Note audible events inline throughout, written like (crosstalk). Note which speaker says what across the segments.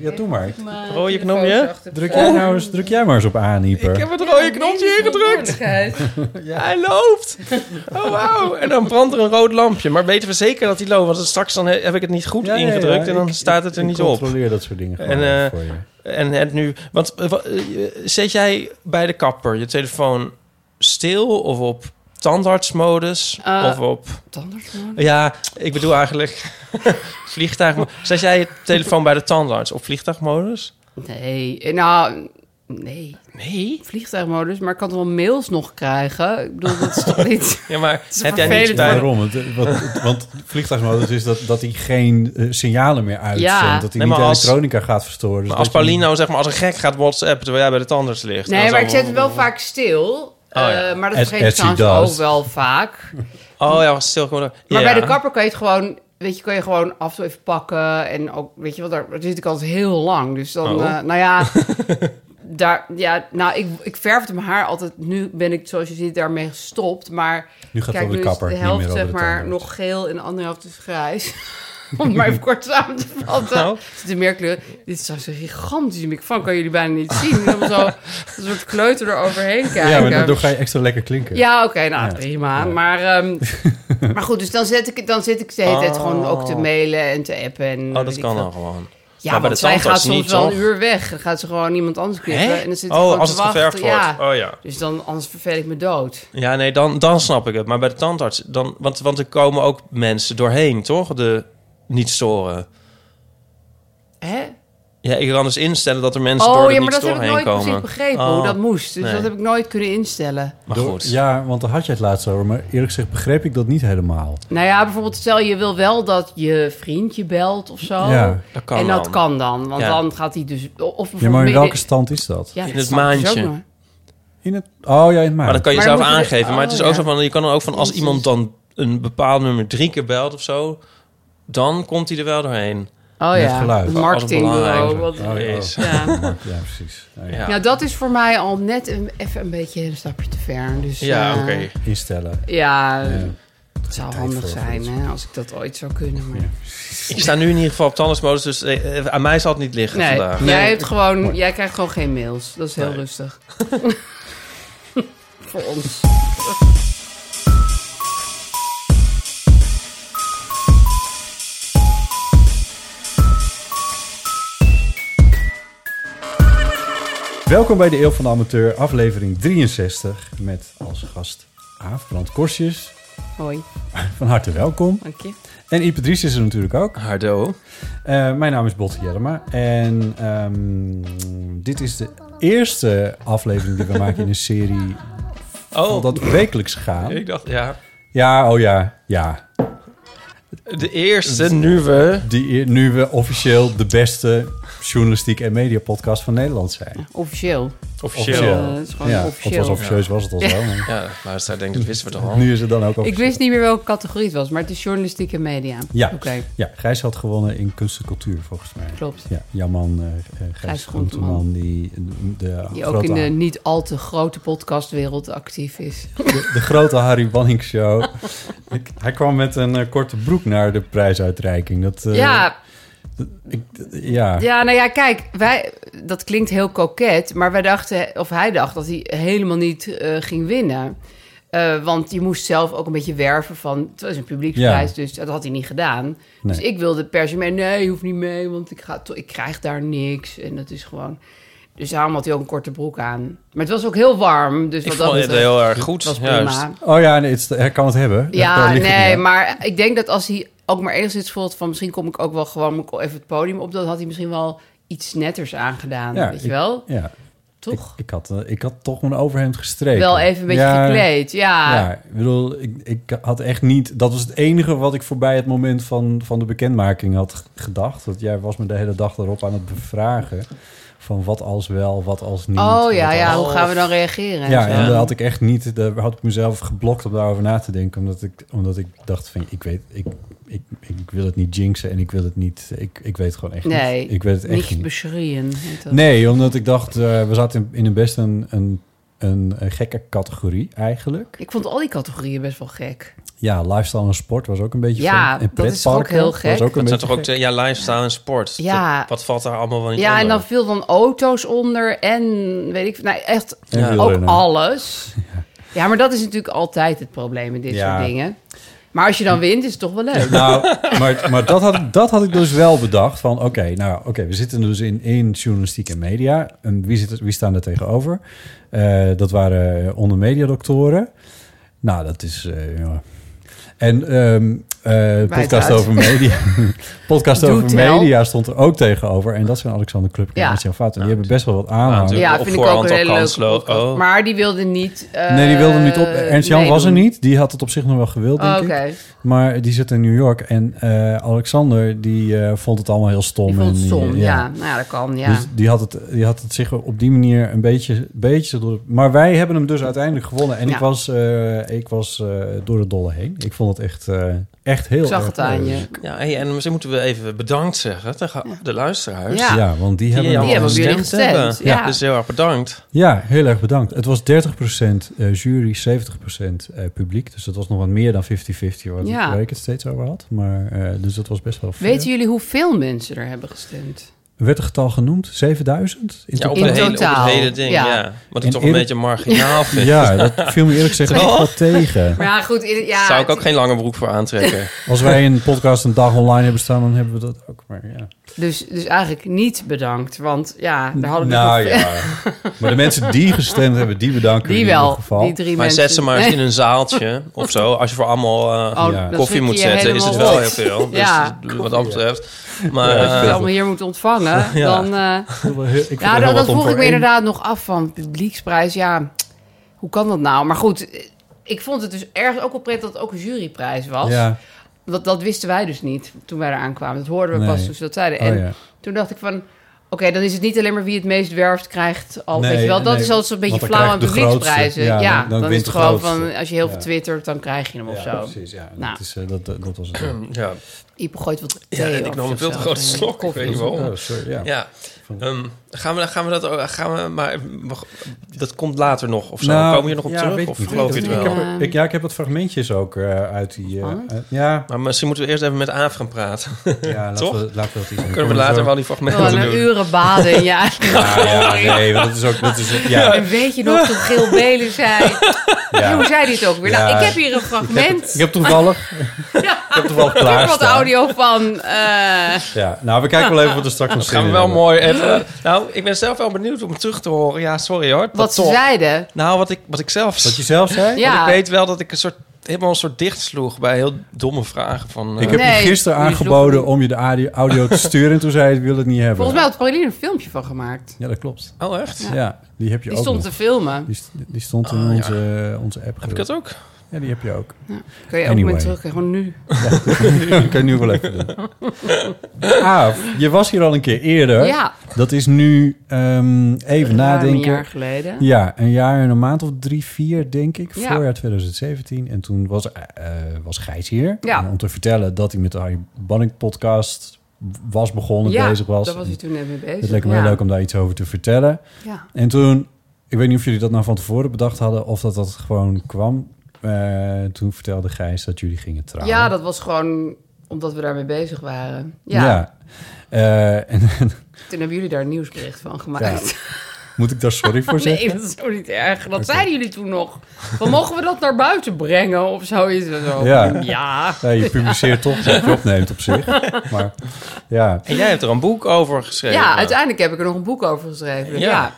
Speaker 1: Ja, doe maar.
Speaker 2: Rode knopje?
Speaker 1: Druk jij, nou eens, druk jij maar eens op aanieper.
Speaker 2: Ik heb het Oh, rode knopje ingedrukt. Hij
Speaker 3: (laughs)
Speaker 2: loopt. Oh, wauw. En dan brandt er een rood lampje. Maar weten we zeker dat hij loopt? Want straks dan heb ik het niet goed ingedrukt en dan staat het er niet
Speaker 1: Ik
Speaker 2: op.
Speaker 1: controleer dat soort dingen gewoon
Speaker 2: En, eh,
Speaker 1: voor je.
Speaker 2: En het nu... Want eh, wa- eh, zet jij bij de kapper je telefoon stil of op tandartsmodus?
Speaker 3: Eh,
Speaker 2: of op...
Speaker 3: Tandartsmodus?
Speaker 2: Ja, ik bedoel eigenlijk (laughs) vliegtuig... Zet jij je telefoon bij de tandarts op vliegtuigmodus?
Speaker 3: Nee, eh, nou, nee.
Speaker 2: Nee.
Speaker 3: Vliegtuigmodus, maar ik kan toch wel mails nog krijgen? Ik bedoel, dat is
Speaker 2: (laughs)
Speaker 3: toch niet...
Speaker 2: Ja, maar
Speaker 3: is
Speaker 2: heb jij niets
Speaker 3: vervelend.
Speaker 2: bij...
Speaker 1: Waarom? Het, eh, wat- het- want vliegtuigmodus is dat, dat hij geen eh, signalen meer uitzendt.
Speaker 3: Ja.
Speaker 1: Dat hij
Speaker 2: Nee,
Speaker 1: niet
Speaker 2: maar als-
Speaker 1: elektronica gaat verstoren. Dus
Speaker 2: Maar als
Speaker 1: dat je-
Speaker 2: Paulino, zeg maar, als een gek gaat WhatsAppen terwijl jij bij de tandarts ligt. dan
Speaker 3: Nee, maar
Speaker 2: zou-
Speaker 3: ik zet het wel vaak stil.
Speaker 2: Oh ja.
Speaker 3: eh, maar dat
Speaker 1: As-
Speaker 3: vergeet ik
Speaker 1: as she
Speaker 3: trouwens ook
Speaker 1: does.
Speaker 3: wel vaak.
Speaker 2: Oh ja, was stil geworden.
Speaker 3: Maar
Speaker 2: Ja.
Speaker 3: bij de kapper kan je het gewoon... Weet je, kan je gewoon af en toe even pakken. En ook, weet je wel, daar daar zit ik altijd heel lang. Dus dan,
Speaker 2: Oh.
Speaker 3: eh, nou
Speaker 1: (laughs)
Speaker 3: ja... daar, ja, nou, ik, ik verfde mijn haar altijd... Nu ben ik, zoals je ziet, daarmee gestopt. Maar
Speaker 1: Nu gaat het
Speaker 3: kijk,
Speaker 1: over
Speaker 3: nu
Speaker 1: de
Speaker 3: is
Speaker 1: kapper.
Speaker 3: de
Speaker 1: niet
Speaker 3: helft,
Speaker 1: meer over
Speaker 3: zeg
Speaker 1: de
Speaker 3: maar,
Speaker 1: tandarts.
Speaker 3: nog geel en de andere helft is grijs. (laughs) Om het maar even kort samen te vatten.
Speaker 1: Oh.
Speaker 2: Nou.
Speaker 3: Er zitten meer kleuren. Dit is trouwens een gigantische microfoon. Kan jullie bijna niet zien. Helemaal zo een soort kleuter eroverheen kijken.
Speaker 1: Ja, maar daardoor ga je extra lekker klinken.
Speaker 3: Ja, oké, nou
Speaker 1: Ja.
Speaker 3: prima.
Speaker 1: Ja.
Speaker 3: Maar,
Speaker 2: (laughs)
Speaker 3: ehm, maar goed, dus dan zit ik, dan zit ik de hele tijd gewoon ook te mailen en te appen. En
Speaker 2: Oh,
Speaker 3: weet
Speaker 2: dat
Speaker 3: ik
Speaker 2: kan
Speaker 3: veel.
Speaker 2: dan gewoon.
Speaker 3: Ja,
Speaker 2: Maar bij
Speaker 3: want
Speaker 2: de
Speaker 3: zij gaat
Speaker 2: tandarts
Speaker 3: soms
Speaker 2: niet,
Speaker 3: wel een
Speaker 2: toch?
Speaker 3: uur weg. Dan gaat ze gewoon iemand anders knippen.
Speaker 2: Hè?
Speaker 3: En dan zit ik
Speaker 2: Oh,
Speaker 3: gewoon te
Speaker 2: als het
Speaker 3: wachten.
Speaker 2: geverfd wordt.
Speaker 3: Ja.
Speaker 2: Oh ja.
Speaker 3: Dus dan, anders vervel ik me dood.
Speaker 2: Ja, nee, dan, dan snap ik het. Maar bij de tandarts, dan, want, want er komen ook mensen doorheen, toch? De niet storen.
Speaker 3: Hè?
Speaker 2: Ja, ik kan dus instellen dat er mensen door
Speaker 3: Oh
Speaker 2: de
Speaker 3: ja, maar
Speaker 2: niet
Speaker 3: dat heb ik
Speaker 2: storen heen
Speaker 3: nooit precies
Speaker 2: komen.
Speaker 3: begrepen
Speaker 2: Oh,
Speaker 3: hoe dat moest. Dus
Speaker 2: nee.
Speaker 3: dat heb ik nooit kunnen instellen.
Speaker 2: Maar
Speaker 1: Door-
Speaker 2: goed.
Speaker 1: Ja, want daar had je het laatst over. Maar eerlijk gezegd begreep ik dat niet helemaal.
Speaker 3: Nou ja, bijvoorbeeld stel je wil wel dat je vriendje belt of zo.
Speaker 1: Ja.
Speaker 2: Dat kan
Speaker 3: en dat
Speaker 2: dan.
Speaker 3: kan dan, want
Speaker 2: Ja.
Speaker 3: dan gaat hij dus... Of bijvoorbeeld
Speaker 1: Ja, maar in
Speaker 3: midden-
Speaker 1: welke stand is dat?
Speaker 3: Ja,
Speaker 2: In
Speaker 3: dat
Speaker 2: het
Speaker 3: snap ik dus ook
Speaker 2: maandje.
Speaker 3: nog.
Speaker 1: In het... Oh ja, in het
Speaker 2: Maar dan
Speaker 1: maand.
Speaker 2: kan je
Speaker 3: Maar
Speaker 2: zelf
Speaker 3: moet je-
Speaker 2: aangeven. Maar het is
Speaker 3: oh,
Speaker 2: ook
Speaker 3: ja.
Speaker 2: zo van, je kan er ook van, als
Speaker 3: Jezus.
Speaker 2: iemand dan een bepaald nummer drie keer belt of zo, dan komt hij er wel doorheen.
Speaker 3: Oh
Speaker 1: Met
Speaker 3: ja,
Speaker 1: geluid.
Speaker 3: het
Speaker 2: Als
Speaker 3: marketingbureau.
Speaker 2: belangrijk.
Speaker 3: Wat,
Speaker 1: Oh, ja.
Speaker 2: Is.
Speaker 1: (laughs)
Speaker 3: ja.
Speaker 1: Ja, precies. Nou ja.
Speaker 2: Ja,
Speaker 3: Nou, dat is voor mij al net een, even een beetje een stapje te ver. Dus,
Speaker 2: ja
Speaker 3: eh,
Speaker 2: oké.
Speaker 1: Instellen.
Speaker 3: Ja,
Speaker 1: Ja.
Speaker 3: het zou handig zijn hè, als ik dat ooit zou kunnen. Maar...
Speaker 2: Ik sta nu in ieder geval op tandartsmodus, dus eh, eh, aan mij zal het niet liggen
Speaker 3: Nee,
Speaker 2: vandaag.
Speaker 3: Jij, hebt gewoon, jij krijgt gewoon geen mails. Dat is heel
Speaker 1: (laughs)
Speaker 3: rustig. voor ons.
Speaker 1: Welkom bij de Eeuw van de Amateur, aflevering 63. Met als gast Aaf Brand Korsjes.
Speaker 3: Hoi,
Speaker 1: Van harte welkom.
Speaker 3: dank je.
Speaker 1: En Ipatrice is er natuurlijk ook.
Speaker 2: Hardo.
Speaker 1: Eh, mijn naam is Botte Jerma. En ehm, dit is de eerste aflevering die we maken in een serie
Speaker 2: Oh,
Speaker 1: dat we wekelijks gaan.
Speaker 2: ik dacht, ja.
Speaker 1: Ja, oh ja, ja.
Speaker 2: De eerste nieuwe.
Speaker 1: Die, nu we officieel de beste journalistiek en media podcast van Nederland zijn.
Speaker 3: Officieel.
Speaker 2: Officieel.
Speaker 1: Officieel.
Speaker 3: Eh, het is gewoon
Speaker 1: ja,
Speaker 3: officieel.
Speaker 1: want als officieus was het al zo. maar
Speaker 2: Ja, luisteraar denkt, dat (laughs) wisten we toch al.
Speaker 1: Nu is het dan ook
Speaker 3: Ik
Speaker 1: officieel.
Speaker 3: wist niet meer welke categorie het was, maar het is journalistieke media.
Speaker 1: Ja.
Speaker 3: Oké,
Speaker 1: Ja, Gijs had gewonnen in kunst en cultuur, volgens mij.
Speaker 3: klopt.
Speaker 1: Ja, jouw man, eh, eh, Gijs,
Speaker 3: Gijs
Speaker 1: Groenteman,
Speaker 3: Groenteman.
Speaker 1: die de,
Speaker 3: Die ook
Speaker 1: grote,
Speaker 3: in de niet al te grote podcastwereld actief is.
Speaker 1: de, de grote Harry Banning
Speaker 3: (laughs)
Speaker 1: show. Ik- hij kwam met een eh, korte broek naar de prijsuitreiking. Dat, eh,
Speaker 3: ja,
Speaker 1: ik, ja.
Speaker 3: ja, nou ja, kijk, wij, dat klinkt heel koket, maar wij dachten, of hij dacht, dat hij helemaal niet eh, ging winnen. Eh, want je moest zelf ook een beetje werven van, het was een publieksprijs,
Speaker 1: Ja.
Speaker 3: dus dat had hij niet gedaan.
Speaker 1: Nee.
Speaker 3: Dus ik wilde per se mee, nee, je hoeft niet mee, want ik, ga, to- ik krijg daar niks. En dat is gewoon... Dus daarom had hij ook een korte broek aan. Maar het was ook heel warm, dus
Speaker 2: Ik
Speaker 3: wat
Speaker 2: vond
Speaker 3: dat
Speaker 2: het
Speaker 3: betreft
Speaker 2: heel erg goed.
Speaker 3: was prima.
Speaker 2: juist.
Speaker 1: Oh ja, nee, het, is- hij kan het hebben. Daar
Speaker 3: Ja,
Speaker 1: ligt het niet
Speaker 3: nee,
Speaker 1: aan.
Speaker 3: maar ik denk dat als hij ook maar enigszins voelt van misschien kom ik ook wel gewoon even het podium op, dan had hij misschien wel iets netters aangedaan,
Speaker 1: Ja,
Speaker 3: weet je
Speaker 1: ik-
Speaker 3: wel?
Speaker 1: Ja, ik,
Speaker 3: Toch?
Speaker 1: ik, had, eh, ik had toch mijn overhemd gestreken.
Speaker 3: wel even een beetje
Speaker 1: Ja,
Speaker 3: gekleed, ja.
Speaker 1: Ja, ik bedoel, ik, ik had echt niet... Dat was het enige wat ik voorbij het moment van, van de bekendmaking had g- gedacht. Want jij was me de hele dag erop aan het bevragen. Van wat als wel, wat als niet.
Speaker 3: oh
Speaker 1: wat
Speaker 3: ja, ja,
Speaker 1: als-
Speaker 3: hoe gaan we dan reageren?
Speaker 1: Ja,
Speaker 3: zo.
Speaker 1: en daar had ik echt niet... Daar had ik mezelf geblokt om daarover na te denken. Omdat ik, omdat ik dacht van, ik weet... Ik, ik, ik, wil het niet jinxen en ik wil het niet... Ik, ik weet gewoon echt
Speaker 3: nee,
Speaker 1: niet. Ik weet het echt
Speaker 3: niet
Speaker 1: niet.
Speaker 3: beschreeuwen. heet dat.
Speaker 1: Nee, omdat ik dacht, eh, we zaten in, in een best een, een, een, een gekke categorie eigenlijk.
Speaker 3: Ik vond al die categorieën best wel gek.
Speaker 1: Ja, lifestyle en sport was ook een beetje
Speaker 3: Ja,
Speaker 1: vreemd. En
Speaker 3: dat is toch ook
Speaker 1: pretparken
Speaker 3: heel
Speaker 1: was
Speaker 3: gek?
Speaker 1: ook een
Speaker 2: Dat zijn
Speaker 1: beetje
Speaker 2: toch ook
Speaker 1: gek.
Speaker 2: twee- ja, lifestyle en sport.
Speaker 3: Ja.
Speaker 2: Dat- wat valt daar allemaal wel niet
Speaker 3: Ja, en
Speaker 2: onder?
Speaker 3: dan viel dan auto's onder en weet ik, nou echt
Speaker 1: En
Speaker 2: Ja.
Speaker 3: ook
Speaker 1: wielrennen. (laughs)
Speaker 3: alles. Ja, maar dat is natuurlijk altijd het probleem in dit
Speaker 1: Ja.
Speaker 3: soort dingen. Maar als je dan wint, is het toch wel leuk.
Speaker 1: Nou, maar, maar dat, had, ik- dat had ik dus wel bedacht. Van oké, nou oké, we zitten dus in één journalistiek en media. En wie, zit, er- wie staan er tegenover? Eh, dat waren onder mediadoktoren. Nou, dat is. eh, ja. En ehm, eh, podcast
Speaker 3: uit.
Speaker 1: over media.
Speaker 3: (laughs)
Speaker 1: podcast
Speaker 3: Doe
Speaker 1: over
Speaker 3: tel.
Speaker 1: media stond er ook over. En dat zijn Alexander Klupping
Speaker 3: Ja.
Speaker 1: en Marcel Fout. En die hebben best wel wat aanhang.
Speaker 2: natuurlijk.
Speaker 3: Ja,
Speaker 2: Op
Speaker 3: vind ik ook
Speaker 2: voorhand
Speaker 3: een
Speaker 2: al
Speaker 3: hele leuke
Speaker 2: kansloos.
Speaker 3: podcast.
Speaker 2: Oh.
Speaker 3: Maar die wilde niet. eh,
Speaker 1: nee, die wilde niet op. Ernst Jan was er
Speaker 3: meedoen.
Speaker 1: niet. Die had het op zich nog wel gewild, denk
Speaker 3: Oh, Oké,
Speaker 1: ik. Maar die zit in New York. En eh, Alexander, die eh, vond het allemaal heel stom.
Speaker 3: ik vond
Speaker 1: en
Speaker 3: het
Speaker 1: die-
Speaker 3: stom. Ja. nou ja, dat kan. Ja.
Speaker 1: Dus die had, het, die had het zich op die manier een beetje, beetje door... de- Maar wij hebben hem dus uiteindelijk gewonnen. En
Speaker 3: Ja.
Speaker 1: ik was, eh, ik was eh, door de dolle heen. Ik vond het echt, eh, echt heel
Speaker 3: ik zag
Speaker 1: erg eh,
Speaker 3: het aan
Speaker 1: leuk.
Speaker 3: je.
Speaker 2: Ja, hey, en misschien moeten we even bedankt zeggen tegen de luisteraars.
Speaker 3: Ja.
Speaker 1: Ja. want die, hebben...
Speaker 2: allemaal
Speaker 3: Die hebben op jullie
Speaker 2: gestemd
Speaker 3: gestemd,
Speaker 2: hebben.
Speaker 3: ja.
Speaker 2: Dus heel erg bedankt.
Speaker 1: Ja, heel erg bedankt. Het was 30% eh, jury, 70% eh, publiek. Dus dat was nog wat meer dan 50-50, waar,
Speaker 3: Ja.
Speaker 1: waar ik het steeds over had. Maar, eh, dus dat was best wel veel.
Speaker 3: Weten jullie hoeveel mensen er hebben gestemd?
Speaker 1: Werd het getal genoemd? 7000? In
Speaker 2: Ja, op,
Speaker 1: totaal?
Speaker 2: de hele, op
Speaker 3: totaal,
Speaker 2: het hele ding,
Speaker 3: ja.
Speaker 2: ja. Wat
Speaker 1: En
Speaker 2: ik toch een
Speaker 1: eerlijk-
Speaker 2: beetje marginaal vind.
Speaker 1: Ja, dat viel me eerlijk
Speaker 2: (laughs)
Speaker 1: gezegd echt
Speaker 2: Oh.
Speaker 1: wel tegen.
Speaker 3: Maar ja, goed. in- Ja,
Speaker 2: Zou ik ook
Speaker 3: het-
Speaker 2: geen lange broek voor
Speaker 3: (laughs)
Speaker 2: aantrekken.
Speaker 1: Als wij een podcast een dag online hebben staan, dan hebben we dat ook. Maar ja.
Speaker 3: dus, dus eigenlijk niet bedankt. Want ja, daar hadden we
Speaker 1: Nou
Speaker 3: nog-
Speaker 1: ja.
Speaker 3: (laughs)
Speaker 1: Maar de mensen die gestemd hebben, die bedanken we
Speaker 3: die
Speaker 1: in ieder
Speaker 3: wel.
Speaker 1: geval.
Speaker 3: Die drie
Speaker 2: maar
Speaker 3: mensen.
Speaker 2: zet ze maar eens in een zaaltje of zo. Als je voor allemaal eh,
Speaker 3: (laughs) Oh,
Speaker 1: Ja.
Speaker 3: dan
Speaker 2: koffie
Speaker 3: zit
Speaker 2: moet
Speaker 3: je
Speaker 2: zetten, is het
Speaker 3: helemaal
Speaker 2: wel
Speaker 3: rot.
Speaker 2: heel
Speaker 3: (laughs)
Speaker 2: veel. Dus
Speaker 3: Ja.
Speaker 2: wat dat betreft. Maar
Speaker 1: Ja, ik
Speaker 3: Als
Speaker 2: eh,
Speaker 3: je allemaal hier moet ontvangen,
Speaker 2: (laughs) Ja.
Speaker 3: dan... eh,
Speaker 1: Ik wil heel- ik vind
Speaker 3: Ja,
Speaker 1: er
Speaker 3: dat, dat
Speaker 1: heel wat om
Speaker 3: vroeg
Speaker 1: voor
Speaker 3: ik me
Speaker 1: één-
Speaker 3: inderdaad nog af van publieksprijs. Ja, hoe kan dat nou? Maar goed, eh, ik vond het dus ergens ook wel prettig dat het ook een juryprijs was.
Speaker 1: Ja.
Speaker 3: Dat, dat wisten wij dus niet toen wij eraan kwamen. Dat hoorden we
Speaker 1: Nee.
Speaker 3: pas toen ze dat zeiden. En
Speaker 1: Oh, ja.
Speaker 3: toen dacht ik van, oké, dan is het niet alleen maar wie het meest werft krijgt. Al,
Speaker 1: Nee,
Speaker 3: weet je wel, dat
Speaker 1: nee,
Speaker 3: is altijd een beetje
Speaker 1: want dan
Speaker 3: flauw aan
Speaker 1: krijgt de grootste.
Speaker 3: publieksprijzen.
Speaker 1: Ja,
Speaker 3: Ja,
Speaker 1: dan-
Speaker 3: dan,
Speaker 1: dan
Speaker 3: is
Speaker 1: wint
Speaker 3: het
Speaker 1: de
Speaker 3: gewoon
Speaker 1: grootste.
Speaker 3: van, als je heel veel
Speaker 1: Ja.
Speaker 3: twittert, dan krijg je hem of
Speaker 1: Ja,
Speaker 3: zo.
Speaker 1: precies. Ja,
Speaker 3: Nou.
Speaker 1: dat, is, eh, dat, dat was het. ook.
Speaker 2: ja.
Speaker 3: Iep gooit wat
Speaker 2: Ja,
Speaker 3: thee
Speaker 2: en ik
Speaker 3: of
Speaker 2: nam een
Speaker 3: of
Speaker 2: veel te
Speaker 3: zo.
Speaker 2: grote slok. (laughs) Ik weet niet waarom.
Speaker 1: Oh, sorry, ja.
Speaker 2: Ja. Ehm, gaan, we, gaan we dat ook- gaan we, maar dat komt later nog of zo.
Speaker 1: Nou,
Speaker 2: Komen we hier nog op
Speaker 1: ja, weet
Speaker 2: terug
Speaker 1: ik
Speaker 2: of
Speaker 1: niet.
Speaker 2: geloof je het
Speaker 1: Ik
Speaker 2: wel?
Speaker 1: heb, er- ik, ja, ik heb wat fragmentjes ook eh, uit die... eh, uit- ja,
Speaker 2: Maar misschien moeten we eerst even met Aaf gaan praten.
Speaker 1: ja laten,
Speaker 2: Toch?
Speaker 1: we, laten we dat iets
Speaker 2: Kunnen we later wel die
Speaker 3: Gewoon
Speaker 2: fragmenten
Speaker 3: een
Speaker 2: doen?
Speaker 3: uren baden in je eigen
Speaker 1: Ja,
Speaker 2: Ah,
Speaker 1: ja, nee, want dat is ook... Dat is, ja,
Speaker 3: En weet je nog toen Gil Belen zei...
Speaker 1: (laughs) ja.
Speaker 3: Hoe zei dit ook weer?
Speaker 1: Ja.
Speaker 3: Nou, ik heb hier een fragment.
Speaker 1: Ik heb toevallig,
Speaker 3: (laughs) ja,
Speaker 1: ik
Speaker 3: ik
Speaker 1: heb toevallig
Speaker 3: heb er wat
Speaker 1: klaarstaan.
Speaker 3: audio van. eh,
Speaker 1: Ja, nou, we kijken wel even wat er straks nog
Speaker 2: Gaan we
Speaker 1: zin
Speaker 2: wel
Speaker 1: in
Speaker 2: mooi even... Nou, ik ben zelf wel benieuwd om het terug te horen. Ja, sorry hoor.
Speaker 3: wat ze
Speaker 2: toch.
Speaker 3: zeiden.
Speaker 2: Nou, wat ik, wat ik zelf...
Speaker 1: Wat je zelf zei?
Speaker 3: Ja.
Speaker 2: Ik weet wel dat ik een soort, helemaal een soort dicht sloeg bij heel domme vragen van... eh,
Speaker 1: Ik heb
Speaker 3: Nee,
Speaker 1: je gisteren
Speaker 3: jullie
Speaker 1: aangeboden
Speaker 3: zoeken-
Speaker 1: om je de audio- audio te sturen en toen zei je, ik wil het niet hebben.
Speaker 3: Volgens mij had Pauline een filmpje van gemaakt.
Speaker 1: Ja, dat klopt.
Speaker 2: Oh, echt?
Speaker 1: Ja, die heb je
Speaker 3: Die
Speaker 1: ook
Speaker 3: stond
Speaker 1: nog.
Speaker 3: te filmen.
Speaker 1: Die, st- die stond in
Speaker 2: Oh, ja.
Speaker 1: onze, eh, onze app.
Speaker 2: Heb ik dat ook?
Speaker 1: Ja, die heb je ook.
Speaker 3: Kun je ook
Speaker 1: Anyway.
Speaker 3: mee terug, gewoon nu.
Speaker 1: Ik kan nu wel even doen.
Speaker 3: (laughs)
Speaker 1: Aaf, je was hier al een keer eerder.
Speaker 3: Ja,
Speaker 1: Dat is nu ehm, even
Speaker 3: ruim een
Speaker 1: nadenken.
Speaker 3: jaar geleden.
Speaker 1: Ja, een jaar en een maand of drie, vier, denk ik.
Speaker 3: Ja.
Speaker 1: Voorjaar 2017. En toen was, eh, eh, was Gijs hier.
Speaker 3: Ja.
Speaker 1: En Om te vertellen dat hij met de Harry Banning podcast was begonnen,
Speaker 3: Ja,
Speaker 1: bezig was.
Speaker 3: daar was hij toen net mee bezig.
Speaker 1: Het leek me
Speaker 3: ja.
Speaker 1: heel leuk om daar iets over te vertellen.
Speaker 3: Ja.
Speaker 1: En toen, ik weet niet of jullie dat nou van tevoren bedacht hadden... of dat dat gewoon kwam. Eh, toen vertelde Gijs dat jullie gingen trouwen.
Speaker 3: ja, dat was gewoon omdat we daarmee bezig waren. Ja,
Speaker 1: Ja. Eh, en (laughs)
Speaker 3: toen hebben jullie daar een nieuwsbericht van gemaakt.
Speaker 1: moet ik daar sorry voor zeggen?
Speaker 3: nee, dat is ook niet erg. Dat zeiden jullie toen nog. Van, mogen we dat naar buiten brengen of zoiets? En Zo.
Speaker 1: Ja.
Speaker 3: ja.
Speaker 1: Ja, je publiceert toch wat je opneemt op zich. Maar ja,
Speaker 2: En jij hebt er een boek over geschreven.
Speaker 3: Ja, uiteindelijk heb ik er nog een boek over geschreven.
Speaker 2: Ja.
Speaker 3: Ja.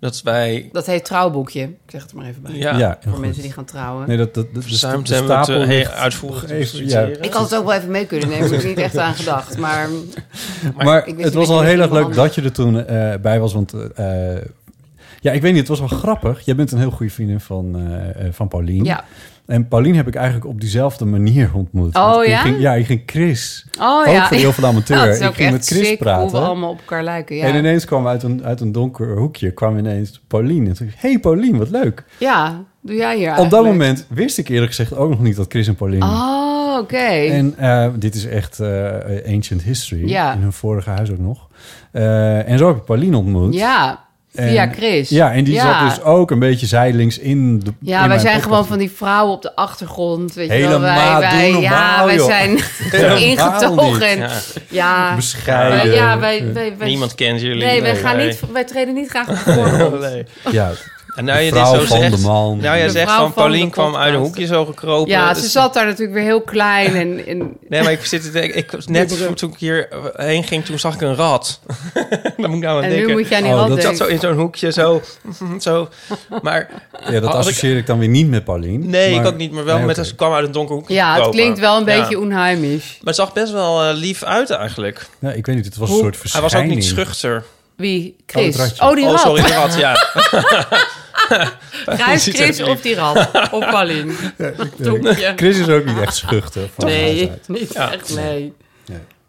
Speaker 2: dat wij...
Speaker 3: Dat heet trouwboekje. Ik zeg het er maar even bij.
Speaker 2: Ja,
Speaker 1: Ja.
Speaker 3: Voor
Speaker 1: Goed.
Speaker 3: mensen die gaan trouwen.
Speaker 1: Nee, dat, dat, dat
Speaker 2: verzuimd
Speaker 1: de
Speaker 2: zijn we het
Speaker 1: stapel
Speaker 2: eh, heel
Speaker 1: ligt-
Speaker 2: uitvoerig te
Speaker 1: even- ja.
Speaker 2: bestuderen.
Speaker 3: Ik had het ook wel even mee kunnen nemen, daar heb ik niet echt aan gedacht. Maar
Speaker 1: Hm? Maar
Speaker 3: Ik wist
Speaker 1: het
Speaker 3: niet
Speaker 1: was
Speaker 3: dat
Speaker 1: al
Speaker 3: je
Speaker 1: heel
Speaker 3: dat
Speaker 1: erg
Speaker 3: iemand
Speaker 1: leuk dat je er toen eh, bij was. Want eh, eh, ja, ik weet niet, het was wel grappig. Jij bent een heel goede vriendin van, eh, eh, van Paulien.
Speaker 3: ja.
Speaker 1: En Paulien heb ik eigenlijk op diezelfde manier ontmoet.
Speaker 3: Oh,
Speaker 1: Want ik
Speaker 3: ja?
Speaker 1: Ging, ja, ik ging Chris.
Speaker 3: Oh
Speaker 1: ook
Speaker 3: ja.
Speaker 1: van heel veel amateur.
Speaker 3: dat is
Speaker 1: ik
Speaker 3: ook
Speaker 1: ging
Speaker 3: echt
Speaker 1: met Chris
Speaker 3: sick hoe we
Speaker 1: praten.
Speaker 3: allemaal op elkaar lijken. Ja,
Speaker 1: En ineens kwam uit een, uit een donker hoekje kwam ineens Paulien. En toen dacht ik, hey Paulien, wat leuk.
Speaker 3: ja doe jij hier
Speaker 1: Op dat
Speaker 3: eigenlijk?
Speaker 1: moment wist ik eerlijk gezegd ook nog niet dat Chris en Paulien...
Speaker 3: Oh, oké.
Speaker 1: En eh, dit is echt eh, ancient history.
Speaker 3: Ja.
Speaker 1: In hun vorige huis ook nog. Eh, en zo heb ik Paulien ontmoet.
Speaker 3: Ja,
Speaker 1: En-
Speaker 3: via Chris.
Speaker 1: Ja, en die
Speaker 3: Ja.
Speaker 1: zat dus ook een beetje zijlings in de.
Speaker 3: Ja, wij zijn gewoon van die vrouwen op de achtergrond. Weet je wel,
Speaker 1: Helemaal,
Speaker 3: wij,
Speaker 1: doe
Speaker 3: wij,
Speaker 1: normaal,
Speaker 3: ja, wij
Speaker 1: joh.
Speaker 3: zijn
Speaker 1: (laughs) Helemaal niet.
Speaker 3: (laughs) ingetogen. En-
Speaker 2: Ja.
Speaker 3: Ja,
Speaker 1: bescheiden.
Speaker 3: wij- ja, wij, wij, wij,
Speaker 2: Niemand kent jullie.
Speaker 3: nee, wij, gaan niet, wij treden niet graag op de voorgrond.
Speaker 2: (laughs) Nee.
Speaker 1: Ja,
Speaker 2: En nou
Speaker 1: De
Speaker 2: je dit
Speaker 1: vrouw
Speaker 2: zo
Speaker 1: van
Speaker 2: zegt,
Speaker 1: de man.
Speaker 2: nou jij
Speaker 3: De
Speaker 2: zegt
Speaker 3: vrouw
Speaker 2: van
Speaker 3: van
Speaker 2: Paulien
Speaker 3: de
Speaker 2: kwam uit een
Speaker 3: podcast.
Speaker 2: hoekje zo gekropen.
Speaker 3: Ja,
Speaker 2: Dus-
Speaker 3: ze zat daar natuurlijk weer heel klein. En, en,
Speaker 2: Nee, maar ik zit te denken, ik was net voor- toen ik hier eh, heen ging, toen zag ik een rat. (laughs) Daar moet ik nou aan
Speaker 3: en nu
Speaker 2: denken.
Speaker 3: moet je aan die
Speaker 1: Oh,
Speaker 3: rand
Speaker 1: dat
Speaker 2: Ik zat zo
Speaker 3: denken.
Speaker 2: in zo'n hoekje, zo, (laughs) zo. Maar
Speaker 1: ja dat
Speaker 2: Als ik-
Speaker 1: associeer ik... dan weer niet met Paulien.
Speaker 2: nee,
Speaker 1: maar-
Speaker 2: ik ook niet, maar wel
Speaker 1: Nee,
Speaker 2: met
Speaker 1: oké.
Speaker 2: als kwam uit een donker hoekje.
Speaker 3: Ja, het
Speaker 2: gekropen.
Speaker 3: klinkt wel een
Speaker 2: Ja.
Speaker 3: beetje onheimisch.
Speaker 2: Maar het zag best wel eh, lief uit eigenlijk.
Speaker 1: Ja, Nou, ik weet niet, het was een
Speaker 3: Hoe-
Speaker 1: soort
Speaker 2: Hij
Speaker 1: verschijning.
Speaker 2: was ook niet schuchter.
Speaker 3: Wie? Chris.
Speaker 1: Oh, het
Speaker 3: Oh,
Speaker 1: ratje.
Speaker 3: die
Speaker 2: Oh,
Speaker 3: rat. (laughs)
Speaker 2: sorry, de rat, ja.
Speaker 3: Grijs
Speaker 2: Ziet er
Speaker 3: Chris
Speaker 2: niet.
Speaker 3: of die rat. Of Paulien. Toekje.
Speaker 1: Chris is ook niet echt schuchter. Van huis
Speaker 3: Nee,
Speaker 1: uit.
Speaker 3: niet
Speaker 2: Ja.
Speaker 3: echt nee.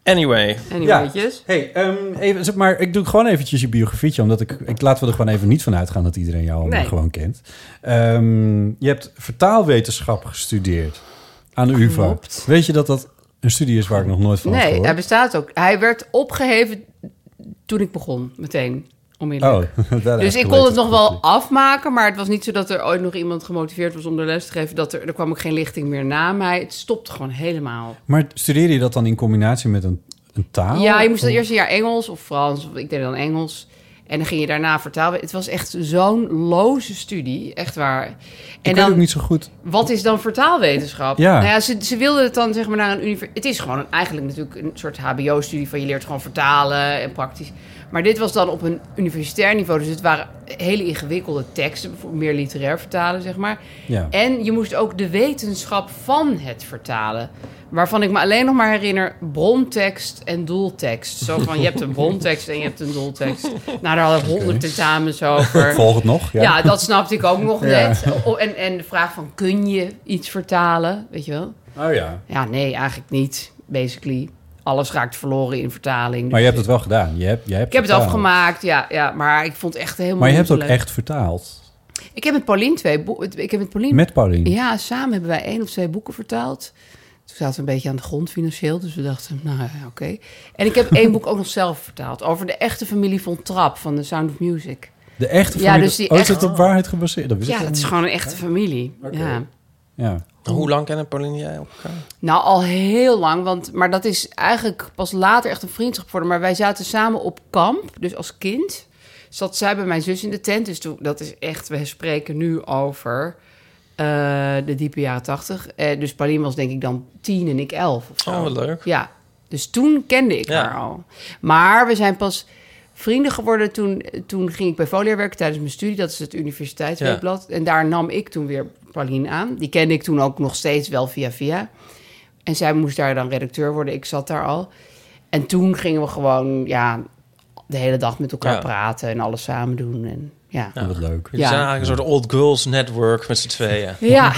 Speaker 2: Anyway,
Speaker 3: Anywaaytjes.
Speaker 1: Hey, ehm, even, zeg maar ik doe gewoon eventjes je biografietje, omdat ik, ik laten we er gewoon even niet van uitgaan dat iedereen jou allemaal
Speaker 3: Nee.
Speaker 1: gewoon kent. Ehm, je hebt vertaalwetenschap gestudeerd aan de UvA.
Speaker 3: Klopt.
Speaker 1: Weet je dat dat een studie is waar ik nog nooit van heb
Speaker 3: Nee, hij
Speaker 1: gehoord?
Speaker 3: bestaat ook. Hij werd opgeheven toen ik begon, meteen. Onmiddellijk.
Speaker 1: Oh, (laughs) that
Speaker 3: Dus ik kon
Speaker 1: escalated
Speaker 3: het nog
Speaker 1: quickly.
Speaker 3: wel afmaken, maar het was niet zo dat er ooit nog iemand gemotiveerd was om de les te geven. Dat er, er kwam ook geen lichting meer na mij. Het stopte gewoon helemaal.
Speaker 1: Maar studeer je dat dan in combinatie met een, een taal?
Speaker 3: ja, je moest het eerste jaar Engels of Frans. Of, ik deed dan Engels. En dan ging je daarna vertalen. Het was echt zo'n loze studie, echt waar.
Speaker 1: Ik
Speaker 3: En
Speaker 1: weet ook
Speaker 3: dan,
Speaker 1: niet zo goed.
Speaker 3: wat is dan vertaalwetenschap?
Speaker 1: Ja.
Speaker 3: Nou ja, ze, ze wilden het dan zeg maar naar een universiteit. Het is gewoon een- eigenlijk natuurlijk een soort HBO-studie van je leert gewoon vertalen en praktisch. Maar dit was dan op een universitair niveau. Dus het waren hele ingewikkelde teksten, bijvoorbeeld meer literair vertalen zeg maar.
Speaker 1: Ja.
Speaker 3: En je moest ook de wetenschap van het vertalen. Waarvan ik me alleen nog maar herinner brontekst en doeltekst. Zo van, je hebt
Speaker 1: (laughs)
Speaker 3: een brontekst en je hebt een doeltekst. Nou, daar hadden we honderd tentamens
Speaker 1: (laughs)
Speaker 3: over.
Speaker 1: Volg het nog? Ja.
Speaker 3: Ja. dat snapte ik ook
Speaker 1: (laughs)
Speaker 3: nog
Speaker 1: Ja.
Speaker 3: net. O- En, en de vraag van, kun je iets vertalen? Weet je wel?
Speaker 1: Oh ja.
Speaker 3: Ja, nee, eigenlijk niet, basically. Alles raakt verloren in vertaling. Dus
Speaker 1: Maar je hebt het wel gedaan. Je hebt, je hebt
Speaker 3: Ik heb het
Speaker 1: vertaald.
Speaker 3: afgemaakt, ja, ja. Maar ik vond het echt helemaal
Speaker 1: Maar je
Speaker 3: niet
Speaker 1: hebt ook
Speaker 3: leuk.
Speaker 1: echt vertaald.
Speaker 3: Ik heb met Paulien twee... boe- Ik heb met Paulien
Speaker 1: Met Paulien.
Speaker 3: ja, samen hebben wij één of twee boeken vertaald. Toen zaten we een beetje aan de grond financieel, dus we dachten, nou ja, oké. En ik heb één boek ook nog zelf vertaald over de echte familie von Trapp van The Sound of Music.
Speaker 1: De echte
Speaker 3: Ja,
Speaker 1: familie-
Speaker 3: dus die
Speaker 1: oh, is
Speaker 3: echt-
Speaker 1: het op waarheid gebaseerd? Dat wist ik
Speaker 3: Ja, dat is
Speaker 1: niet.
Speaker 3: gewoon een echte familie. Ja.
Speaker 1: Ja.
Speaker 2: hoe lang kennen Paulien en jij elkaar?
Speaker 3: Nou, al heel lang, want, maar dat is eigenlijk pas later echt een vriendschap geworden. Maar wij zaten samen op kamp, dus als kind zat zij bij mijn zus in de tent. Dus toen, dat is echt, we spreken nu over eh, de diepe jaren tachtig. dus Paulien was denk ik dan tien en ik elf of zo.
Speaker 2: Oh, wat leuk.
Speaker 3: Ja, dus toen kende ik
Speaker 2: Ja.
Speaker 3: haar al. Maar we zijn pas vrienden geworden toen, toen ging ik bij Folia werken tijdens mijn studie. Dat is het universiteitsweekblad. En daar nam ik toen weer Pauline aan. Die kende ik toen ook nog steeds wel via via. En zij moest daar dan redacteur worden. Ik zat daar al. En toen gingen we gewoon ja, de hele dag met elkaar
Speaker 2: Ja. Nou,
Speaker 3: praten en alles samen doen. En, ja. Ja.
Speaker 1: Oh, Wat leuk.
Speaker 2: Jullie
Speaker 3: Ja.
Speaker 2: zijn eigenlijk een soort old girls network met z'n tweeën.
Speaker 3: Ja,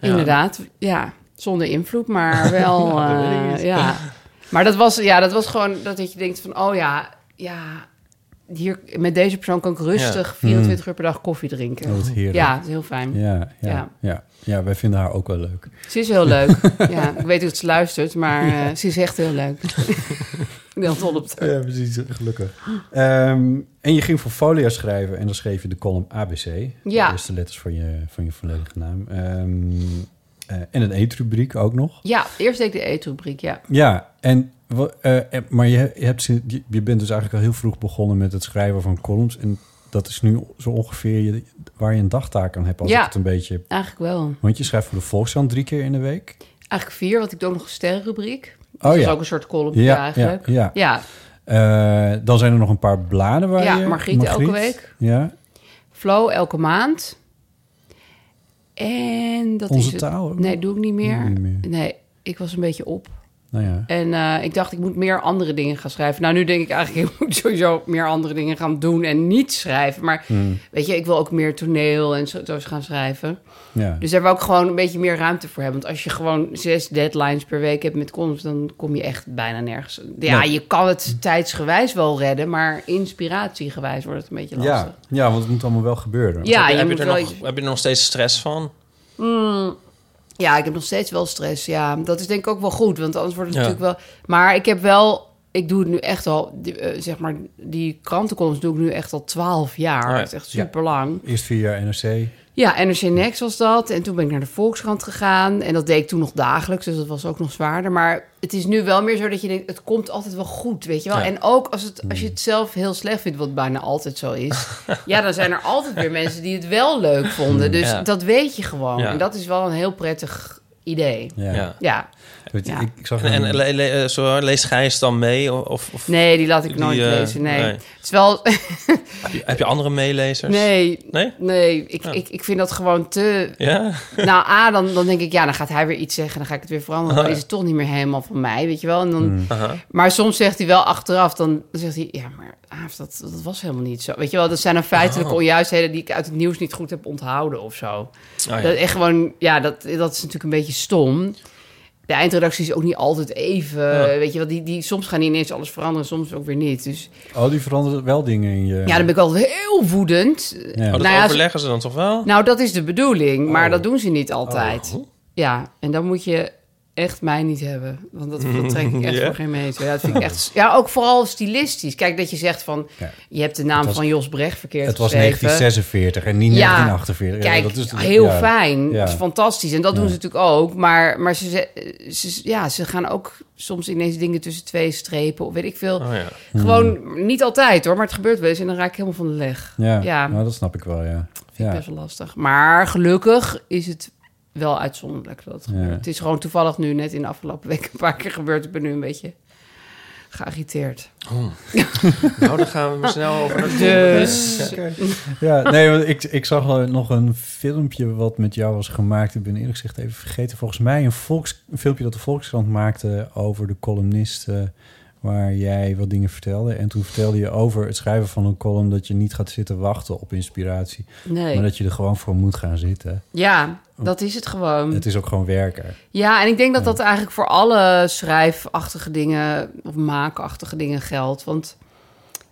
Speaker 3: inderdaad. Ja, zonder invloed,
Speaker 1: (laughs)
Speaker 3: maar wel. eh, ja. Maar dat was, ja, dat was gewoon dat dat je denkt van, oh ja, ja, hier met deze persoon kan ik rustig 24 uur per dag koffie drinken.
Speaker 1: Oh, Mm. wat heerlijk.
Speaker 3: Ja, dat is heel fijn.
Speaker 1: Ja, ja, ja.
Speaker 3: Ja.
Speaker 1: ja. wij vinden haar ook wel leuk.
Speaker 3: Ze is heel
Speaker 1: (laughs)
Speaker 3: leuk. ja, ik weet dat ze luistert, maar eh, ze is echt heel
Speaker 1: (laughs)
Speaker 3: leuk. ik ben dol op haar.
Speaker 1: Oh Ja, precies.
Speaker 3: (gasps)
Speaker 1: Gelukkig. Ehm, en je ging voor folia schrijven en dan schreef je de column ABC.
Speaker 3: Ja.
Speaker 1: De eerste letters van je, van je volledige naam. Ehm, eh, en een eetrubriek ook nog.
Speaker 3: Ja, eerst deed ik de eetrubriek, ja.
Speaker 1: Ja, en, wa- eh, eh, maar je, je, hebt, zin- je- je bent dus eigenlijk al heel vroeg begonnen met het schrijven van columns. En dat is nu zo ongeveer je, waar je een dagtaak aan hebt. Als
Speaker 3: Ja.
Speaker 1: ik het een beetje...
Speaker 3: Eigenlijk wel.
Speaker 1: Want je schrijft voor de Volkskrant drie keer in de week.
Speaker 3: Eigenlijk vier, want ik doe ook nog een sterrenrubriek.
Speaker 1: Oh
Speaker 3: dat is
Speaker 1: ja.
Speaker 3: ook een soort column eigenlijk.
Speaker 1: ja, ja.
Speaker 3: Ja,
Speaker 1: Eh, dan zijn er nog een paar bladen waar
Speaker 3: Ja,
Speaker 1: je...
Speaker 3: Margriet elke week.
Speaker 1: Ja,
Speaker 3: Flow elke maand. En dat
Speaker 1: Onze
Speaker 3: is het.
Speaker 1: taal ook?
Speaker 3: Nee, doe ik niet meer.
Speaker 1: Doe ik niet meer.
Speaker 3: Nee, ik was een beetje op.
Speaker 1: nou ja.
Speaker 3: En eh, ik dacht, ik moet meer andere dingen gaan schrijven. Nou, nu denk ik eigenlijk, (laughs) ik moet sowieso meer andere dingen gaan doen en niet schrijven. Maar weet je, ik wil ook meer toneel en zo, zo gaan schrijven.
Speaker 1: ja.
Speaker 3: Dus daar wil ik gewoon een beetje meer ruimte voor hebben. Want als je gewoon zes deadlines per week hebt met columns, dan kom je echt bijna nergens. Ja,
Speaker 1: Nee.
Speaker 3: je kan het tijdsgewijs wel redden, maar inspiratiegewijs wordt het een beetje lastig.
Speaker 1: Ja, ja, want het moet allemaal wel gebeuren.
Speaker 3: Ja,
Speaker 2: heb,
Speaker 3: je
Speaker 2: je,
Speaker 3: moet
Speaker 2: er
Speaker 3: wel
Speaker 2: nog,
Speaker 3: iets-
Speaker 2: heb je er nog steeds stress van?
Speaker 3: Ja, ik heb nog steeds wel stress. Ja, dat is denk ik ook wel goed, want anders wordt het
Speaker 2: Ja.
Speaker 3: natuurlijk wel. Maar ik heb wel, ik doe het nu echt al, die, eh, zeg maar, die krantenkomst doe ik nu echt al twaalf jaar.
Speaker 2: Oh Ja.
Speaker 3: Dat is echt super lang.
Speaker 1: Eerst vier jaar NRC.
Speaker 3: Ja, NRC Next was dat. En toen ben ik naar de Volkskrant gegaan. En dat deed ik toen nog dagelijks, dus dat was ook nog zwaarder. Maar het is nu wel meer zo dat je denkt, het komt altijd wel goed, weet je wel.
Speaker 2: Ja.
Speaker 3: En ook als, het, als je het zelf heel slecht vindt, wat bijna altijd zo
Speaker 2: (laughs)
Speaker 3: is... ja, dan zijn er altijd weer mensen die het wel leuk vonden. Dus
Speaker 2: Mm, Ja.
Speaker 3: dat weet je gewoon.
Speaker 2: Ja.
Speaker 3: En dat is wel een heel prettig idee.
Speaker 1: Ja.
Speaker 2: Ja.
Speaker 3: Ja.
Speaker 1: Weet je,
Speaker 3: Ja.
Speaker 1: Ik, ik zag
Speaker 2: En,
Speaker 1: een-
Speaker 2: en le- le- eh, zo, leest Gijs dan mee? Of, of
Speaker 3: Nee, die laat ik
Speaker 2: Die,
Speaker 3: nooit
Speaker 2: eh,
Speaker 3: lezen. Nee.
Speaker 2: nee.
Speaker 3: Het is
Speaker 2: (laughs)
Speaker 3: wel...
Speaker 2: heb, je, heb je andere meelezers?
Speaker 3: nee.
Speaker 2: Nee?
Speaker 3: Nee, ik,
Speaker 2: Ja.
Speaker 3: ik, ik vind dat gewoon te (laughs)
Speaker 2: (laughs) Ja?
Speaker 3: Nou, A, dan, dan denk ik, ja, dan gaat hij weer iets zeggen. Dan ga ik het weer veranderen.
Speaker 2: Oh,
Speaker 3: Dan is het toch niet meer helemaal van mij, weet je wel. En dan,
Speaker 2: Hmm.
Speaker 3: Maar soms zegt hij wel achteraf, dan zegt hij... Ja, maar Aaf, dat, dat was helemaal niet zo. Weet je wel, dat zijn dan feitelijke onjuistheden... die ik uit het nieuws niet goed heb onthouden of zo.
Speaker 2: Oh, ja.
Speaker 3: Dat echt gewoon, ja, dat, dat is natuurlijk een beetje stom. De eindredactie is ook niet altijd even, weet je wel. Die, die, soms gaan die ineens alles veranderen, soms ook weer niet. Dus
Speaker 1: Oh, die veranderen wel dingen in je...
Speaker 3: ja, dan ben ik altijd heel woedend.
Speaker 1: Ja.
Speaker 2: Oh, dat
Speaker 3: Nou ja,
Speaker 2: overleggen ze dan toch wel?
Speaker 3: Nou, dat is de bedoeling,
Speaker 1: Oh.
Speaker 3: maar dat doen ze niet altijd. Ja, en dan moet je echt mij niet hebben. Want dat, dat trek ik
Speaker 1: (laughs)
Speaker 3: echt
Speaker 2: Ja?
Speaker 3: voor geen meter. Ja, dat vind ik echt, ja, ook vooral stilistisch. Kijk, dat je zegt van...
Speaker 1: Ja.
Speaker 3: je hebt de naam
Speaker 1: was-
Speaker 3: van Jos Brecht verkeerd
Speaker 1: Het was
Speaker 3: geschreven.
Speaker 1: 1946 en niet
Speaker 3: Ja,
Speaker 1: 1948. Ja,
Speaker 3: Kijk,
Speaker 1: dat is-
Speaker 3: heel
Speaker 1: ja.
Speaker 3: fijn.
Speaker 1: Ja.
Speaker 3: Dat is fantastisch. En dat doen ze natuurlijk ook. Maar, maar ze, ze- ze, ja, ze gaan ook soms ineens dingen tussen twee strepen... of weet ik veel.
Speaker 2: Oh, ja.
Speaker 3: Gewoon niet altijd hoor, maar het gebeurt wel eens... en dan raak ik helemaal van de leg.
Speaker 1: Hmm. Ja,
Speaker 3: Ja.
Speaker 1: Nou, dat snap ik wel, ja. ja.
Speaker 3: Best wel lastig. Maar gelukkig is het wel uitzonderlijk dat het
Speaker 1: Ja.
Speaker 3: gebeurt. Het is gewoon toevallig nu net in de afgelopen week een paar keer gebeurd. Ik ben nu een beetje geagiteerd.
Speaker 2: Nou, dan gaan we maar snel over naar
Speaker 3: Dus-
Speaker 2: Ja.
Speaker 1: Ja, nee, want ik, ik zag al nog een filmpje wat met jou was gemaakt. Ik ben eerlijk gezegd even vergeten. Volgens mij een, volks, een filmpje dat de Volkskrant maakte over de columnisten... waar jij wat dingen vertelde. En toen vertelde je over het schrijven van een column... dat je niet gaat zitten wachten op inspiratie.
Speaker 3: Dus, eh, Nee.
Speaker 1: Maar dat je er gewoon voor moet gaan zitten.
Speaker 3: Ja, dat is het gewoon.
Speaker 1: Het is ook gewoon werken.
Speaker 3: Ja, en ik denk dat dat eigenlijk voor alle schrijfachtige dingen of maakachtige dingen geldt. Want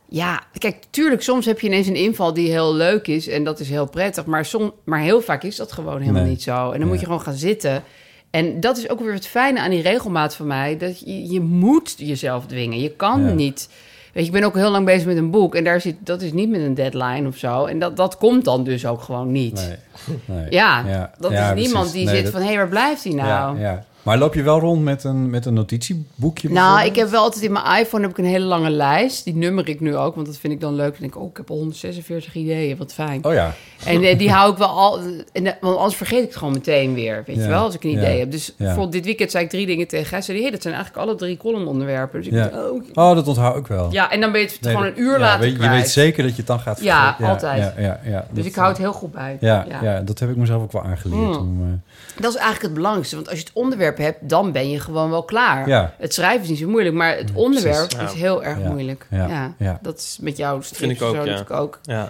Speaker 3: ja, kijk, tuurlijk, soms heb je ineens een inval die heel leuk is en dat is heel prettig. Maar, som, maar heel vaak is dat gewoon helemaal
Speaker 1: Nee.
Speaker 3: niet zo. En dan moet je gewoon gaan zitten. En dat is ook weer het fijne aan die regelmaat van mij. Dat je, je moet jezelf dwingen. Je kan
Speaker 1: Ja.
Speaker 3: niet. Weet je, ik ben ook heel lang bezig met een boek. En daar zit, dat is niet met een deadline of zo. En dat, dat komt dan dus ook gewoon niet.
Speaker 1: Nee. nee.
Speaker 3: Ja, dat
Speaker 1: ja,
Speaker 3: is niemand
Speaker 1: precies.
Speaker 3: die
Speaker 1: Nee,
Speaker 3: zit
Speaker 1: dat-
Speaker 3: van... hé, hey, waar blijft hij nou?
Speaker 1: Ja, ja. Maar loop je wel rond met een, met een notitieboekje?
Speaker 3: Nou, ik
Speaker 1: bijvoorbeeld?
Speaker 3: heb wel altijd in mijn iPhone heb ik een hele lange lijst. Die nummer ik nu ook, want dat vind ik dan leuk. Dan denk ik, oh, ik heb al 146 ideeën, wat fijn.
Speaker 1: Oh ja.
Speaker 3: En eh, die hou ik wel al... En, eh, want anders vergeet ik het gewoon meteen weer, weet
Speaker 1: Ja,
Speaker 3: je wel, als ik een
Speaker 1: ja,
Speaker 3: idee heb. Dus
Speaker 1: ja.
Speaker 3: bijvoorbeeld dit weekend zei ik drie dingen tegen Gijs. Zei die, hey, dat zijn eigenlijk alle drie columnonderwerpen. Dus ik
Speaker 1: Ja.
Speaker 3: dacht, oh.
Speaker 1: Oh, dat onthoud ik wel.
Speaker 3: ja, en dan ben je het
Speaker 1: Nee,
Speaker 3: gewoon
Speaker 1: dat-
Speaker 3: een uur
Speaker 1: ja,
Speaker 3: later
Speaker 1: weet- Je
Speaker 3: kwijt.
Speaker 1: weet zeker dat je het dan gaat
Speaker 3: Ja,
Speaker 1: vergeten.
Speaker 3: altijd.
Speaker 1: Ja, ja, ja,
Speaker 3: Dus
Speaker 1: Dat- eh,
Speaker 3: ik hou het heel goed bij.
Speaker 1: ja, ja. dat heb ik mezelf ook wel aangeleerd.
Speaker 3: Mm.
Speaker 1: Om, eh,
Speaker 3: Dat is eigenlijk het belangrijkste. Want als je het onderwerp hebt, dan ben je gewoon wel klaar.
Speaker 1: Ja. Mm,
Speaker 3: Het schrijven is niet zo moeilijk, maar het onderwerp
Speaker 2: precies.
Speaker 3: is heel erg
Speaker 1: Ja,
Speaker 3: moeilijk.
Speaker 1: ja,
Speaker 3: Ja.
Speaker 1: ja.
Speaker 3: Dat is met jouw strips
Speaker 2: Vind ik
Speaker 3: en
Speaker 2: ook,
Speaker 3: zo
Speaker 2: ja.
Speaker 3: natuurlijk ook.
Speaker 2: Ja.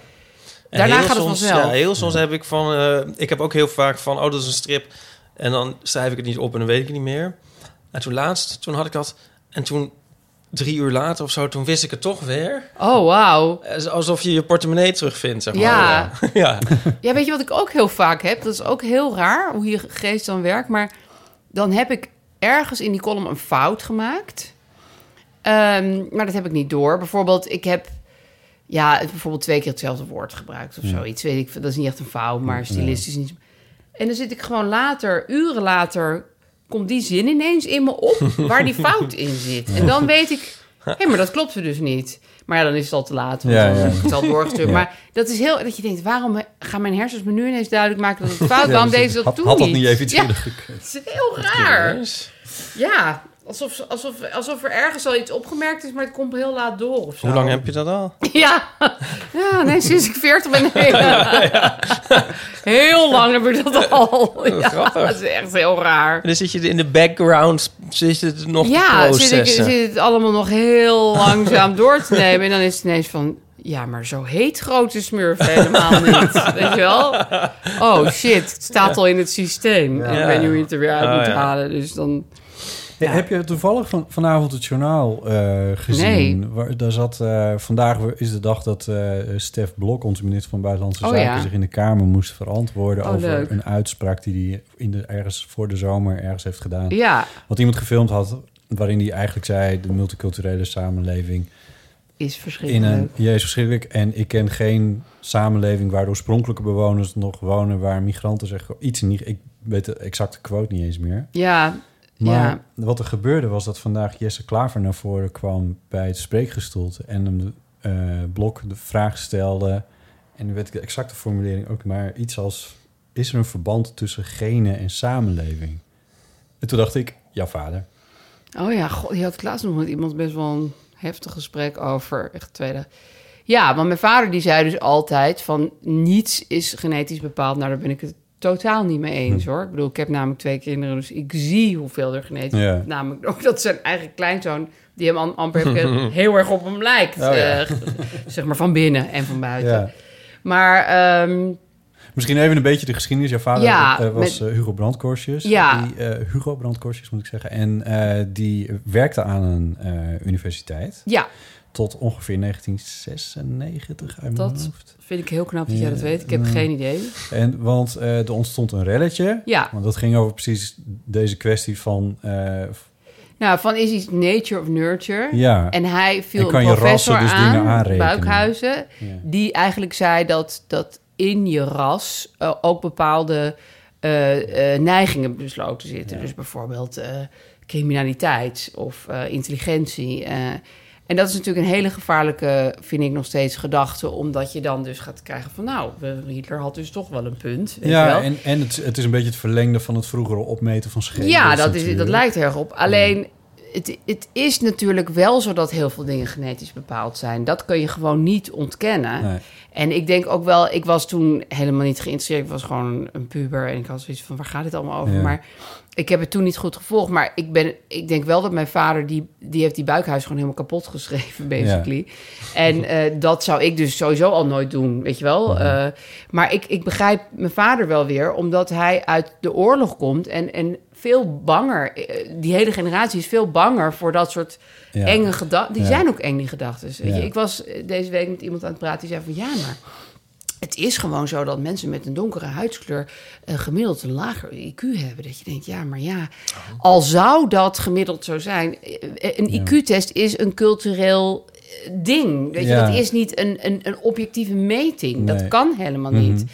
Speaker 2: En
Speaker 3: Daarna
Speaker 2: heel
Speaker 3: gaat het
Speaker 2: soms-
Speaker 3: vanzelf.
Speaker 2: Ja, heel soms heb ik van... eh, ik heb ook heel vaak van... Oh, dat is een strip. En dan schrijf ik het niet op en dan weet ik het niet meer. En toen laatst, toen had ik dat... En toen drie uur later of zo, toen wist ik het toch weer.
Speaker 3: Oh, wauw.
Speaker 2: Eh, Alsof je je portemonnee terugvindt, zeg maar.
Speaker 3: Ja.
Speaker 2: (laughs) ja.
Speaker 3: Ja, weet je wat ik ook heel vaak heb? Dat is ook heel raar hoe je geest dan werkt. Maar dan heb ik ergens in die column een fout gemaakt. Ehm, maar dat heb ik niet door. Bijvoorbeeld, ik heb ja, bijvoorbeeld twee keer hetzelfde woord gebruikt of zoiets. Weet ik, veel. dat is niet echt een fout, maar stilistisch niet. En dan zit ik gewoon later, uren later, komt die zin ineens in me
Speaker 1: (laughs)
Speaker 3: op waar die fout in zit. En dan weet ik, hé, maar dat klopte dus niet. Maar ja, dan is het al te laat, want
Speaker 1: Ja,
Speaker 3: dan
Speaker 1: ja.
Speaker 3: heb ik het al doorgestuurd.
Speaker 1: Ja.
Speaker 3: Maar dat is heel, dat je denkt, waarom gaan mijn hersens me nu ineens duidelijk maken dat het fout?
Speaker 1: ja,
Speaker 3: waarom
Speaker 1: dus
Speaker 3: deed ze dat
Speaker 1: had,
Speaker 3: toen
Speaker 1: had dat
Speaker 3: niet?
Speaker 1: niet even iets
Speaker 3: ja,
Speaker 1: eerder gekund?
Speaker 3: het is heel raar. Ja, Alsof, ze- alsof, alsof er ergens al iets opgemerkt is, maar het komt heel laat door of zo.
Speaker 2: Hoe lang heb je dat al?
Speaker 3: (laughs) Ja, ja nee, sinds ik 40 ben.
Speaker 2: (laughs)
Speaker 3: Nee. Heel lang heb ik dat
Speaker 2: (laughs)
Speaker 3: al. Ja,
Speaker 2: grappig.
Speaker 3: dat is echt heel raar.
Speaker 2: En dan zit je in de background, zit je het nog te
Speaker 3: Ja, zit, ik,
Speaker 2: processen.
Speaker 3: zit het allemaal nog heel langzaam door te nemen. En dan is het ineens van... Ja, maar zo heet grote smurf helemaal niet.
Speaker 2: (laughs)
Speaker 3: Weet je wel? Oh shit, het staat al in het systeem. En ik
Speaker 2: Ja.
Speaker 3: weet niet hoe je het er weer uit
Speaker 2: Oh,
Speaker 3: moet
Speaker 2: ja.
Speaker 3: halen. Dus dan...
Speaker 1: Hey, Heb je toevallig van, vanavond het journaal eh, gezien?
Speaker 3: Nee.
Speaker 1: Waar, daar zat, eh, vandaag is de dag dat eh, Stef Blok, onze minister van Buitenlandse
Speaker 3: Oh,
Speaker 1: Zaken,
Speaker 3: ja.
Speaker 1: zich in de Kamer moest verantwoorden
Speaker 3: Oh,
Speaker 1: over
Speaker 3: leuk.
Speaker 1: een uitspraak die hij in de, ergens voor de zomer ergens heeft gedaan.
Speaker 3: Ja,
Speaker 1: Wat iemand gefilmd had, waarin hij eigenlijk zei: de multiculturele samenleving
Speaker 3: is
Speaker 1: in
Speaker 3: verschrikkelijk.
Speaker 1: een. Jezus, verschrikkelijk. En ik ken geen samenleving waar de oorspronkelijke bewoners nog wonen, waar migranten zeggen iets niet. Ik weet de exacte quote niet eens meer.
Speaker 3: Ja,
Speaker 1: Maar
Speaker 3: ja.
Speaker 1: wat er gebeurde was dat vandaag Jesse Klaver naar voren kwam bij het spreekgestoelte en hem de, eh, Blok de vraag stelde. En nu weet ik de exacte formulering ook, maar iets als: Is er een verband tussen genen en samenleving? En toen dacht ik: Ja, vader.
Speaker 3: Oh ja, god, je had het laatst nog met iemand best wel een heftig gesprek over. Echt tweede. Ja, want mijn vader die zei dus altijd van niets is genetisch bepaald. Nou, daar ben ik het totaal niet mee
Speaker 1: Hm.
Speaker 3: eens hoor. Ik bedoel, ik heb namelijk twee kinderen, dus ik zie hoeveel er genetisch
Speaker 1: Ja.
Speaker 3: Namelijk ook dat zijn eigen kleinzoon, die hem am- amper
Speaker 1: (laughs)
Speaker 3: heel erg op hem lijkt. eh, (laughs) zeg maar van binnen en van buiten.
Speaker 1: Oh Ja.
Speaker 3: Maar ehm,
Speaker 1: Misschien even een beetje de geschiedenis. Jouw vader
Speaker 3: Ja,
Speaker 1: eh, was
Speaker 3: met-
Speaker 1: eh, Hugo Brandkorsjes.
Speaker 3: Ja.
Speaker 1: Die, eh, Hugo Brandkorsjes moet ik zeggen. En eh, die werkte aan een eh, universiteit
Speaker 3: ja,
Speaker 1: tot ongeveer 1996 uit mijn
Speaker 3: Dat-
Speaker 1: hoofd.
Speaker 3: vind ik heel knap dat jij dat weet. Ik heb
Speaker 1: Ja.
Speaker 3: geen idee.
Speaker 1: En, want eh, er ontstond een relletje.
Speaker 3: Ja.
Speaker 1: Want dat ging over precies deze kwestie van... eh, f-
Speaker 3: Nou, van is iets nature of nurture?
Speaker 1: ja.
Speaker 3: En hij viel
Speaker 1: En kan
Speaker 3: een
Speaker 1: je
Speaker 3: professor
Speaker 1: rassen dus
Speaker 3: aan,
Speaker 1: dingen aanrekenen?
Speaker 3: Buikhuizen,
Speaker 1: Ja.
Speaker 3: die eigenlijk zei dat, dat in je ras eh, ook bepaalde eh, eh, neigingen besloten zitten. Dus bijvoorbeeld eh, criminaliteit of eh, intelligentie. eh. en dat is natuurlijk een hele gevaarlijke, vind ik nog steeds, gedachte. Omdat je dan dus gaat krijgen van, nou, we- Hitler had dus toch wel een punt. Weet je wel?
Speaker 1: ja, en, en het, het is een beetje het verlengde van het vroegere opmeten van schedels.
Speaker 3: Ja, dat, is, dat
Speaker 1: natuurlijk.
Speaker 3: lijkt er erg op. Alleen, het, het is natuurlijk wel zo dat heel veel dingen genetisch bepaald zijn. Dat kun je gewoon niet ontkennen.
Speaker 1: Nee.
Speaker 3: En ik denk ook wel, ik was toen helemaal niet geïnteresseerd. Ik was gewoon een puber en ik had zoiets van, waar gaat dit allemaal over?
Speaker 1: Ja.
Speaker 3: Maar ik heb het toen niet goed gevolgd. Maar ik, ben, ik denk wel dat mijn vader, die, die heeft die buikhuis gewoon helemaal kapot geschreven, (laughs) basically. En eh, dat zou ik dus sowieso al nooit doen, weet je wel. Eh, maar ik, ik begrijp mijn vader wel weer, omdat hij uit de oorlog komt en... en veel banger, eh, die hele generatie is veel banger voor dat soort
Speaker 1: Ja.
Speaker 3: enge gedachten. Die
Speaker 1: Ja.
Speaker 3: zijn ook eng, die gedachten.
Speaker 1: Ja.
Speaker 3: Ik was eh, deze week met iemand aan het praten die zei van ja, maar het is gewoon zo dat mensen met een donkere huidskleur eh, gemiddeld een lager IQ hebben. Dat je denkt, ja, maar ja,
Speaker 1: Oh.
Speaker 3: al zou dat gemiddeld zo zijn. eh, Een IQ-test is een cultureel eh, ding. Weet
Speaker 1: Ja.
Speaker 3: je, dat is niet een, een, een objectieve meting. Dat
Speaker 1: Nee. Mhm.
Speaker 3: kan helemaal niet.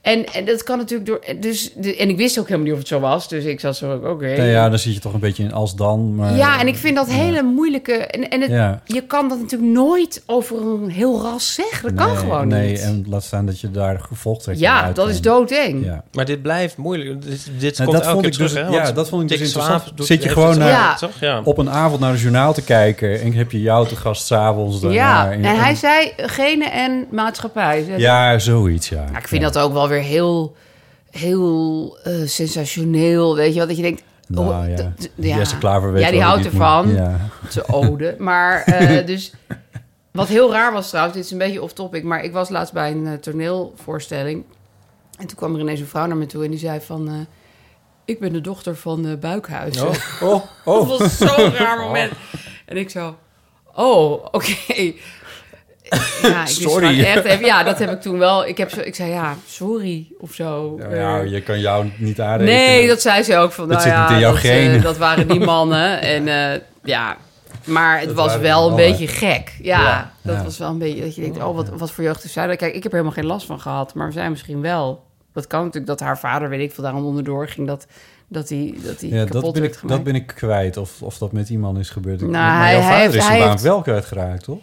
Speaker 3: En, en dat kan natuurlijk door. Dus, de- en ik wist ook helemaal niet of het zo was. Dus ik zat zo ook. Oké.
Speaker 1: Nou ja, dan zit je toch een beetje in als dan. Maar, eh,
Speaker 3: Ja, en ik vind dat hele moeilijke. En, en het,
Speaker 1: Ja.
Speaker 3: je kan dat natuurlijk nooit over een heel ras zeggen. Dat kan
Speaker 1: Nee,
Speaker 3: gewoon
Speaker 1: nee,
Speaker 3: niet.
Speaker 1: en laat staan dat je daar gevolgd trekt.
Speaker 3: ja, dat is doodeng.
Speaker 1: Ja.
Speaker 2: Maar dit blijft moeilijk. Dit, dit
Speaker 1: Nou,
Speaker 2: komt
Speaker 1: dat
Speaker 2: elke
Speaker 1: vond
Speaker 2: keer
Speaker 1: ik
Speaker 2: terug,
Speaker 1: dus-
Speaker 2: hè?
Speaker 1: ja,
Speaker 2: Want
Speaker 1: dat vond ik
Speaker 2: Dick
Speaker 1: dus
Speaker 2: Swaap
Speaker 1: interessant.
Speaker 2: doet-
Speaker 1: Zit je
Speaker 2: heeft
Speaker 1: gewoon
Speaker 2: het
Speaker 1: naar-
Speaker 2: gedaan,
Speaker 3: Ja.
Speaker 2: toch? Ja.
Speaker 1: Op een avond naar het journaal te kijken en ik heb je jou te gast s'avonds. daarna.
Speaker 3: Ja,
Speaker 1: En-
Speaker 3: en hij zei genen en maatschappij. Zei-
Speaker 1: Ja, zoiets, ja.
Speaker 3: Nou, ik vind dat ook wel weer heel, heel eh, sensationeel. Weet je wel, dat je denkt...
Speaker 1: Nou,
Speaker 3: oh,
Speaker 1: ja.
Speaker 3: d- d-
Speaker 1: Jesse Klaver weet
Speaker 3: Ja, die
Speaker 1: wel
Speaker 3: houdt
Speaker 1: dat dit moet.
Speaker 3: ervan.
Speaker 1: Ja.
Speaker 3: Te ode. Maar
Speaker 1: (laughs)
Speaker 3: eh, dus... Wat heel raar was trouwens, dit is een beetje off-topic... maar ik was laatst bij een eh, toneelvoorstelling... en toen kwam er ineens een vrouw naar me toe en die zei van... eh, ik ben de dochter van eh Buikhuizen. (laughs)
Speaker 1: Oh, oh.
Speaker 3: Dat was zo'n raar moment. En ik zo, oh, oké. Ja, ik wist
Speaker 1: Sorry.
Speaker 3: gewoon Echt, even- ja, dat heb ik toen wel. Ik, heb zo, ik zei, ja, sorry of zo.
Speaker 1: Nou, ja,
Speaker 3: Eh,
Speaker 1: je kan jou niet aanrekenen.
Speaker 3: nee, dat zei ze ook. Van,
Speaker 1: Dat
Speaker 3: nou
Speaker 1: zit
Speaker 3: ja,
Speaker 1: niet in jouw
Speaker 3: dat, eh,
Speaker 1: genen.
Speaker 3: dat waren die
Speaker 1: (laughs)
Speaker 3: mannen. En eh, ja, maar het
Speaker 1: Dat
Speaker 3: was
Speaker 1: waren
Speaker 3: wel
Speaker 1: die
Speaker 3: een
Speaker 1: mannen.
Speaker 3: beetje gek. Ja,
Speaker 1: Ja,
Speaker 3: dat
Speaker 1: ja.
Speaker 3: was wel een beetje dat je denkt, oh, wat, wat voor jeugd is zij? Kijk, ik heb er helemaal geen last van gehad, maar zij misschien wel. Dat kan natuurlijk dat haar vader, weet ik veel, daarom onderdoor ging dat, dat hij, dat hij
Speaker 1: Ja,
Speaker 3: kapot
Speaker 1: dat ben,
Speaker 3: werd
Speaker 1: ik,
Speaker 3: gemaakt.
Speaker 1: dat ben ik kwijt. Of, of dat met iemand is gebeurd. Ik-
Speaker 3: Nou,
Speaker 1: maar
Speaker 3: hij-
Speaker 1: jouw
Speaker 3: hij
Speaker 1: vader
Speaker 3: heeft-
Speaker 1: is
Speaker 3: hij
Speaker 1: zijn baan
Speaker 3: heeft-
Speaker 1: wel kwijtgeraakt, toch?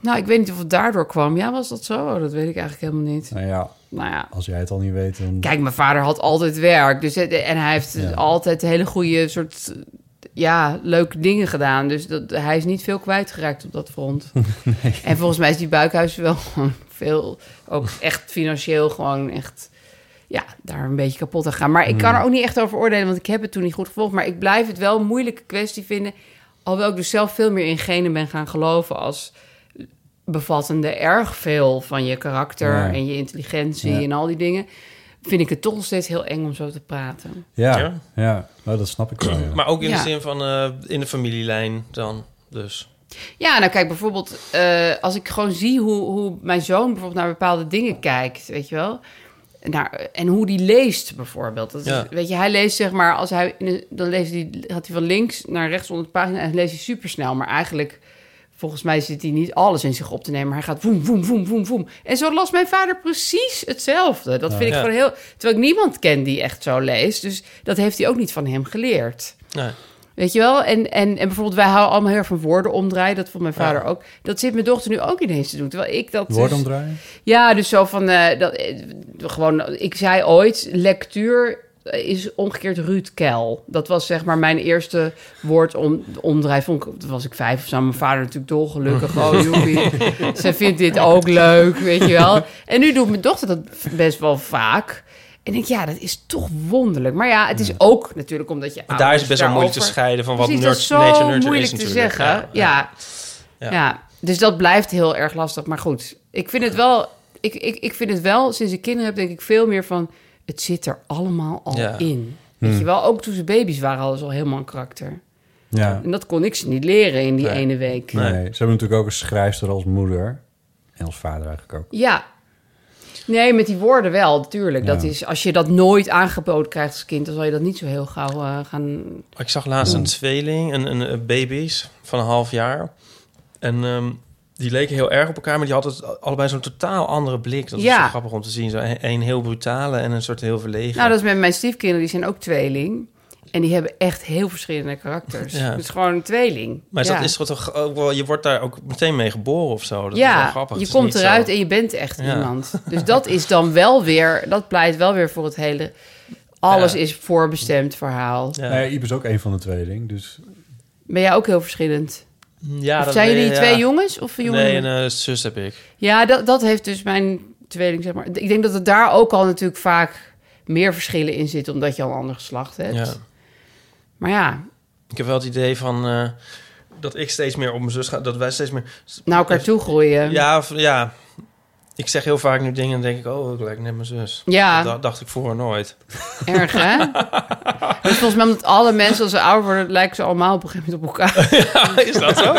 Speaker 3: Nou, ik weet niet of het daardoor kwam. Ja, was dat zo? Oh, dat weet ik eigenlijk helemaal niet.
Speaker 1: Nou ja,
Speaker 3: Nou ja.
Speaker 1: als jij het al niet weet, dan...
Speaker 3: Kijk, mijn vader had altijd werk. Dus, het- en hij heeft
Speaker 1: Ja.
Speaker 3: altijd hele goede soort... eh, ja, leuke dingen gedaan. Dus dat, hij is niet veel kwijtgeraakt op dat front.
Speaker 1: (laughs)
Speaker 3: En volgens mij is die buikhuis wel (laughs) gewoon veel, ook echt financieel gewoon echt, ja, daar een beetje kapot aan gaan. Maar ik
Speaker 1: Hmm.
Speaker 3: kan er ook niet echt over oordelen, want ik heb het toen niet goed gevolgd. Maar ik blijf het wel een moeilijke kwestie vinden. Alhoewel ik dus zelf veel meer in genen ben gaan geloven als bevattende erg veel van je karakter
Speaker 1: Ja.
Speaker 3: en je intelligentie
Speaker 1: Ja.
Speaker 3: en al die dingen. Vind ik het toch nog steeds heel eng om zo te praten.
Speaker 1: Ja, ja.
Speaker 2: Ja.
Speaker 1: Nou, dat snap ik wel. ja.
Speaker 2: Maar ook in
Speaker 3: Ja.
Speaker 2: de zin van eh, in de familielijn dan. Dus
Speaker 3: Ja, nou kijk, bijvoorbeeld eh, als ik gewoon zie hoe, hoe mijn zoon bijvoorbeeld naar bepaalde dingen kijkt, weet je wel. Naar, en hoe die leest bijvoorbeeld. Dat is-
Speaker 2: Ja.
Speaker 3: Weet je, hij leest zeg maar, als hij, in een- dan leest hij, gaat hij van links naar rechts onder de pagina en leest hij supersnel. Maar eigenlijk, volgens mij zit hij niet alles in zich op te nemen. Maar hij gaat woem, woem, woem, woem, woem. En zo las mijn vader precies hetzelfde. Dat vind ik
Speaker 2: Ja.
Speaker 3: gewoon heel... Terwijl ik niemand ken die echt zo leest. Dus dat heeft hij ook niet van hem geleerd.
Speaker 2: nee.
Speaker 3: Weet je wel? En, en, en bijvoorbeeld, wij houden allemaal heel erg van woorden omdraaien. Dat vond mijn
Speaker 2: Ja.
Speaker 3: vader ook. Dat zit mijn dochter nu ook ineens te doen. Terwijl ik dat. dus-
Speaker 1: Woord omdraaien?
Speaker 3: ja, dus zo van. eh, dat, eh, gewoon, ik zei ooit: lectuur is omgekeerd Ruud Kel. Dat was zeg maar mijn eerste woord om, omdraai. Vond ik, toen was ik vijf of zo. Mijn vader natuurlijk dolgelukkig.
Speaker 2: (laughs)
Speaker 3: Oh, joepie. Ze vindt dit ook leuk, weet je wel. En nu doet mijn dochter dat best wel vaak. En ik denk, ja, dat is toch wonderlijk. Maar ja, het is ook natuurlijk omdat je.
Speaker 2: Maar daar is
Speaker 3: ouders
Speaker 2: het best wel moeilijk te
Speaker 3: daarover-
Speaker 2: scheiden van wat
Speaker 3: Precies, dat is
Speaker 2: nerd,
Speaker 3: zo
Speaker 2: nature nurture
Speaker 3: moeilijk
Speaker 2: is
Speaker 3: te
Speaker 2: natuurlijk.
Speaker 3: zeggen. Ja, ja.
Speaker 2: Ja.
Speaker 3: dus dat blijft heel erg lastig. Maar goed, ik vind het wel, ik, ik, ik vind het wel sinds ik kinderen heb, denk ik veel meer van... het zit er allemaal al
Speaker 2: Ja. Hmm.
Speaker 3: in. Weet je wel, ook toen ze baby's waren, hadden ze al helemaal een karakter.
Speaker 1: Ja.
Speaker 3: En dat kon ik ze niet leren in die
Speaker 2: Nee.
Speaker 3: ene week.
Speaker 1: Nee. Ze hebben natuurlijk ook een schrijfster als moeder. En als vader eigenlijk ook.
Speaker 3: Ja. Nee, met die woorden wel, natuurlijk. Dat
Speaker 1: Ja.
Speaker 3: is, als je dat nooit aangeboden krijgt als kind... dan zal je dat niet zo heel gauw eh, gaan...
Speaker 2: Ik zag laatst
Speaker 3: Mm.
Speaker 2: een tweeling, een, een, een baby's van een half jaar. En ehm, die leken heel erg op elkaar, maar die hadden het allebei zo'n totaal andere blik. Dat is
Speaker 3: Ja.
Speaker 2: zo grappig om te zien. Zo een, een heel brutale en een soort heel verlegen.
Speaker 3: Nou, dat is met mijn stiefkinderen. Die zijn ook tweeling. En die hebben echt heel verschillende karakters.
Speaker 2: Ja.
Speaker 3: Het is gewoon een tweeling.
Speaker 2: maar
Speaker 3: ja.
Speaker 2: dat is toch ook wel, je wordt daar ook meteen mee geboren of zo. Dat is wel
Speaker 3: ja,
Speaker 2: grappig.
Speaker 3: je
Speaker 2: Het is
Speaker 3: komt
Speaker 2: niet
Speaker 3: eruit
Speaker 2: zo-
Speaker 3: en je bent echt
Speaker 2: Ja.
Speaker 3: iemand. Dus dat is dan wel weer... Dat pleit wel weer voor het hele... Alles
Speaker 2: Ja.
Speaker 3: is voorbestemd verhaal.
Speaker 2: Ja.
Speaker 1: Nou ja, Iep is ook een van de tweeling. Dus
Speaker 3: Ben jij ook heel verschillend?
Speaker 2: Ja,
Speaker 3: of
Speaker 2: dat-
Speaker 3: zijn
Speaker 2: nee,
Speaker 3: jullie
Speaker 2: ja.
Speaker 3: twee jongens of een jongen?
Speaker 2: Nee, een eh, zus heb ik.
Speaker 3: Ja, dat, dat heeft dus mijn tweeling, zeg maar. Ik denk dat het daar ook al natuurlijk vaak meer verschillen in zit, omdat je al een ander geslacht hebt.
Speaker 2: Ja.
Speaker 3: Maar ja,
Speaker 2: Ik heb wel het idee van eh, dat ik steeds meer op mijn zus ga, dat wij steeds meer.
Speaker 3: naar elkaar toe groeien.
Speaker 2: Ja, of- ja. Ik zeg heel vaak nu dingen en dan denk ik, oh, ik lijk net mijn zus.
Speaker 3: Ja.
Speaker 2: Dat dacht ik
Speaker 3: (laughs)
Speaker 2: vroeger nooit. (laughs)
Speaker 3: Erg, hè? Dus volgens mij omdat alle mensen als ze ouder worden... lijken ze allemaal op een gegeven moment op elkaar.
Speaker 2: Is dat zo?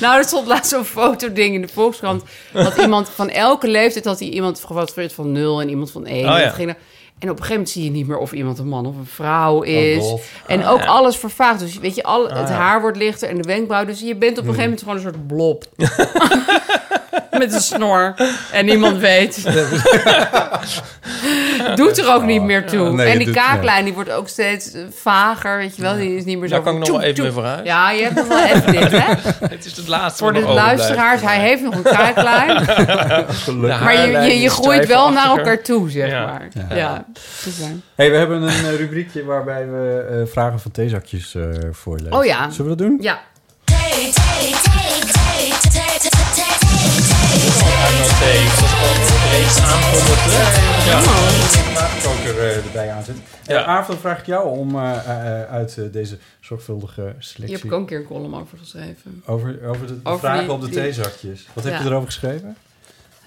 Speaker 3: nou, er stond laatst zo'n fotoding in de Volkskrant...
Speaker 2: (laughs)
Speaker 3: dat iemand van elke leeftijd had hij iemand gefotografeerd van nul... en iemand van één.
Speaker 2: Oh, ja.
Speaker 3: Dat ging er- en op een gegeven moment zie je niet meer of iemand een man of een
Speaker 2: Oh,
Speaker 3: vrouw is.
Speaker 1: golf.
Speaker 3: en
Speaker 2: Ah,
Speaker 3: ook alles vervaagt. Dus weet je, al, het haar wordt lichter en de wenkbrauw. Dus je bent op
Speaker 2: Hmm.
Speaker 3: een gegeven moment gewoon een soort
Speaker 2: (laughs)
Speaker 3: blob. Met een snor. En niemand
Speaker 2: (laughs)
Speaker 3: weet. doet er ook
Speaker 2: Oh.
Speaker 3: niet meer toe.
Speaker 1: Nee,
Speaker 3: en die
Speaker 1: doet-
Speaker 3: kaaklijn die wordt ook steeds eh, vager, weet je wel. Die is niet meer zo...
Speaker 2: Daar kan ik nog wel
Speaker 3: tjoep,
Speaker 2: even
Speaker 3: tjoep.
Speaker 2: mee vooruit.
Speaker 3: Ja, je hebt nog wel even dit, hè?
Speaker 2: Het is het laatste
Speaker 3: Voor de
Speaker 2: wat nog overblijft.
Speaker 3: luisteraars, hij heeft nog een kaaklijn.
Speaker 1: gelukkig.
Speaker 2: Ja.
Speaker 3: Maar je,
Speaker 2: Haarlijn
Speaker 3: je, je
Speaker 2: is
Speaker 3: groeit
Speaker 2: stijf
Speaker 3: wel naar
Speaker 2: achter.
Speaker 3: elkaar toe, zeg
Speaker 2: Ja.
Speaker 3: maar. Ja, dat is waar.
Speaker 1: Hey, we hebben een eh, rubriekje waarbij we eh, vragen van theezakjes eh voorlezen.
Speaker 3: Oh ja.
Speaker 1: Zullen we dat doen?
Speaker 3: Ja.
Speaker 1: koker eh, erbij aan zit. Eh,
Speaker 2: Ja.
Speaker 1: Aaf, dan vraag ik jou om eh, eh, eh, uit eh, deze zorgvuldige
Speaker 3: Hier heb
Speaker 1: selectie...
Speaker 3: ik ook een keer een column over geschreven.
Speaker 1: Over, over de
Speaker 3: Over
Speaker 1: vragen
Speaker 3: die-
Speaker 1: op de
Speaker 3: die-
Speaker 1: theezakjes. Wat heb
Speaker 3: Ja.
Speaker 1: je erover geschreven?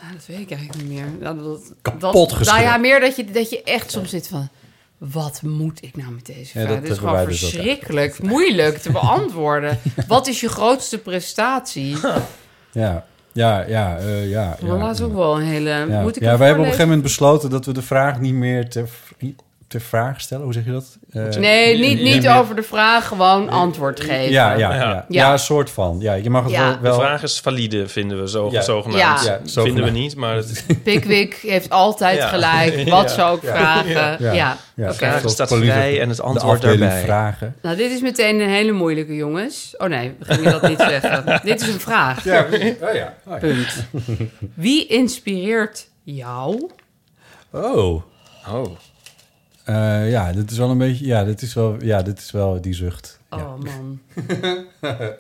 Speaker 3: Ah, dat weet ik eigenlijk niet meer. Nou, dat, dat-
Speaker 1: Kapot
Speaker 3: Nou
Speaker 1: geschreven.
Speaker 3: ja, meer dat je, dat je echt soms zit van... Wat moet ik nou met deze
Speaker 1: Ja,
Speaker 3: vraag?
Speaker 1: dat
Speaker 3: Dit is
Speaker 1: hebben wij
Speaker 3: gewoon
Speaker 1: dus ook
Speaker 3: verschrikkelijk moeilijk
Speaker 1: (laughs)
Speaker 3: te beantwoorden. Wat is je grootste prestatie?
Speaker 1: Ja, ja, ja. eh, ja, ja,
Speaker 3: Maar dat is ook wel een hele...
Speaker 1: Ja,
Speaker 3: Moet ik
Speaker 1: ja
Speaker 3: hem
Speaker 1: wij hebben op een
Speaker 3: voorlezen?
Speaker 1: gegeven moment besloten dat we de vraag niet meer ter, ter vraag stellen. Hoe zeg je dat? Eh,
Speaker 3: Nee, niet,
Speaker 1: meer-
Speaker 3: niet over de vraag, gewoon antwoord geven.
Speaker 1: Ja, ja, ja. ja.
Speaker 2: Ja.
Speaker 1: een soort van. Ja, je mag het
Speaker 3: Ja.
Speaker 1: wel... wel
Speaker 2: De vraag is valide, vinden we zo,
Speaker 1: Ja.
Speaker 2: zogenaamd.
Speaker 3: Ja.
Speaker 1: Ja,
Speaker 2: Vinden
Speaker 1: zogenaamd.
Speaker 2: we niet, maar het
Speaker 3: Pickwick heeft altijd
Speaker 2: (laughs) Ja.
Speaker 3: gelijk. Wat zou ik vragen? Ja.
Speaker 1: ja,
Speaker 3: Oké.
Speaker 2: vraag staat
Speaker 1: Pauline zegt,
Speaker 2: vrij en het
Speaker 1: de
Speaker 2: antwoord
Speaker 1: afdeling
Speaker 2: daarbij.
Speaker 1: vragen.
Speaker 3: Nou, dit is meteen een hele moeilijke, jongens. Oh nee, we gingen dat
Speaker 1: (laughs)
Speaker 3: niet zeggen. dit is een vraag.
Speaker 1: Ja, precies. oh ja. Oh, ja.
Speaker 3: Punt. Wie inspireert jou?
Speaker 1: Oh. Eh, ja, dit is wel een beetje. Ja, dit is wel. Ja, dit is wel die zucht.
Speaker 3: Oh man.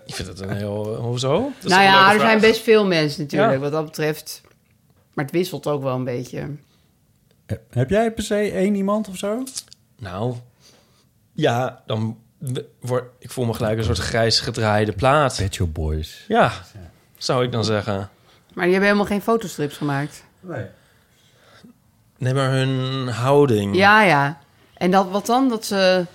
Speaker 2: Ik vind het een heel... eh, Hoezo? Dat is
Speaker 3: nou
Speaker 2: een
Speaker 3: ja,
Speaker 2: leuke
Speaker 3: er
Speaker 2: vraag.
Speaker 3: zijn best veel mensen natuurlijk,
Speaker 2: Ja.
Speaker 3: wat dat betreft. Maar het wisselt ook wel een beetje.
Speaker 1: Heb- Eh, Heb jij per se één iemand of zo?
Speaker 2: Nou, ja, dan word ik voel me gelijk een soort grijs gedraaide plaat.
Speaker 1: Pet Shop Boys.
Speaker 2: Ja, zou ik dan zeggen.
Speaker 3: Maar die hebben helemaal geen fotostrips gemaakt.
Speaker 1: Nee.
Speaker 2: Nee, maar hun houding.
Speaker 3: Ja, ja. En dat, wat dan? Dat ze...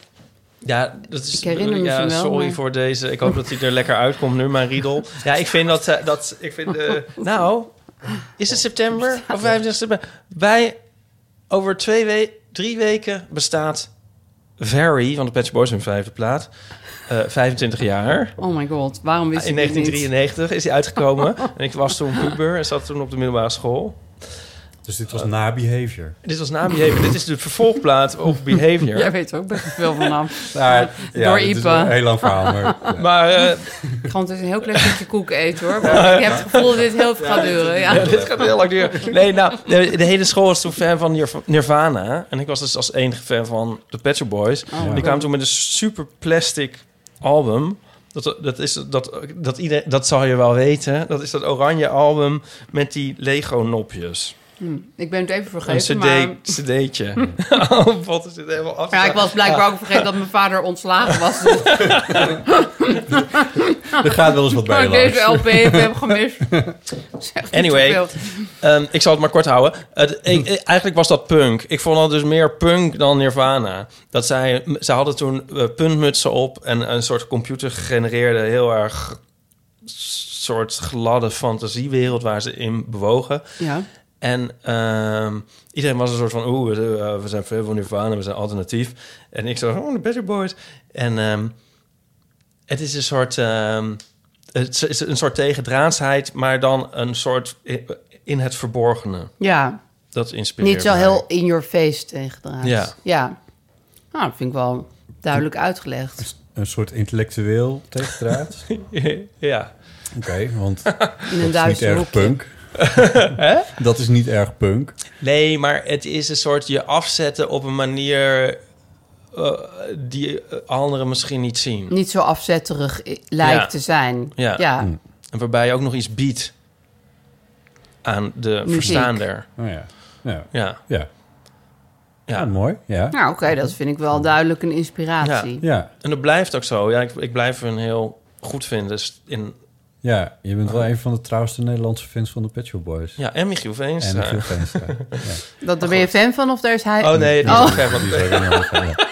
Speaker 2: Ja, dat is.
Speaker 3: Ik herinner me
Speaker 2: ja,
Speaker 3: ze wel,
Speaker 2: Sorry
Speaker 3: maar-
Speaker 2: voor deze. Ik hoop dat hij er lekker uitkomt nu, mijn riedel. Ja, ik vind dat. eh, dat ik
Speaker 3: (laughs)
Speaker 2: vind, eh, nou, is het september of 25 september? Wij over twee we drie weken bestaat Very van de Patch Boys hun vijfde plaat. eh, 25 jaar.
Speaker 3: Oh my god, waarom wist
Speaker 2: In
Speaker 3: ik dit niet?
Speaker 2: 1993 is hij
Speaker 3: (laughs)
Speaker 2: uitgekomen. en ik was toen puber en zat toen op de middelbare school.
Speaker 1: Dus dit was na behavior.
Speaker 2: Dit was na Behavior. Dit is de vervolgplaat op Behavior.
Speaker 3: Jij weet er ook best wel van af.
Speaker 1: Maar,
Speaker 3: (laughs) Door
Speaker 1: dit is
Speaker 3: Ipe.
Speaker 1: een heel lang verhaal, maar... (laughs)
Speaker 2: Maar eh,
Speaker 3: Ik ga ondertussen een heel klein stukje koek eten hoor. Maar ik heb het gevoel dat dit heel veel gaat duren. Ja.
Speaker 2: (laughs) dit gaat heel lang duren. Nee, nou, de, de hele school was toen fan van Nirv- Nirvana. En ik was dus als enige fan van de Pet Shop Boys.
Speaker 3: Oh,
Speaker 2: Die kwamen toen met een super plastic album. Dat, dat, is, dat, dat, iedereen, dat zal je wel weten. Dat is dat oranje album met die Lego-nopjes.
Speaker 3: Hm, Ik ben het even
Speaker 2: Een
Speaker 3: vergeten,
Speaker 2: cd,
Speaker 3: maar... (laughs)
Speaker 2: cd'tje. oh, wat is dit helemaal af?
Speaker 3: Ja, ik was blijkbaar ook vergeten dat mijn vader ontslagen was. Dus
Speaker 1: (laughs) Er gaat wel eens wat
Speaker 3: (laughs)
Speaker 1: bij
Speaker 3: ik
Speaker 1: je
Speaker 3: deze
Speaker 1: langs.
Speaker 3: LP heb
Speaker 1: (laughs)
Speaker 3: gemist. Dat is echt niet
Speaker 2: Anyway.
Speaker 3: zoveel.
Speaker 2: Ehm, ik zal het maar kort houden. Het- ik- ik- eigenlijk was dat punk. Ik vond dat dus meer punk dan Nirvana. Dat zij, ze hadden toen eh, puntmutsen op en een soort computer gegenereerde, heel erg soort gladde fantasiewereld waar ze in bewogen.
Speaker 3: Ja.
Speaker 2: En ehm, iedereen was een soort van, oeh, we, eh, we zijn veel van Nirvana, we zijn alternatief. En ik zo, oh, de Better Boys. En ehm, het is een soort, ehm, het is een soort tegendraadsheid, maar dan een soort i- in het verborgene.
Speaker 3: ja,
Speaker 2: Dat inspireert
Speaker 3: niet zo
Speaker 2: mij.
Speaker 3: heel in your face tegendraaid.
Speaker 2: Ja.
Speaker 3: ja. Nou, dat vind ik wel duidelijk uitgelegd.
Speaker 1: Een soort intellectueel
Speaker 3: (laughs)
Speaker 1: tegendraad.
Speaker 2: (laughs) ja.
Speaker 1: Oké, want
Speaker 3: In een
Speaker 1: dat is niet
Speaker 3: Duitse
Speaker 1: erg
Speaker 3: hoekje.
Speaker 1: punk. (laughs) dat is niet erg punk.
Speaker 2: Nee, maar het is een soort je afzetten op een manier eh, die eh, anderen misschien niet zien.
Speaker 3: Niet zo afzetterig i- lijkt
Speaker 2: Ja.
Speaker 3: te zijn.
Speaker 2: Ja.
Speaker 3: ja.
Speaker 1: Hm.
Speaker 2: En waarbij je ook nog iets biedt aan de
Speaker 3: Muziek.
Speaker 2: verstaander.
Speaker 1: Oh ja. Ja.
Speaker 2: Ja.
Speaker 1: Ja.
Speaker 2: Ja.
Speaker 1: ja, mooi. Ja.
Speaker 3: Nou, oké, dat vind ik wel duidelijk een inspiratie.
Speaker 1: Hm. Ja.
Speaker 2: En dat blijft ook zo. Ja, ik, ik blijf hun heel goed vinden. Dus in,
Speaker 1: ja, je bent wel een van de trouwste Nederlandse fans van de Pet Shop Boys.
Speaker 2: ja, en Michiel
Speaker 1: En
Speaker 2: Veenstra.
Speaker 1: de (laughs) Veenstra. Ja.
Speaker 3: Dat, daar ben je fan van of daar is hij...
Speaker 2: Oh nee, die is
Speaker 3: Oh.
Speaker 2: ook gek, want-
Speaker 1: Die is ook een heel fan, ja.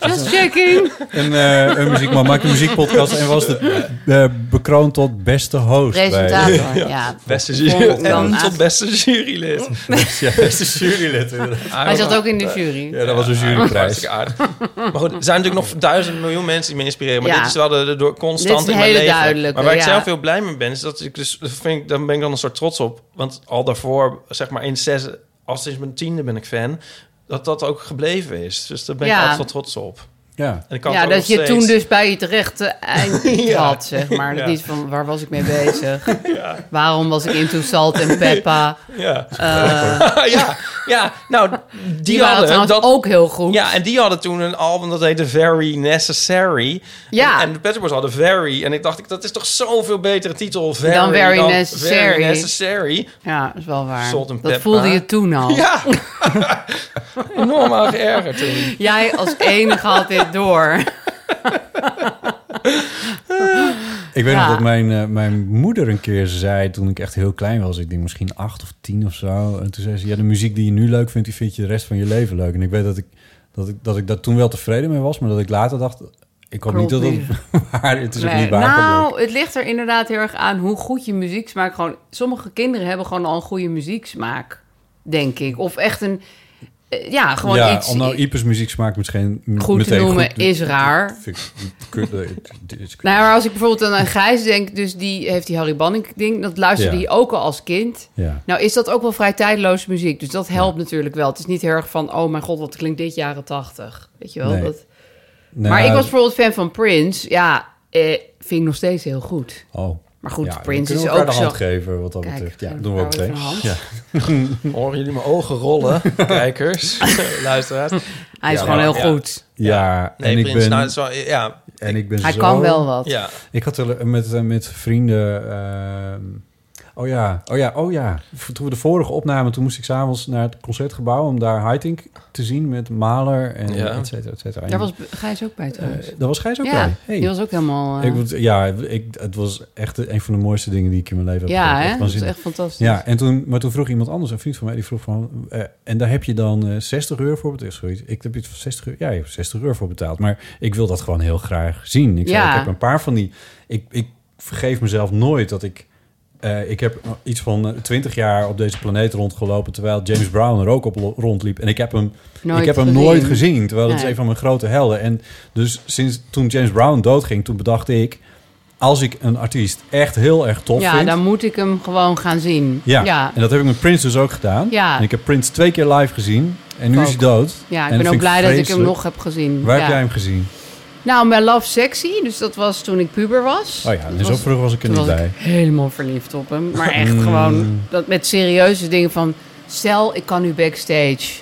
Speaker 3: Just checking.
Speaker 1: Een, eh, een muziekman maakt een muziekpodcast en was de, eh, bekroond tot beste host.
Speaker 2: (laughs)
Speaker 1: Bij,
Speaker 3: Presentator, ja.
Speaker 2: Beste
Speaker 3: Volgende
Speaker 2: jury.
Speaker 3: dan
Speaker 2: En
Speaker 3: aan.
Speaker 2: (laughs) tot beste jurylid.
Speaker 3: (laughs)
Speaker 1: ja, beste jurylid. inderdaad.
Speaker 3: Hij zat ook in
Speaker 2: eh,
Speaker 3: de jury.
Speaker 1: Ja, dat was een
Speaker 2: Hartstikke
Speaker 1: juryprijs.
Speaker 2: aardig. Maar goed, er zijn natuurlijk nog duizend miljoen mensen die me inspireren. Maar
Speaker 3: Ja.
Speaker 2: dit is wel de, de- door
Speaker 3: Dit
Speaker 2: constant
Speaker 3: is
Speaker 2: in
Speaker 3: een
Speaker 2: mijn
Speaker 3: hele
Speaker 2: leven.
Speaker 3: duidelijke,
Speaker 2: maar waar ik
Speaker 3: ja.
Speaker 2: zelf heel blij mee ben, is dat ik dus, dat vind ik, daar ben ik dan een soort trots op. Want al daarvoor, zeg maar in zes, als sinds mijn tiende ben ik fan, dat dat ook gebleven is. Dus daar ben ik
Speaker 3: Ja.
Speaker 2: altijd wel trots op.
Speaker 1: Ja.
Speaker 2: En ik kan
Speaker 3: ja,
Speaker 2: het ook
Speaker 3: dat je
Speaker 2: nog
Speaker 3: toen
Speaker 2: steeds.
Speaker 3: dus bij je terecht
Speaker 2: (laughs)
Speaker 3: eind had, zeg maar. Dat
Speaker 2: Ja.
Speaker 3: is van, waar was ik mee bezig?
Speaker 2: (laughs)
Speaker 3: Waarom was ik into salt en peppa?
Speaker 2: Ja.
Speaker 3: dus, Eh,
Speaker 2: (laughs) ja, ja, nou, die,
Speaker 3: die waren
Speaker 2: hadden
Speaker 3: trouwens
Speaker 2: dat.
Speaker 3: ook heel goed.
Speaker 2: Ja, en die hadden toen een album dat heette Very Necessary.
Speaker 3: Ja.
Speaker 2: En, en de Pet Shop Boys hadden Very. En ik dacht, ik, dat is toch zoveel betere titel. Very,
Speaker 3: Dan Very Necessary.
Speaker 2: Very Necessary.
Speaker 3: Ja, dat is wel waar.
Speaker 2: Salt en
Speaker 3: Dat
Speaker 2: peppa.
Speaker 3: voelde je toen al. (laughs)
Speaker 2: Ja. Enorm aan geërgerd toen.
Speaker 3: Jij als enige had dit door.
Speaker 1: Ik weet
Speaker 3: Ja.
Speaker 1: nog dat mijn, eh, mijn moeder een keer zei toen ik echt heel klein was. Ik denk misschien acht of tien of zo. En toen zei ze, ja, de muziek die je nu leuk vindt, die vind je de rest van je leven leuk. En ik weet dat ik dat, ik, dat, ik daar toen wel tevreden mee was. Maar dat ik later dacht, ik hoop niet dat
Speaker 3: Klopt
Speaker 1: het (laughs) waar Het is ook
Speaker 3: Nee.
Speaker 1: niet waar. kan
Speaker 3: nou, het ligt er inderdaad heel erg aan hoe goed je muzieksmaak gewoon... Sommige kinderen hebben gewoon al een goede muzieksmaak, denk ik. Of echt een... eh, Ja,
Speaker 1: lukken.
Speaker 3: gewoon
Speaker 1: ja,
Speaker 3: iets...
Speaker 1: om nou Ipers muziek smaakt misschien m-
Speaker 3: Goed te
Speaker 1: meteen
Speaker 3: noemen
Speaker 1: goed-
Speaker 3: is raar.
Speaker 1: (laughs) Vind ik- kut, eh, het- het is-
Speaker 3: Nou, ja, maar als ik bijvoorbeeld aan Gijs denk, dus die heeft die Harry Banning ding, dat luisterde
Speaker 1: Ja.
Speaker 3: hij ook al als kind.
Speaker 1: Ja.
Speaker 3: Nou is dat ook wel vrij tijdloze muziek, dus dat helpt natuurlijk wel. Het is niet heel erg van, oh mijn god, wat klinkt dit jaren tachtig, weet je wel?
Speaker 1: Nee.
Speaker 3: Dat...
Speaker 1: Nou,
Speaker 3: Maar ik was bijvoorbeeld fan van Prince, ja, eh, vind ik nog steeds heel goed.
Speaker 1: Oh,
Speaker 3: Maar goed,
Speaker 1: Ja, dan
Speaker 3: Prince
Speaker 1: kunnen
Speaker 3: is
Speaker 1: we elkaar
Speaker 3: ook
Speaker 1: de hand
Speaker 3: zo.
Speaker 1: geven, wat dat
Speaker 3: Kijk,
Speaker 1: betreft. Ja,
Speaker 3: geef
Speaker 1: doen we ook
Speaker 3: elkaar
Speaker 1: meteen.
Speaker 3: even een hand.
Speaker 1: Ja.
Speaker 2: Horen jullie mijn ogen rollen, (laughs) kijkers, luisteraars?
Speaker 3: Hij is
Speaker 1: Ja,
Speaker 3: gewoon
Speaker 1: maar-
Speaker 3: heel
Speaker 2: ja.
Speaker 3: goed.
Speaker 1: Ja,
Speaker 2: Nee,
Speaker 1: en, ik
Speaker 2: Prins,
Speaker 1: ben,
Speaker 2: nou, het is wel, ja,
Speaker 1: en ik ben
Speaker 3: Hij
Speaker 1: zo...
Speaker 3: kan wel wat.
Speaker 2: ja.
Speaker 1: Ik had er met, eh, met vrienden... ehm, oh ja, oh ja, oh ja. V- Toen we de vorige opnamen, toen moest ik s'avonds naar het concertgebouw... om daar Heiting te zien met Maler en
Speaker 2: Ja.
Speaker 1: et cetera, et cetera.
Speaker 3: Daar was Gijs ook bij
Speaker 1: Eh,
Speaker 3: trouwens.
Speaker 1: daar was Gijs ook
Speaker 3: ja,
Speaker 1: bij. Hey.
Speaker 3: die was ook helemaal... eh,
Speaker 1: Ik moet- ja, ik, het was echt een van de mooiste dingen die ik in mijn leven heb
Speaker 3: ja, hè?
Speaker 1: gedaan. Echt
Speaker 3: Dat is
Speaker 1: waanzinnig.
Speaker 3: echt fantastisch.
Speaker 1: Ja, en toen, maar toen vroeg iemand anders, een vriend van mij, die vroeg van... eh, en daar heb je dan eh, 60 euro voor betaald? Zoiets. Ik heb iets van 60 euro. Ja, je hebt 60 euro voor betaald. Maar ik wil dat gewoon heel graag zien. Ik, zei,
Speaker 3: Ja.
Speaker 1: ik heb een paar van die... Ik, ik vergeef mezelf nooit dat ik... eh, ik heb iets van eh, 20 jaar op deze planeet rondgelopen... terwijl James Brown er ook op lo- rondliep. En ik heb hem
Speaker 3: Nooit
Speaker 1: ik heb hem
Speaker 3: gezien.
Speaker 1: nooit gezien, terwijl dat is
Speaker 3: Nee.
Speaker 1: een van mijn grote helden. En dus sinds toen James Brown doodging, toen bedacht ik... als ik een artiest echt heel erg tof
Speaker 3: Ja,
Speaker 1: vind...
Speaker 3: dan moet ik hem gewoon gaan zien.
Speaker 1: Ja.
Speaker 3: ja.
Speaker 1: en dat heb ik met Prince dus ook gedaan.
Speaker 3: Ja.
Speaker 1: En ik heb Prince twee keer live gezien. En nu
Speaker 3: Ook.
Speaker 1: is hij dood.
Speaker 3: Ja,
Speaker 1: En
Speaker 3: ik ben
Speaker 1: vind
Speaker 3: ook blij dat ik hem
Speaker 1: vreselijk.
Speaker 3: nog heb gezien.
Speaker 1: Waar
Speaker 3: ja.
Speaker 1: heb jij hem gezien?
Speaker 3: Nou, bij Love Sexy, dus dat was toen ik puber was.
Speaker 1: Oh ja,
Speaker 3: Dat
Speaker 1: dus zo
Speaker 3: was-
Speaker 1: vroeg was ik er
Speaker 3: Toen
Speaker 1: niet
Speaker 3: was
Speaker 1: bij. Mm.
Speaker 3: ik helemaal verliefd op hem. Maar echt gewoon dat met serieuze dingen van... Stel, ik kan nu backstage.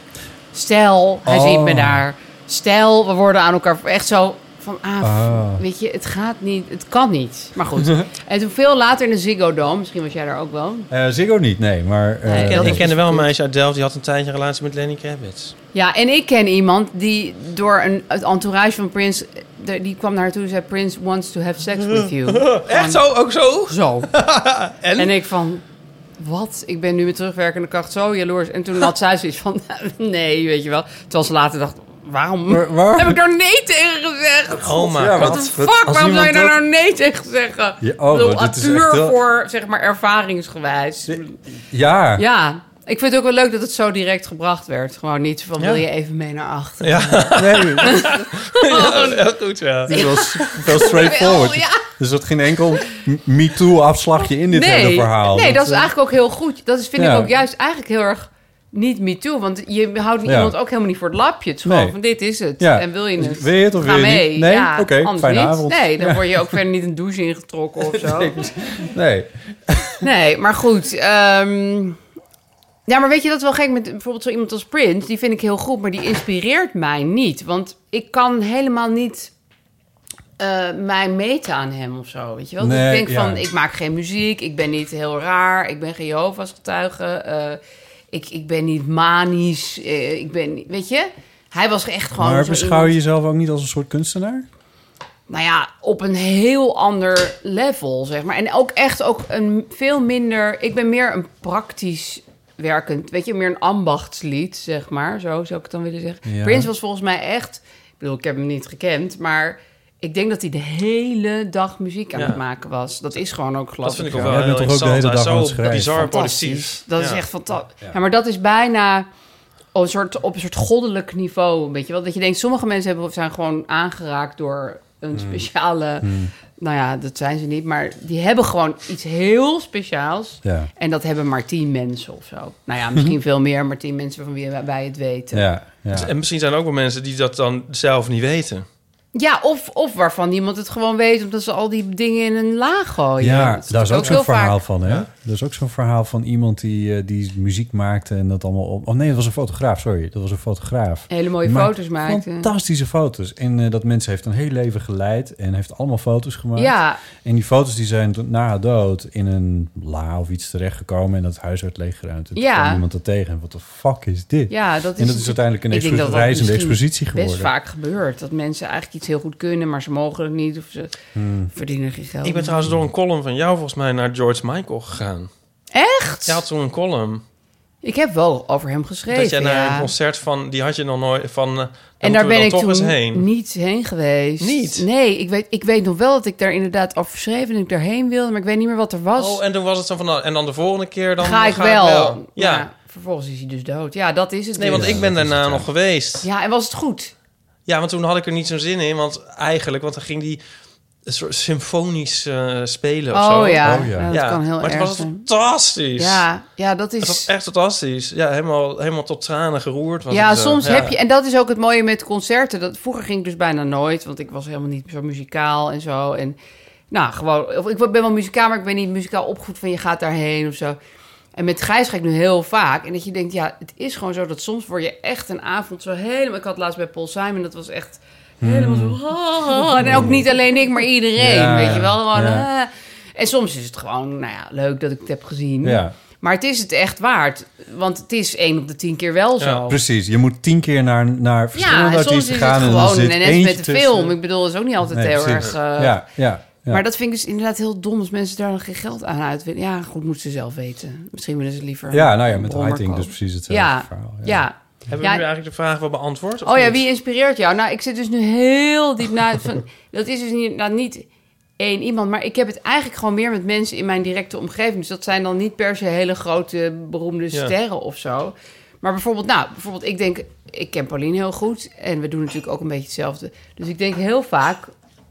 Speaker 3: Stel, hij
Speaker 1: Oh.
Speaker 3: ziet me daar. Stel, we worden aan elkaar... Echt zo van, ah,
Speaker 1: Ah.
Speaker 3: weet je, het gaat niet. Het kan niet. Maar
Speaker 1: (laughs)
Speaker 3: goed. en toen veel later in de Ziggo Dome. Misschien was jij daar ook wel.
Speaker 1: Eh Ziggo niet, nee. Maar eh,
Speaker 3: Nee,
Speaker 2: Ik,
Speaker 3: dat
Speaker 2: ken, ik
Speaker 3: is
Speaker 2: kende wel een
Speaker 3: goed.
Speaker 2: meisje uit Delft, die had een tijdje een relatie met Lenny Kravitz.
Speaker 3: Ja, en ik ken iemand die door een, het entourage van Prince... eh, de- die kwam naar haar toe en zei... Prince wants to have sex with you.
Speaker 1: (laughs)
Speaker 2: Echt zo? Ook zo?
Speaker 3: Zo.
Speaker 2: En?
Speaker 3: Oh. en? ik van, wat? Ik ben nu met terugwerkende kracht zo jaloers. En toen had zij zoiets van, (laughs) nee, weet je wel. Terwijl ze later dacht, waarom
Speaker 1: waar- waar?
Speaker 3: heb ik daar nee tegen gezegd?
Speaker 2: Oh my
Speaker 1: Ja,
Speaker 2: god.
Speaker 1: wat-
Speaker 3: Fuck,
Speaker 1: Als
Speaker 3: waarom zou je
Speaker 1: iemand
Speaker 3: daar
Speaker 1: dat-
Speaker 3: nou nee tegen zeggen?
Speaker 1: Ja,
Speaker 3: Ik
Speaker 1: oh,
Speaker 3: bedoel,
Speaker 1: dit is
Speaker 3: puur
Speaker 1: echt wel-
Speaker 3: voor, zeg maar, ervaringsgewijs.
Speaker 1: Ja.
Speaker 3: nou- Ja, ik vind het ook wel leuk dat het zo direct gebracht werd. Gewoon niet van,
Speaker 2: Ja.
Speaker 3: wil je even mee naar achter?
Speaker 2: Ja,
Speaker 1: (laughs) Nee, het
Speaker 2: heel goed, ja.
Speaker 1: was
Speaker 3: (laughs)
Speaker 1: wel straightforward.
Speaker 3: Ja.
Speaker 1: Dus dat geen enkel MeToo-afslagje in dit hele verhaal. eh,
Speaker 3: Nee, dat is eigenlijk ook heel goed. Dat is, vind
Speaker 1: ja.
Speaker 3: ik ook juist eigenlijk heel erg niet me too. Want je houdt
Speaker 1: Ja.
Speaker 3: iemand ook helemaal niet voor het lapje. Het is
Speaker 1: Nee.
Speaker 3: gewoon van dit is het.
Speaker 1: Ja. Dus
Speaker 3: En wil je het?
Speaker 1: Wil je het of
Speaker 3: Ga
Speaker 1: wil je
Speaker 3: mee.
Speaker 1: niet? Nee?
Speaker 3: Ja,
Speaker 1: Oké,
Speaker 3: anders
Speaker 1: fijne
Speaker 3: niet.
Speaker 1: avond.
Speaker 3: Nee, dan word je
Speaker 1: (laughs)
Speaker 3: ook verder niet een douche ingetrokken of zo.
Speaker 1: Nee.
Speaker 3: Nee, maar goed. ehm, ja, maar weet je dat is wel gek met bijvoorbeeld zo iemand als Prince? Die vind ik heel goed, maar die inspireert mij niet. Want ik kan helemaal niet eh, mij meten aan hem of zo. Weet je wel? Dat
Speaker 1: Nee,
Speaker 3: ik denk
Speaker 1: ja.
Speaker 3: van, ik maak geen muziek, ik ben niet heel raar, ik ben geen Jehovah's getuige, eh, ik, ik ben niet manisch, eh, ik ben, niet- weet je? Hij was echt gewoon.
Speaker 1: maar
Speaker 3: zo
Speaker 1: beschouw je
Speaker 3: iemand-
Speaker 1: jezelf ook niet als een soort kunstenaar?
Speaker 3: nou ja, op een heel ander level, zeg maar. En ook echt ook een veel minder... Ik ben meer een praktisch werkend... Weet je, meer een ambachtslied, zeg maar. Zo zou ik het dan willen zeggen.
Speaker 1: Ja.
Speaker 3: Prince was volgens mij echt... Ik bedoel, ik heb hem niet gekend, maar... Ik denk dat hij de hele dag muziek aan
Speaker 2: Ja.
Speaker 3: het maken was. Dat is gewoon ook
Speaker 2: Dat
Speaker 3: geloof
Speaker 2: vind ik
Speaker 3: ik.
Speaker 2: ook
Speaker 1: Ja,
Speaker 2: wel
Speaker 1: jij
Speaker 2: heel
Speaker 1: bent toch ook de
Speaker 2: interessant.
Speaker 1: hele
Speaker 2: Hij is
Speaker 1: dag aan het
Speaker 2: zo
Speaker 1: schrijven.
Speaker 2: bizar
Speaker 3: Fantastisch.
Speaker 2: productief.
Speaker 3: Dat is
Speaker 2: Ja.
Speaker 3: echt fantastisch. Ja. maar dat is bijna op een, soort, op een soort goddelijk niveau. Weet je wel? Dat je denkt, sommige mensen hebben, zijn gewoon aangeraakt door
Speaker 1: Hmm.
Speaker 3: een speciale. Nou ja, dat zijn ze niet. Maar die hebben gewoon iets heel speciaals.
Speaker 1: Ja.
Speaker 3: En dat hebben maar tien mensen of zo. Nou ja,
Speaker 1: (laughs)
Speaker 3: misschien veel meer, maar tien mensen van wie wij het weten. Ja,
Speaker 1: Ja. ja.
Speaker 2: En misschien zijn er ook wel mensen die dat dan zelf niet weten.
Speaker 3: of, of waarvan niemand het gewoon weet, omdat ze al die dingen in een laag gooien.
Speaker 1: Ja,
Speaker 3: Oh, Dat
Speaker 1: daar is ook
Speaker 3: heel
Speaker 1: zo'n verhaal
Speaker 3: vaak-
Speaker 1: van, hè? Er is ook zo'n verhaal van iemand die, eh, die muziek maakte en dat allemaal op... Oh nee, dat was een fotograaf, sorry. Dat was een fotograaf.
Speaker 3: Hele mooie
Speaker 1: Die maakt
Speaker 3: foto's maakte.
Speaker 1: Fantastische foto's. En eh, dat mens heeft een heel leven geleid en heeft allemaal foto's gemaakt.
Speaker 3: Ja,
Speaker 1: En die foto's die zijn toen- na haar dood in een la of iets terechtgekomen en dat huis werd leeggeruimd. En toen
Speaker 3: Ja.
Speaker 1: kwam iemand dat tegen en wat de fuck is dit?
Speaker 3: Ja, dat is,
Speaker 1: En dat is uiteindelijk een
Speaker 3: Ik denk dat dat
Speaker 1: reizende
Speaker 3: misschien
Speaker 1: expositie geworden.
Speaker 3: Best vaak gebeurt dat mensen eigenlijk iets heel goed kunnen, maar ze mogen het niet of ze
Speaker 1: Hmm.
Speaker 3: verdienen geen geld.
Speaker 2: Ik ben trouwens door een column van jou volgens mij naar George Michael gegaan.
Speaker 3: Echt?
Speaker 2: Jij had toen een column.
Speaker 3: Ik heb wel over hem geschreven.
Speaker 2: dat jij naar
Speaker 3: ja.
Speaker 2: een concert van... Die had je nog nooit van... eh,
Speaker 3: en
Speaker 2: moeten
Speaker 3: daar
Speaker 2: we
Speaker 3: ben
Speaker 2: dan
Speaker 3: ik
Speaker 2: toch
Speaker 3: toen
Speaker 2: eens heen.
Speaker 3: niet heen geweest.
Speaker 2: Niet?
Speaker 3: Nee, ik weet, ik weet nog wel dat ik daar inderdaad over schreef en dat ik daarheen wilde, maar ik weet niet meer wat er was.
Speaker 2: Oh, en toen was het zo van... nou, En dan de volgende keer dan
Speaker 3: ga ik wel.
Speaker 2: Ja.
Speaker 3: Maar vervolgens is hij dus dood. Ja, dat is het.
Speaker 2: Nee,
Speaker 3: dus.
Speaker 2: want ik ben daarna nog geweest.
Speaker 3: Ja, en was het goed?
Speaker 2: Ja, want toen had ik er niet zo'n zin in. Want eigenlijk, want dan ging die een soort symfonisch eh, spelen of zo.
Speaker 3: Oh, ja.
Speaker 1: Oh, ja.
Speaker 3: Ja, dat kan heel
Speaker 2: maar het
Speaker 3: erg
Speaker 2: was
Speaker 3: zijn.
Speaker 2: fantastisch.
Speaker 3: Ja, ja, dat is...
Speaker 2: Het was echt fantastisch. Ja, helemaal, helemaal tot tranen geroerd. Was
Speaker 3: Ja,
Speaker 2: het, eh,
Speaker 3: soms
Speaker 2: ja.
Speaker 3: heb je, en dat is ook het mooie met concerten. Dat, vroeger ging ik dus bijna nooit, want ik was helemaal niet zo muzikaal en zo. En Nou, gewoon... Of ik ben wel muzikaal, maar ik ben niet muzikaal opgevoed van je gaat daarheen of zo. En met Gijs ga ik nu heel vaak. En dat je denkt, ja, het is gewoon zo dat soms word je echt een avond zo helemaal... Ik had laatst bij Paul Simon, dat was echt helemaal zo... ah. En ook niet alleen ik, maar iedereen,
Speaker 1: Ja,
Speaker 3: weet je wel. Gewoon,
Speaker 1: ja.
Speaker 3: ah. En soms is het gewoon, nou ja, leuk dat ik het heb gezien.
Speaker 1: Ja,
Speaker 3: Maar het is het echt waard. Want het is één op de tien keer wel zo. Ja,
Speaker 1: precies. Je moet tien keer naar, naar verschillende
Speaker 3: en soms
Speaker 1: artiesten
Speaker 3: is het
Speaker 1: gaan. en dan
Speaker 3: gewoon
Speaker 1: zit
Speaker 3: en net
Speaker 1: eentje
Speaker 3: met de
Speaker 1: tussen.
Speaker 3: film. Ik bedoel, het is ook niet altijd
Speaker 1: Nee,
Speaker 3: heel
Speaker 1: precies.
Speaker 3: erg... eh,
Speaker 1: ja, ja, ja.
Speaker 3: Maar dat vind ik dus inderdaad heel dom als mensen daar dan geen geld aan uitwinnen. Ja, goed, moeten ze zelf weten. Misschien willen ze liever...
Speaker 1: ja, nou ja,
Speaker 3: een
Speaker 1: met
Speaker 3: brommer
Speaker 1: Hiting dus
Speaker 3: kopen.
Speaker 1: precies hetzelfde
Speaker 3: Ja,
Speaker 1: verhaal.
Speaker 3: ja.
Speaker 2: Hebben
Speaker 3: Ja.
Speaker 2: we nu eigenlijk de vraag wel beantwoord? of
Speaker 3: Oh ja,
Speaker 2: niet?
Speaker 3: wie inspireert jou? Nou, ik zit dus nu heel diep na.
Speaker 2: (laughs)
Speaker 3: Van, dat is dus niet, nou, niet één iemand, maar ik heb het eigenlijk gewoon meer met mensen in mijn directe omgeving. Dus dat zijn dan niet per se hele grote beroemde
Speaker 2: Ja.
Speaker 3: sterren of zo. Maar bijvoorbeeld, nou, bijvoorbeeld, ik denk, ik ken Pauline heel goed en we doen natuurlijk ook een beetje hetzelfde. Dus ik denk heel vaak,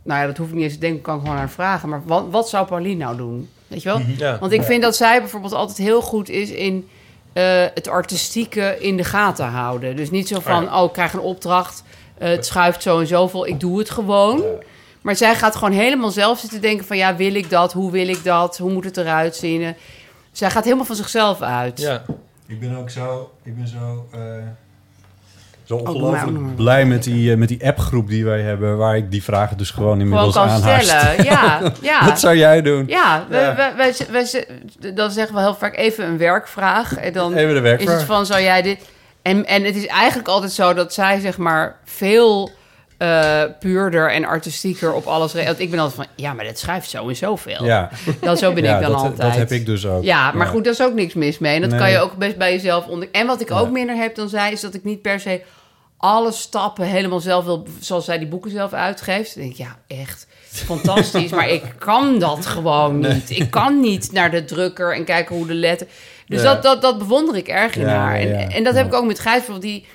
Speaker 3: nou ja, dat hoef ik niet eens te denken, kan ik gewoon aan haar vragen. Maar wat, wat zou Pauline nou doen? Weet je wel?
Speaker 2: Mhm. Ja.
Speaker 3: Want ik vind dat zij bijvoorbeeld altijd heel goed is in eh, het artistieke in de gaten houden. Dus niet zo van,
Speaker 2: Oh
Speaker 3: oh, ik krijg een opdracht, eh, het schuift zo en zoveel, ik doe het gewoon. Maar zij gaat gewoon helemaal zelf zitten denken van, ja, wil ik dat? Hoe wil ik dat? Hoe moet het eruit zien? Eh, Zij gaat helemaal van zichzelf uit.
Speaker 2: Ja.
Speaker 1: Ik ben ook zo... Ik ben zo... eh, zo
Speaker 3: doe maar, doe maar.
Speaker 1: ongelooflijk blij met die, eh, met die appgroep die wij hebben... waar ik die vragen dus gewoon
Speaker 3: Gewoon
Speaker 1: inmiddels
Speaker 3: kan
Speaker 1: aan haar
Speaker 3: stellen. Ja, ja.
Speaker 1: (laughs) Wat zou jij doen?
Speaker 3: Ja, wij, wij, wij, wij- wij- dan zeggen we heel vaak even een werkvraag. En dan
Speaker 1: Even de
Speaker 3: is
Speaker 1: werkvraag.
Speaker 3: het van, zou jij dit... En, en het is eigenlijk altijd zo dat zij, zeg maar, veel eh, puurder en artistieker op alles... re- Want ik ben altijd van, ja, maar dat schuift zo en zoveel.
Speaker 1: Ja,
Speaker 3: Dan zo oh, ben
Speaker 1: ja
Speaker 3: ik dan
Speaker 1: dat,
Speaker 3: altijd.
Speaker 1: dat heb ik dus ook.
Speaker 3: Ja, maar goed, daar is ook niks mis mee. En dat
Speaker 1: Nee.
Speaker 3: kan je ook best bij jezelf onder... En wat ik ook
Speaker 1: Ja.
Speaker 3: minder heb dan zij, is dat ik niet per se alle stappen helemaal zelf wil... zoals zij die boeken zelf uitgeeft. Dan denk ik, ja, echt fantastisch. maar
Speaker 1: (laughs)
Speaker 3: ik kan dat gewoon niet. Ik kan niet naar de drukker en kijken hoe de letter... Dus
Speaker 1: Ja.
Speaker 3: dat, dat, dat bewonder ik erg in
Speaker 1: Ja,
Speaker 3: haar. En,
Speaker 1: ja, ja.
Speaker 3: en dat heb
Speaker 1: Ja.
Speaker 3: ik ook met Gijs, bijvoorbeeld, die...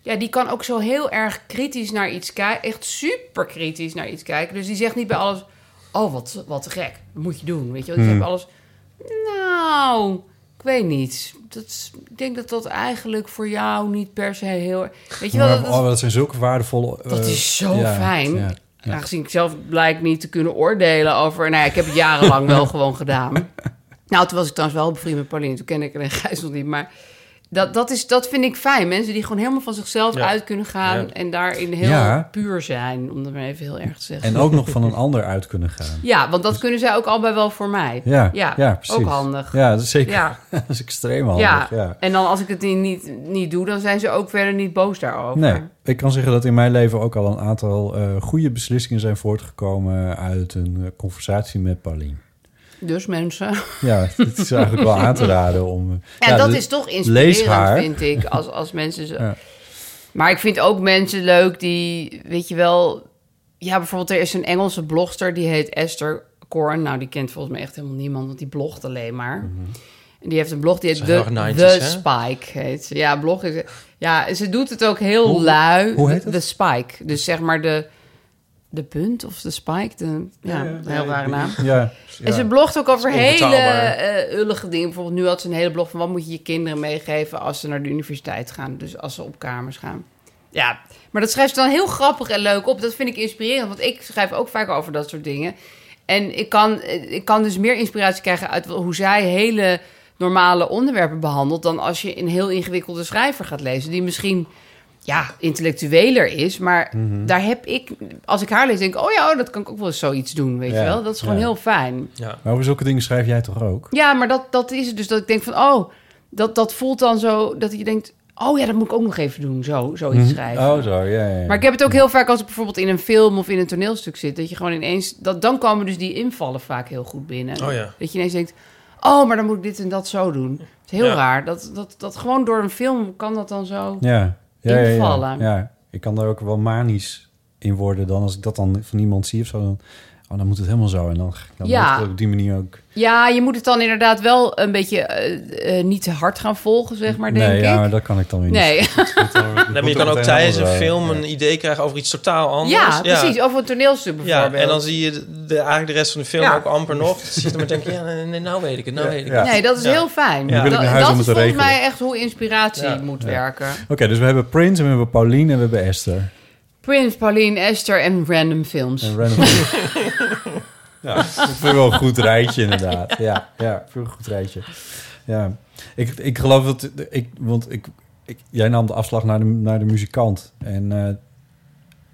Speaker 3: Ja, die kan ook zo heel erg kritisch naar iets kijken. Echt super kritisch naar iets kijken. Dus die zegt niet bij alles... Oh, wat, wat te gek. Dat moet je doen, weet je wel.
Speaker 1: Hmm.
Speaker 3: Die zegt bij alles... Nou, ik weet niet. Dat, is- ik denk dat dat eigenlijk voor jou niet per se heel... Weet je wel,
Speaker 1: Maar,
Speaker 3: dat,
Speaker 1: oh, dat zijn zulke waardevolle...
Speaker 3: dat
Speaker 1: eh,
Speaker 3: is zo
Speaker 1: ja,
Speaker 3: fijn.
Speaker 1: ja, ja.
Speaker 3: Aangezien ik zelf blijk niet te kunnen oordelen over... Nou ja, ik heb het jarenlang
Speaker 1: (laughs)
Speaker 3: wel gewoon gedaan. Nou, toen was ik trouwens wel bevriend met Pauline. Toen ken ik er Gijs nog niet, maar... Dat, dat, is, dat vind ik fijn. Mensen die gewoon helemaal van zichzelf
Speaker 2: Ja.
Speaker 3: uit kunnen gaan...
Speaker 2: Ja.
Speaker 3: en daarin heel
Speaker 1: Ja.
Speaker 3: puur zijn, om dat maar even heel erg te zeggen.
Speaker 1: En ook nog van een (laughs) ander uit kunnen gaan.
Speaker 3: Ja, want dat kunnen zij ook allebei wel voor mij.
Speaker 1: Ja, ja, precies.
Speaker 3: Ook handig.
Speaker 1: Ja, dat is zeker.
Speaker 3: Ja.
Speaker 1: (laughs) Dat is extreem handig. Ja.
Speaker 3: en dan als ik het niet- niet, niet doe, dan zijn ze ook verder niet boos daarover.
Speaker 1: Nee, ik kan zeggen dat in mijn leven ook al een aantal eh, goede beslissingen zijn voortgekomen uit een eh, conversatie met Paulien.
Speaker 3: Dus mensen.
Speaker 1: Ja, (laughs) het is eigenlijk wel aan te raden om. eh,
Speaker 3: En dat
Speaker 1: de-
Speaker 3: is toch
Speaker 1: Lees
Speaker 3: inspirerend,
Speaker 1: haar.
Speaker 3: vind ik, als, als mensen zo...
Speaker 1: Ja.
Speaker 3: Maar ik vind ook mensen leuk die, weet je wel... Ja, bijvoorbeeld er is een Engelse blogster, die heet Esther Korn. Nou, die kent volgens mij echt helemaal niemand, want die blogt alleen maar.
Speaker 1: Mhm.
Speaker 3: En die heeft een blog, die heet
Speaker 2: Ze is
Speaker 3: The,
Speaker 2: heel erg 90s,
Speaker 3: The
Speaker 2: hè?
Speaker 3: Spike. Heet ze. Ja, blog is... Ja, en ze doet het ook heel
Speaker 1: Hoe-
Speaker 3: lui.
Speaker 1: hoe heet het?
Speaker 3: The Spike. Dus zeg maar de, de punt of de spike. De, ja, een heel rare naam.
Speaker 1: Ja, ja.
Speaker 3: En ze blogt ook over hele
Speaker 2: onbetaalbaar.
Speaker 3: eh ullige dingen. Bijvoorbeeld nu had ze een hele blog van... wat moet je je kinderen meegeven als ze naar de universiteit gaan. Dus als ze op kamers gaan. Ja, maar dat schrijft ze dan heel grappig en leuk op. Dat vind ik inspirerend, want ik schrijf ook vaak over dat soort dingen. En ik kan, eh, ik kan dus meer inspiratie krijgen uit hoe zij hele normale onderwerpen behandelt... dan als je een heel ingewikkelde schrijver gaat lezen... die misschien ja, intellectueler is. Maar
Speaker 1: Mhm.
Speaker 3: daar heb ik, als ik haar lees, denk ik... oh ja, oh, dat kan ik ook wel eens zoiets doen, weet
Speaker 1: Ja,
Speaker 3: je wel. Dat is gewoon
Speaker 1: ja.
Speaker 3: heel fijn.
Speaker 2: Ja.
Speaker 1: Maar over zulke dingen schrijf jij toch ook?
Speaker 3: Ja, maar dat, dat is het dus. Dat ik denk van, oh, dat, dat voelt dan zo... dat je denkt, oh ja, dat moet ik ook nog even doen. Zo, zoiets schrijven.
Speaker 1: Oh, zo, ja. ja, ja.
Speaker 3: Maar ik heb het ook heel vaak als ik bijvoorbeeld in een film of in een toneelstuk zit... dat je gewoon ineens... Dat, dan komen dus die invallen vaak heel goed binnen.
Speaker 2: Oh ja.
Speaker 3: Dat je ineens denkt, oh, maar dan moet ik dit en dat zo doen. Het is heel
Speaker 2: Ja.
Speaker 3: raar. Dat, dat, dat gewoon door een film kan dat dan zo...
Speaker 1: ja. Ja, ja, ja,
Speaker 3: invallen.
Speaker 1: ja. ik kan daar ook wel manisch in worden dan als ik dat dan van iemand zie of zo. Dan, oh, dan moet het helemaal zo. En dan, dan
Speaker 3: Ja.
Speaker 1: moet het op die manier ook.
Speaker 3: Ja, je moet het dan inderdaad wel een beetje eh, eh, niet te hard gaan volgen, zeg maar, denk
Speaker 1: nee, ja, maar
Speaker 3: ik.
Speaker 1: dat kan ik dan weer niet.
Speaker 3: Nee, (laughs)
Speaker 2: Nee, maar je kan ook tijdens een film een idee krijgen over iets totaal anders.
Speaker 3: ja, precies. Over een toneelstuk
Speaker 2: Ja,
Speaker 3: bijvoorbeeld.
Speaker 2: en dan zie je de, de- eigenlijk de rest van de film
Speaker 3: Ja.
Speaker 2: ook amper nog. Dan zit je maar te denken, ja, nee, nee, nou weet ik het, nou weet ik
Speaker 1: ja.
Speaker 2: het.
Speaker 3: Nee, dat is
Speaker 2: Ja.
Speaker 3: heel fijn.
Speaker 2: wil ik
Speaker 3: Dat,
Speaker 1: naar huis
Speaker 3: dat
Speaker 1: om
Speaker 3: is
Speaker 1: het te
Speaker 3: volgens mij
Speaker 1: regelen.
Speaker 3: echt hoe inspiratie
Speaker 2: Ja.
Speaker 3: moet werken.
Speaker 1: Oké, dus we hebben Prince en we hebben Pauline en we hebben Esther.
Speaker 3: Oh, Prince, Pauline, Esther en random films. (laughs)
Speaker 1: En random. Ja, ik vind het wel een goed rijtje inderdaad. Ja, ja, ik vind het een goed rijtje. Ja, ik, ik geloof dat ik, want ik, ik, jij nam de afslag naar de, naar de muzikant en eh,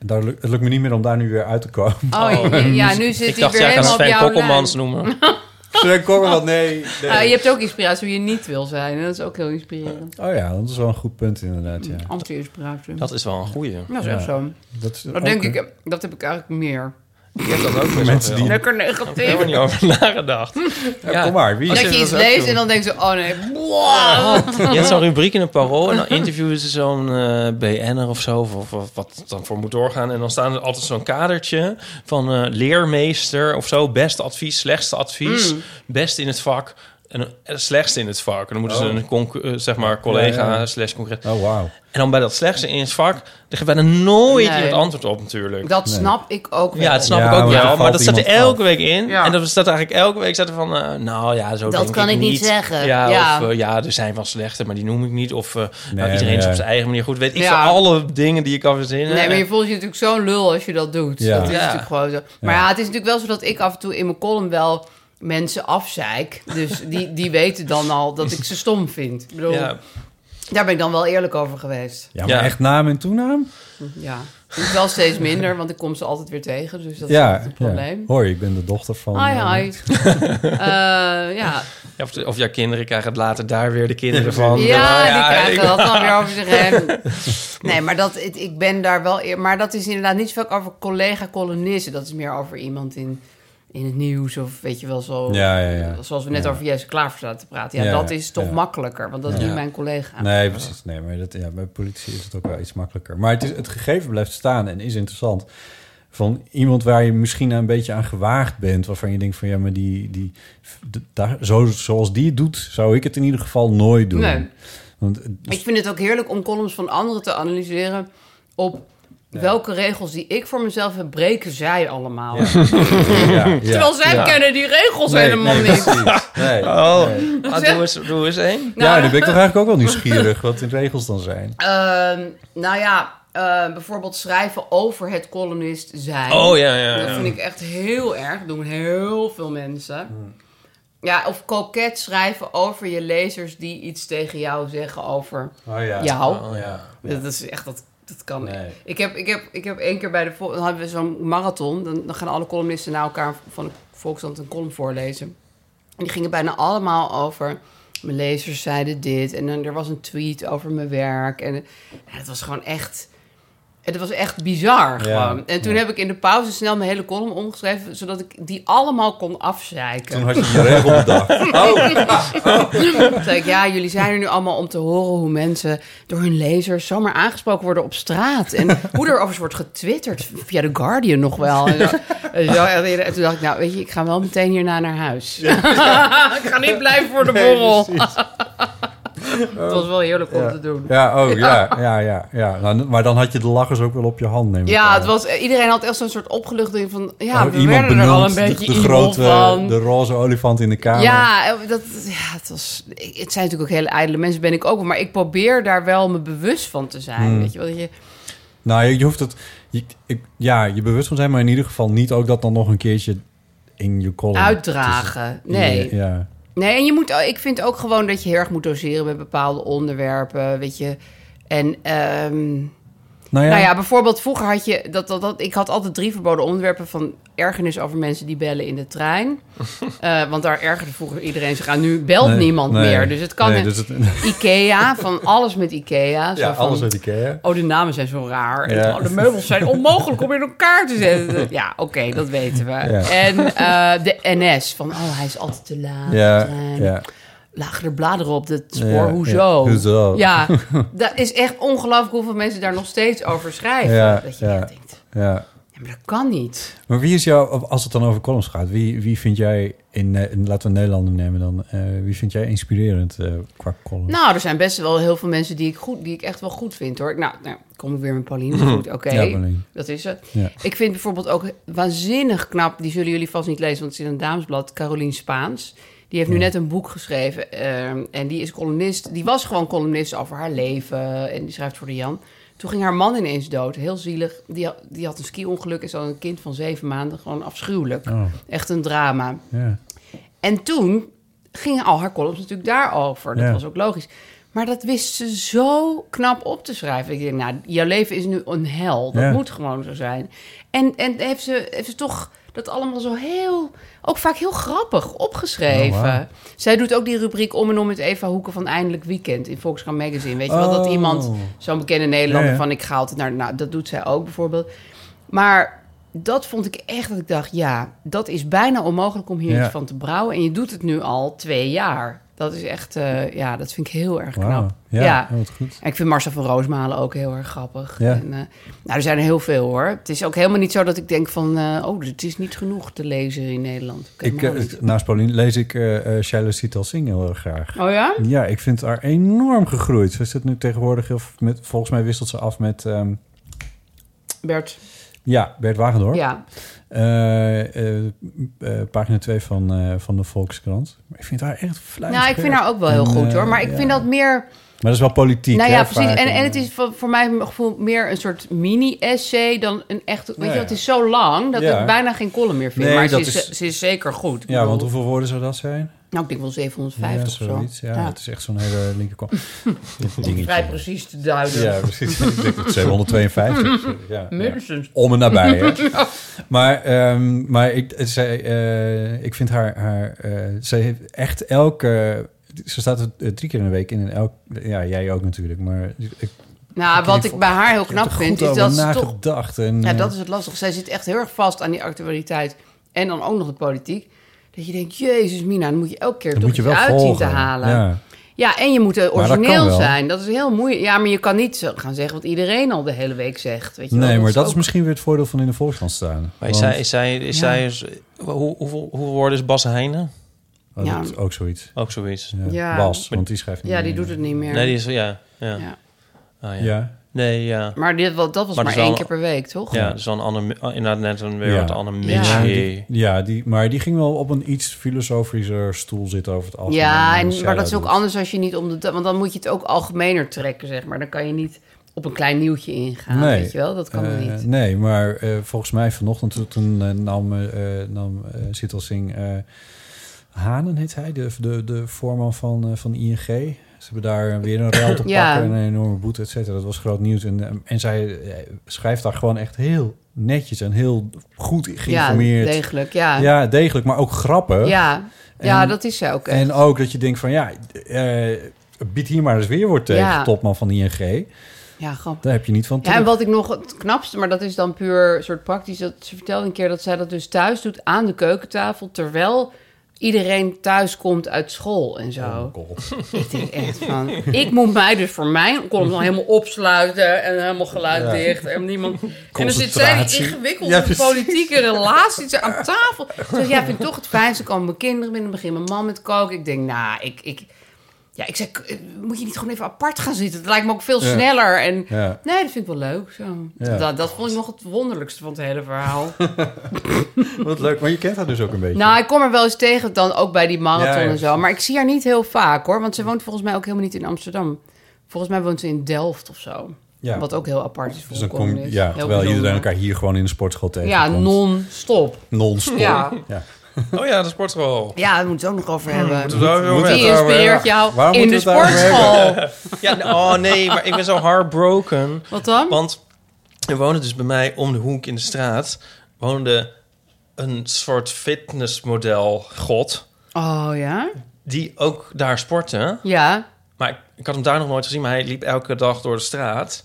Speaker 1: daar, luk- het lukt me niet meer om daar nu weer uit te
Speaker 3: (laughs)
Speaker 1: komen.
Speaker 3: Oh, je- ja, nu zit
Speaker 2: Ik
Speaker 3: hij
Speaker 2: dacht,
Speaker 3: weer
Speaker 2: jij gaat
Speaker 3: helemaal op
Speaker 2: Sven
Speaker 3: jouw lijn. (laughs)
Speaker 2: Kokkelmans noemen.
Speaker 1: Sven Kokkelman, nee. nee.
Speaker 3: Ah, je hebt ook inspiratie hoe je niet wil zijn. En dat is ook heel inspirerend.
Speaker 1: Oh ja, dat is wel een goed punt inderdaad. Ja.
Speaker 3: Anti-inspiratie.
Speaker 2: Dat is wel een goeie.
Speaker 3: Ja,
Speaker 1: Ja.
Speaker 3: zo. zo.
Speaker 1: Dat, is oh,
Speaker 3: Dat
Speaker 1: ook
Speaker 3: denk
Speaker 1: een-
Speaker 3: ik, eh, dat heb ik eigenlijk meer.
Speaker 2: Ik heb dat ook
Speaker 1: Mensen die-
Speaker 3: Lekker
Speaker 2: Ik
Speaker 3: negatief.
Speaker 2: heb er niet over (laughs) nagedacht.
Speaker 1: Ja, kom maar, wie
Speaker 3: Dat je iets leest en dan denk je, oh nee, wow.
Speaker 1: (laughs)
Speaker 2: Je hebt zo'n rubriek in een parool en dan interviewen ze zo'n eh, BN'er of zo, of, of- of wat dan voor moet doorgaan. En dan staan er altijd zo'n kadertje van eh, leermeester of zo, beste advies, slechtste advies,
Speaker 1: Mm.
Speaker 2: best in het vak en eh, slechtste in het vak. En dan moeten ze een concu- eh, zeg maar collega
Speaker 1: Oh. Ja, ja.
Speaker 2: slash concurrent.
Speaker 1: Oh, wauw.
Speaker 2: En dan bij dat slechtste in het vak, er gaat bijna nooit
Speaker 3: Nee.
Speaker 2: iemand antwoord op natuurlijk.
Speaker 3: Dat snap ik ook wel.
Speaker 2: ja, dat snap
Speaker 1: Ja,
Speaker 2: ik ook
Speaker 1: want er
Speaker 2: wel, maar
Speaker 1: valt
Speaker 2: dat staat er
Speaker 1: iemand af.
Speaker 2: elke week in.
Speaker 3: Ja.
Speaker 2: En dat staat eigenlijk elke week staat er van, eh, nou ja, zo
Speaker 3: Dat
Speaker 2: denk
Speaker 3: kan
Speaker 2: ik
Speaker 3: ik niet zeggen.
Speaker 2: Ja,
Speaker 3: Ja.
Speaker 2: of eh, ja, er zijn wel slechte, maar die noem ik niet. Of eh, nou,
Speaker 1: Nee,
Speaker 2: iedereen is
Speaker 1: nee.
Speaker 2: op zijn eigen manier goed. Weet ik
Speaker 3: Ja.
Speaker 2: van alle dingen die ik kan verzinnen.
Speaker 3: Nee, maar je voelt je natuurlijk zo'n lul als je dat doet.
Speaker 1: Ja.
Speaker 3: Dat is
Speaker 2: Ja.
Speaker 3: natuurlijk gewoon zo. Maar ja. het is natuurlijk wel zo dat ik af en toe in mijn column wel mensen afzeik. Dus die, die weten dan al dat ik ze stom vind. Ik bedoel,
Speaker 2: Ja,
Speaker 3: daar ben ik dan wel eerlijk over geweest.
Speaker 1: Ja, maar
Speaker 2: Ja.
Speaker 1: echt naam en toenaam?
Speaker 3: Ja. Het is wel steeds minder, want ik kom ze altijd weer tegen. Dus dat is
Speaker 1: ja,
Speaker 3: altijd een probleem.
Speaker 1: ja. Hoi, ik ben de dochter van...
Speaker 3: Hi,
Speaker 1: eh,
Speaker 3: hi. (laughs) Eh, ja,
Speaker 2: Ja, of, of jouw kinderen krijgen het later daar weer de kinderen
Speaker 3: (laughs)
Speaker 2: van.
Speaker 3: Ja, die
Speaker 2: ik-
Speaker 3: krijgen dat dan weer over zich heen.
Speaker 1: (laughs)
Speaker 3: Nee, maar dat, het- ik ben daar wel... eer- Maar dat is inderdaad niet zo vaak over collega-columnisten. Dat is meer over iemand in, in het nieuws of weet je wel zo... eh,
Speaker 1: Ja, ja, ja.
Speaker 3: Zoals we net over Jesse Klaver zaten te praten. Ja,
Speaker 1: Ja,
Speaker 3: dat is toch
Speaker 1: ja.
Speaker 3: makkelijker, want dat is
Speaker 2: Ja.
Speaker 3: niet mijn collega.
Speaker 1: Nee, precies. Nee, maar dat, ja, bij politici is het ook wel iets makkelijker. Maar het, is, het gegeven blijft staan en is interessant. Van iemand waar je misschien een beetje aan gewaagd bent. Waarvan je denkt van ja, maar die, die, d- daar, zo, zoals die het doet, zou ik het in ieder geval nooit doen.
Speaker 3: Nee. (laughs)
Speaker 1: Want, het-
Speaker 3: Ik vind het ook heerlijk om columns van anderen te analyseren op... Welke regels die ik voor mezelf heb, breken zij allemaal.
Speaker 1: eh, ja, ja.
Speaker 3: (laughs) Terwijl zij
Speaker 2: Ja.
Speaker 3: kennen die regels
Speaker 1: Nee,
Speaker 3: helemaal
Speaker 1: nee,
Speaker 3: niet. Nou.
Speaker 1: precies. Nee.
Speaker 2: Oh, ah, doe, eens, doe eens
Speaker 3: (laughs)
Speaker 2: één.
Speaker 1: Ja, nu ben ik toch eigenlijk ook wel nieuwsgierig wat de regels dan zijn.
Speaker 3: Ehm, nou ja, eh, bijvoorbeeld schrijven over het columnist zijn.
Speaker 2: Oh, ja, ja, ja.
Speaker 3: Dat vind ik echt heel erg. Dat doen heel veel mensen. Ja, of koket schrijven over je lezers die iets tegen jou zeggen over
Speaker 1: Oh ja.
Speaker 3: jou.
Speaker 1: ja.
Speaker 3: Dat is echt, dat, dat kan niet.
Speaker 1: Nee.
Speaker 3: Ik heb, ik, heb, ik heb één keer bij de... vol- Dan hadden we zo'n marathon. Dan, dan gaan alle columnisten naar elkaar van de Volkskrant een column voorlezen. En die gingen bijna allemaal over... Mijn lezers zeiden dit. En dan, er was een tweet over mijn werk. En ja, het was gewoon echt... Het was echt bizar
Speaker 1: Ja.
Speaker 3: gewoon. En toen heb ik in de pauze snel mijn hele column omgeschreven... zodat ik die allemaal kon afzeiken.
Speaker 1: Toen had je die regel bedacht.
Speaker 3: (laughs) Toen zei ik, ja, jullie zijn er nu allemaal om te horen hoe mensen door hun lezers zomaar aangesproken worden op straat. En hoe er overigens wordt getwitterd via The Guardian nog wel. En, zo. En zo. En toen dacht ik, nou weet je, ik ga wel meteen hierna naar huis. (laughs) ik ga niet blijven voor de borrel. Het was wel heerlijk om te doen.
Speaker 1: Ja, oh ja, ja, ja. ja. Nou, maar dan had je de lachers ook wel op je hand nemen.
Speaker 3: Ja, het was, eh, iedereen had echt zo'n soort opgeluchting van... Ja, we
Speaker 1: Nou, Oh, iemand
Speaker 3: werden er al een
Speaker 1: benoemt
Speaker 3: beetje
Speaker 1: de, de
Speaker 3: evil
Speaker 1: grote,
Speaker 3: van.
Speaker 1: de roze olifant in de kamer.
Speaker 3: Ja, eh, dat, ja het, was, het zijn natuurlijk ook hele ijdele mensen, ben ik ook. wel, Maar ik probeer daar wel me bewust van te
Speaker 1: Hmm.
Speaker 3: zijn. Weet je wel, dat
Speaker 1: Oh,
Speaker 3: je,
Speaker 1: Nou, je, je hoeft het... Je, ik- ja, je bewust van zijn, maar in ieder geval niet ook dat dan nog een keertje in je column...
Speaker 3: uitdragen.
Speaker 1: tussen-
Speaker 3: Nee.
Speaker 1: Ja, ja.
Speaker 3: Nee, en je moet, oh, ik vind ook gewoon dat je heel erg moet doseren met bepaalde onderwerpen. Weet je. En ehm,
Speaker 1: Nou ja,
Speaker 3: nou ja, bijvoorbeeld vroeger had je dat, dat, dat. Ik had altijd drie verboden onderwerpen van ergernis over mensen die bellen in de
Speaker 1: (laughs)
Speaker 3: trein. Eh, want daar ergerde vroeger iedereen zich aan. Nu belt
Speaker 1: Nee,
Speaker 3: niemand
Speaker 1: nee,
Speaker 3: meer. Dus het kan.
Speaker 1: nee, dus het-
Speaker 3: Ikea, van alles met Ikea. zo
Speaker 1: ja,
Speaker 3: van,
Speaker 1: alles uit Ikea.
Speaker 3: Oh, de namen zijn zo raar. En,
Speaker 1: Ja.
Speaker 3: oh, de meubels zijn onmogelijk om in elkaar te
Speaker 1: (laughs)
Speaker 3: zetten. Ja, oké, dat weten we. En eh, de NS, van oh, hij is altijd te laat.
Speaker 1: Ja,
Speaker 3: Eh,
Speaker 1: ja.
Speaker 3: Lagen er bladeren op het spoor,
Speaker 1: Ja,
Speaker 3: hoezo?
Speaker 1: ja, hoezo? (laughs)
Speaker 3: Ja, dat is echt ongelooflijk hoeveel mensen daar nog steeds over schrijven.
Speaker 1: Ja,
Speaker 3: dat je
Speaker 1: ja.
Speaker 3: echt denkt,
Speaker 1: ja.
Speaker 3: ja, maar dat kan niet.
Speaker 1: Maar wie is jou, als het dan over columns gaat, wie, wie vind jij, in, eh, in- laten we Nederlander nemen dan, eh, wie vind jij inspirerend eh, qua column?
Speaker 3: Nou, er zijn best wel heel veel mensen die ik, goed, die ik echt wel goed vind, hoor. Nou, nou kom ik weer met Pauline. maar Goed, oké.
Speaker 1: Mhm. Ja, Pauline.
Speaker 3: dat is het.
Speaker 1: Ja.
Speaker 3: Ik vind bijvoorbeeld ook waanzinnig knap, die zullen jullie vast niet lezen, want het is in een damesblad, Carolien Spaans. Die heeft nu net een boek geschreven ehm, en die is columnist. Die was gewoon columnist over haar leven en die schrijft voor de Jan. Toen ging haar man ineens dood, heel zielig. Die, ha- die had een ski-ongeluk en ze had een kind van zeven maanden. Gewoon afschuwelijk.
Speaker 1: Oh.
Speaker 3: Echt een drama.
Speaker 1: Ja.
Speaker 3: En toen gingen al haar columns natuurlijk daarover. Dat
Speaker 1: Ja.
Speaker 3: was ook logisch. Maar dat wist ze zo knap op te schrijven. Ik denk, nou, jouw leven is nu een hel. Dat
Speaker 1: Ja.
Speaker 3: moet gewoon zo zijn. En, en heeft, ze, heeft ze toch dat allemaal zo heel... ook vaak heel grappig opgeschreven.
Speaker 1: Oh, wauw.
Speaker 3: Zij doet ook die rubriek om en om met Eva Hoeken van Eindelijk Weekend... in Volkskrant Magazine. Weet je wel, dat
Speaker 1: Oh.
Speaker 3: iemand, zo'n bekende Nederlander...
Speaker 1: Ja, ja.
Speaker 3: van ik ga altijd naar... Nou, dat doet zij ook bijvoorbeeld. Maar dat vond ik echt dat ik dacht... ja, dat is bijna onmogelijk om hier
Speaker 1: Ja.
Speaker 3: iets van te brouwen. En je doet het nu al twee jaar. Dat is echt... eh, ja, dat vind ik heel erg
Speaker 1: Wauw.
Speaker 3: knap.
Speaker 1: Ja,
Speaker 3: Ja.
Speaker 1: ja, wat goed.
Speaker 3: En ik vind Marcel van Roosmalen ook heel erg grappig.
Speaker 1: Ja.
Speaker 3: En, eh, nou, er zijn er heel veel hoor. Het is ook helemaal niet zo dat ik denk van... eh, oh, het is niet genoeg te lezen in Nederland.
Speaker 1: Ik,
Speaker 3: Helemaal
Speaker 1: eh,
Speaker 3: niet.
Speaker 1: naast Pauline lees ik eh eh, Shaila Sital Singh heel erg graag.
Speaker 3: oh ja?
Speaker 1: Ja, ik vind haar enorm gegroeid. Ze zit nu tegenwoordig heel f- met, volgens mij wisselt ze af met ehm,
Speaker 3: Bert.
Speaker 1: ja, Bert Wagendorp.
Speaker 3: Ja.
Speaker 1: Eh, eh, eh, pagina 2 van, eh, van de Volkskrant. Maar Ik vind haar echt fluit.
Speaker 3: Nou, ik vind haar ook wel heel
Speaker 1: En,
Speaker 3: goed
Speaker 1: eh,
Speaker 3: hoor. Maar ik
Speaker 1: ja.
Speaker 3: vind dat meer...
Speaker 1: Maar dat is wel politiek.
Speaker 3: Nou
Speaker 1: hè,
Speaker 3: ja, precies.
Speaker 1: vaak.
Speaker 3: En, en het is voor, voor mij mijn gevoel meer een soort mini-essay dan een echt... Weet
Speaker 1: Nou
Speaker 3: je,
Speaker 1: Ja,
Speaker 3: wel,
Speaker 1: ja.
Speaker 3: het is zo lang dat
Speaker 1: Ja.
Speaker 3: ik bijna geen column meer vind.
Speaker 1: Nee,
Speaker 3: maar ze
Speaker 1: dat
Speaker 3: is,
Speaker 1: is-
Speaker 3: ze is zeker goed. Ik
Speaker 1: Ja,
Speaker 3: bedoel,
Speaker 1: want hoeveel woorden zou dat zijn?
Speaker 3: Nou, ik denk wel 750
Speaker 1: ja,
Speaker 3: of zo.
Speaker 1: zoiets. Ja, het is echt zo'n hele
Speaker 3: (laughs)
Speaker 1: linkerkant. Dingetje.
Speaker 3: Vrij precies te duiden.
Speaker 1: Ja, precies. (laughs) Ik denk dat 752. Ja, ja.
Speaker 3: Minstens.
Speaker 1: Om en nabij.
Speaker 3: (laughs)
Speaker 1: Hè. Maar, ehm, maar ik, zij, eh, ik vind haar. haar eh, zij heeft echt elke. Ze staat er eh, drie keer in de week in. En elk, ja, jij ook natuurlijk. Maar ik
Speaker 3: Nou, wat ik
Speaker 1: vond-
Speaker 3: bij haar heel knap
Speaker 1: heb er
Speaker 3: vind,
Speaker 1: goed
Speaker 3: is
Speaker 1: over
Speaker 3: dat ze toch...
Speaker 1: nagedacht. En,
Speaker 3: Ja,
Speaker 1: eh,
Speaker 3: dat is het lastig. Zij zit echt heel erg vast aan die actualiteit. En dan ook nog de politiek. Dat je denkt, jezus Mina, dan moet je elke keer
Speaker 1: dat
Speaker 3: toch
Speaker 1: moet je wel
Speaker 3: iets uit zien
Speaker 1: volgen.
Speaker 3: te halen.
Speaker 1: Ja.
Speaker 3: Ja, en je moet eh,
Speaker 1: Maar dat kan
Speaker 3: origineel
Speaker 1: wel.
Speaker 3: zijn. Dat is heel moeilijk. Ja, maar je kan niet zo gaan zeggen wat iedereen al de hele week zegt. Weet je wel.
Speaker 1: Nee, maar dat is
Speaker 3: ook-
Speaker 1: misschien weer het voordeel van in de Volkskrant staan.
Speaker 2: Maar is
Speaker 1: Want-
Speaker 2: zij, is zij, is
Speaker 3: Ja.
Speaker 2: zij is- hoe, hoeveel, hoeveel woorden is Bas Heijnen?
Speaker 1: oh, dat
Speaker 3: Ja.
Speaker 1: is ook zoiets.
Speaker 2: Ook zoiets.
Speaker 1: Ja.
Speaker 3: Ja.
Speaker 1: Bas, want die schrijft niet
Speaker 3: Ja, die
Speaker 1: meer.
Speaker 3: doet het niet meer.
Speaker 2: Nee, die is... Ja, ja.
Speaker 3: Ja.
Speaker 2: Ah, ja.
Speaker 1: Ja.
Speaker 2: Nee, ja.
Speaker 3: Maar dit, wa- dat was maar,
Speaker 2: Maar dat is
Speaker 3: één
Speaker 2: wel-
Speaker 3: keer per week, toch?
Speaker 2: Ja, dus dan Anne, inderdaad net een weer
Speaker 1: Ja.
Speaker 2: wat Anne
Speaker 3: Ja.
Speaker 2: Mitchie.
Speaker 1: Ja, die, maar die ging wel op een iets filosofischer stoel zitten over het algemeen. Dus
Speaker 3: Ja,
Speaker 1: dan
Speaker 3: en,
Speaker 1: zij
Speaker 3: maar dat is ook
Speaker 1: doet.
Speaker 3: anders als je niet om de... da- Want dan moet je het ook algemener trekken, zeg maar. Dan kan je niet op een klein nieuwtje ingaan,
Speaker 1: Nee.
Speaker 3: weet je wel? Dat kan
Speaker 1: Eh,
Speaker 3: niet.
Speaker 1: Nee, maar eh, volgens mij vanochtend toen- toen eh, nam, eh eh, nam eh, Sital Singh eh, Hanen, heet hij, de, de, de voorman van, eh, van ING. Ze hebben daar weer een ruil te
Speaker 3: (laughs) Ja.
Speaker 1: pakken en een enorme boete, et cetera. Dat was groot nieuws. En, eh, en zij eh, schrijft daar gewoon echt heel netjes en heel goed
Speaker 3: Ja,
Speaker 1: geïnformeerd. Ja, degelijk.
Speaker 3: degelijk, ja. Ja,
Speaker 1: Ja, degelijk, maar ook grappig.
Speaker 3: ja.
Speaker 1: En-
Speaker 3: dat is ze ook echt.
Speaker 1: En ook dat je denkt van ja, eh bied hier maar eens weerwoord tegen,
Speaker 3: Ja.
Speaker 1: topman van ING.
Speaker 3: ja, grappig.
Speaker 1: Daar heb je niet van terug.
Speaker 3: Ja, en wat ik nog het knapste, maar dat is dan puur soort praktisch. Dat, ze vertelde een keer dat zij dat dus thuis doet aan de keukentafel. Terwijl iedereen thuis komt uit school en zo. ik denk echt van. Ik moet mij dus voor mijn column al helemaal opsluiten. En helemaal geluid
Speaker 1: Ja.
Speaker 3: dicht. En niemand. En dan zit zij die
Speaker 1: Concentratie.
Speaker 3: ingewikkelde
Speaker 1: Ja, precies.
Speaker 3: politieke relatie zit ze aan tafel. Ze zegt, ja, vind ik toch het fijnste. Komen mijn kinderen binnen, begin mijn man met koken. Ik denk, nou, ik. ik ja, ik zeg, eh, moet je niet gewoon even apart gaan zitten? Dat lijkt me ook veel
Speaker 1: Ja.
Speaker 3: sneller. En
Speaker 1: Ja.
Speaker 3: Nee, dat vind ik wel leuk. Zo.
Speaker 1: Ja.
Speaker 3: Dat, dat vond ik nog het wonderlijkste van het hele
Speaker 1: (laughs)
Speaker 3: verhaal.
Speaker 1: Wat leuk, maar je kent haar dus ook een beetje.
Speaker 3: nou, ik kom er wel eens tegen dan ook bij die marathon
Speaker 1: Ja, ja,
Speaker 3: en zo.
Speaker 1: precies.
Speaker 3: Maar ik zie haar niet heel vaak hoor. Want ze woont volgens mij ook helemaal niet in Amsterdam. Volgens mij woont ze in Delft of zo.
Speaker 1: Ja.
Speaker 3: Wat ook heel apart is voor
Speaker 1: dus dan
Speaker 3: een
Speaker 1: kom je,
Speaker 3: columnist.
Speaker 1: ja,
Speaker 3: Heel
Speaker 1: terwijl
Speaker 3: bijzonder.
Speaker 1: iedereen elkaar hier gewoon in de sportschool
Speaker 3: Ja,
Speaker 1: tegenkomt.
Speaker 3: non-stop.
Speaker 1: non-sport.
Speaker 3: Ja.
Speaker 1: Ja.
Speaker 2: Oh ja, de sportschool.
Speaker 3: Ja, daar moeten we het ook nog over hebben.
Speaker 2: Moeten we daar weer over
Speaker 3: Die
Speaker 2: hebben?
Speaker 3: inspireert jou
Speaker 1: Waar
Speaker 3: in
Speaker 1: moeten
Speaker 3: de
Speaker 1: we het over (laughs)
Speaker 3: sportschool.
Speaker 2: Ja, n- oh nee, maar ik ben zo heartbroken.
Speaker 3: Wat dan?
Speaker 2: Want er woonde dus bij mij om de hoek in de straat... woonde een soort fitnessmodel god...
Speaker 3: Oh ja?
Speaker 2: die ook daar sportte.
Speaker 3: Ja.
Speaker 2: Maar ik, ik had hem daar nog nooit gezien... maar hij liep elke dag door de straat.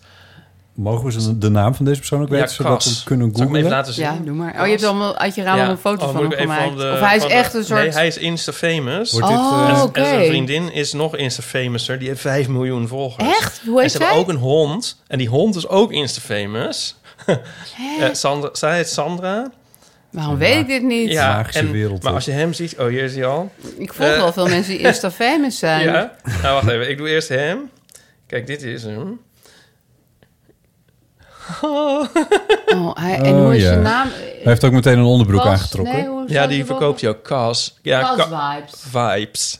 Speaker 1: Mogen we ze de naam van deze persoon ook weten, zodat we
Speaker 2: Cas.
Speaker 1: het kunnen
Speaker 2: Zal ik hem
Speaker 1: googlen?
Speaker 2: even laten zien?
Speaker 3: Ja, doe maar. Oh, je hebt allemaal uit je raam
Speaker 2: Ja.
Speaker 3: een foto
Speaker 2: Oh,
Speaker 3: van
Speaker 2: moet
Speaker 3: hem
Speaker 2: ik even
Speaker 3: gemaakt.
Speaker 2: de-
Speaker 3: of hij is
Speaker 2: van de-
Speaker 3: echt een soort...
Speaker 2: Nee, hij is Insta-famous.
Speaker 1: Wordt dit,
Speaker 3: Oh,
Speaker 1: eh,
Speaker 2: En-
Speaker 3: oké.
Speaker 2: En zijn vriendin is nog Insta-famouser. Die heeft 5 miljoen volgers.
Speaker 3: Echt? Hoe
Speaker 2: en
Speaker 3: heet
Speaker 2: ze hebben
Speaker 3: zij?
Speaker 2: ook een hond. En die hond is ook Insta-famous. (laughs) Eh, Sandra, zij heet Sandra.
Speaker 3: Waarom weet ik dit niet?
Speaker 1: magische wereld,
Speaker 2: Maar
Speaker 1: hè?
Speaker 2: als je hem ziet... Oh, hier is hij al.
Speaker 3: Ik volg
Speaker 2: Eh.
Speaker 3: wel veel mensen
Speaker 2: (laughs)
Speaker 3: die Insta famous zijn.
Speaker 2: Ja. Nou, wacht even. Ik doe eerst hem. Kijk, dit is hem.
Speaker 3: Oh, hij, en
Speaker 1: Oh,
Speaker 3: hoe is
Speaker 1: ja.
Speaker 3: zijn naam?
Speaker 1: Hij heeft ook meteen een onderbroek aangetrokken.
Speaker 2: Ja, die verkoopt hij ook. Cas. Ja,
Speaker 3: Cas
Speaker 2: Cas
Speaker 3: vibes.
Speaker 2: vibes.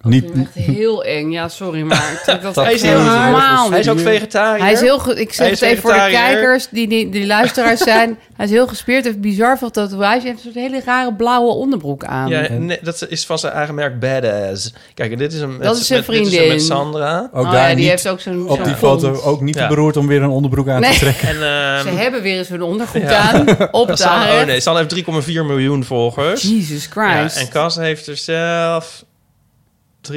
Speaker 1: Niet,
Speaker 3: Ik vind het echt heel eng. Ja, sorry, maar ik trek dat
Speaker 2: (laughs)
Speaker 1: Dat
Speaker 2: Hij is
Speaker 1: is
Speaker 2: heel
Speaker 1: niet
Speaker 2: aardig.
Speaker 3: normaal.
Speaker 2: Hij is ook
Speaker 1: Nee.
Speaker 2: vegetariër.
Speaker 3: Hij is heel ge- ik zeg
Speaker 2: Hij is
Speaker 3: het even voor de
Speaker 2: vegetariër.
Speaker 3: kijkers die, die, die luisteraars zijn. Hij is heel gespierd, heeft bizar veel tatoeage. Hij heeft een soort hele rare blauwe onderbroek aan.
Speaker 2: Ja, nee, dat is van zijn eigen merk Badass. Kijk, en dit is hem met,
Speaker 3: Dat is zijn
Speaker 2: met- dit hem
Speaker 3: vriendin.
Speaker 2: met Sandra.
Speaker 1: ook
Speaker 3: Oh
Speaker 1: daar
Speaker 3: ja, die
Speaker 1: niet-
Speaker 3: heeft ook zo'n
Speaker 1: op
Speaker 3: zo'n
Speaker 1: die
Speaker 3: kont.
Speaker 1: foto ook niet te
Speaker 2: Ja.
Speaker 1: beroerd om weer een onderbroek aan
Speaker 3: Nee.
Speaker 1: te trekken.
Speaker 2: En ehm,
Speaker 3: Ze hebben weer eens hun ondergoed
Speaker 2: Ja. (laughs)
Speaker 3: aan. Op de
Speaker 2: Sandra, oh
Speaker 3: haar.
Speaker 2: nee, Sandra heeft 3,4 miljoen volgers.
Speaker 3: Jesus
Speaker 2: Ja,
Speaker 3: Christ.
Speaker 2: en Cas heeft er zelf 369.000.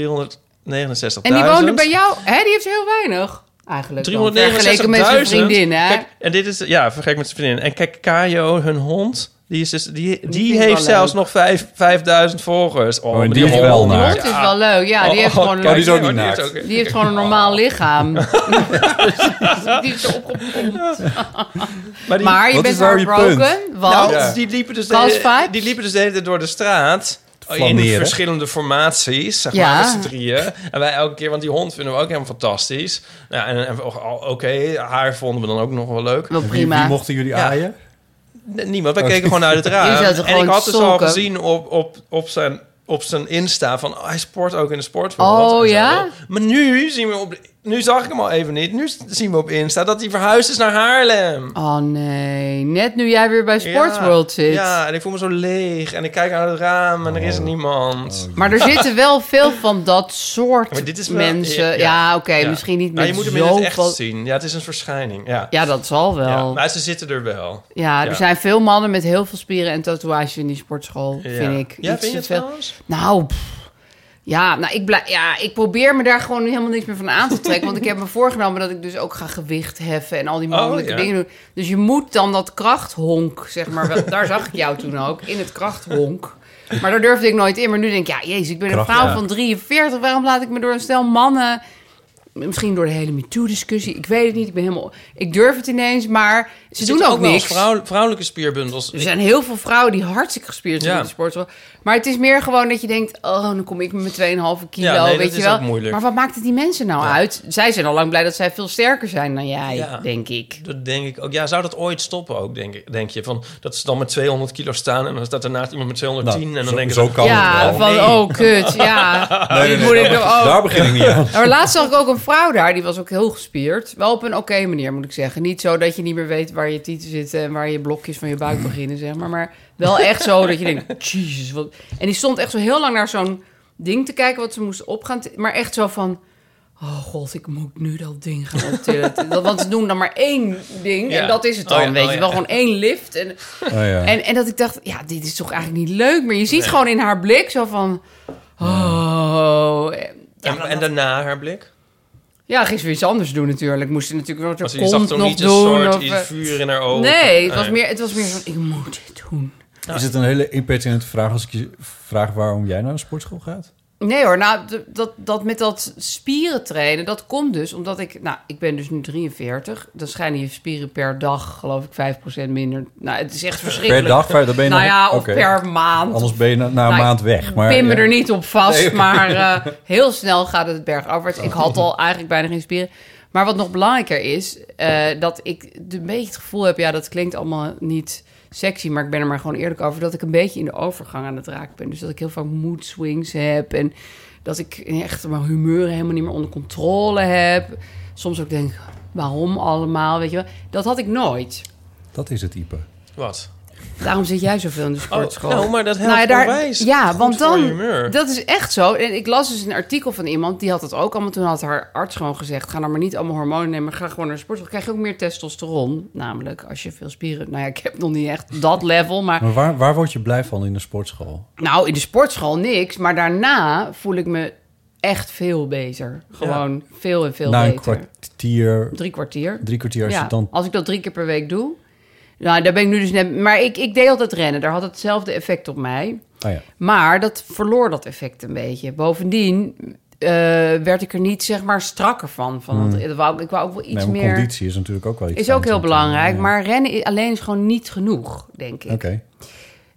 Speaker 3: en die woonde bij jou. Hè, die heeft heel weinig. Eigenlijk. dan,
Speaker 2: 369.000.
Speaker 3: Vergeleken met zijn vriendin, hè?
Speaker 2: Kijk, en dit is, ja, vergelijk met zijn vriendin. En kijk, Kajo, hun hond, die, is dus, die, die,
Speaker 3: vind ik
Speaker 2: heeft
Speaker 3: wel
Speaker 2: zelfs
Speaker 3: leuk.
Speaker 2: nog vijf- 5000 volgers. Oh,
Speaker 1: en
Speaker 2: maar
Speaker 1: die is
Speaker 2: hond,
Speaker 1: wel
Speaker 2: die
Speaker 3: Die
Speaker 1: naakt.
Speaker 2: hond
Speaker 3: hond is wel leuk. Ja, die heeft
Speaker 2: Oh,
Speaker 3: gewoon
Speaker 2: oh,
Speaker 3: een,
Speaker 1: kijk, die is ook
Speaker 2: ja,
Speaker 1: niet
Speaker 2: heeft
Speaker 1: naakt.
Speaker 2: ook-
Speaker 3: die heeft gewoon een normaal
Speaker 2: (laughs)
Speaker 3: lichaam. die is zo opgepompt.
Speaker 2: Maar die,
Speaker 3: Maar je
Speaker 1: Wat
Speaker 3: bent
Speaker 1: is daar je
Speaker 3: heartbroken, want...
Speaker 2: Nou,
Speaker 1: Ja.
Speaker 2: die, liepen dus
Speaker 3: Kals
Speaker 2: de,
Speaker 3: vibes?
Speaker 2: die liepen dus de hele tijd door de straat. eh, In
Speaker 1: Flaneren.
Speaker 2: verschillende formaties, zeg
Speaker 3: Ja.
Speaker 2: maar, met z'n drieën. En wij elke keer, want die hond vinden we ook helemaal fantastisch. Ja, en, en oh, oké, haar vonden we dan ook nog wel leuk.
Speaker 3: Wel
Speaker 1: Wie, wie
Speaker 3: prima.
Speaker 1: mochten jullie
Speaker 2: Ja.
Speaker 1: aaien?
Speaker 2: Nee, Niemand, wij keken gewoon uit het raam.
Speaker 3: Die zaten
Speaker 2: En ik
Speaker 3: gewoon
Speaker 2: had dus al
Speaker 3: sulken.
Speaker 2: gezien op, op, op, zijn, op zijn Insta van oh, hij sport ook in de sportwereld.
Speaker 3: Oh,
Speaker 2: en zo.
Speaker 3: ja?
Speaker 2: Maar nu zien we op... de- Nu zag ik hem al even niet. Nu zien we op Insta dat hij verhuisd is naar Haarlem.
Speaker 3: Oh nee, net nu jij weer bij Sportsworld
Speaker 2: ja,
Speaker 3: zit.
Speaker 2: Ja, en ik voel me zo leeg. En ik kijk uit het raam en er is niemand.
Speaker 3: Maar er zitten wel veel van dat soort
Speaker 2: Maar dit is wel-
Speaker 3: mensen.
Speaker 2: ja,
Speaker 3: Ja,
Speaker 2: ja.
Speaker 3: oké,
Speaker 2: Ja.
Speaker 3: misschien niet
Speaker 2: Nou,
Speaker 3: met
Speaker 2: je moet hem in het echt
Speaker 3: zoveel...
Speaker 2: zien. Ja, het is een verschijning. Ja.
Speaker 3: Ja, dat zal
Speaker 2: Ja,
Speaker 3: wel. Ja,
Speaker 2: maar ze zitten er wel.
Speaker 3: er
Speaker 2: Ja.
Speaker 3: zijn veel mannen met heel veel spieren en tatoeages in die sportschool,
Speaker 2: Ja.
Speaker 3: vind ik.
Speaker 2: Ja,
Speaker 3: Iets
Speaker 2: vind je
Speaker 3: te
Speaker 2: het trouwens?
Speaker 3: Nou, pff. ja, nou ik, blij- ja, ik probeer me daar gewoon helemaal niks meer van aan
Speaker 2: (laughs)
Speaker 3: te trekken. want ik heb me voorgenomen dat ik dus ook ga gewicht heffen en al die mogelijke
Speaker 2: Oh, ja.
Speaker 3: dingen doen. Dus je moet dan dat krachthonk, zeg maar. wel- daar zag ik jou toen ook, in het krachthonk. Maar daar durfde ik nooit in. Maar nu denk ik, ja, jezus, ik ben een
Speaker 1: Kracht,
Speaker 3: vrouw
Speaker 1: ja.
Speaker 3: van 43. Waarom laat ik me door een stel mannen... Misschien door de hele MeToo-discussie. Ik weet het niet. Ik ben helemaal... Ik durf het ineens, maar ze
Speaker 2: Er
Speaker 3: doen
Speaker 2: zitten
Speaker 3: ook,
Speaker 2: wel eens
Speaker 3: niks.
Speaker 2: vrouw- vrouwelijke spierbundels.
Speaker 3: Er zijn heel veel vrouwen die hartstikke gespierd zijn
Speaker 2: Ja.
Speaker 3: in de sportschool. Maar het is meer gewoon dat je denkt... oh, dan kom ik met 2,5 kilo,
Speaker 2: Ja, nee, dat
Speaker 3: weet
Speaker 2: is
Speaker 3: je wel.
Speaker 2: ook moeilijk.
Speaker 3: Maar wat maakt het die mensen nou uit? Zij zijn al lang blij dat zij veel sterker zijn dan jij,
Speaker 2: Ja.
Speaker 3: denk ik.
Speaker 2: Dat denk ik ook. Ja, zou dat ooit stoppen ook, denk, ik, denk je? Van, dat ze dan met 200 kilo staan en dan staat daarnaast iemand met 210
Speaker 3: Nou,
Speaker 2: en dan
Speaker 1: zo,
Speaker 2: denken
Speaker 1: zo
Speaker 2: ze...
Speaker 1: kan
Speaker 3: ja,
Speaker 1: het wel.
Speaker 3: van
Speaker 2: Nee.
Speaker 3: oh kut,
Speaker 2: (laughs)
Speaker 3: ja.
Speaker 1: Nee, nee,
Speaker 3: Dit
Speaker 1: nee,
Speaker 3: moet
Speaker 1: daar-
Speaker 3: ik nou ook.
Speaker 1: Daar begin ik niet
Speaker 3: (laughs)
Speaker 1: aan.
Speaker 3: Maar laatst zag ik ook een vrouw daar, die was ook heel gespierd. Wel op een oké manier, moet ik zeggen. Niet zo dat je niet meer weet waar je tieten zitten... en waar je blokjes van je buik beginnen, zeg maar. Maar wel echt zo dat je denkt, (laughs) jezus. Wat... En die stond echt zo heel lang naar zo'n ding te kijken... wat ze moest opgaan. Maar echt zo van... Oh god, ik moet nu dat ding gaan optillen. (laughs) Dat- Want ze doen dan maar één ding
Speaker 2: Ja.
Speaker 3: en dat is het dan,
Speaker 2: Oh ja,
Speaker 3: weet
Speaker 2: oh
Speaker 3: je
Speaker 2: ja.
Speaker 3: wel. Gewoon één lift. En,
Speaker 1: Oh, ja.
Speaker 3: en, en dat ik dacht, ja, dit is toch eigenlijk niet leuk. Maar je ziet gewoon in haar blik zo van... Oh... Ja,
Speaker 2: En, en daarna haar blik?
Speaker 3: ja, ging ze weer iets anders doen natuurlijk. Moest ze natuurlijk
Speaker 2: Want
Speaker 3: wat
Speaker 2: je
Speaker 3: er komt
Speaker 2: zag toch
Speaker 3: nog
Speaker 2: niet een
Speaker 3: doen.
Speaker 2: soort
Speaker 3: of,
Speaker 2: iets
Speaker 3: eh,
Speaker 2: vuur oh, in haar ogen?
Speaker 3: nee, het was, meer, het was meer van, ik moet dit doen.
Speaker 1: Is het een hele impertinente vraag als ik je vraag waarom jij naar een sportschool gaat?
Speaker 3: Nee hoor, nou, d- dat, dat met dat spieren trainen, dat komt dus omdat ik... Nou, ik ben dus nu 43. Dan schijnen je spieren per dag, geloof ik, 5% minder. Nou, het is echt verschrikkelijk.
Speaker 1: Per dag? Daar ben je
Speaker 3: Nou
Speaker 1: nog-
Speaker 3: ja, of
Speaker 1: oké.
Speaker 3: per maand.
Speaker 1: Anders ben je na, na een
Speaker 3: Nou,
Speaker 1: maand weg. Maar,
Speaker 3: pin me
Speaker 1: ja.
Speaker 3: er niet op vast,
Speaker 1: Nee.
Speaker 3: maar
Speaker 1: (laughs)
Speaker 3: eh, heel snel gaat het bergafwaarts. Ik had al eigenlijk bijna geen spieren. Maar wat nog belangrijker is, eh, dat ik de- een beetje het gevoel heb... ja, dat klinkt allemaal niet sexy, maar ik ben er maar gewoon eerlijk over... dat ik een beetje in de overgang aan het raken ben. Dus dat ik heel vaak mood swings heb... en dat ik echt mijn humeur helemaal niet meer onder controle heb. Soms ook denk, waarom allemaal, weet je wel. Dat had ik nooit.
Speaker 1: Dat is het type.
Speaker 2: Wat?
Speaker 3: Daarom zit jij zoveel in de sportschool.
Speaker 2: nou, maar dat helpt onwijs.
Speaker 3: Ja,
Speaker 2: Goed
Speaker 3: want
Speaker 2: voor je
Speaker 3: dan...
Speaker 2: humeur.
Speaker 3: Dat is echt zo. En ik las dus een artikel van iemand, die had dat ook allemaal. Toen had haar arts gewoon gezegd... ga nou maar niet allemaal hormonen nemen, ga gewoon naar de sportschool. krijg je ook meer testosteron. Namelijk, als je veel spieren... Nou ja, ik heb nog niet echt dat level, maar...
Speaker 1: Maar waar, waar word je blij van in een sportschool?
Speaker 3: Nou, in de sportschool niks. Maar daarna voel ik me echt veel beter. Gewoon veel en veel
Speaker 1: na een
Speaker 3: beter.
Speaker 1: kwartier,
Speaker 3: Drie kwartier.
Speaker 1: drie kwartier als
Speaker 3: Ja,
Speaker 1: je dan...
Speaker 3: als ik dat drie keer per week doe. Nou, daar ben ik nu dus net... Maar ik, ik deed altijd rennen. Daar had hetzelfde effect op mij.
Speaker 1: Ah ja.
Speaker 3: Maar dat verloor dat effect een beetje. Bovendien eh, werd ik er niet zeg maar strakker van. van dat- dat wou, ik- ik wou ook wel iets
Speaker 1: Hmm. nee, maar
Speaker 3: meer...
Speaker 1: conditie is natuurlijk ook wel iets. eh,
Speaker 3: Is ook
Speaker 1: fijns
Speaker 3: heel
Speaker 1: om te doen.
Speaker 3: belangrijk.
Speaker 1: Ja.
Speaker 3: Maar rennen i- alleen is gewoon niet genoeg, denk ik.
Speaker 1: Oké.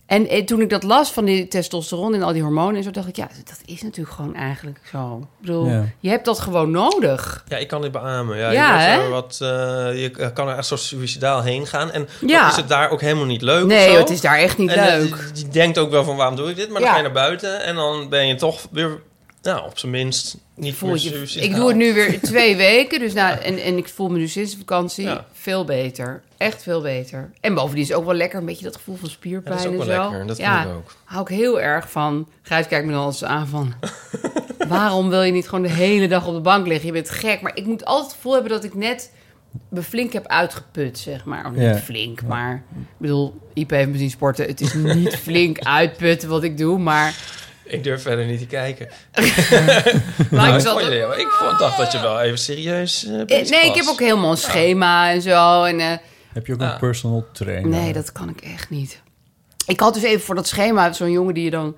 Speaker 3: En eh, toen ik dat las van die testosteron en al die hormonen en zo, dacht ik, ja, dat is natuurlijk gewoon eigenlijk zo. Ik bedoel,
Speaker 1: Ja.
Speaker 3: je hebt dat gewoon nodig.
Speaker 2: Ja, ik kan dit beamen. Ja,
Speaker 3: Ja,
Speaker 2: je, wordt
Speaker 3: hè?
Speaker 2: er wat, eh, je eh, kan er echt zo suicidaal heen gaan. En
Speaker 3: Ja.
Speaker 2: dan is het daar ook helemaal niet leuk of
Speaker 3: Nee,
Speaker 2: zo.
Speaker 3: joh, het is daar echt niet
Speaker 2: En, eh,
Speaker 3: leuk.
Speaker 2: Je, je denkt ook wel van waarom doe ik dit? Maar dan
Speaker 3: Ja.
Speaker 2: ga je naar buiten en dan ben je toch weer Nou, op zijn minst niet
Speaker 3: voel
Speaker 2: meer
Speaker 3: je-
Speaker 2: suicidaal.
Speaker 3: ik doe het nu weer twee weken. Dus nou, en, en ik voel me nu sinds de vakantie
Speaker 2: Ja.
Speaker 3: veel beter. Echt veel beter. En bovendien is het ook wel lekker een beetje dat gevoel van
Speaker 2: Ja,
Speaker 3: spierpijn
Speaker 2: dat is ook wel
Speaker 3: en zo.
Speaker 2: lekker. Dat
Speaker 3: ja,
Speaker 2: vind ik ook.
Speaker 3: hou ik heel erg van. Gijs kijkt me dan altijd aan van... (laughs) waarom wil je niet gewoon de hele dag op de bank liggen? Je bent gek. Maar ik moet altijd het gevoel hebben dat ik net me flink heb uitgeput, zeg maar. Of
Speaker 1: Ja.
Speaker 3: Niet flink, maar... Ik bedoel, Ipe heeft me zien sporten. Het is
Speaker 2: (laughs)
Speaker 3: niet flink uitputten wat ik doe, maar...
Speaker 2: Ik durf verder niet te kijken.
Speaker 3: maar
Speaker 2: Maar
Speaker 3: ik
Speaker 2: ik,
Speaker 3: zal
Speaker 2: vond
Speaker 3: toch-
Speaker 2: je- ik vond, dacht dat je wel even serieus eh,
Speaker 3: Eh,
Speaker 2: bezig
Speaker 3: Nee, ik
Speaker 2: was.
Speaker 3: heb ook helemaal een schema en zo. En, eh,
Speaker 1: Heb je ook een
Speaker 2: Ah.
Speaker 1: personal trainer?
Speaker 3: Nee, dat kan ik echt niet. Ik had dus even voor dat schema zo'n jongen die je dan...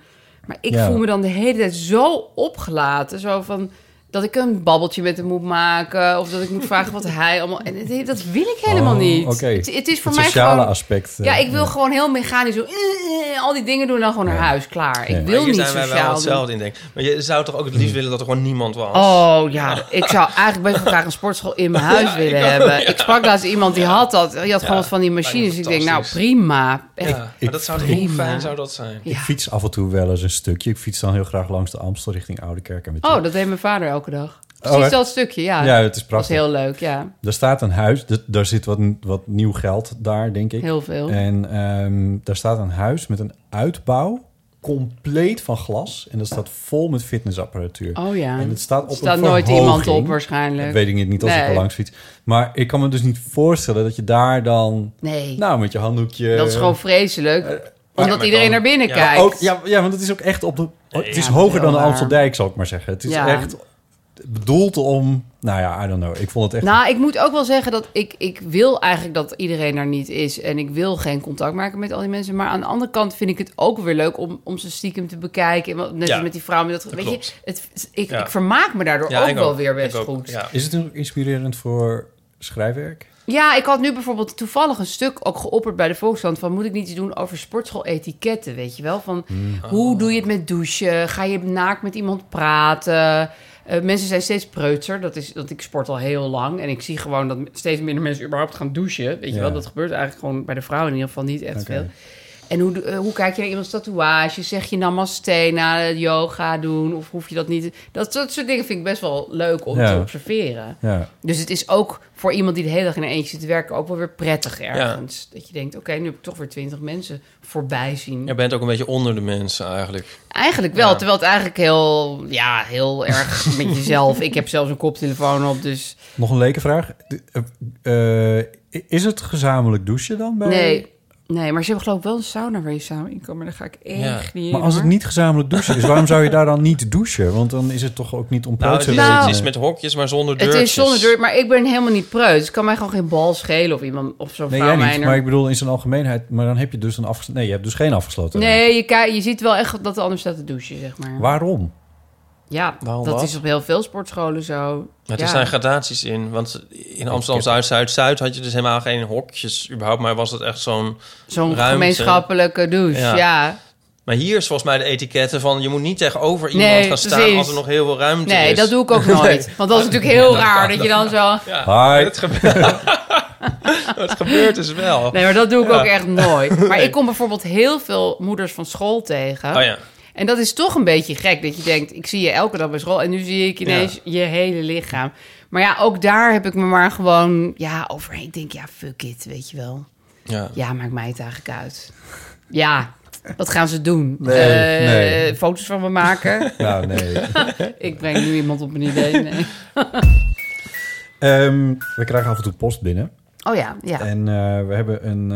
Speaker 3: Maar ik
Speaker 1: Ja.
Speaker 3: voel me dan de hele tijd zo opgelaten. Zo van dat ik een babbeltje met hem moet maken. Of dat ik moet vragen
Speaker 1: (laughs)
Speaker 3: wat hij allemaal... En het- dat wil ik helemaal
Speaker 1: Oh,
Speaker 3: niet.
Speaker 1: oké.
Speaker 3: Het, het is voor
Speaker 1: Het
Speaker 3: mij
Speaker 1: sociale
Speaker 3: gewoon...
Speaker 1: aspect. eh,
Speaker 3: Ja, ik wil gewoon heel mechanisch zo... eh, eh, al die dingen doen en dan gewoon naar huis. Klaar. Ik wil
Speaker 2: Hier
Speaker 3: niet
Speaker 2: zijn wij wel
Speaker 3: sociaal doen.
Speaker 2: hetzelfde in, denk ik. Maar je zou toch ook het liefst willen dat er gewoon niemand was?
Speaker 3: Oh ja, ik zou eigenlijk best wel graag een sportschool in mijn huis willen hebben. Ik sprak laatst iemand die had dat. Die had gewoon wat van die
Speaker 2: lijkt me
Speaker 3: machines. Ik denk, nou
Speaker 2: fantastisch.
Speaker 3: prima.
Speaker 2: Ja,
Speaker 3: Echt
Speaker 2: maar dat zou toch
Speaker 3: prima.
Speaker 2: hoe fijn zou dat zijn?
Speaker 1: Ik fiets af en toe wel eens een stukje. Ik fiets dan heel graag langs de Amstel richting Oudekerk. En
Speaker 3: Oh, dat deed mijn vader elke dag.
Speaker 1: Oh,
Speaker 3: Precies
Speaker 1: hè?
Speaker 3: dat stukje, ja.
Speaker 1: ja, het is
Speaker 3: dat was
Speaker 1: prachtig.
Speaker 3: heel leuk, ja.
Speaker 1: Er staat een huis, d- daar zit wat, wat nieuw geld daar, denk ik.
Speaker 3: Heel veel.
Speaker 1: En ehm, daar staat een huis met een uitbouw, compleet van glas. En dat staat vol met fitnessapparatuur.
Speaker 3: Oh ja.
Speaker 1: En het staat op
Speaker 3: Er staat
Speaker 1: een
Speaker 3: nooit
Speaker 1: verhoging.
Speaker 3: iemand op waarschijnlijk.
Speaker 1: Dat weet ik niet, niet als ik
Speaker 3: Nee.
Speaker 1: er langs fiets. Maar ik kan me dus niet voorstellen dat je daar dan...
Speaker 3: Nee,
Speaker 1: Nou, met je handdoekje...
Speaker 3: dat is gewoon vreselijk. omdat
Speaker 2: maar
Speaker 3: iedereen
Speaker 2: dan-
Speaker 3: naar binnen
Speaker 2: ja,
Speaker 3: kijkt.
Speaker 1: Ook, ja, ja, want het is ook echt op de... het is
Speaker 3: Ja,
Speaker 1: hoger dan de
Speaker 3: heel waar.
Speaker 1: Amsteldijk, zal ik maar zeggen. Het is
Speaker 3: Ja.
Speaker 1: echt bedoeld om... Nou ja, I don't know. Ik vond het echt...
Speaker 3: Nou, ik moet ook wel zeggen dat ik, ik wil eigenlijk dat iedereen er niet is. En ik wil geen contact maken met al die mensen. Maar aan de andere kant vind ik het ook weer leuk om, om ze stiekem te bekijken. En wat- Net
Speaker 2: Ja,
Speaker 3: als met die vrouw. Met dat, weet
Speaker 2: klopt.
Speaker 3: je, het, ik,
Speaker 2: Ja.
Speaker 3: ik vermaak me daardoor
Speaker 2: Ja,
Speaker 3: ook
Speaker 2: ik
Speaker 3: wel weer
Speaker 2: Ik
Speaker 3: best
Speaker 2: ook,
Speaker 3: goed.
Speaker 2: Ja.
Speaker 1: Is het ook inspirerend voor schrijfwerk?
Speaker 3: Ja, ik had nu bijvoorbeeld toevallig een stuk ook geopperd bij de Volkskrant... van moet ik niet iets doen over sportschool-etiketten, weet je wel? Van
Speaker 1: Hmm.
Speaker 3: hoe doe je het met douchen? Ga je naakt met iemand praten? Eh, mensen zijn steeds preutser. Dat is, dat ik sport al heel lang. En ik zie gewoon dat steeds minder mensen überhaupt gaan douchen. Weet je
Speaker 1: Ja.
Speaker 3: wel, dat gebeurt eigenlijk gewoon bij de vrouwen in ieder geval niet echt
Speaker 1: Oké.
Speaker 3: veel. En hoe, do- eh, hoe kijk je naar iemands tatoeage? Zeg je namaste na eh, yoga doen? Of hoef je dat niet? Dat, dat soort dingen vind ik best wel leuk om
Speaker 1: Ja.
Speaker 3: te observeren.
Speaker 1: Ja.
Speaker 3: Dus het is ook voor iemand die de hele dag in een eentje zit te werken... ook wel weer prettig ergens. Dat je denkt, oké, nu heb ik toch weer twintig mensen voorbij zien.
Speaker 2: Je bent ook een beetje onder de mensen eigenlijk.
Speaker 3: Eigenlijk wel,
Speaker 2: Ja.
Speaker 3: terwijl het eigenlijk heel, ja, heel erg met jezelf... Ik heb zelfs een koptelefoon op, dus
Speaker 1: Nog een leuke vraag. De- eh, eh, is het gezamenlijk douchen dan? Bij...
Speaker 3: nee. Nee, maar ze hebben geloof ik wel een sauna waar je samen in kan... maar daar ga ik echt niet in,
Speaker 1: Maar als het
Speaker 3: hoor.
Speaker 1: niet gezamenlijk douchen is, waarom zou je daar dan niet douchen? Want dan is het toch ook niet om
Speaker 2: Nou,
Speaker 1: preut
Speaker 2: het
Speaker 1: te
Speaker 2: is,
Speaker 3: Nou.
Speaker 1: wezen.
Speaker 2: het is met hokjes, maar zonder
Speaker 3: Het
Speaker 2: deurtjes.
Speaker 3: is zonder deur, maar ik ben helemaal niet preut. Dus het kan mij gewoon geen bal schelen of iemand of zo'n
Speaker 1: Nee,
Speaker 3: vrouw
Speaker 1: jij
Speaker 3: mij
Speaker 1: niet.
Speaker 3: er-
Speaker 1: Maar ik bedoel in zijn algemeenheid. Maar dan heb je dus een afgesloten... Nee, je hebt dus geen afgesloten.
Speaker 3: Nee, je, ki- je ziet wel echt dat de ander staat te douchen, zeg maar.
Speaker 1: Waarom?
Speaker 3: Ja,
Speaker 2: Waarom
Speaker 3: dat
Speaker 2: wat?
Speaker 3: is op heel veel sportscholen zo.
Speaker 2: Maar er
Speaker 3: ja.
Speaker 2: zijn gradaties in. Want in Amsterdam Zuid, Zuid, Zuid had je dus helemaal geen hokjes überhaupt. Maar was het echt zo'n.
Speaker 3: Zo'n
Speaker 2: ruimte.
Speaker 3: gemeenschappelijke douche, ja.
Speaker 2: Ja. Maar hier is volgens mij de etiketten van je moet niet tegenover iemand
Speaker 3: Nee,
Speaker 2: gaan staan
Speaker 3: precies.
Speaker 2: als er nog heel veel ruimte is.
Speaker 3: Nee, dat doe ik ook nooit. Want dat is natuurlijk heel raar dat je dan zo...
Speaker 1: Hi.
Speaker 2: Het gebeurt, het gebeurt dus wel.
Speaker 3: Nee, maar dat doe ik ook echt nooit. Maar ik kom bijvoorbeeld heel veel moeders van school tegen.
Speaker 2: Oh ja.
Speaker 3: En dat is toch een beetje gek, dat je denkt... ik zie je elke dag bij school en nu zie ik ineens je hele lichaam. Maar ja, ook daar heb ik me maar gewoon ja, overheen. Ik denk, ja, fuck it, weet je wel.
Speaker 2: ja.
Speaker 3: Ja, maakt mij het eigenlijk uit. Ja, wat gaan ze doen?
Speaker 1: Nee,
Speaker 3: Eh,
Speaker 1: nee.
Speaker 3: Foto's van me maken?
Speaker 1: Nou, nee.
Speaker 3: ik breng nu iemand op een idee. Nee.
Speaker 1: Ehm, we krijgen af en toe post binnen.
Speaker 3: Oh ja, ja.
Speaker 1: En eh, we hebben een...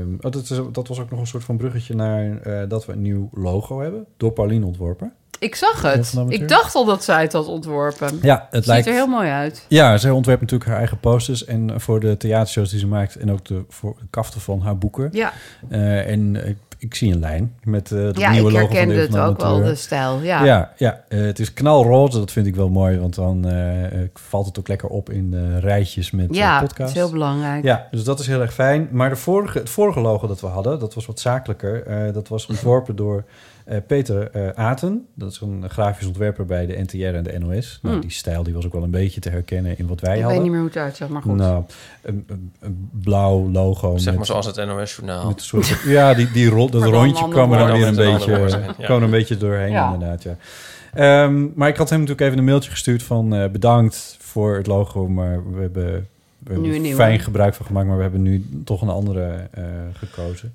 Speaker 1: eh, oh, dat, is, dat was ook nog een soort van bruggetje naar eh, dat we een nieuw logo hebben. Door Pauline ontworpen.
Speaker 3: Ik zag
Speaker 1: Heel
Speaker 3: het.
Speaker 1: van amateur.
Speaker 3: Ik dacht al dat zij het had ontworpen. Het
Speaker 1: Ja, het
Speaker 3: ziet
Speaker 1: lijkt...
Speaker 3: er heel mooi uit.
Speaker 1: Ja, zij ontwerpt natuurlijk haar eigen posters en eh, voor de theatershows die ze maakt en ook de, voor de kaften van haar boeken.
Speaker 3: Ja,
Speaker 1: Eh, en ik, ik zie een lijn met eh het
Speaker 3: ja
Speaker 1: nieuwe
Speaker 3: ik
Speaker 1: logo van de
Speaker 3: herkende
Speaker 1: Eeuw van
Speaker 3: het
Speaker 1: de
Speaker 3: ook wel,
Speaker 1: Amateur.
Speaker 3: de stijl. Ja.
Speaker 1: Ja, ja, eh, het is knalroze, dat vind ik wel mooi, want dan eh, eh, valt het ook lekker op in de rijtjes met
Speaker 3: Ja,
Speaker 1: de
Speaker 3: dat
Speaker 1: eh, podcast.
Speaker 3: is heel belangrijk.
Speaker 1: Ja, dus dat is heel erg fijn. Maar de vorige, het vorige logo dat we hadden, dat was wat zakelijker. Eh, dat was ontworpen door eh, Peter eh, Aten. Dat is een grafisch ontwerper bij de NTR en de NOS. Nou,
Speaker 3: Hmm.
Speaker 1: die stijl die was ook wel een beetje te herkennen in wat wij
Speaker 3: ik
Speaker 1: hadden.
Speaker 3: weet niet meer hoe het uitzag, maar goed.
Speaker 1: Nou, een, een- een blauw logo.
Speaker 2: Zeg maar
Speaker 1: met,
Speaker 2: zoals het NOS-journaal.
Speaker 1: met een soort, ja, die, die rol, dat
Speaker 3: Maar dan
Speaker 1: rondje
Speaker 3: een
Speaker 1: kwam er
Speaker 2: ander
Speaker 1: dan weer een
Speaker 2: woord.
Speaker 1: beetje, eh,
Speaker 2: Maar dan met een ander woord, ja.
Speaker 1: kwam er een beetje doorheen
Speaker 3: Ja.
Speaker 1: inderdaad. Ja. Ehm, maar ik had hem natuurlijk even een mailtje gestuurd van eh, bedankt voor het logo, maar we hebben, we hebben
Speaker 3: Nu een nieuwe.
Speaker 1: fijn gebruik van gemaakt, maar we hebben nu toch een andere eh, gekozen.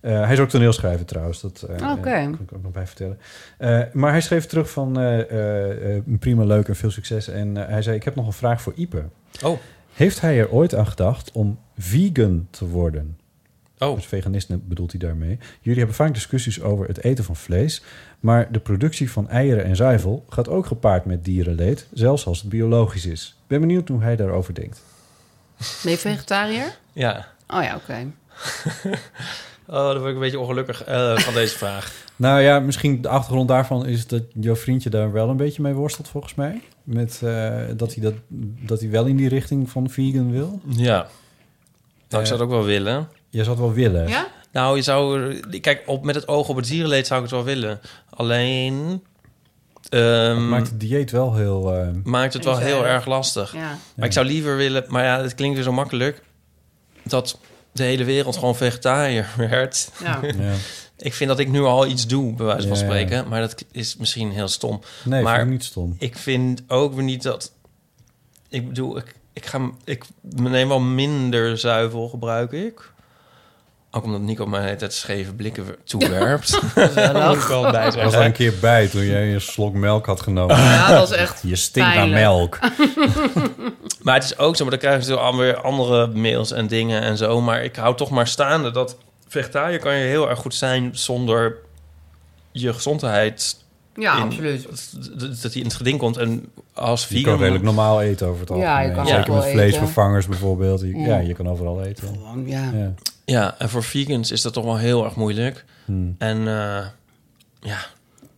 Speaker 1: Eh, hij is ook toneelschrijver trouwens, dat eh,
Speaker 3: Oké.
Speaker 1: eh, kan ik ook nog bij vertellen. Eh, maar hij schreef terug van eh, eh, eh, prima, leuk en veel succes. En eh, hij zei, ik heb nog een vraag voor Ipe.
Speaker 2: Oh.
Speaker 1: Heeft hij er ooit aan gedacht om vegan te worden?
Speaker 2: Oh.
Speaker 1: Dus veganisten bedoelt hij daarmee. Jullie hebben vaak discussies over het eten van vlees. Maar de productie van eieren en zuivel gaat ook gepaard met dierenleed. Zelfs als het biologisch is. Ik ben benieuwd hoe hij daarover denkt.
Speaker 3: Ben je vegetariër?
Speaker 2: Ja.
Speaker 3: Oh ja, oké.
Speaker 2: Oh, daar word ik een beetje ongelukkig eh, van deze (laughs) vraag.
Speaker 1: Nou ja, misschien de achtergrond daarvan is dat jouw vriendje daar wel een beetje mee worstelt volgens mij. Met eh, dat, hij dat, dat hij wel in die richting van vegan wil.
Speaker 2: Ja. Nou,
Speaker 1: Eh.
Speaker 2: ik zou het ook wel willen.
Speaker 1: Je zou het wel willen.
Speaker 3: Ja?
Speaker 2: Nou, je zou... Kijk, op, met het oog op het dierenleed zou ik het wel willen. Alleen... ehm,
Speaker 1: Maakt het dieet wel heel... eh,
Speaker 2: maakt het wel heel erg lastig.
Speaker 3: Ja.
Speaker 2: Maar ik zou liever willen, maar ja, het klinkt weer zo makkelijk, dat de hele wereld gewoon vegetariër (laughs) werd.
Speaker 1: (laughs)
Speaker 3: ja.
Speaker 1: ja.
Speaker 2: Ik vind dat ik nu al iets doe, bij wijze van
Speaker 1: Ja.
Speaker 2: spreken, maar dat is misschien heel stom.
Speaker 1: Nee,
Speaker 2: Maar-
Speaker 1: vind ik niet stom.
Speaker 2: Ik vind ook weer niet dat, ik bedoel, ik, ik ga, ik neem wel minder zuivel gebruik ik. Ook omdat Nico mij de hele tijd scheve blikken toewerpt. Daar moet ik wel bij
Speaker 1: Ik was er een
Speaker 2: zeggen.
Speaker 1: keer bij toen jij een slok melk had genomen.
Speaker 3: Ja, dat was echt
Speaker 1: Je stinkt
Speaker 3: pijnlijk.
Speaker 1: naar melk.
Speaker 2: Maar het is ook zo, maar dan krijg je natuurlijk alweer andere mails en dingen en zo. Maar ik hou toch maar staande dat vegetariër kan je heel erg goed zijn zonder je gezondheid.
Speaker 3: Ja,
Speaker 2: in-
Speaker 3: absoluut.
Speaker 2: dat- Dat dat die in het geding komt. En als
Speaker 1: Je kan
Speaker 2: vegan...
Speaker 1: redelijk normaal eten over het
Speaker 3: Ja,
Speaker 1: algemeen.
Speaker 3: je kan
Speaker 1: Zeker
Speaker 3: ook wel
Speaker 1: met
Speaker 3: eten.
Speaker 1: vleesvervangers bijvoorbeeld. Je-
Speaker 3: Mm.
Speaker 1: Ja, je kan overal eten.
Speaker 3: Gewoon, ja.
Speaker 1: Ja.
Speaker 2: Ja, en voor vegans is dat toch wel heel erg moeilijk.
Speaker 1: Hmm.
Speaker 2: En eh, ja,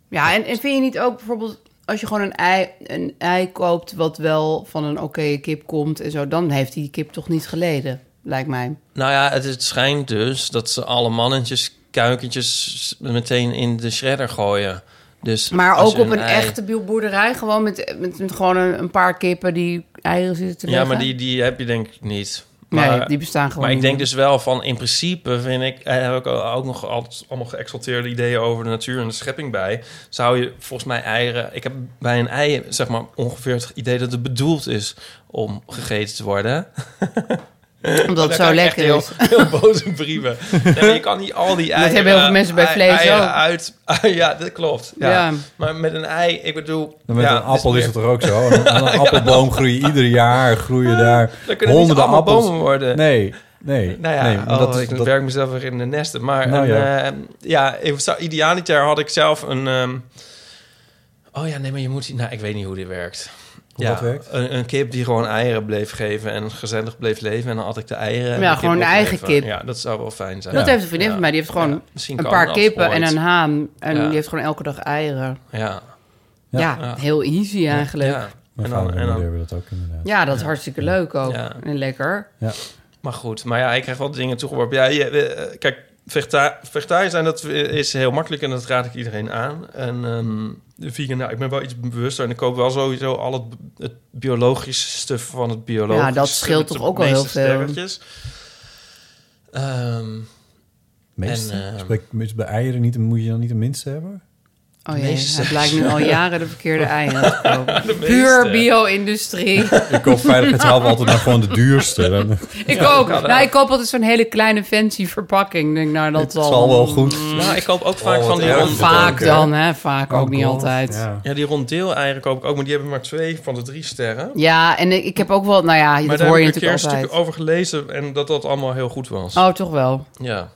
Speaker 3: Ja, en, en vind je niet ook bijvoorbeeld als je gewoon een ei, een ei koopt wat wel van een oké kip komt en zo, dan heeft die kip toch niet geleden, lijkt mij.
Speaker 2: nou ja, het, het schijnt dus dat ze alle mannetjes, kuikentjes meteen in de shredder gooien. Dus
Speaker 3: Maar
Speaker 2: als
Speaker 3: ook
Speaker 2: je
Speaker 3: op een,
Speaker 2: ei-
Speaker 3: echte boerderij, gewoon met, met, met gewoon een, een paar kippen die eieren zitten te
Speaker 2: Ja,
Speaker 3: leggen.
Speaker 2: maar die, die heb je denk ik niet.
Speaker 3: Nee,
Speaker 2: Maar-
Speaker 3: die bestaan gewoon
Speaker 2: Maar ik
Speaker 3: niet
Speaker 2: denk
Speaker 3: meer.
Speaker 2: dus wel van, in principe vind ik, eh, heb ik ook nog altijd allemaal geëxalteerde ideeën over de natuur en de schepping bij. Zou je volgens mij eieren, ik heb bij een ei zeg maar ongeveer het idee dat het bedoeld is om gegeten te
Speaker 3: (laughs)
Speaker 2: worden.
Speaker 3: Omdat het
Speaker 2: Daar
Speaker 3: zo
Speaker 2: krijg ik
Speaker 3: lekker is.
Speaker 2: dus- echt (laughs) Heel, heel boze brieven. Nee, maar je kan niet al
Speaker 3: (laughs)
Speaker 2: die eieren...
Speaker 3: hebben heel veel mensen bij
Speaker 2: ei-
Speaker 3: vlees
Speaker 2: eieren
Speaker 3: ook.
Speaker 2: uit... (laughs) ja, dat klopt. Ja.
Speaker 3: Ja.
Speaker 2: Maar met een ei, ik bedoel...
Speaker 1: En Nou, met
Speaker 2: ja,
Speaker 1: een appel is
Speaker 2: meer-
Speaker 1: het er ook zo. Aan een, aan een appelboom groeien ieder jaar groeien daar
Speaker 2: Dan kunnen niet
Speaker 1: honderden
Speaker 2: allemaal
Speaker 1: appels.
Speaker 2: bomen worden.
Speaker 1: Nee, nee.
Speaker 2: eh, Nou ja,
Speaker 1: nee, maar
Speaker 2: oh,
Speaker 1: dat is-
Speaker 2: ik
Speaker 1: dat-
Speaker 2: werk mezelf weer in de nesten. Maar
Speaker 1: Nou
Speaker 2: een,
Speaker 1: ja.
Speaker 2: eh, ja, ik zou, idealiter had ik zelf een... ehm, oh ja, nee, maar je moet... Nou, ik weet niet hoe dit werkt.
Speaker 1: Hoe
Speaker 2: ja,
Speaker 1: dat werkt?
Speaker 2: Een, een kip die gewoon eieren bleef geven en gezellig bleef leven. En dan had ik de eieren. en
Speaker 3: Ja,
Speaker 2: de kip
Speaker 3: gewoon een
Speaker 2: bleef
Speaker 3: eigen
Speaker 2: leven.
Speaker 3: kip.
Speaker 2: Ja, dat zou wel fijn zijn.
Speaker 3: Dat heeft een vriendin
Speaker 2: Ja.
Speaker 3: van mij, die heeft gewoon
Speaker 2: Misschien
Speaker 3: een
Speaker 2: kan
Speaker 3: paar
Speaker 2: dat
Speaker 3: kippen en
Speaker 2: ooit.
Speaker 3: een haan. En
Speaker 2: Ja.
Speaker 3: die heeft gewoon elke dag eieren.
Speaker 2: Ja.
Speaker 3: Ja,
Speaker 1: Ja.
Speaker 2: Ja.
Speaker 3: heel easy eigenlijk. Ja,
Speaker 2: Ja.
Speaker 1: Mijn
Speaker 2: En
Speaker 1: vader
Speaker 2: dan,
Speaker 1: en
Speaker 2: en
Speaker 1: moeder
Speaker 2: dan,
Speaker 1: hebben dat ook inderdaad.
Speaker 3: dat is hartstikke leuk ook.
Speaker 2: Ja.
Speaker 3: En lekker.
Speaker 2: maar goed, maar ja, ik krijg wel dingen toegeworpen. Ja, je, eh, kijk, vegeta- vegetariër zijn, dat is heel makkelijk en dat raad ik iedereen aan. En ehm, de vegan, nou, ik ben wel iets bewuster en ik koop wel sowieso al het, het biologische stuk van het biologische.
Speaker 3: Ja, dat scheelt
Speaker 2: met de
Speaker 3: toch ook al heel
Speaker 2: meeste
Speaker 3: veel.
Speaker 2: sterretjes. Ehm,
Speaker 1: Meestal,
Speaker 2: En, eh,
Speaker 1: dus bij, dus bij eieren niet, moet je dan niet de minste hebben?
Speaker 3: Oh jee,
Speaker 2: meeste
Speaker 3: het blijkt
Speaker 2: (laughs)
Speaker 3: nu al jaren de verkeerde eieren te kopen.
Speaker 2: meeste.
Speaker 3: Puur bio-industrie.
Speaker 2: (laughs)
Speaker 1: Ik koop veiligheidshalve altijd maar gewoon de duurste. (laughs) Dan-
Speaker 3: ik ook. Nou, ik koop altijd zo'n hele kleine fancy verpakking. Ik Denk, nou, dat
Speaker 1: Het zal wel goed.
Speaker 2: nou, ik koop ook vaak
Speaker 1: Oh, wat
Speaker 2: van die
Speaker 1: erg.
Speaker 2: rond,
Speaker 3: Vaak
Speaker 1: hè?
Speaker 3: dan, hè? Vaak ook niet
Speaker 1: Oh, God,
Speaker 3: altijd. Ja.
Speaker 1: ja.
Speaker 2: ja, die rondeel-eieren koop ik ook, maar die hebben maar twee van de drie sterren.
Speaker 3: en ik, ik heb ook wel, nou ja,
Speaker 2: maar
Speaker 3: dat hoor je
Speaker 2: heb ik een keer
Speaker 3: natuurlijk
Speaker 2: een
Speaker 3: altijd.
Speaker 2: stuk over gelezen en dat dat allemaal heel goed was.
Speaker 3: Oh, toch wel.
Speaker 2: Ja.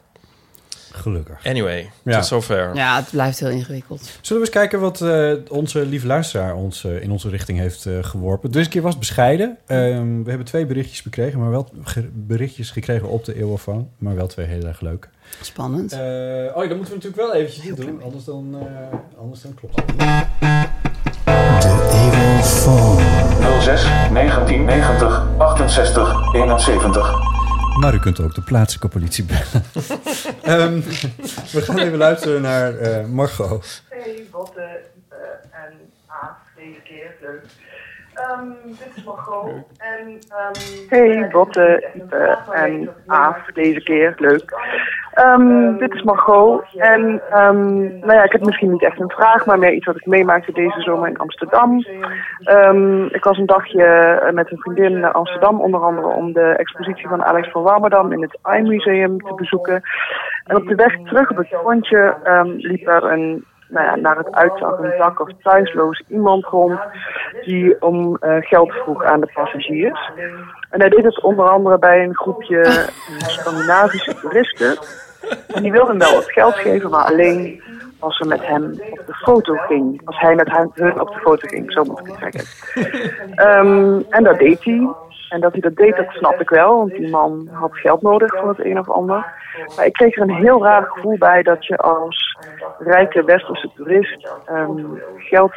Speaker 1: Gelukkig.
Speaker 2: Anyway,
Speaker 1: Ja.
Speaker 2: tot zover.
Speaker 3: Ja, het blijft heel ingewikkeld.
Speaker 1: Zullen we eens kijken wat eh, onze lieve luisteraar ons eh, in onze richting heeft eh, geworpen? Deze keer was het bescheiden. Ehm, we hebben twee berichtjes gekregen, maar wel ge- berichtjes gekregen op de eeuwofoon. Maar wel twee heel erg leuk.
Speaker 3: Spannend.
Speaker 1: Eh, oh, ja, dan moeten we natuurlijk wel eventjes dit doen, anders dan, eh, anders dan klopt het.
Speaker 4: 06 1990 68 71.
Speaker 1: Maar Nou, u kunt ook de plaatselijke politie bellen. (laughs) Ehm, we gaan even luisteren naar eh, Margot.
Speaker 5: Hey, Botte eh, en Aaf, deze keer, leuk. Ehm, dit is Margot. En, ehm,
Speaker 6: Hey, Botte, Ipe en Aaf, deze keer, leuk.
Speaker 5: Ehm, dit is Margot. En ehm, nou ja, ik heb misschien niet echt een vraag, maar meer iets wat ik meemaakte deze zomer in Amsterdam. Ehm, ik was een dagje eh, met een vriendin naar Amsterdam, onder andere om de expositie van Alex van Warmerdam in het AI Museum te bezoeken. En op de weg terug op het frontje ehm, liep er een, nou ja, naar het uitzag een dak of thuisloos iemand rond die om eh, geld vroeg aan de passagiers. En hij deed het onder andere bij een groepje eh, Scandinavische toeristen. En die wilden wel wat geld geven, maar alleen als ze met hem op de foto ging. Als hij met haar- hun op de foto ging, zo moet ik het zeggen. Ehm, en dat deed hij. En dat hij dat deed, dat snap ik wel, want die man had geld nodig voor het een of ander. Maar ik kreeg er een heel raar gevoel bij dat je als rijke westerse toerist ehm, geld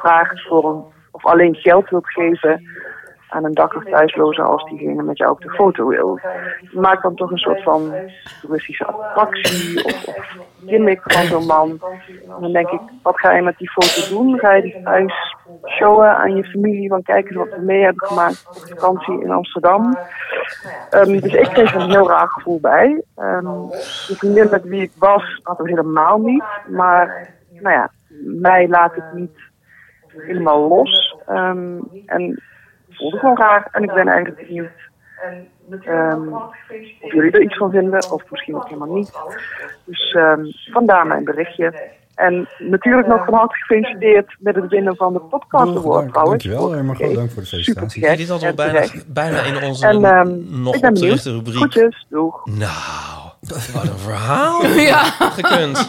Speaker 5: vraagt voor een, of alleen geld wilt geven aan een dakker thuisloze als diegene met jou op de foto wil. Je maakt dan toch een soort van toeristische attractie of, of gimmick van zo'n man. En dan denk ik, wat ga je met die foto doen? Ga je die thuis showen aan je familie? Van kijk eens wat we mee hebben gemaakt op vakantie in Amsterdam. Ehm, dus ik kreeg er een heel raar gevoel bij. Ehm de vriendin met wie ik was had het helemaal niet. Maar nou ja, mij laat het niet helemaal los. Ehm, en voelde gewoon raar. En ik ben eigenlijk benieuwd ehm, of jullie er iets van vinden. Of misschien ook helemaal niet. Dus ehm, vandaar mijn berichtje. En natuurlijk nog van harte gefeliciteerd met het winnen van de podcast award trouwens.
Speaker 1: Dankjewel, eh, Margot.
Speaker 5: Oké.
Speaker 1: Dank voor de felicitatie.
Speaker 5: Supergek
Speaker 2: Je dit had al
Speaker 5: en
Speaker 2: bijna,
Speaker 5: terecht.
Speaker 2: bijna in onze
Speaker 5: En ehm,
Speaker 2: nog
Speaker 5: ik ben benieuwd.
Speaker 2: opgerichte rubriek.
Speaker 5: Groetjes, doeg.
Speaker 2: Nou, wat een
Speaker 3: (laughs)
Speaker 2: verhaal (laughs)
Speaker 3: Ja, ja,
Speaker 2: gekund.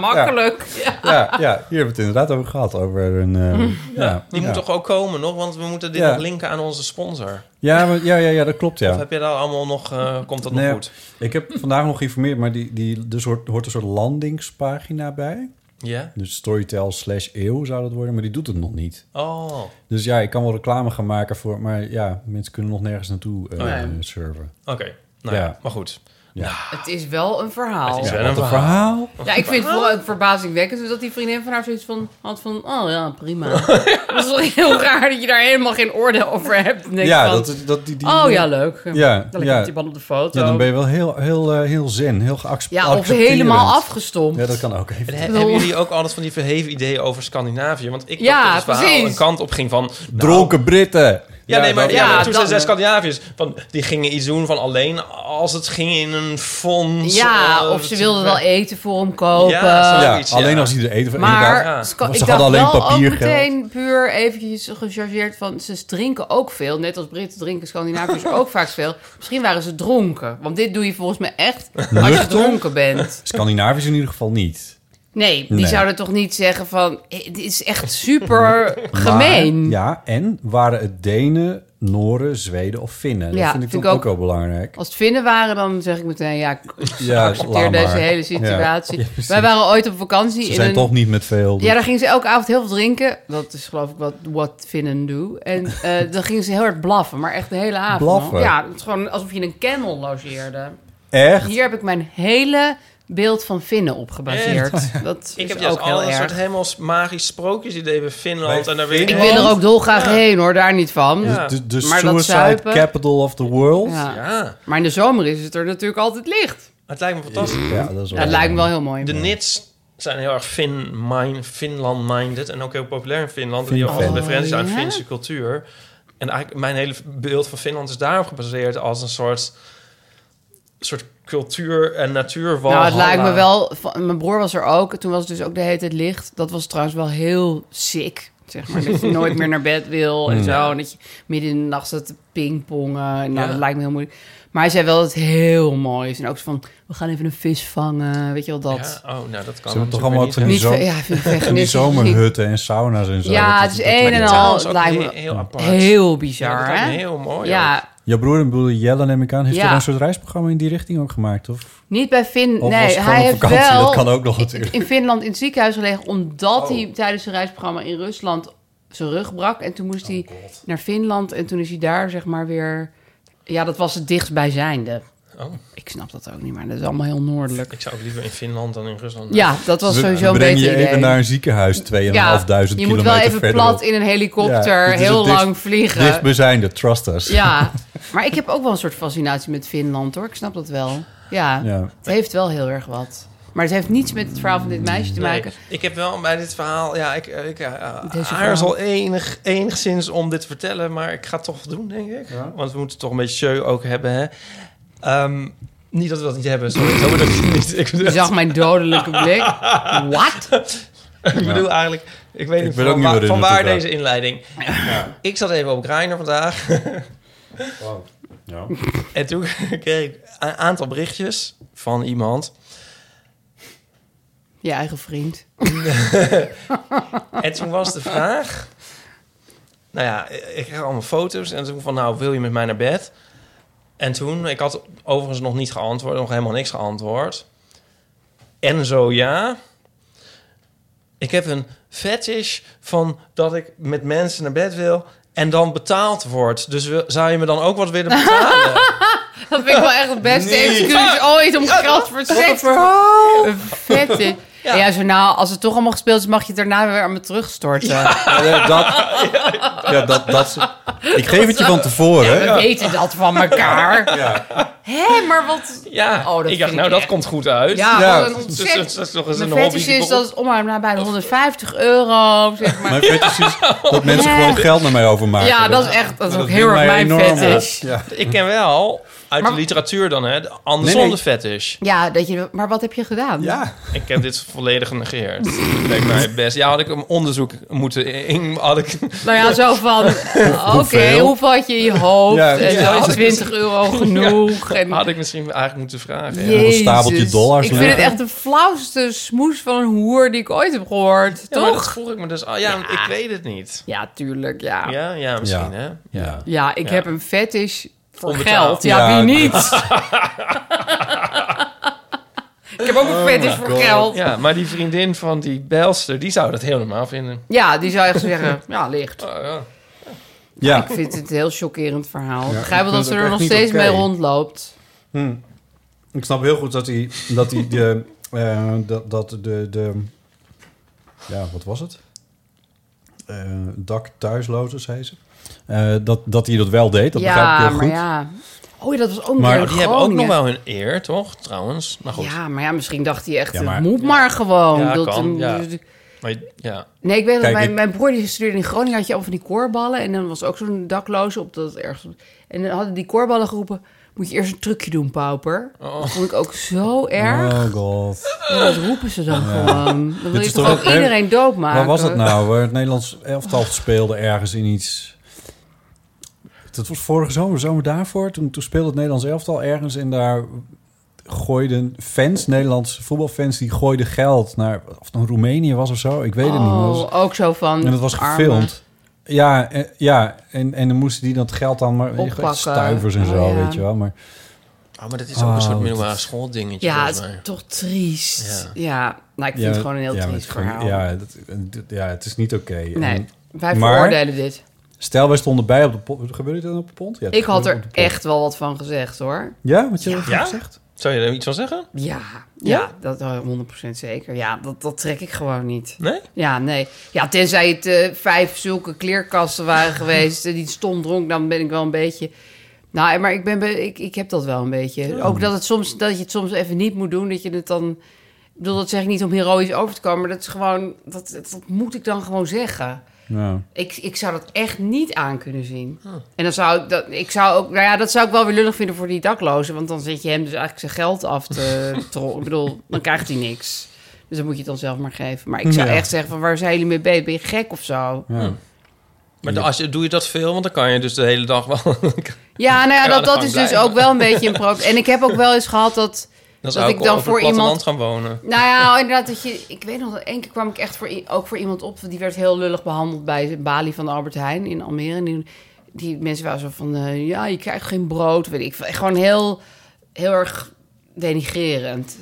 Speaker 3: makkelijk.
Speaker 1: Ja, ja, hier hebben we het inderdaad over gehad. Over een, eh, ja,
Speaker 2: Die
Speaker 1: ja.
Speaker 2: moet toch ook komen nog, want we moeten dit
Speaker 1: Ja.
Speaker 2: nog linken aan onze sponsor.
Speaker 1: Ja, maar- ja, ja, ja, dat klopt, ja.
Speaker 2: Of heb je daar allemaal nog, eh, komt dat
Speaker 1: Nee,
Speaker 2: nog goed?
Speaker 1: Ik heb vandaag nog geïnformeerd, maar die, die, er soort, hoort een soort landingspagina bij.
Speaker 2: Ja?
Speaker 1: Dus Storytel slash eeuw zou dat worden, maar die doet het nog niet.
Speaker 2: Oh, oké.
Speaker 1: Dus ja, ik kan wel reclame gaan maken voor... Maar ja, mensen kunnen nog nergens naartoe eh,
Speaker 2: Oh ja.
Speaker 1: surfen.
Speaker 2: Nou
Speaker 1: Ja.
Speaker 2: ja, maar goed.
Speaker 3: Het is wel een verhaal.
Speaker 2: Het is
Speaker 1: Ja,
Speaker 2: wel een
Speaker 1: wat een
Speaker 2: verhaal.
Speaker 1: verhaal.
Speaker 3: Ja, ik vind het vooral verbazingwekkend dat die vriendin van haar zoiets van had van, oh ja,
Speaker 2: (laughs)
Speaker 3: prima. Dat is wel heel raar dat je daar helemaal geen oordeel over hebt. Denk
Speaker 1: Ja,
Speaker 3: van,
Speaker 1: dat, dat, die, die,
Speaker 3: oh ja, leuk.
Speaker 1: ja,
Speaker 3: Dan
Speaker 1: ja.
Speaker 3: komt die man op de foto.
Speaker 1: Ja, dan ben je wel heel, heel, eh, heel zen, heel geaccepteerd.
Speaker 3: Ja, of helemaal afgestompt.
Speaker 1: Ja, dat kan ook even.
Speaker 2: En he- hebben jullie ook altijd van die verheven ideeën over Scandinavië? Want ik
Speaker 3: Ja,
Speaker 2: dacht dat het verhaal
Speaker 3: precies.
Speaker 2: een kant op ging van... nou,
Speaker 1: Dronken Britten.
Speaker 2: Ja, nee, maar
Speaker 1: dat-
Speaker 2: ja,
Speaker 3: ja,
Speaker 2: toen zijn
Speaker 3: dat-
Speaker 2: ze Scandinaviërs. Van, die gingen iets doen van alleen als het ging in een fonds.
Speaker 3: Ja,
Speaker 2: eh,
Speaker 3: of ze wilden wel eten voor hem kopen.
Speaker 2: Ja, zo.
Speaker 1: ja,
Speaker 2: zoiets,
Speaker 1: alleen
Speaker 2: ja.
Speaker 1: als hij er eten van
Speaker 3: Maar
Speaker 1: inderdaad.
Speaker 3: ze-
Speaker 1: Want ze
Speaker 3: ik dacht
Speaker 1: hadden alleen
Speaker 3: wel ook
Speaker 1: papiergeld.
Speaker 3: meteen puur eventjes gechargeerd van... ze drinken ook veel. Net als Britten drinken
Speaker 1: (laughs)
Speaker 3: Scandinaviërs ook vaak veel. Misschien waren ze dronken. Want dit doe je volgens mij echt als je dronken bent.
Speaker 1: Scandinavisch in ieder geval niet.
Speaker 3: Nee, die
Speaker 1: Nee.
Speaker 3: zouden toch niet zeggen van... "Hé, dit is echt super gemeen.
Speaker 1: (laughs) Maar, ja, en waren het Denen, Noren, Zweden of Finnen? Dat
Speaker 3: Ja,
Speaker 1: vind ik
Speaker 3: vind
Speaker 1: toch
Speaker 3: ik
Speaker 1: ook wel belangrijk.
Speaker 3: Als het vinnen waren, dan zeg ik meteen... ja, ik
Speaker 1: Ja,
Speaker 3: accepteer deze hele situatie. Wij waren ooit op vakantie
Speaker 1: Ze
Speaker 3: in
Speaker 1: zijn
Speaker 3: een...
Speaker 1: toch niet met veel.
Speaker 3: Ja, dan gingen ze elke avond heel veel drinken. Dat is geloof ik wat, wat Finnen doen.
Speaker 1: (laughs)
Speaker 3: En eh, dan gingen ze heel hard blaffen, maar echt de hele avond.
Speaker 1: Blaffen?
Speaker 3: man. Ja, het is gewoon alsof je in een kennel logeerde.
Speaker 1: Echt?
Speaker 3: Hier heb ik mijn hele beeld van Finnen op gebaseerd. (laughs) Dat
Speaker 2: Ik
Speaker 3: is
Speaker 2: heb juist
Speaker 3: ook heel
Speaker 2: al een soort
Speaker 3: erg.
Speaker 2: helemaal magisch sprookjes idee bij Finland.
Speaker 1: Bij
Speaker 2: en daar weet
Speaker 3: Ik
Speaker 1: Finland?
Speaker 3: wil er ook dolgraag heen hoor, daar niet van.
Speaker 2: Ja.
Speaker 1: De, de
Speaker 3: Maar dat
Speaker 1: suicide
Speaker 3: zuipen-
Speaker 1: capital of the world? Ja,
Speaker 3: Ja.
Speaker 2: Ja,
Speaker 3: Maar in de zomer is het er natuurlijk altijd licht.
Speaker 2: het lijkt me fantastisch.
Speaker 1: dat is
Speaker 3: Ja, dat lijkt me wel heel mooi.
Speaker 2: De Nits zijn heel erg Fin mind, Finland-minded en ook heel populair in Finland. Die hebben altijd
Speaker 3: Oh,
Speaker 2: referenties aan de
Speaker 3: ja?
Speaker 2: Finse cultuur. En eigenlijk mijn hele beeld van Finland is daarop gebaseerd als een soort, soort cultuur- en natuurwal.
Speaker 3: Nou, het lijkt me wel... van- Mijn broer was er ook. Toen was het dus ook de hele tijd licht. Dat was trouwens wel heel sick. Zeg maar,
Speaker 2: (laughs)
Speaker 3: dat je nooit meer naar bed wil
Speaker 2: Mm.
Speaker 3: en zo. En dat je midden in de nacht zat te pingpongen. Nou,
Speaker 2: Ja.
Speaker 3: dat lijkt me heel moeilijk. Maar hij zei wel dat het heel mooi is. En ook zo van, we gaan even een vis vangen. Weet je wel, dat.
Speaker 2: Ja, oh, nou, dat kan
Speaker 1: Ze hebben toch
Speaker 2: natuurlijk
Speaker 1: allemaal ook
Speaker 2: niet,
Speaker 1: van
Speaker 2: hè?
Speaker 1: die
Speaker 3: Niet
Speaker 1: zo-
Speaker 3: ve- ja, ik vind het echt
Speaker 1: En die
Speaker 3: niet-
Speaker 1: zomerhutten en sauna's en zo.
Speaker 3: Ja,
Speaker 1: dat-
Speaker 3: het is
Speaker 1: dat-
Speaker 3: een en
Speaker 1: dat-
Speaker 3: al.
Speaker 2: Trouwens ook
Speaker 3: lijkt
Speaker 2: heel-
Speaker 3: me
Speaker 2: heel apart.
Speaker 3: Heel
Speaker 2: Ja, dat
Speaker 3: bizar,
Speaker 2: lijkt me
Speaker 3: hè?
Speaker 2: heel mooi. ook.
Speaker 3: Ja,
Speaker 1: Jouw broer en broer Jelle, neem ik aan, heeft
Speaker 3: Ja.
Speaker 1: toch een soort reisprogramma in die richting ook gemaakt? Of,
Speaker 3: niet bij Finn.
Speaker 1: of was
Speaker 3: nee,
Speaker 1: het gewoon
Speaker 3: hij
Speaker 1: op
Speaker 3: heeft
Speaker 1: vakantie?
Speaker 3: wel...
Speaker 1: Dat kan ook nog natuurlijk. Oh.
Speaker 3: in Finland in het ziekenhuis gelegen omdat hij tijdens zijn reisprogramma in Rusland zijn rug brak. En toen moest
Speaker 1: Oh,
Speaker 3: hij naar Finland en toen is hij daar zeg maar weer... Ja, dat was het dichtstbijzijnde.
Speaker 2: Oh,
Speaker 3: Ik snap dat ook niet, maar dat is allemaal heel noordelijk.
Speaker 2: ik zou het liever in Finland dan in Rusland.
Speaker 3: Ja, dat was
Speaker 1: We-
Speaker 3: sowieso
Speaker 1: we
Speaker 3: een
Speaker 1: brengen
Speaker 3: beter
Speaker 1: je
Speaker 3: idee.
Speaker 1: even naar een ziekenhuis 2.500 kilometer
Speaker 3: je moet wel even
Speaker 1: verderop.
Speaker 3: plat in een helikopter
Speaker 1: Ja, dit is
Speaker 3: heel
Speaker 1: het dichtst-
Speaker 3: lang vliegen.
Speaker 1: Dichtstbijzijnde, trust
Speaker 3: (laughs)
Speaker 1: us.
Speaker 3: Ja, maar ik heb ook wel een soort fascinatie met Finland hoor. Ik snap dat wel. Ja,
Speaker 1: Ja.
Speaker 3: het heeft wel heel erg wat. Maar het heeft niets met het verhaal van dit meisje te
Speaker 2: Nee,
Speaker 3: maken.
Speaker 2: ik heb wel bij dit verhaal, ja, ik, ik eh,
Speaker 3: Deze
Speaker 2: aarzel enig, enigszins om dit te vertellen, maar ik ga het toch doen, denk ik. Want we moeten toch een beetje show ook hebben, hè. Ehm, niet dat we dat niet hebben, sorry. dat bedoel ik niet. Ik bedoel,
Speaker 3: Je zag mijn dodelijke blik. Wat?
Speaker 2: ik bedoel eigenlijk, ik weet
Speaker 1: Ik
Speaker 2: niet
Speaker 1: ben
Speaker 2: van,
Speaker 1: ook niet
Speaker 2: waar,
Speaker 1: meer in
Speaker 2: van
Speaker 1: de
Speaker 2: waar
Speaker 1: toekomst.
Speaker 2: deze inleiding. Ik zat even op Grindr vandaag
Speaker 1: Ja.
Speaker 2: en toen (laughs) kreeg ik een aantal berichtjes van iemand.
Speaker 3: Je eigen vriend.
Speaker 2: En toen was de vraag... Nou ja, ik kreeg allemaal foto's. En toen van, nou, wil je met mij naar bed? En toen, ik had overigens nog niet geantwoord. Nog helemaal niks geantwoord. En zo ja. Ik heb een fetish van dat ik met mensen naar bed wil... en dan betaald word. Dus wil- zou je me dan ook wat willen
Speaker 3: (laughs)
Speaker 2: betalen?
Speaker 3: Dat vind ik wel echt het beste
Speaker 2: (laughs)
Speaker 3: excuus ooit om geld voor seks. Een vette. Ja. zo nou, als het toch allemaal gespeeld is, mag je het daarna weer aan me terugstorten.
Speaker 1: Ja, Eh, dat, (laughs) ja, dat, dat, ik geef het je van tevoren.
Speaker 3: We weten dat van elkaar.
Speaker 1: Ja.
Speaker 3: Hé, maar wat...
Speaker 2: ja,
Speaker 3: Oh, dat
Speaker 2: ik dacht,
Speaker 3: vind ik
Speaker 2: nou, dat
Speaker 3: echt-
Speaker 2: komt goed uit.
Speaker 3: Ja,
Speaker 1: Ja.
Speaker 3: wat een
Speaker 2: Dus
Speaker 3: ontzettend...
Speaker 2: dat is nog eens
Speaker 3: Mijn
Speaker 2: een hobby.
Speaker 3: fetish
Speaker 2: die
Speaker 3: is
Speaker 2: ik
Speaker 3: dat het om haar naar bijna 150 euro, zeg maar.
Speaker 1: Mijn fetish is dat mensen gewoon geld naar mij overmaken.
Speaker 3: Ja, dat is echt dat is ook
Speaker 1: viel
Speaker 3: heel erg
Speaker 1: mij
Speaker 3: mijn
Speaker 1: enorm
Speaker 3: fetish.
Speaker 1: op. Ja.
Speaker 2: Ik ken wel, uit
Speaker 3: Maar-
Speaker 2: de literatuur dan, hè, de andersom
Speaker 1: Nee, nee.
Speaker 2: de fetish.
Speaker 3: Ja, dat je, maar wat heb je gedaan?
Speaker 1: Ja.
Speaker 2: Ik heb dit volledig genegeerd. Lijkt mij het best. Ja, had ik een onderzoek moeten... In, had ik,
Speaker 3: Nou ja, zo van, oké,
Speaker 1: hoeveel?
Speaker 3: hoeveel had je in je hoofd?
Speaker 1: Ja,
Speaker 3: en
Speaker 1: ja.
Speaker 3: zo, 20 euro genoeg. En,
Speaker 2: had ik misschien eigenlijk moeten vragen. Ja.
Speaker 3: Jezus.
Speaker 1: Een stapeltje dollars
Speaker 3: Ik vind het
Speaker 1: liggen.
Speaker 3: echt de flauwste smoes van een hoer die ik ooit heb gehoord.
Speaker 2: Ja, maar dat
Speaker 3: toch?
Speaker 2: vroeg ik me dus... al. ja, ik weet het niet.
Speaker 3: Ja, tuurlijk, ja. Ja,
Speaker 2: Ja, ja misschien,
Speaker 1: Ja.
Speaker 2: hè.
Speaker 1: Ja.
Speaker 3: ik
Speaker 2: Ja.
Speaker 3: heb een fetish voor
Speaker 2: Onbetaald.
Speaker 3: geld. Ja,
Speaker 1: Ja,
Speaker 3: wie niet? ik heb ook een fetish voor geld.
Speaker 2: Ja, maar die vriendin van die belster, die zou dat heel normaal vinden.
Speaker 3: Ja, die zou echt zeggen, (laughs) ja, licht.
Speaker 2: Oh, ja.
Speaker 1: Ja.
Speaker 3: Ik vind het een heel chockerend verhaal. Ik
Speaker 1: Ja,
Speaker 3: Begrijp
Speaker 1: ik
Speaker 3: wel dat
Speaker 1: vind
Speaker 3: ze
Speaker 1: het
Speaker 3: er
Speaker 1: ook
Speaker 3: nog
Speaker 1: echt niet
Speaker 3: steeds
Speaker 1: oké.
Speaker 3: mee rondloopt.
Speaker 1: Ik snap heel goed dat hij, dat hij de, eh, dat, dat de, de, ja, wat was het? Eh dak thuislozen, zei ze. Eh, dat, dat hij dat wel deed, dat begrijp ik
Speaker 3: ja,
Speaker 1: heel
Speaker 3: maar
Speaker 1: goed.
Speaker 3: ja. Oh, ja, dat was ook
Speaker 1: Maar
Speaker 3: maar,
Speaker 2: Maar die hebben ook nog wel hun eer, toch? Trouwens. Nou goed.
Speaker 3: Oh, Ja, maar ja, misschien dacht hij echt,
Speaker 1: Ja, maar-
Speaker 3: het moet maar gewoon.
Speaker 2: Ja,
Speaker 3: Dat-
Speaker 2: kan, ja. Maar, je- ja.
Speaker 3: Nee, ik weet dat
Speaker 1: Kijk,
Speaker 3: mijn,
Speaker 1: ik-
Speaker 3: mijn broer die studeerde in Groningen, had je al van die koorballen. En dan was ook zo'n dakloze op dat ergens. En dan hadden die koorballen geroepen, moet je eerst een trucje doen, pauper. Dat vond ik ook zo erg.
Speaker 1: Oh god.
Speaker 3: Ja, dat roepen ze dan gewoon. Dan wil
Speaker 1: is
Speaker 3: je
Speaker 1: toch
Speaker 3: toch ook
Speaker 1: ook-
Speaker 3: iedereen doodmaken.
Speaker 1: Waar was het nou? Waar het Nederlands elftal speelde ergens in iets... Dat was vorige zomer, zomer daarvoor. Toen, toen speelde het Nederlands elftal ergens en daar gooiden fans, Nederlandse voetbalfans, die gooiden geld naar... Of het nou Roemenië was of zo, ik weet het niet. Dat was-
Speaker 3: Oh, ook zo van...
Speaker 1: En dat was
Speaker 3: arme.
Speaker 1: gefilmd. Ja, eh, ja en, en dan moesten die dat geld dan maar
Speaker 3: Oppakken.
Speaker 1: stuivers en
Speaker 3: Oh,
Speaker 1: zo,
Speaker 3: ja.
Speaker 1: weet je wel. Maar
Speaker 2: Oh, maar dat is ook een soort
Speaker 1: Oh,
Speaker 2: middelbare schooldingetje,
Speaker 3: Ja, het
Speaker 2: volgens
Speaker 3: is
Speaker 2: mij.
Speaker 3: toch triest.
Speaker 2: Ja.
Speaker 3: Ja, nou, ik vind
Speaker 1: ja,
Speaker 3: het gewoon een heel
Speaker 1: ja, maar
Speaker 3: triest
Speaker 1: het is gewoon-
Speaker 3: verhaal.
Speaker 1: Ja, dat, dat- ja, het is niet oké. En
Speaker 3: nee, wij
Speaker 1: maar-
Speaker 3: veroordelen dit.
Speaker 1: Stel, wij stonden bij op de pont. Gebeurde dit dan op de pont? Ja, het
Speaker 3: Ik had
Speaker 1: gebeurde
Speaker 3: er
Speaker 1: op de pont.
Speaker 3: echt wel wat van gezegd, hoor.
Speaker 1: Ja, wat je ja.
Speaker 2: Ja?
Speaker 1: gezegd?
Speaker 2: Zou je er iets van zeggen?
Speaker 3: Ja, ja,
Speaker 2: Ja?
Speaker 3: dat eh, 100% zeker. Ja, dat, dat trek ik gewoon niet.
Speaker 2: Nee?
Speaker 3: Ja, nee. Ja, tenzij het eh, vijf zulke kleerkasten waren
Speaker 1: (laughs)
Speaker 3: geweest... en die stom dronk, dan ben ik wel een beetje... Nou, maar ik, ben, be- ik, ik heb dat wel een beetje. Ook dat, het soms, dat je het soms even niet moet doen, dat je het dan... Ik bedoel, dat zeg ik niet om heroïs over te komen... maar dat is gewoon... Dat, dat, dat moet ik dan gewoon zeggen.
Speaker 1: Ja.
Speaker 3: Ik, ik zou dat echt niet aan kunnen zien. En dan zou ik dat, ik zou ook, nou ja, dat zou ik wel weer lullig vinden voor die daklozen. Want dan zit je hem dus eigenlijk zijn geld af te trollen. Ik bedoel, dan krijgt hij niks. Dus dan moet je het dan zelf maar geven. Maar ik zou
Speaker 1: Ja.
Speaker 3: echt zeggen: van waar zijn jullie mee bezig? Ben je gek of zo?
Speaker 1: Ja.
Speaker 2: Maar als je, doe je dat veel? Want dan kan je dus de hele dag wel... (laughs)
Speaker 3: Ja, nou ja,
Speaker 2: Ja,
Speaker 3: dat,
Speaker 2: dan
Speaker 3: dat
Speaker 2: gewoon
Speaker 3: is dus
Speaker 2: blijven.
Speaker 3: ook wel een beetje een probleem. En ik heb ook wel eens gehad dat. Dat
Speaker 2: Dan zou
Speaker 3: ik
Speaker 2: ik,
Speaker 3: dan
Speaker 2: over
Speaker 3: voor
Speaker 2: het platteland
Speaker 3: iemand-
Speaker 2: gaan wonen.
Speaker 3: Nou ja, inderdaad, dat je, ik weet nog dat één keer kwam ik echt voor, i- ook voor iemand op. Die werd heel lullig behandeld bij de balie van de Albert Heijn in Almere. En die, die mensen waren zo van, eh, ja, je krijgt geen brood, weet ik veel. Gewoon heel, heel erg denigrerend.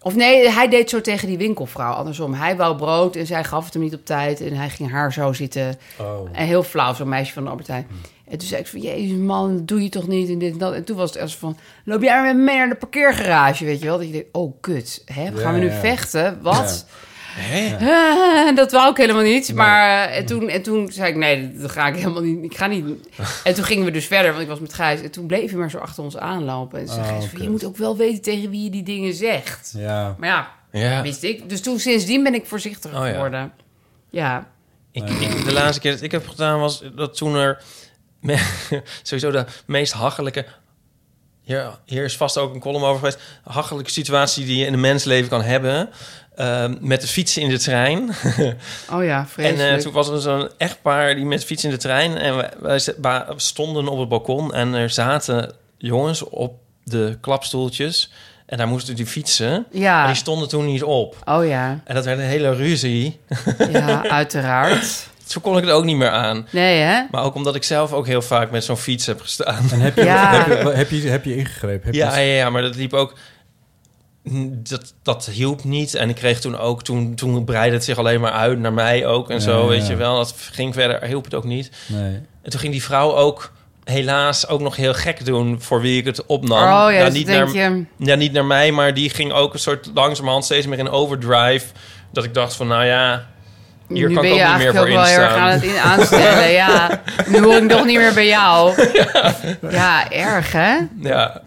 Speaker 3: Of nee, hij deed zo tegen die winkelvrouw, andersom. Hij wou brood en zij gaf het hem niet op tijd. En hij ging haar zo zitten. En heel flauw, zo'n meisje van de Albert Heijn. En toen zei ik van, jezus man, dat doe je toch niet en dit en dat. En toen was het echt van, loop jij met me mee naar de parkeergarage, weet je wel. Dat je denkt, oh kut, hè? gaan we
Speaker 1: Ja,
Speaker 3: nu
Speaker 1: ja.
Speaker 3: vechten? Wat?
Speaker 2: Hè?
Speaker 3: Ah, (laughs) dat wou ik helemaal niet. Maar eh, en toen, en toen zei ik, nee, dat ga ik helemaal niet. Ik ga niet. En toen gingen we dus verder, want ik was met Gijs. En toen bleef hij maar zo achter ons aanlopen. En toen zei
Speaker 1: Oh,
Speaker 3: Gijs, van, je
Speaker 1: kut.
Speaker 3: moet ook wel weten tegen wie je die dingen zegt.
Speaker 1: Ja.
Speaker 3: Maar ja,
Speaker 2: Ja.
Speaker 3: wist ik. Dus toen sindsdien ben ik voorzichtiger
Speaker 2: Oh, ja.
Speaker 3: geworden. Ja.
Speaker 2: Ik, ik- de laatste keer dat ik heb gedaan was dat toen er me- (laughs) sowieso de meest hachelijke. Hier, hier is vast ook een column over geweest. Hachelijke situatie die je in een mensleven kan hebben. Ehm, met de fiets in de trein. (laughs)
Speaker 3: Oh ja,
Speaker 2: en
Speaker 3: vreselijk.
Speaker 2: eh, toen was er zo'n echtpaar die met de fiets in de trein. En wij, wij z- ba- stonden op het balkon. En er zaten jongens op de klapstoeltjes. En daar moesten die fietsen.
Speaker 3: Ja.
Speaker 2: Maar die stonden toen niet op.
Speaker 3: Oh ja,
Speaker 2: En dat werd een hele ruzie.
Speaker 3: ja, uiteraard.
Speaker 2: Toen kon ik het ook niet meer aan.
Speaker 3: Nee, hè?
Speaker 2: Maar ook omdat ik zelf ook heel vaak met zo'n fiets heb gestaan.
Speaker 1: En heb je,
Speaker 3: Ja.
Speaker 1: heb je, heb je, heb je ingegrepen?
Speaker 2: (laughs)
Speaker 1: Heb
Speaker 2: Ja, ja,
Speaker 1: je,
Speaker 2: ja, maar dat liep ook... Dat, dat hielp niet. En ik kreeg toen ook... Toen, toen breidde het zich alleen maar uit naar mij ook en
Speaker 1: Ja,
Speaker 2: zo,
Speaker 1: ja,
Speaker 2: weet
Speaker 1: ja.
Speaker 2: je wel. Dat ging verder, hielp het ook niet.
Speaker 1: nee.
Speaker 2: En toen ging die vrouw ook helaas ook nog heel gek doen... voor wie ik het opnam.
Speaker 3: oh ja,
Speaker 2: Nou,
Speaker 3: dus
Speaker 2: niet
Speaker 3: denk
Speaker 2: naar,
Speaker 3: je...
Speaker 2: ja, niet naar mij, maar die ging ook een soort langzamerhand steeds meer in overdrive. Dat ik dacht van, nou ja, hier
Speaker 3: nu
Speaker 2: kan
Speaker 3: ben
Speaker 2: ik
Speaker 3: je
Speaker 2: ook niet meer
Speaker 3: eigenlijk
Speaker 2: voor
Speaker 3: ook wel heel erg
Speaker 2: instaan.
Speaker 3: aan het in aanstellen, ja. Nu hoor ik nog niet meer bij jou.
Speaker 2: (laughs)
Speaker 3: Ja, erg, hè?
Speaker 2: Ja,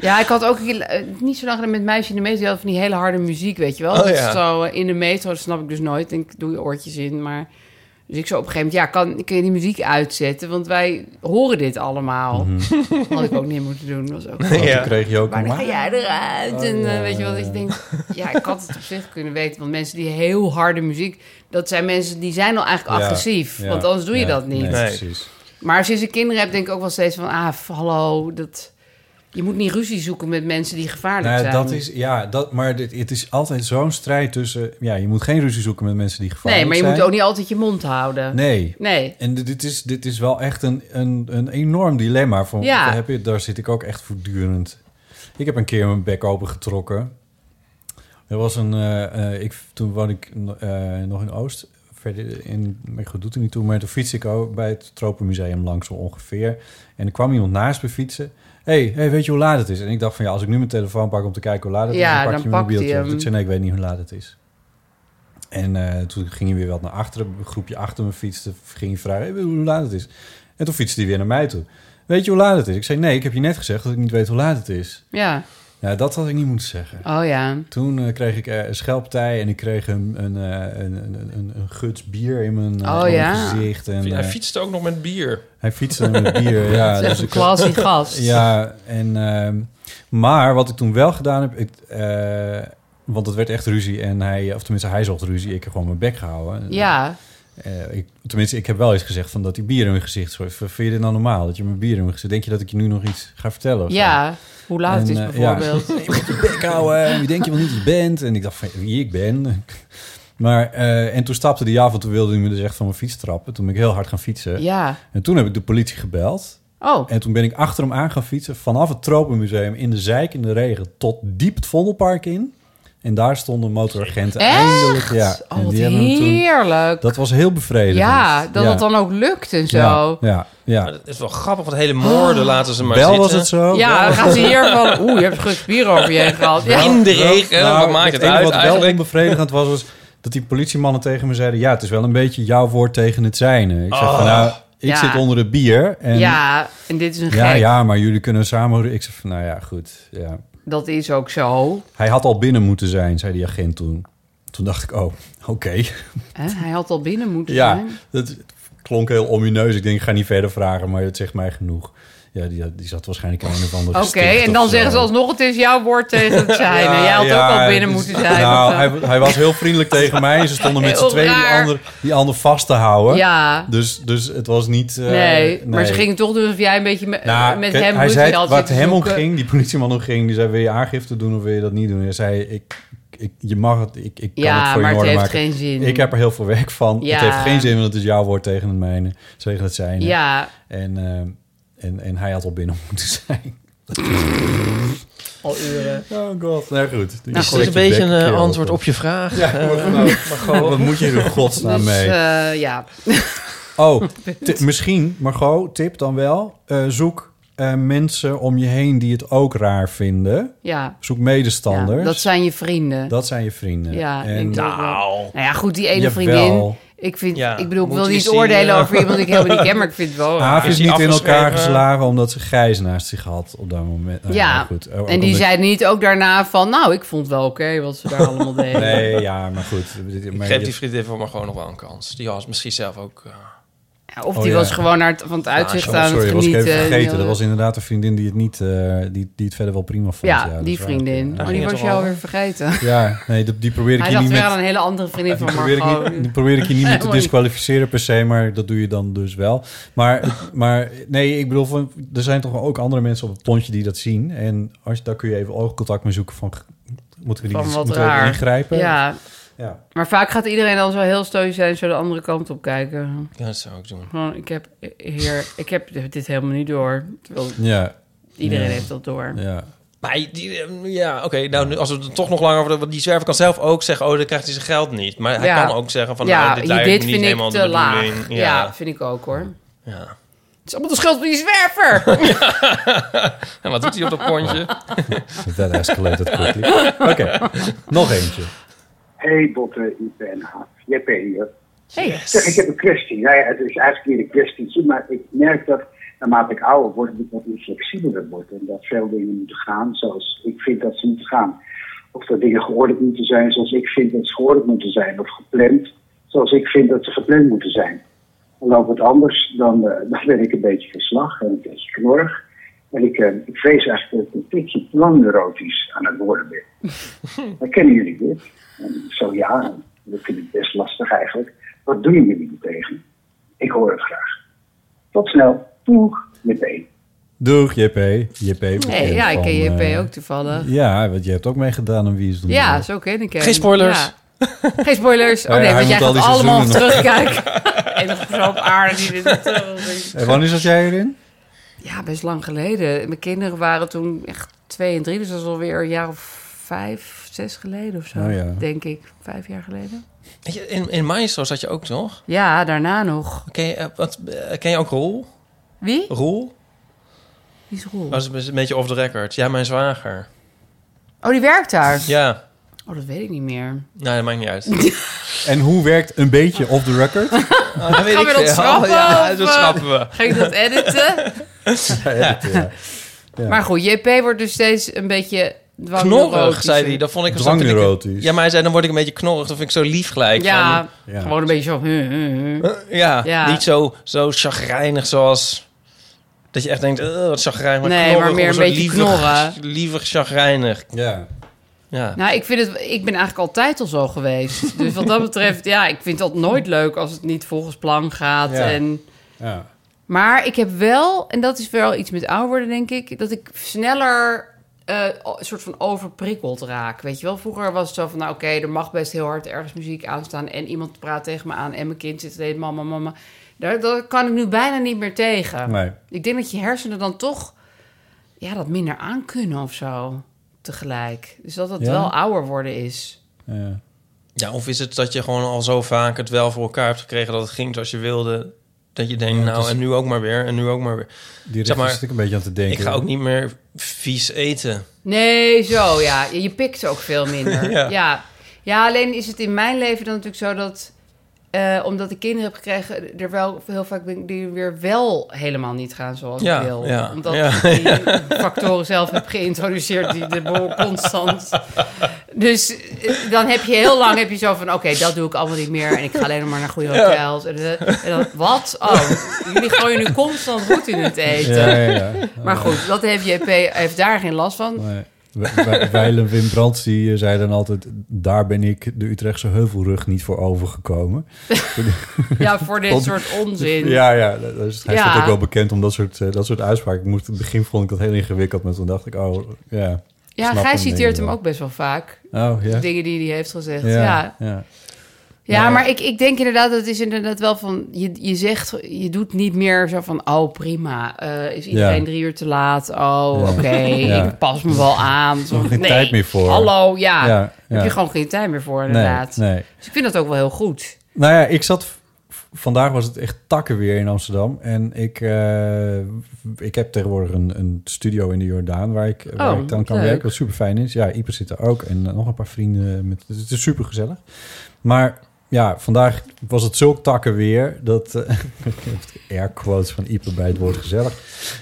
Speaker 3: Ja, ik had ook eh, niet zo lang geleden met meisje in de metro die had van die hele harde muziek, weet je wel.
Speaker 2: Oh,
Speaker 3: Dat
Speaker 2: ja.
Speaker 3: is zo eh, in de metro, dat snap ik dus nooit. En ik doe je oortjes in, maar... Dus ik zo op een gegeven moment, ja, kan, kun je die muziek uitzetten? Want wij horen dit allemaal.
Speaker 2: Mhm.
Speaker 3: (laughs) Had ik ook niet moeten doen, dat
Speaker 2: (laughs)
Speaker 3: was ook...
Speaker 1: Want
Speaker 2: Ja.
Speaker 1: toen kreeg je ook
Speaker 3: Maar
Speaker 1: een
Speaker 3: dan ga
Speaker 1: maar.
Speaker 3: jij eruit.
Speaker 1: Oh,
Speaker 3: en eh, weet je wel, dat je denkt... Ja, ik had het op zich kunnen weten. Want mensen die heel harde muziek... Dat zijn mensen die zijn al eigenlijk
Speaker 1: Ja,
Speaker 3: agressief.
Speaker 1: ja.
Speaker 3: Want anders doe je
Speaker 1: Nee,
Speaker 3: dat niet.
Speaker 1: Nee,
Speaker 2: Nee.
Speaker 1: precies.
Speaker 3: Maar sinds ik kinderen heb, denk ik ook wel steeds van... Ah, f- hallo, dat... Je moet niet ruzie zoeken met mensen die gevaarlijk
Speaker 1: Nou,
Speaker 3: zijn.
Speaker 1: dat is, ja, dat, maar dit, het is altijd zo'n strijd tussen... Ja, je moet geen ruzie zoeken met mensen die
Speaker 3: nee,
Speaker 1: gevaarlijk
Speaker 3: maar
Speaker 1: zijn.
Speaker 3: je moet ook niet altijd je mond houden.
Speaker 1: Nee.
Speaker 3: Nee.
Speaker 1: En dit- dit is, dit is wel echt een, een, een enorm dilemma. Van,
Speaker 3: Ja.
Speaker 1: daar, heb je, daar zit ik ook echt voortdurend. Ik heb een keer mijn bek opengetrokken. Er was een... eh, eh, ik, toen woonde ik eh, nog in Oost. Verder in, ik doet er niet toe, maar toen fiets ik ook bij het Tropenmuseum langs zo ongeveer. En er kwam iemand naast me fietsen. hey, hey, weet je hoe laat het is? En ik dacht van ja, als ik nu mijn telefoon pak om te kijken hoe laat het
Speaker 3: Ja,
Speaker 1: is, dan pak
Speaker 3: dan
Speaker 1: je
Speaker 3: pakt
Speaker 1: mijn mobieltje.
Speaker 3: hij hem.
Speaker 1: Want Ik zei nee, ik weet niet hoe laat het is. En eh, toen ging hij weer wat naar achteren. Een groepje achter me fietste. Ging hij vragen hey, hoe laat het is. En toen fietste hij weer naar mij toe. Weet je hoe laat het is? Ik zei, nee, ik heb je net gezegd dat ik niet weet hoe laat het is.
Speaker 3: Ja.
Speaker 1: Nou, dat had ik niet moeten zeggen.
Speaker 3: Oh ja.
Speaker 1: Toen eh, kreeg ik eh, een schelptij en ik kreeg een, een, eh, een, een, een, een guts bier in mijn, eh,
Speaker 3: Oh,
Speaker 1: in mijn
Speaker 3: ja.
Speaker 1: gezicht. En,
Speaker 2: hij
Speaker 1: eh,
Speaker 2: fietste ook nog met bier.
Speaker 1: hij fietste met (laughs) bier. ja,
Speaker 3: Dat is echt
Speaker 1: dus
Speaker 3: een
Speaker 1: ik, (laughs)
Speaker 3: klassie gast.
Speaker 1: ja, en, ehm, maar wat ik toen wel gedaan heb, ik, eh, want het werd echt ruzie en hij, of tenminste hij zocht ruzie, ik heb gewoon mijn bek gehouden.
Speaker 3: Ja.
Speaker 1: Eh, ik, tenminste, ik heb wel eens gezegd van dat die bier in mijn gezicht zo Vind je dit nou normaal? Dat je mijn bier in mijn gezicht... Denk je dat ik je nu nog iets ga vertellen? of zo?
Speaker 3: Ja. Hoe laat het
Speaker 1: En,
Speaker 3: is
Speaker 1: eh, ja.
Speaker 3: bijvoorbeeld.
Speaker 1: (laughs) Bek houden. Wie denk je wel niet dat je bent? En ik dacht van wie ik ben. Maar, eh, en toen stapte die af en toen wilde hij me dus echt van mijn fiets trappen. Toen ben ik heel hard gaan fietsen.
Speaker 3: ja.
Speaker 1: En toen heb ik de politie gebeld.
Speaker 3: Oh.
Speaker 1: En toen ben ik achter hem aan gaan fietsen vanaf het Tropenmuseum in de Zijk in de regen tot diep het Vondelpark in. En daar stonden motoragenten
Speaker 3: Echt?
Speaker 1: eindelijk. Ja,
Speaker 3: Oh,
Speaker 1: en
Speaker 3: wat
Speaker 1: hebben hem
Speaker 3: heerlijk.
Speaker 1: Dat was heel bevredigend.
Speaker 3: ja, dat
Speaker 1: Ja.
Speaker 3: dat dan ook lukt en zo.
Speaker 1: Ja, ja, ja.
Speaker 2: Maar dat is wel grappig, want hele moorden laten ze maar
Speaker 1: Ah. Oh, Wel
Speaker 2: zitten.
Speaker 1: was het zo.
Speaker 3: Ja, dan gaan ze hier van... Oeh, je hebt goed bier over je heen gehad. Ja. Nou,
Speaker 2: In de regen, wat maakt het
Speaker 1: nou, enige
Speaker 2: uit
Speaker 1: wat wel
Speaker 2: eigenlijk?
Speaker 1: onbevredigend was, was dat die politiemannen tegen me zeiden... ja, het is wel een beetje jouw woord tegen het zijne. Ik
Speaker 2: Oh.
Speaker 1: zeg van, nou, ik
Speaker 3: Ja.
Speaker 1: zit onder de bier. En,
Speaker 3: ja, en dit is een
Speaker 1: ja,
Speaker 3: gek.
Speaker 1: ja, maar jullie kunnen samen... Ik zeg van, nou ja, goed. Ja.
Speaker 3: Dat is ook zo.
Speaker 1: Hij had al binnen moeten zijn, zei die agent toen. Toen dacht ik, oh, oké. (laughs)
Speaker 3: Hè? Hij had al binnen moeten
Speaker 1: Ja,
Speaker 3: zijn.
Speaker 1: dat klonk heel omineus. Ik denk, ik ga niet verder vragen, maar het zegt mij genoeg. Ja, die, die zat waarschijnlijk aan een of andere
Speaker 3: Oké,
Speaker 1: gesticht
Speaker 3: en
Speaker 1: of
Speaker 3: dan
Speaker 1: zo.
Speaker 3: zeggen ze alsnog... het is jouw woord tegen
Speaker 1: (laughs)
Speaker 3: het zijne. Jij had ook al binnen
Speaker 1: dus-
Speaker 3: moeten zijn.
Speaker 1: Nou,
Speaker 3: of zo.
Speaker 1: hij, hij was heel vriendelijk tegen mij. Ze stonden met z'n
Speaker 3: Heel
Speaker 1: tweeën die
Speaker 3: raar.
Speaker 1: ander, die ander vast te houden.
Speaker 3: ja,
Speaker 1: Dus, dus het was niet... eh,
Speaker 3: nee, Maar ze gingen toch doen alsof jij een beetje me-
Speaker 1: Nou,
Speaker 3: met
Speaker 1: kijk,
Speaker 3: hem...
Speaker 1: hij
Speaker 3: ruzie
Speaker 1: zei
Speaker 3: had
Speaker 1: wat
Speaker 3: zitten
Speaker 1: hem om
Speaker 3: zoeken.
Speaker 1: ging, die politieman om ging. Die zei, wil je aangifte doen of wil je dat niet doen? Hij zei, ik, ik, je mag het, ik, ik kan het
Speaker 3: Ja, maar
Speaker 1: voor je in
Speaker 3: het
Speaker 1: orde
Speaker 3: heeft
Speaker 1: maken.
Speaker 3: geen zin.
Speaker 1: Ik heb er heel veel werk van.
Speaker 3: Ja.
Speaker 1: Het heeft geen zin, want het is jouw woord tegen het mijne. Tegen het zijne.
Speaker 3: Ja,
Speaker 1: En, eh, en, en hij had al binnen (laughs) moeten zijn.
Speaker 3: al uren.
Speaker 1: Oh god. Nou goed.
Speaker 3: Nou,
Speaker 2: Is dit een beetje een eh, antwoord op je vraag? (laughs) eh,
Speaker 1: Ja, maar, gewoon. wat moet je er in godsnaam
Speaker 3: Dus
Speaker 1: mee?
Speaker 3: eh, ja,
Speaker 1: Oh,
Speaker 2: (laughs)
Speaker 1: ti- misschien, Margot, tip dan wel. eh, zoek eh, mensen om je heen die het ook raar vinden.
Speaker 3: Ja.
Speaker 1: Zoek medestanders.
Speaker 3: Ja, dat zijn je vrienden.
Speaker 1: Dat zijn je vrienden.
Speaker 3: Ja,
Speaker 1: En-
Speaker 3: ik denk dat wel. Nou ja, goed, die ene
Speaker 1: Jawel.
Speaker 3: vriendin. Ik, vind,
Speaker 2: Ja,
Speaker 3: ik bedoel, ik
Speaker 2: moet
Speaker 3: wil
Speaker 2: je
Speaker 3: niet
Speaker 2: zien,
Speaker 3: oordelen
Speaker 2: eh.
Speaker 3: over iemand die ik helemaal niet ken, maar ik vind het
Speaker 1: (laughs)
Speaker 3: wel...
Speaker 1: Aaf
Speaker 2: Is
Speaker 1: is
Speaker 2: die
Speaker 1: niet in elkaar
Speaker 2: afgeschreven?
Speaker 1: geslagen omdat ze Gijs naast zich had op dat moment. Nou
Speaker 3: Ja,
Speaker 1: goed. Ook
Speaker 3: en die
Speaker 1: omdat-
Speaker 3: zei niet ook daarna van... Nou, ik vond wel oké wat ze daar allemaal deden.
Speaker 1: (laughs) Nee, ja, maar goed.
Speaker 2: Ik
Speaker 1: Maar
Speaker 2: geef
Speaker 1: je-
Speaker 2: die vriendin van maar gewoon nog wel een kans. Die was misschien zelf ook... eh,
Speaker 3: Ja, Of
Speaker 1: Oh,
Speaker 3: die
Speaker 1: ja.
Speaker 3: was gewoon naar het, van het uitzicht
Speaker 1: Oh,
Speaker 3: aan
Speaker 1: sorry,
Speaker 3: het
Speaker 1: was ik
Speaker 3: genieten.
Speaker 1: even
Speaker 3: Die
Speaker 1: vergeten.
Speaker 3: had-
Speaker 1: Dat was inderdaad een vriendin die het niet, eh, die, die het verder wel prima vond.
Speaker 3: ja,
Speaker 1: dat
Speaker 3: die
Speaker 1: is waar.
Speaker 3: vriendin.
Speaker 1: Ja.
Speaker 3: Oh, die
Speaker 2: ging
Speaker 3: was
Speaker 2: het
Speaker 3: je
Speaker 2: al.
Speaker 3: alweer vergeten.
Speaker 1: Ja, nee, die, die probeer ik
Speaker 3: Hij
Speaker 1: je
Speaker 3: dacht
Speaker 1: niet
Speaker 3: weer aan
Speaker 1: met...
Speaker 3: een hele andere vriendin
Speaker 1: Die
Speaker 3: van
Speaker 1: probeer, ik
Speaker 3: Margot.
Speaker 1: niet, die probeer ik
Speaker 3: (laughs)
Speaker 1: je niet met te
Speaker 3: Helemaal niet.
Speaker 1: disqualificeren per se, maar dat doe je dan dus wel. Maar, maar nee, ik bedoel, van, er zijn toch ook andere mensen op het pontje die dat zien. En als, daar kun je even oogcontact mee zoeken van, moeten we die
Speaker 3: Van wat
Speaker 1: moeten we even
Speaker 3: raar.
Speaker 1: ingrijpen?
Speaker 3: Ja,
Speaker 1: Ja.
Speaker 3: maar vaak gaat iedereen dan zo heel stoïcijn zo de andere kant op kijken.
Speaker 2: ja, dat zou ik doen.
Speaker 3: Gewoon, ik heb, hier, ik heb dit helemaal niet door. Terwijl
Speaker 1: Ja,
Speaker 3: iedereen
Speaker 1: Ja.
Speaker 3: heeft dat door.
Speaker 1: ja.
Speaker 2: Maar die- die, eh, ja, oké. nou, nu, als we er toch nog langer over... Want die zwerver kan zelf ook zeggen... Oh, dan krijgt hij zijn geld niet. Maar hij
Speaker 3: Ja.
Speaker 2: kan ook zeggen van...
Speaker 3: ja,
Speaker 2: nou, dit, lijkt me
Speaker 3: dit
Speaker 2: niet
Speaker 3: vind ik
Speaker 2: helemaal de
Speaker 3: te laag.
Speaker 2: bedoeling.
Speaker 3: Ja.
Speaker 2: Ja.
Speaker 3: vind ik ook hoor. Het
Speaker 2: ja.
Speaker 3: is allemaal de schuld van die
Speaker 2: (laughs)
Speaker 3: zwerver.
Speaker 2: (laughs) En wat doet hij op dat pontje?
Speaker 1: That escalated quickly. (laughs) Oké, nog eentje.
Speaker 7: Hey Botte, ik ben Haaf. Jeppe hier.
Speaker 3: hey.
Speaker 7: Zeg, ik heb een kwestie. Nou ja, het is eigenlijk niet een kwestietje, maar ik merk dat naarmate ik ouder word, dat ik wat inflexibeler word. En dat veel dingen moeten gaan zoals ik vind dat ze moeten gaan. Of dat dingen geordend moeten zijn zoals ik vind dat ze geordend moeten zijn. Of gepland zoals ik vind dat ze gepland moeten zijn. En loopt het anders, dan, eh, dan ben ik een beetje verslag en een beetje knorrig. En ik, eh, ik vrees eigenlijk dat ik een tikje planneurotisch aan het worden ben. Herkennen jullie dit? En zo ja, dat vind ik best lastig eigenlijk. Wat doen jullie er tegen? Ik hoor het graag. Tot snel. Doeg. Meteen.
Speaker 1: Doeg, JP. JP bekend
Speaker 3: ja, ik ken
Speaker 1: van,
Speaker 3: JP
Speaker 1: eh,
Speaker 3: ook toevallig.
Speaker 1: Ja, want je hebt ook meegedaan aan Wie is de Mol.
Speaker 3: Ja, zo ken ik hem.
Speaker 2: Geen spoilers.
Speaker 3: Ja. Geen spoilers. Oh
Speaker 1: Oh ja,
Speaker 3: nee,
Speaker 1: hij
Speaker 3: want jij
Speaker 1: moet al
Speaker 3: gaat
Speaker 1: die
Speaker 3: allemaal
Speaker 1: seizoenen (laughs)
Speaker 3: terugkijken. Enige persoon op aarde die dit niet terugziet.
Speaker 1: En wanneer zat jij erin?
Speaker 3: Ja, best lang geleden. Mijn kinderen waren toen echt twee en drie. Dus dat is alweer een jaar of vijf, zes geleden of zo.
Speaker 1: Oh ja.
Speaker 3: Denk ik. Vijf jaar geleden.
Speaker 2: Weet je, In, in Maestro zat je ook toch?
Speaker 3: Ja, daarna nog.
Speaker 2: Ken je, eh, wat, eh, ken je ook Roel?
Speaker 3: Wie?
Speaker 2: Roel?
Speaker 3: Die is Roel.
Speaker 2: Dat is een beetje off the record. Ja, mijn zwager.
Speaker 3: Oh, die werkt daar.
Speaker 2: Ja.
Speaker 3: Oh, dat weet ik niet meer.
Speaker 2: Nou, dat maakt niet uit.
Speaker 1: En hoe werkt een beetje off the
Speaker 3: (laughs)
Speaker 1: record?
Speaker 2: Ah, dat weet
Speaker 3: Gaan
Speaker 2: ik
Speaker 3: we dat
Speaker 2: veel.
Speaker 3: schrappen
Speaker 2: Ja,
Speaker 3: of,
Speaker 2: dat
Speaker 3: eh?
Speaker 2: schrappen we.
Speaker 3: Ga ik dat editen?
Speaker 1: ja. (laughs) ja.
Speaker 3: Maar goed, JP wordt dus steeds een beetje...
Speaker 2: Knorrig, zei hij.
Speaker 3: dwangneurootischer.
Speaker 2: Dat vond ik
Speaker 1: Dwangneurotisch.
Speaker 2: Ja, maar hij zei, dan word ik een beetje knorrig. Dat vind ik zo lief gelijk.
Speaker 3: Ja,
Speaker 1: Ja.
Speaker 3: gewoon een beetje zo... huh, huh, huh.
Speaker 2: Van, eh, ja,
Speaker 3: Ja.
Speaker 2: Niet zo, zo chagrijnig zoals... Dat je echt denkt, eh, wat chagrijnig. Maar
Speaker 3: Nee, maar
Speaker 2: knorrig,
Speaker 3: meer
Speaker 2: of
Speaker 3: een
Speaker 2: zo
Speaker 3: beetje
Speaker 2: lievig,
Speaker 3: knorren.
Speaker 2: Liever chagrijnig.
Speaker 1: Ja.
Speaker 2: Ja.
Speaker 3: Nou, ik, vind het, ik ben eigenlijk altijd al zo geweest. Dus wat dat betreft, ja, ik vind dat nooit leuk als het niet volgens plan gaat.
Speaker 1: Ja.
Speaker 3: En,
Speaker 1: Ja.
Speaker 3: maar ik heb wel, en dat is wel iets met ouder worden, denk ik, dat ik sneller eh, o- een soort van overprikkeld raak. Weet je wel, vroeger was het zo van, nou oké, er mag best heel hard ergens muziek aanstaan en iemand praat tegen me aan en mijn kind zit te denken, mama, mama. Daar, daar kan ik nu bijna niet meer tegen.
Speaker 1: Nee.
Speaker 3: Ik denk dat je hersenen dan toch ja, dat minder aankunnen of zo tegelijk. Dus dat dat
Speaker 1: Ja?
Speaker 3: wel ouder worden is.
Speaker 1: Ja.
Speaker 2: Ja, of is het dat je gewoon al zo vaak het wel voor elkaar hebt gekregen dat het ging zoals je wilde? Dat je denkt, nou, en nu ook maar weer, en nu ook maar weer.
Speaker 1: Die
Speaker 2: Zeg
Speaker 1: zeg
Speaker 2: maar,
Speaker 1: maar, ik een beetje aan te denken.
Speaker 2: Ik ga ook niet meer vies eten.
Speaker 3: Nee, zo ja. Je, je pikt ook veel minder.
Speaker 2: Ja.
Speaker 3: ja. Ja. alleen is het in mijn leven dan natuurlijk zo dat... eh, omdat ik kinderen heb gekregen, er wel heel vaak ben ik die weer wel helemaal niet gaan zoals
Speaker 2: Ja,
Speaker 3: ik wil.
Speaker 2: ja,
Speaker 3: omdat
Speaker 2: ja.
Speaker 3: ik die factoren zelf heb geïntroduceerd, die de boel constant. Dus eh, dan heb je heel lang heb je zo van: oké, dat doe ik allemaal niet meer. En ik ga alleen nog maar naar goede hotels. En, eh, en dan, wat? Oh, jullie gooien nu constant goed in het eten.
Speaker 1: Ja, ja, ja.
Speaker 3: Maar goed, dat heeft JP heeft daar geen last van.
Speaker 1: Nee. Wij- wij- Weil en Wim Brands die eh, zei dan altijd... daar ben ik de Utrechtse heuvelrug niet voor overgekomen.
Speaker 3: Ja, voor dit
Speaker 1: (laughs) Want-
Speaker 3: soort onzin.
Speaker 1: Ja, ja, dat is, hij
Speaker 3: Ja.
Speaker 1: staat ook wel bekend om dat soort, eh, dat soort uitspraken. Ik moest, in het begin vond ik dat heel ingewikkeld, maar toen dacht ik, oh, ja.
Speaker 3: Ja,
Speaker 1: Snap
Speaker 3: Gij
Speaker 1: hem, denk
Speaker 3: citeert
Speaker 1: ik
Speaker 3: hem
Speaker 1: wel.
Speaker 3: ook best wel vaak.
Speaker 1: Oh, ja.
Speaker 3: De dingen die hij heeft gezegd. Ja,
Speaker 1: Ja,
Speaker 3: ja.
Speaker 1: ja.
Speaker 3: maar ik, ik denk inderdaad, dat is inderdaad wel van... Je, je zegt, je doet niet meer zo van... Oh, prima. Eh, is iedereen
Speaker 1: Ja.
Speaker 3: drie uur te laat? Oh, oké.
Speaker 1: (laughs) Ja.
Speaker 3: Ik pas me wel aan. Zo,
Speaker 1: Geen
Speaker 3: nee,
Speaker 1: tijd meer voor.
Speaker 3: Hallo, ja.
Speaker 1: Ja, ja.
Speaker 3: Heb je gewoon geen tijd meer voor,
Speaker 1: Nee,
Speaker 3: inderdaad.
Speaker 1: nee.
Speaker 3: Dus ik vind dat ook wel heel goed.
Speaker 1: Nou ja, ik zat v- vandaag was het echt takken weer in Amsterdam. En ik, eh, ik heb tegenwoordig een, een studio in de Jordaan waar ik, waar
Speaker 8: Oh,
Speaker 1: ik dan kan
Speaker 8: leuk.
Speaker 1: werken. Wat super fijn is. Ja, Ieper zit er ook. En eh, nog een paar vrienden. Met, dus het is super gezellig. Maar ja, vandaag was het zulk takken weer. Dat, eh, (laughs) ik heb air quotes van Ieper bij het woord gezellig.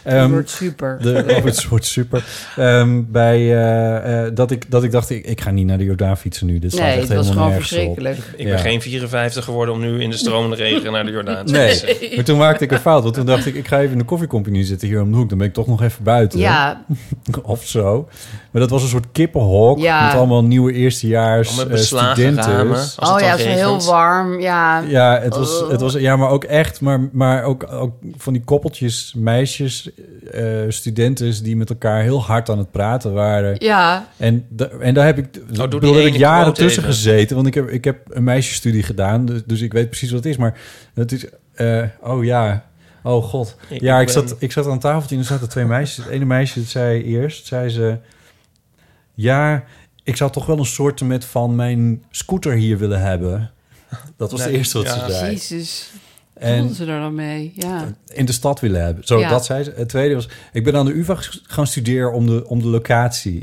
Speaker 3: Het
Speaker 1: Ehm,
Speaker 3: wordt super.
Speaker 1: De, oh, het wordt super. Ehm, bij, eh, eh, dat, ik, dat ik dacht, ik, ik ga niet naar de Jordaan fietsen nu. Dit slaat
Speaker 3: Nee,
Speaker 1: echt
Speaker 3: het was
Speaker 1: helemaal
Speaker 3: gewoon
Speaker 1: nergens op.
Speaker 3: verschrikkelijk.
Speaker 2: Ik ben
Speaker 1: Ja.
Speaker 2: geen 54 geworden om nu in de stromende regen naar de Jordaan te fietsen.
Speaker 1: Nee, maar toen maakte ik een fout. Want toen dacht ik, ik ga even in de koffiecompagnie zitten hier om de hoek. Dan ben ik toch nog even buiten.
Speaker 3: Ja.
Speaker 1: (laughs) of zo. Maar dat was een soort kippenhok.
Speaker 3: Ja.
Speaker 1: Met allemaal nieuwe eerstejaars
Speaker 2: Al met
Speaker 1: eh,
Speaker 2: beslagen ramen.
Speaker 1: studenten.
Speaker 2: Als het
Speaker 3: oh ja,
Speaker 2: dan
Speaker 3: het was heel
Speaker 2: regent.
Speaker 3: warm. Ja,
Speaker 1: Ja, het was,
Speaker 3: Oh.
Speaker 1: het was, ja, maar ook echt, maar, maar ook, ook van die koppeltjes, meisjes, eh, studenten die met elkaar heel hard aan het praten waren.
Speaker 3: Ja.
Speaker 1: En, da- en daar heb ik,
Speaker 2: die
Speaker 1: ik bedoel, heb ik
Speaker 2: ene
Speaker 1: jaren
Speaker 2: quote
Speaker 1: tussen
Speaker 2: even.
Speaker 1: gezeten, want ik heb, ik heb een meisjesstudie gedaan, dus, dus ik weet precies wat het is. Maar het is, eh, oh ja, oh god.
Speaker 2: Ik-
Speaker 1: ja, ik,
Speaker 2: ik
Speaker 1: zat,
Speaker 2: ben-
Speaker 1: ik zat aan tafel en er zaten twee meisjes. Het ene meisje zei eerst, zei ze, ja, ik zou toch wel een soort met van mijn scooter hier willen hebben. Dat was het
Speaker 2: Nee,
Speaker 1: eerste wat
Speaker 2: ja.
Speaker 1: ze zei.
Speaker 3: Jezus. Wat
Speaker 1: En
Speaker 3: dus voelden ze er dan mee? Ja.
Speaker 1: in de stad willen hebben. Zo,
Speaker 3: Ja.
Speaker 1: dat zei ze. Het tweede was, ik ben aan de UvA ges- gaan studeren om de, om de
Speaker 3: (laughs)
Speaker 1: locatie.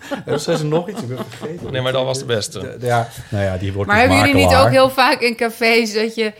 Speaker 1: Hebben ze nog iets? Ik ben vergeten.
Speaker 2: Nee, maar dat was de beste.
Speaker 1: Ja, nou ja, die wordt
Speaker 3: Maar
Speaker 1: een
Speaker 3: hebben jullie niet
Speaker 1: makelaar.
Speaker 3: ook heel vaak in cafés dat je...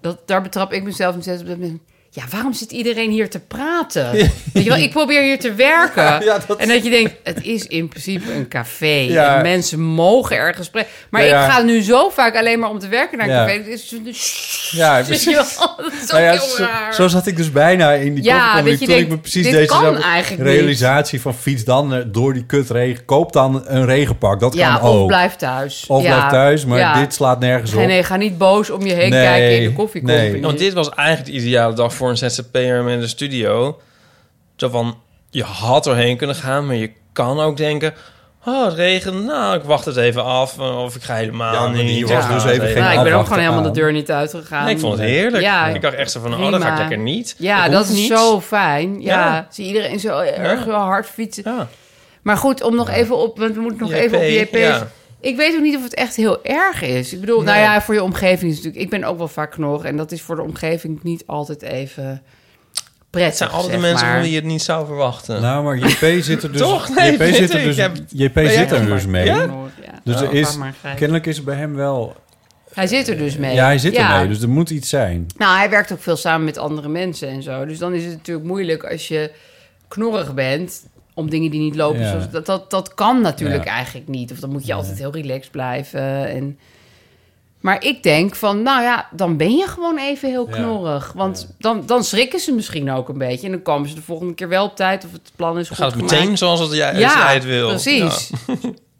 Speaker 3: Dat, daar betrap ik mezelf mezelf op dat moment. Ja, waarom zit iedereen hier te
Speaker 1: (laughs)
Speaker 3: praten? Weet je wel, ik probeer hier te werken.
Speaker 1: Ja, dat-
Speaker 3: En dat je denkt, het is in principe een café.
Speaker 1: (laughs) Ja.
Speaker 3: En mensen mogen ergens spreken. Maar
Speaker 1: Nou ja.
Speaker 3: ik ga nu zo vaak alleen maar om te werken naar een
Speaker 1: Ja.
Speaker 3: café. Het is een shh. (laughs)
Speaker 1: Ja,
Speaker 3: Weet je
Speaker 1: precies.
Speaker 3: wel, dat is ook
Speaker 1: Nou ja,
Speaker 3: heel
Speaker 1: zo,
Speaker 3: raar.
Speaker 1: zo zat ik dus bijna in die
Speaker 3: Ja,
Speaker 1: koffiecompany
Speaker 3: dat je
Speaker 1: toen ik
Speaker 3: denkt,
Speaker 1: me precies
Speaker 3: dit
Speaker 1: deze
Speaker 3: kan
Speaker 1: zou-
Speaker 3: eigenlijk niet.
Speaker 1: realisatie van fiets dan eh, door die kutregen. Koop dan een regenpak, dat
Speaker 3: ja,
Speaker 1: kan
Speaker 3: of
Speaker 1: ook.
Speaker 3: blijf thuis.
Speaker 1: Of
Speaker 3: Ja.
Speaker 1: blijf thuis, maar
Speaker 3: Ja.
Speaker 1: dit slaat nergens op.
Speaker 3: Nee, nee, ga niet boos om je heen
Speaker 1: Nee,
Speaker 3: kijken in de koffiecompany.
Speaker 1: nee.
Speaker 2: Want dit was eigenlijk de ideale dag voor een ZZP'er met een studio. Zo van, je had erheen kunnen gaan, maar je kan ook denken... Oh, het regent. Nou, ik wacht het even af. eh, Of ik ga helemaal
Speaker 1: Ja, maar
Speaker 2: niet.
Speaker 1: die
Speaker 2: Ik
Speaker 1: was
Speaker 2: ga
Speaker 1: dus
Speaker 2: het
Speaker 1: even geen
Speaker 3: Nou, ik ben ook
Speaker 1: afwachten
Speaker 3: gewoon helemaal
Speaker 1: aan.
Speaker 3: de deur niet uitgegaan.
Speaker 2: eh, Nee, ik vond het heerlijk.
Speaker 3: Ja.
Speaker 2: Ik dacht echt zo van, oh, dat
Speaker 3: Prima.
Speaker 2: ga ik lekker niet.
Speaker 3: Ja,
Speaker 2: hoeft
Speaker 3: dat is
Speaker 2: niet.
Speaker 3: zo fijn. Ja,
Speaker 2: Ja.
Speaker 3: zie iedereen zo erg wel hard fietsen.
Speaker 2: Ja.
Speaker 3: Maar goed, om nog even op, want we moeten nog
Speaker 2: JP,
Speaker 3: even op JP. 's.
Speaker 2: ja.
Speaker 3: Ik weet ook niet of het echt heel erg is. Ik bedoel, nou
Speaker 2: Nee.
Speaker 3: ja, voor je omgeving is het natuurlijk. Ik ben ook wel vaak knorrig en dat is voor de omgeving niet altijd even prettig.
Speaker 2: Het zijn altijd de
Speaker 3: zeg
Speaker 2: mensen
Speaker 3: maar.
Speaker 2: van wie je het niet zou verwachten.
Speaker 1: Nou, maar JP
Speaker 3: (laughs)
Speaker 1: zit er dus...
Speaker 2: Toch? Nee,
Speaker 1: JP
Speaker 2: weet
Speaker 1: zit er
Speaker 2: ik.
Speaker 1: dus,
Speaker 2: Ik heb-
Speaker 1: JP
Speaker 3: Oh,
Speaker 2: jij
Speaker 1: zit er
Speaker 2: toch
Speaker 1: dus
Speaker 2: maar-
Speaker 1: mee.
Speaker 2: Ja?
Speaker 3: Ja.
Speaker 1: Dus er
Speaker 3: Oh,
Speaker 1: is,
Speaker 3: laat maar grijpen.
Speaker 1: kennelijk is er bij hem wel...
Speaker 3: Hij zit er dus mee.
Speaker 1: Ja, hij zit ermee, dus er moet iets zijn.
Speaker 3: Nou, hij werkt ook veel samen met andere mensen en zo. Dus dan is het natuurlijk moeilijk als je knorrig bent om dingen die niet lopen.
Speaker 1: Ja.
Speaker 3: Zoals, dat, dat, dat kan natuurlijk
Speaker 1: Ja.
Speaker 3: eigenlijk niet. Of dan moet je altijd heel relaxed blijven. En... Maar ik denk van, nou ja, dan ben je gewoon even heel
Speaker 1: Ja.
Speaker 3: knorrig. Want dan, dan schrikken ze misschien ook een beetje. En dan komen ze de volgende keer wel op tijd of het plan is goed
Speaker 2: Dan gaat het
Speaker 3: gemaakt.
Speaker 2: meteen zoals het jij, als
Speaker 3: ja,
Speaker 2: jij het wil.
Speaker 3: precies. (laughs)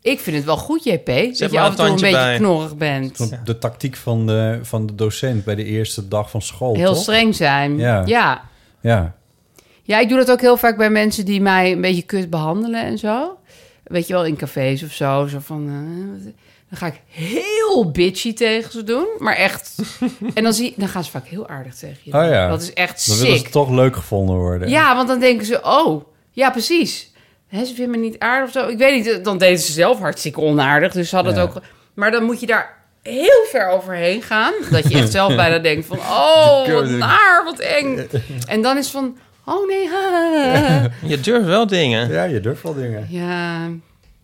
Speaker 3: Ik vind het wel goed, JP, dat je
Speaker 2: maar
Speaker 3: af en toe
Speaker 2: een
Speaker 3: een
Speaker 2: tandje
Speaker 3: beetje
Speaker 2: bij.
Speaker 3: knorrig bent.
Speaker 1: Van De tactiek van de, van de docent bij de eerste dag van school,
Speaker 3: Heel
Speaker 1: toch?
Speaker 3: streng zijn.
Speaker 1: Ja.
Speaker 3: ja.
Speaker 1: Ja.
Speaker 3: Ja, ik doe dat ook heel vaak bij mensen die mij een beetje kut behandelen en zo. Weet je wel, in cafés of zo. zo van, eh, wat- dan ga ik heel bitchy tegen ze doen. Maar
Speaker 1: (laughs)
Speaker 3: echt. en dan, zie, dan gaan ze vaak heel aardig tegen je. doen.
Speaker 1: Oh ja.
Speaker 3: Dat is echt
Speaker 1: Dan willen ze
Speaker 3: sick.
Speaker 1: toch leuk gevonden worden.
Speaker 3: Ja, want dan denken ze, oh, ja, precies. Hè, ze vinden me niet aardig of zo. Ik weet niet, dan deden ze zelf hartstikke onaardig. Dus ze hadden
Speaker 1: Ja.
Speaker 3: het ook... Maar dan moet je daar heel ver overheen gaan. Dat je echt zelf bijna denkt van, oh, wat naar, wat eng. En dan is van, oh nee, ha.
Speaker 2: Je durft wel dingen.
Speaker 1: Ja, je durft wel dingen.
Speaker 3: Ja,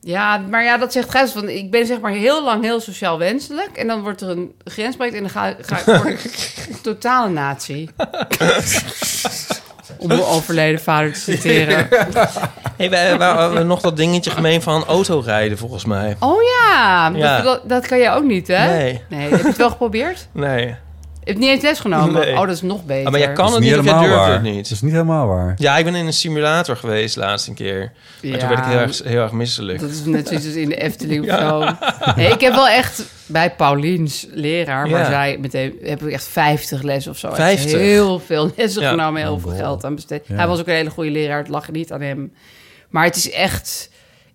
Speaker 3: ja maar ja, dat zegt Gijs. Want ik ben zeg maar heel lang heel sociaal wenselijk. En dan wordt er een grens bereikt en dan ga, ga ik voor een totale natie. Om mijn overleden vader te citeren.
Speaker 2: Hey, wij, wij hadden nog dat dingetje gemeen van autorijden, volgens mij.
Speaker 3: Oh ja,
Speaker 2: Ja.
Speaker 3: Dat, dat, dat kan jij ook niet, hè?
Speaker 2: Nee.
Speaker 3: heb je het wel
Speaker 2: (laughs)
Speaker 3: geprobeerd?
Speaker 2: Nee.
Speaker 3: Je hebt niet eens les genomen?
Speaker 2: Nee.
Speaker 3: Oh, dat is nog beter.
Speaker 2: Ah, maar jij kan
Speaker 1: Dat
Speaker 2: het
Speaker 1: is niet
Speaker 2: niet of jij durft
Speaker 1: helemaal waar.
Speaker 2: het
Speaker 1: Dat
Speaker 2: niet.
Speaker 1: is niet helemaal waar.
Speaker 2: Ja, ik ben in een simulator geweest laatst een keer. Maar toen
Speaker 3: Ja.
Speaker 2: werd ik heel erg, heel erg misselijk.
Speaker 3: Dat is net zoiets als in de Efteling of zo. Nee, ik heb wel echt bij Pauliens leraar, waar
Speaker 2: Ja.
Speaker 3: zij meteen... heb ik echt 50 lessen of zo. Echt
Speaker 2: 50?
Speaker 3: Heel veel lessen
Speaker 2: Ja.
Speaker 3: genomen,
Speaker 1: Oh,
Speaker 3: heel veel geld aan besteed. Hij was ook een hele goede leraar, het lag niet aan hem. Maar het is echt...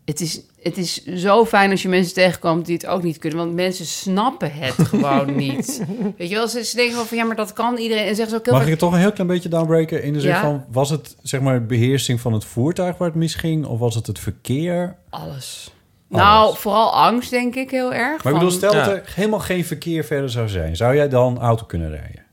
Speaker 3: Het is, het is zo fijn als je mensen tegenkomt die het ook niet kunnen. Want mensen snappen het gewoon niet. Weet je wel, ze, ze denken wel van... Ja, maar dat kan iedereen. En zeggen ze ook heel
Speaker 1: Mag
Speaker 3: vaak,
Speaker 1: ik het toch een heel klein beetje downbreken? In de zin
Speaker 3: Ja.
Speaker 1: van, was het zeg maar beheersing van het voertuig waar het misging? Of was het het verkeer?
Speaker 3: alles. Nou, vooral angst denk ik heel erg.
Speaker 1: Maar ik
Speaker 3: van-
Speaker 1: bedoel, stel dat er helemaal geen verkeer verder zou zijn. Zou jij dan auto kunnen rijden?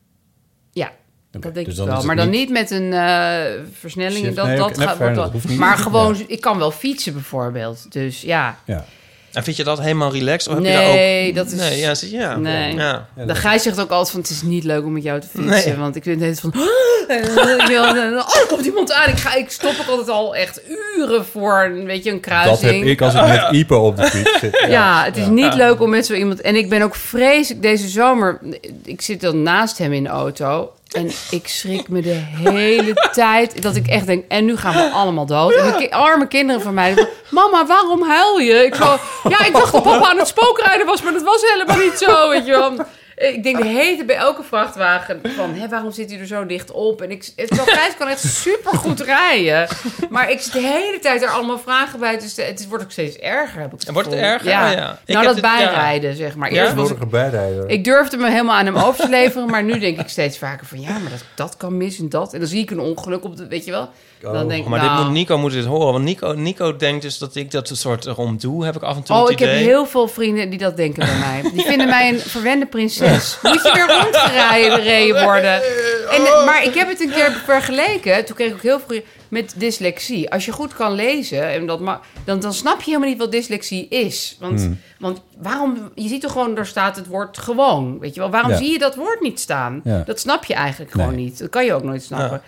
Speaker 3: Ja, dat denk
Speaker 1: dus dan
Speaker 3: ik
Speaker 1: is
Speaker 3: wel.
Speaker 1: het
Speaker 3: Maar dan
Speaker 1: niet-
Speaker 3: niet met een eh, versnelling. en
Speaker 1: Shift,
Speaker 3: dat,
Speaker 1: nee,
Speaker 3: dat
Speaker 1: oké,
Speaker 3: gaat,
Speaker 1: fair,
Speaker 3: wordt wel-
Speaker 1: dat hoeft niet.
Speaker 3: Maar gewoon, ik kan wel fietsen bijvoorbeeld. Dus ja.
Speaker 1: Ja.
Speaker 2: En vind je dat helemaal relaxed? Of heb je daar ook...
Speaker 3: nee, dat is...
Speaker 2: Nee, ja, zie- ja.
Speaker 3: Nee.
Speaker 2: Ja.
Speaker 3: De Gijs zegt ook altijd van, het is niet leuk om met jou te fietsen.
Speaker 2: Nee.
Speaker 3: Want ik vind het van... "Ah!" ik wil, (laughs) oh, er komt iemand aan. Ik, ga, ik stop ook altijd al echt uren voor een, weet je, een kruising.
Speaker 1: Dat heb ik
Speaker 2: (laughs)
Speaker 1: als ik met Ipe op de fiets zit.
Speaker 3: dus Ja, het is niet leuk om met zo iemand... En ik ben ook vreselijk deze zomer... Ik zit dan naast hem in de auto... En ik schrik me de hele tijd dat ik echt denk... en nu gaan we allemaal dood. En de ki- arme kinderen van mij... die van, Mama, waarom huil je? Ik zo, ja, ik dacht dat papa aan het spookrijden was... maar dat was helemaal niet zo, weet je wel. Eh, Ik
Speaker 2: Ah.
Speaker 3: denk de hele tijd bij elke vrachtwagen van... Hè, waarom zit hij er zo dicht op? En ik, het Gijs kan echt supergoed
Speaker 2: (laughs)
Speaker 3: rijden. Maar ik zit de hele tijd er allemaal vragen bij. Dus het wordt ook steeds erger, heb ik het
Speaker 2: En wordt het
Speaker 3: gevoel.
Speaker 2: erger?
Speaker 3: Ja.
Speaker 2: Ah, ja. Ik
Speaker 3: Nou, dat
Speaker 2: heb dit-
Speaker 3: bijrijden, zeg maar.
Speaker 2: Ja?
Speaker 3: Eerst was ik,
Speaker 1: Vorige bijrijder.
Speaker 3: ik durfde me helemaal aan hem over te leveren... maar nu denk ik steeds vaker van... ja, maar dat, dat kan mis en dat. En dan zie ik een ongeluk op de... weet je wel? Dan denk ik,
Speaker 2: Oh, Maar
Speaker 3: nou,
Speaker 2: dit moet Nico moet dit horen. Want Nico, Nico denkt dus dat ik dat soort erom doe. Heb ik af en toe
Speaker 3: Oh,
Speaker 2: het
Speaker 3: ik heb
Speaker 2: idee.
Speaker 3: heel veel vrienden die dat denken bij mij. Die vinden mij een verwende prinses. Moet je weer rondgereden worden. En, maar ik heb het een keer vergeleken. Toen kreeg ik ook heel veel met dyslexie. Als je goed kan lezen, en dat ma- dan, dan snap je helemaal niet wat dyslexie is. Want,
Speaker 1: Hmm.
Speaker 3: want waarom... Je ziet toch gewoon, daar staat het woord gewoon. Weet je wel? Waarom
Speaker 1: Ja.
Speaker 3: zie je dat woord niet staan?
Speaker 1: Ja.
Speaker 3: Dat snap je eigenlijk gewoon niet. Dat kan je ook nooit snappen.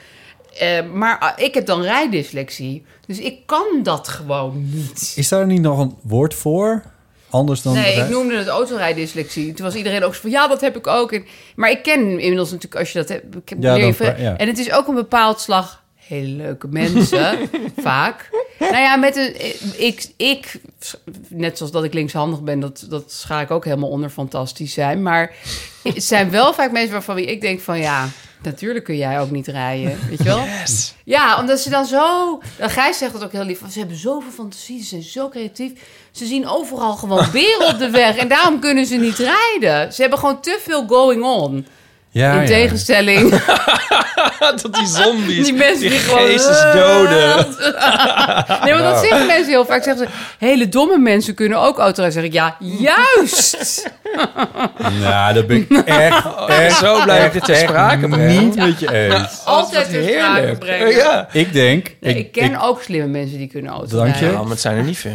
Speaker 3: Eh, maar ah, ik heb dan rijdyslexie. Dus ik kan dat gewoon niet.
Speaker 1: Is daar niet nog een woord voor? Anders dan...
Speaker 3: Nee, ik
Speaker 1: rij-
Speaker 3: noemde het autorijddyslexie. Toen was iedereen ook zo van, ja, dat heb ik ook. En, maar ik ken inmiddels natuurlijk, als je dat hebt... Ik heb
Speaker 1: Ja,
Speaker 3: leer je
Speaker 1: dan
Speaker 3: vri-
Speaker 1: pra- ja.
Speaker 3: En het is ook een bepaald slag hele leuke
Speaker 1: (laughs)
Speaker 3: mensen, vaak. Nou ja, met een, ik, ik, net zoals dat ik linkshandig ben, dat, dat schaak ik ook helemaal onder fantastisch zijn. Maar het zijn wel vaak mensen waarvan ik denk van, ja, natuurlijk kun jij ook niet rijden, weet je wel? Ja, omdat ze dan zo... Nou, Gijs zegt dat ook heel lief. van, Ze hebben zoveel fantasie, ze zijn zo creatief. Ze zien overal
Speaker 1: (laughs)
Speaker 3: gewoon beren op de weg. En daarom kunnen ze niet rijden. Ze hebben gewoon te veel going on.
Speaker 1: Ja,
Speaker 3: in
Speaker 1: ja.
Speaker 3: tegenstelling...
Speaker 2: (laughs) dat die
Speaker 3: (laughs)
Speaker 2: zombies,
Speaker 3: Die mensen die, gewoon... (laughs)
Speaker 2: geestesdoden.
Speaker 3: nee, want dat
Speaker 1: Nou.
Speaker 3: zeggen mensen heel vaak. Zeggen ze, hele domme mensen kunnen ook autorijden. zeg ik, ja, juist!
Speaker 1: Nou, dat ben ik echt, echt,
Speaker 2: zo blij dat dit ter
Speaker 1: echt
Speaker 2: sprake brengt.
Speaker 1: niet met je eens.
Speaker 3: Altijd weer sprake brengen.
Speaker 2: Ja.
Speaker 1: Ik denk...
Speaker 3: Nee, ik, ken
Speaker 1: ik,
Speaker 3: ook slimme mensen die kunnen autorijden.
Speaker 1: Dank je.
Speaker 2: ja, maar het zijn er niet veel.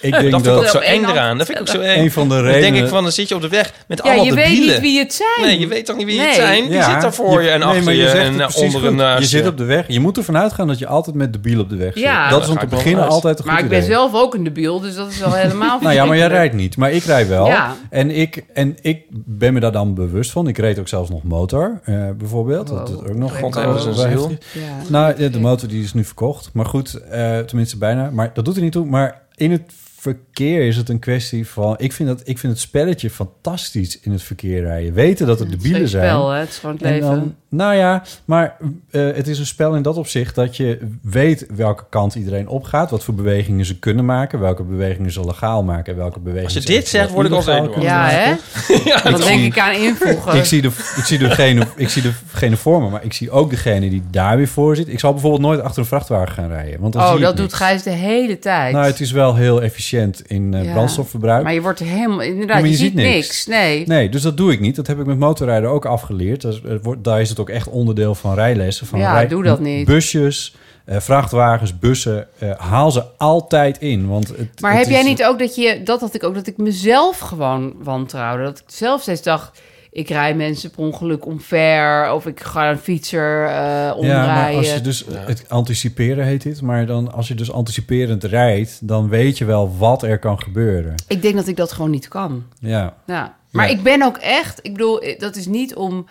Speaker 1: ik denk
Speaker 2: Dat
Speaker 1: dat...
Speaker 2: vind ik ook zo
Speaker 3: Op één
Speaker 2: eng
Speaker 3: hand-
Speaker 2: eraan. Dat vind ik ook zo eng.
Speaker 1: Een van de
Speaker 2: Dan denk ik
Speaker 1: redenen-
Speaker 2: van, dan zit je op de weg met
Speaker 3: Ja,
Speaker 2: allemaal
Speaker 3: je weet
Speaker 2: debielen.
Speaker 3: niet wie het zijn.
Speaker 2: Nee, je weet toch niet wie
Speaker 3: Nee.
Speaker 2: het zijn? Die
Speaker 1: Ja,
Speaker 2: zit daar voor je en
Speaker 1: nee,
Speaker 2: achter
Speaker 1: maar
Speaker 2: je,
Speaker 1: zegt
Speaker 2: en
Speaker 1: het
Speaker 2: eh,
Speaker 1: precies
Speaker 2: onder
Speaker 1: goed.
Speaker 2: een
Speaker 1: Je
Speaker 2: naastje.
Speaker 1: zit
Speaker 2: (laughs)
Speaker 1: op de weg. Je moet ervan uitgaan dat je altijd met debiel op de weg zit.
Speaker 3: Ja.
Speaker 1: dat is om
Speaker 2: Daar
Speaker 1: te
Speaker 2: ga ik
Speaker 1: beginnen
Speaker 2: wel
Speaker 1: altijd een goed
Speaker 3: Maar ik ben
Speaker 1: idee.
Speaker 3: zelf ook een debiel, dus dat is wel helemaal
Speaker 1: (laughs) Nou ja, maar jij
Speaker 3: verschrikkelijk.
Speaker 1: rijdt niet. Maar ik rijd wel.
Speaker 3: Ja.
Speaker 1: En, ik, en ik ben me daar dan bewust van. Ik reed ook zelfs nog motor, eh, bijvoorbeeld. Dat
Speaker 3: Wow.
Speaker 1: doet ook nog.
Speaker 2: God,
Speaker 1: eh,
Speaker 2: hebben ze een
Speaker 1: bij-
Speaker 2: ziel.
Speaker 3: Ja.
Speaker 1: Nou, de, de motor die is nu verkocht. Maar goed, eh, tenminste bijna. Maar dat doet er niet toe. Maar in het verkeer is het een kwestie van... Ik vind, dat, ik vind het spelletje fantastisch in het verkeer rijden. Weten dat er de
Speaker 3: Het
Speaker 1: bielen
Speaker 3: is geen
Speaker 1: zijn.
Speaker 3: spel, hè? Het is gewoon het
Speaker 1: En
Speaker 3: leven.
Speaker 1: dan- nou ja, maar eh, het is een spel in dat opzicht dat je weet welke kant iedereen opgaat, wat voor bewegingen ze kunnen maken, welke bewegingen ze legaal maken en welke bewegingen.
Speaker 2: je
Speaker 1: ze
Speaker 2: dit
Speaker 1: eventueel
Speaker 2: zegt, word ik al
Speaker 1: illegaal
Speaker 2: zenuwachtig.
Speaker 1: kunnen
Speaker 3: ja,
Speaker 1: maken.
Speaker 3: hè? Dan denk
Speaker 1: zie-
Speaker 3: ik aan invoegen.
Speaker 1: Ik zie, de, ik, zie degene, ik zie degene voor me, maar ik zie ook degene die daar weer voor zit. Ik zal bijvoorbeeld nooit achter een vrachtwagen gaan rijden. Want dan zie
Speaker 3: oh,
Speaker 1: ik
Speaker 3: dat
Speaker 1: niks.
Speaker 3: doet Gijs de hele tijd.
Speaker 1: Nou, het is wel heel efficiënt in eh,
Speaker 3: Ja.
Speaker 1: brandstofverbruik.
Speaker 3: Maar je wordt er helemaal... Inderdaad,
Speaker 1: Ja, maar
Speaker 3: je,
Speaker 1: je
Speaker 3: ziet
Speaker 1: ziet
Speaker 3: niks.
Speaker 1: niks.
Speaker 3: Nee.
Speaker 1: Nee, dus dat doe ik niet. Dat heb ik met motorrijden ook afgeleerd. Dat, is- het wordt- daar is het ook echt onderdeel van rijlessen. Van
Speaker 3: Ja,
Speaker 1: rij-
Speaker 3: doe dat niet.
Speaker 1: Busjes, eh, vrachtwagens, bussen. eh, haal ze altijd in. Want het,
Speaker 3: Maar
Speaker 1: het
Speaker 3: heb
Speaker 1: is-
Speaker 3: jij niet ook dat je... Dat had ik ook, dat ik mezelf gewoon wantrouwde. Dat ik zelf steeds dacht... Ik rij mensen per ongeluk omver. Of ik ga een fietser eh omrijden.
Speaker 1: Ja, maar als je dus het anticiperen heet dit. Maar dan als je dus anticiperend rijdt, dan weet je wel wat er kan gebeuren.
Speaker 3: Ik denk dat ik dat gewoon niet kan.
Speaker 1: Ja.
Speaker 3: Ja. Maar
Speaker 1: Ja.
Speaker 3: ik ben ook echt, ik bedoel, eh, dat is niet om.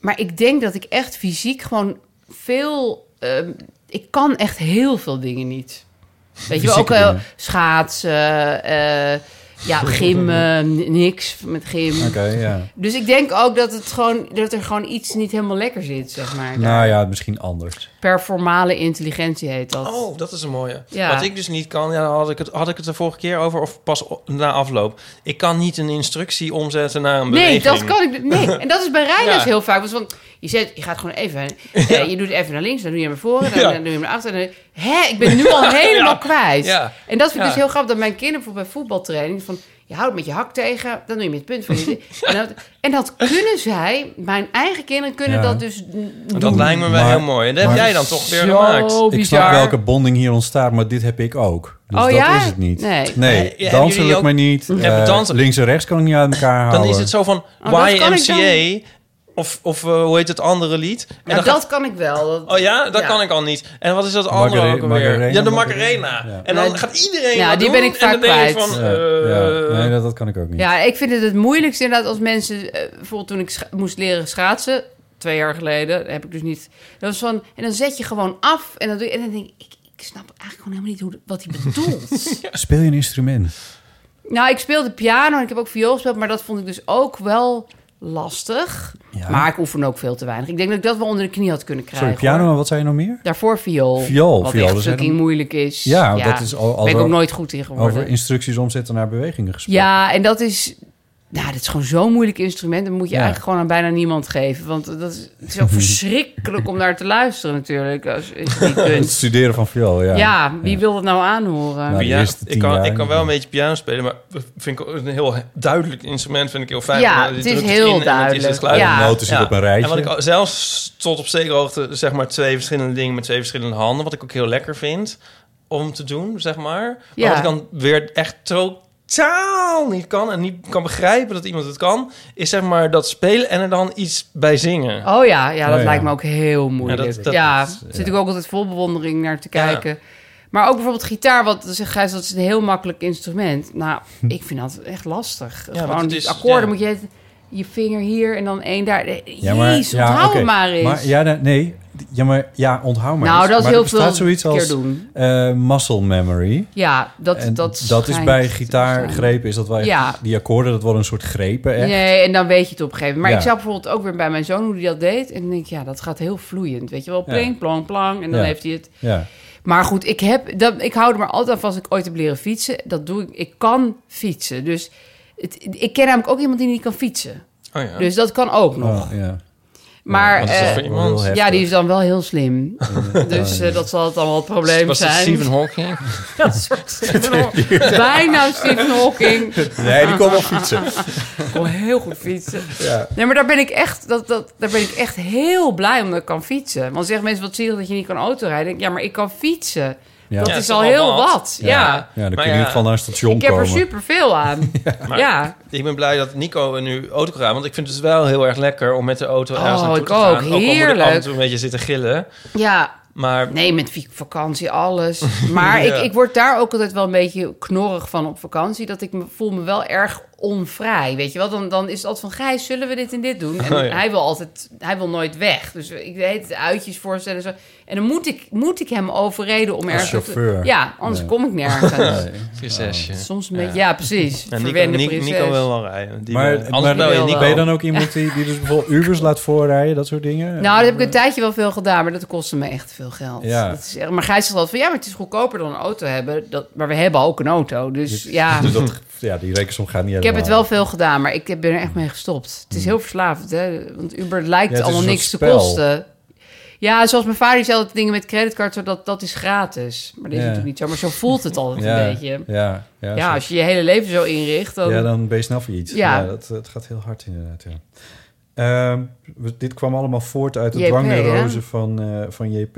Speaker 3: Maar ik denk dat ik echt fysiek gewoon veel. ehm, ik kan echt heel veel dingen niet. Weet je wel,
Speaker 1: Fysieke
Speaker 3: ook wel
Speaker 1: dingen.
Speaker 3: schaatsen, eh, ja, gymmen, n- niks met gym.
Speaker 1: Oké, ja.
Speaker 3: Dus ik denk ook dat, het gewoon, dat er gewoon iets niet helemaal lekker zit, zeg maar.
Speaker 1: Nou ja, misschien anders.
Speaker 3: Performale intelligentie heet dat.
Speaker 2: Oh, dat is een mooie.
Speaker 3: Ja.
Speaker 2: Wat ik dus niet kan, ja, daar had ik, het, had ik het de vorige keer over, of pas o- na afloop. Ik kan niet een instructie omzetten naar een
Speaker 3: Nee,
Speaker 2: beweging.
Speaker 3: dat kan ik niet. Nee, en dat is bij rijders
Speaker 2: Ja.
Speaker 3: heel vaak. Want van, Je, zet, je gaat gewoon even... eh, je doet even naar links, dan doe je hem naar voren, dan, dan doe je hem naar achteren. en dan- Hè, ik ben nu
Speaker 2: (laughs)
Speaker 3: al helemaal kwijt.
Speaker 2: Ja.
Speaker 3: En dat vind ik dus
Speaker 2: Ja.
Speaker 3: heel grappig, dat mijn kinderen bijvoorbeeld bij voetbaltraining... van je houdt met je hak tegen, dan doe je met het punt van
Speaker 2: (laughs)
Speaker 3: je... en, dat, en dat kunnen zij, mijn eigen kinderen kunnen
Speaker 1: Ja.
Speaker 3: dat dus n- doen.
Speaker 2: Dat lijkt me wel
Speaker 1: Maar-
Speaker 2: heel mooi. En dat
Speaker 1: maar-
Speaker 2: heb jij dan toch weer
Speaker 3: Zo
Speaker 2: gemaakt.
Speaker 1: Ik snap
Speaker 3: bizar.
Speaker 1: welke bonding hier ontstaat, maar dit heb ik ook. Dus
Speaker 3: Oh
Speaker 1: dat
Speaker 3: ja?
Speaker 1: is het niet.
Speaker 3: Nee.
Speaker 1: nee
Speaker 2: Eh, ja, hebben
Speaker 1: dansen
Speaker 2: jullie
Speaker 1: lukt
Speaker 2: ook-
Speaker 1: mij niet.
Speaker 2: Ja,
Speaker 1: Eh,
Speaker 2: dansen-
Speaker 1: links en rechts kan ik niet uit elkaar houden.
Speaker 2: Dan is het zo van
Speaker 3: Oh, dat kan ik
Speaker 2: YMCA of, of eh, hoe heet het andere lied? En
Speaker 3: Nou,
Speaker 2: dan
Speaker 3: dat
Speaker 2: gaat-
Speaker 3: kan ik wel. Dat-
Speaker 2: Oh ja, dat
Speaker 3: Ja.
Speaker 2: kan ik al niet. En wat is dat andere
Speaker 1: Magare-
Speaker 2: ook alweer?
Speaker 1: Magarena,
Speaker 2: ja, de
Speaker 1: Magarena.
Speaker 2: Macarena.
Speaker 1: Ja.
Speaker 2: En dan
Speaker 3: Ja,
Speaker 2: gaat iedereen
Speaker 3: ja,
Speaker 2: dat
Speaker 3: die
Speaker 2: doen.
Speaker 3: ben ik
Speaker 2: en dan
Speaker 3: vaak
Speaker 2: denk ik
Speaker 3: kwijt.
Speaker 2: van,
Speaker 1: Ja,
Speaker 2: eh,
Speaker 1: ja. Nee, dat, dat kan ik ook niet.
Speaker 3: Ja, ik vind het het moeilijkste inderdaad als mensen... eh, bijvoorbeeld toen ik scha- moest leren schaatsen, twee jaar geleden, dat heb ik dus niet... Dat was van, en dan zet je gewoon af en dan, doe je, en dan denk ik... ik ik snap eigenlijk gewoon helemaal niet hoe, wat hij
Speaker 1: (laughs)
Speaker 3: bedoelt.
Speaker 1: Speel je een instrument?
Speaker 3: nou, ik speelde piano en ik heb ook viool gespeeld, maar dat vond ik dus ook wel lastig.
Speaker 1: Ja.
Speaker 3: Maar ik oefen ook veel te weinig. Ik denk dat ik dat wel onder de knie had kunnen krijgen.
Speaker 1: Sorry, piano,
Speaker 3: hoor.
Speaker 1: maar wat zei je nog meer?
Speaker 3: Daarvoor viool.
Speaker 1: Viool,
Speaker 3: Wat
Speaker 1: viool,
Speaker 3: echt
Speaker 1: dus hè,
Speaker 3: fucking
Speaker 1: dan-
Speaker 3: moeilijk is.
Speaker 1: Ja, dat is al- al
Speaker 3: ben ik
Speaker 1: wel-
Speaker 3: ook nooit goed in geworden.
Speaker 1: Over instructies omzetten naar bewegingen gesproken.
Speaker 3: Ja, en dat is... Nou, dat is gewoon zo'n moeilijk instrument. Dat moet je
Speaker 1: Ja.
Speaker 3: eigenlijk gewoon aan bijna niemand geven. Want dat is, het
Speaker 1: (laughs)
Speaker 3: is ook verschrikkelijk om naar te luisteren natuurlijk. Als, als je niet
Speaker 1: Het
Speaker 3: kunt.
Speaker 1: studeren van viool, ja.
Speaker 3: Ja, wie wil dat nou aanhoren?
Speaker 1: Nou, de
Speaker 2: Ja,
Speaker 1: eerste tien
Speaker 2: ik, kan,
Speaker 1: jaar.
Speaker 2: ik kan wel een beetje piano spelen, maar vind ik een heel duidelijk instrument vind ik heel fijn.
Speaker 3: Ja,
Speaker 2: Maar je
Speaker 3: het is
Speaker 2: drukt
Speaker 3: heel
Speaker 2: in en
Speaker 3: duidelijk.
Speaker 2: Het is het geluid.
Speaker 3: Ja.
Speaker 1: De noten zitten op een rijtje.
Speaker 2: En wat ik al- zelfs tot op zekere hoogte zeg maar twee verschillende dingen met twee verschillende handen, wat ik ook heel lekker vind om te doen, zeg maar. Maar
Speaker 3: Ja.
Speaker 2: wat ik dan weer echt totaal niet kan en niet kan begrijpen dat iemand het kan, is zeg maar dat spelen en er dan iets bij zingen.
Speaker 3: Oh ja, ja dat
Speaker 1: Oh ja.
Speaker 3: lijkt me ook heel moeilijk.
Speaker 2: Ja,
Speaker 3: Ja,
Speaker 2: dat- dat-
Speaker 3: zit ik ook altijd vol bewondering naar te kijken. Maar ook bijvoorbeeld gitaar, wat zegt Gijs, dat is een heel makkelijk instrument. Nou,
Speaker 1: Hm.
Speaker 3: ik vind dat echt lastig.
Speaker 2: want
Speaker 3: Gewoon
Speaker 2: het
Speaker 3: die
Speaker 2: is-
Speaker 3: akkoorden
Speaker 2: ja.
Speaker 3: moet je je vinger hier en dan één daar.
Speaker 1: Ja, maar,
Speaker 3: Jezus,
Speaker 1: ja,
Speaker 3: onthoud
Speaker 1: oké.
Speaker 3: het maar eens.
Speaker 1: ja, nee, nee. ja, maar ja, onthoud maar
Speaker 3: nou,
Speaker 1: eens.
Speaker 3: dat is
Speaker 1: maar
Speaker 3: heel
Speaker 1: er bestaat
Speaker 3: veel
Speaker 1: zoiets
Speaker 3: keer
Speaker 1: als
Speaker 3: doen.
Speaker 1: eh, muscle memory.
Speaker 3: Ja, dat,
Speaker 1: en
Speaker 3: dat,
Speaker 1: dat is
Speaker 3: schijnt
Speaker 1: bij
Speaker 3: te zijn.
Speaker 1: gitaargrepen, is dat wel echt-
Speaker 3: Ja.
Speaker 1: die akkoorden, dat worden een soort grepen. Echt.
Speaker 3: Nee, en dan weet je het op een gegeven moment. Maar
Speaker 1: Ja.
Speaker 3: ik zag bijvoorbeeld ook weer bij mijn zoon hoe hij dat deed. En dan denk ik, ja, dat gaat heel vloeiend. Weet je wel, pling, plong, plang. En dan
Speaker 1: Ja.
Speaker 3: heeft hij het.
Speaker 1: Ja.
Speaker 3: Maar goed, ik, heb, dat, ik hou er maar altijd aan vast als ik ooit heb leren fietsen. Dat doe ik. Ik kan fietsen. Dus het, ik ken namelijk ook iemand die niet kan fietsen.
Speaker 2: Oh ja.
Speaker 3: Dus dat kan ook nog.
Speaker 1: Oh, ja.
Speaker 3: maar
Speaker 2: Wat is dat
Speaker 3: eh,
Speaker 2: voor iemand?
Speaker 1: Heel
Speaker 3: ja,
Speaker 1: heftig.
Speaker 3: die is dan wel heel slim. (laughs) dus eh, dat zal het allemaal het probleem
Speaker 2: Was dat
Speaker 3: zijn.
Speaker 2: Stephen Hawking?
Speaker 3: Dat soort Stephen Hawking. Bijna Stephen Hawking.
Speaker 1: Nee, die kon wel fietsen.
Speaker 3: (laughs) Ik kon heel goed fietsen.
Speaker 1: Ja.
Speaker 3: Nee, maar daar ben ik echt, dat, dat, daar ben ik echt heel blij om dat ik kan fietsen. Want zeggen mensen, wat zielig dat je niet kan autorijden. Ik denk, Ja, maar ik kan fietsen.
Speaker 1: Ja.
Speaker 3: Dat
Speaker 1: Ja,
Speaker 3: is
Speaker 2: is
Speaker 3: al
Speaker 2: toch
Speaker 3: heel
Speaker 2: al
Speaker 3: wat.
Speaker 2: wat.
Speaker 3: Ja.
Speaker 1: Ja, dan kun je
Speaker 2: Maar
Speaker 1: in
Speaker 2: ja.
Speaker 1: ieder geval naar een station
Speaker 3: Ik heb er
Speaker 1: komen.
Speaker 3: super veel aan. Ja.
Speaker 2: Maar Ik ben blij dat Nico nu auto kan gaan, want ik vind het wel heel erg lekker om met de auto ergens
Speaker 3: Oh,
Speaker 2: naartoe
Speaker 3: ik
Speaker 2: te gaan.
Speaker 3: ook.
Speaker 2: al moet ik af en
Speaker 3: Heerlijk.
Speaker 2: toe een beetje zitten gillen,
Speaker 3: Ja.
Speaker 2: maar
Speaker 3: Nee, met vak- vakantie, alles. Maar
Speaker 2: Ja.
Speaker 3: ik, ik word daar ook altijd wel een beetje knorrig van op vakantie. Dat ik me, voel me wel erg onvrij. Weet je wel, dan, dan is het altijd van... Gijs, zullen we dit en dit doen? En
Speaker 2: Oh, ja.
Speaker 3: hij wil altijd... Hij wil nooit weg. Dus ik deed het uitjes voorstellen en zo. En dan moet ik, moet ik hem overreden om ergens...
Speaker 1: chauffeur.
Speaker 3: Ja, anders
Speaker 1: Nee.
Speaker 3: kom ik nergens.
Speaker 2: prinsesje.
Speaker 3: Soms een beetje... Ja, precies.
Speaker 2: En Nico,
Speaker 3: Oh, Verwende
Speaker 2: Ni-
Speaker 3: prinses.
Speaker 2: Nico wil wel rijden. Die
Speaker 1: Maar,
Speaker 2: wil-
Speaker 1: maar
Speaker 2: anders
Speaker 3: wil
Speaker 2: bel je
Speaker 3: wel.
Speaker 2: Nico.
Speaker 1: ben je dan ook iemand die, die dus bijvoorbeeld Ubers laat voorrijden, dat soort dingen?
Speaker 3: Nou, dat heb ik een tijdje wel veel gedaan, maar dat kostte me echt veel geld.
Speaker 1: Ja.
Speaker 3: Dat is echt, maar Gijs zegt altijd van, ja, maar het is goedkoper dan een auto hebben. Dat, maar we hebben ook een auto, dus ja.
Speaker 1: Dus dat, ja, die rekensom gaat niet
Speaker 3: Ik heb het wel veel gedaan, maar ik ben er echt mee gestopt. Het is heel verslavend, hè. Want Uber
Speaker 1: Hmm. Ja,
Speaker 3: lijkt
Speaker 1: het is
Speaker 3: allemaal
Speaker 1: een
Speaker 3: niks
Speaker 1: soort
Speaker 3: te
Speaker 1: spel.
Speaker 3: kosten. Ja, zoals mijn vader die zei altijd dingen met creditcards, dat, dat is gratis. Maar dat is
Speaker 1: Ja.
Speaker 3: natuurlijk niet zo, maar zo voelt het altijd
Speaker 1: ja,
Speaker 3: een beetje.
Speaker 1: Ja, ja,
Speaker 3: Ja,
Speaker 1: zo-
Speaker 3: als je je hele leven zo inricht, dan...
Speaker 1: ja, dan ben je snel failliet. Ja,
Speaker 3: Ja.
Speaker 1: dat, dat gaat heel hard inderdaad, ja. Ehm, we- dit kwam allemaal voort uit de
Speaker 3: JP,
Speaker 1: dwangneurose
Speaker 3: hè?
Speaker 1: van, eh, van JP.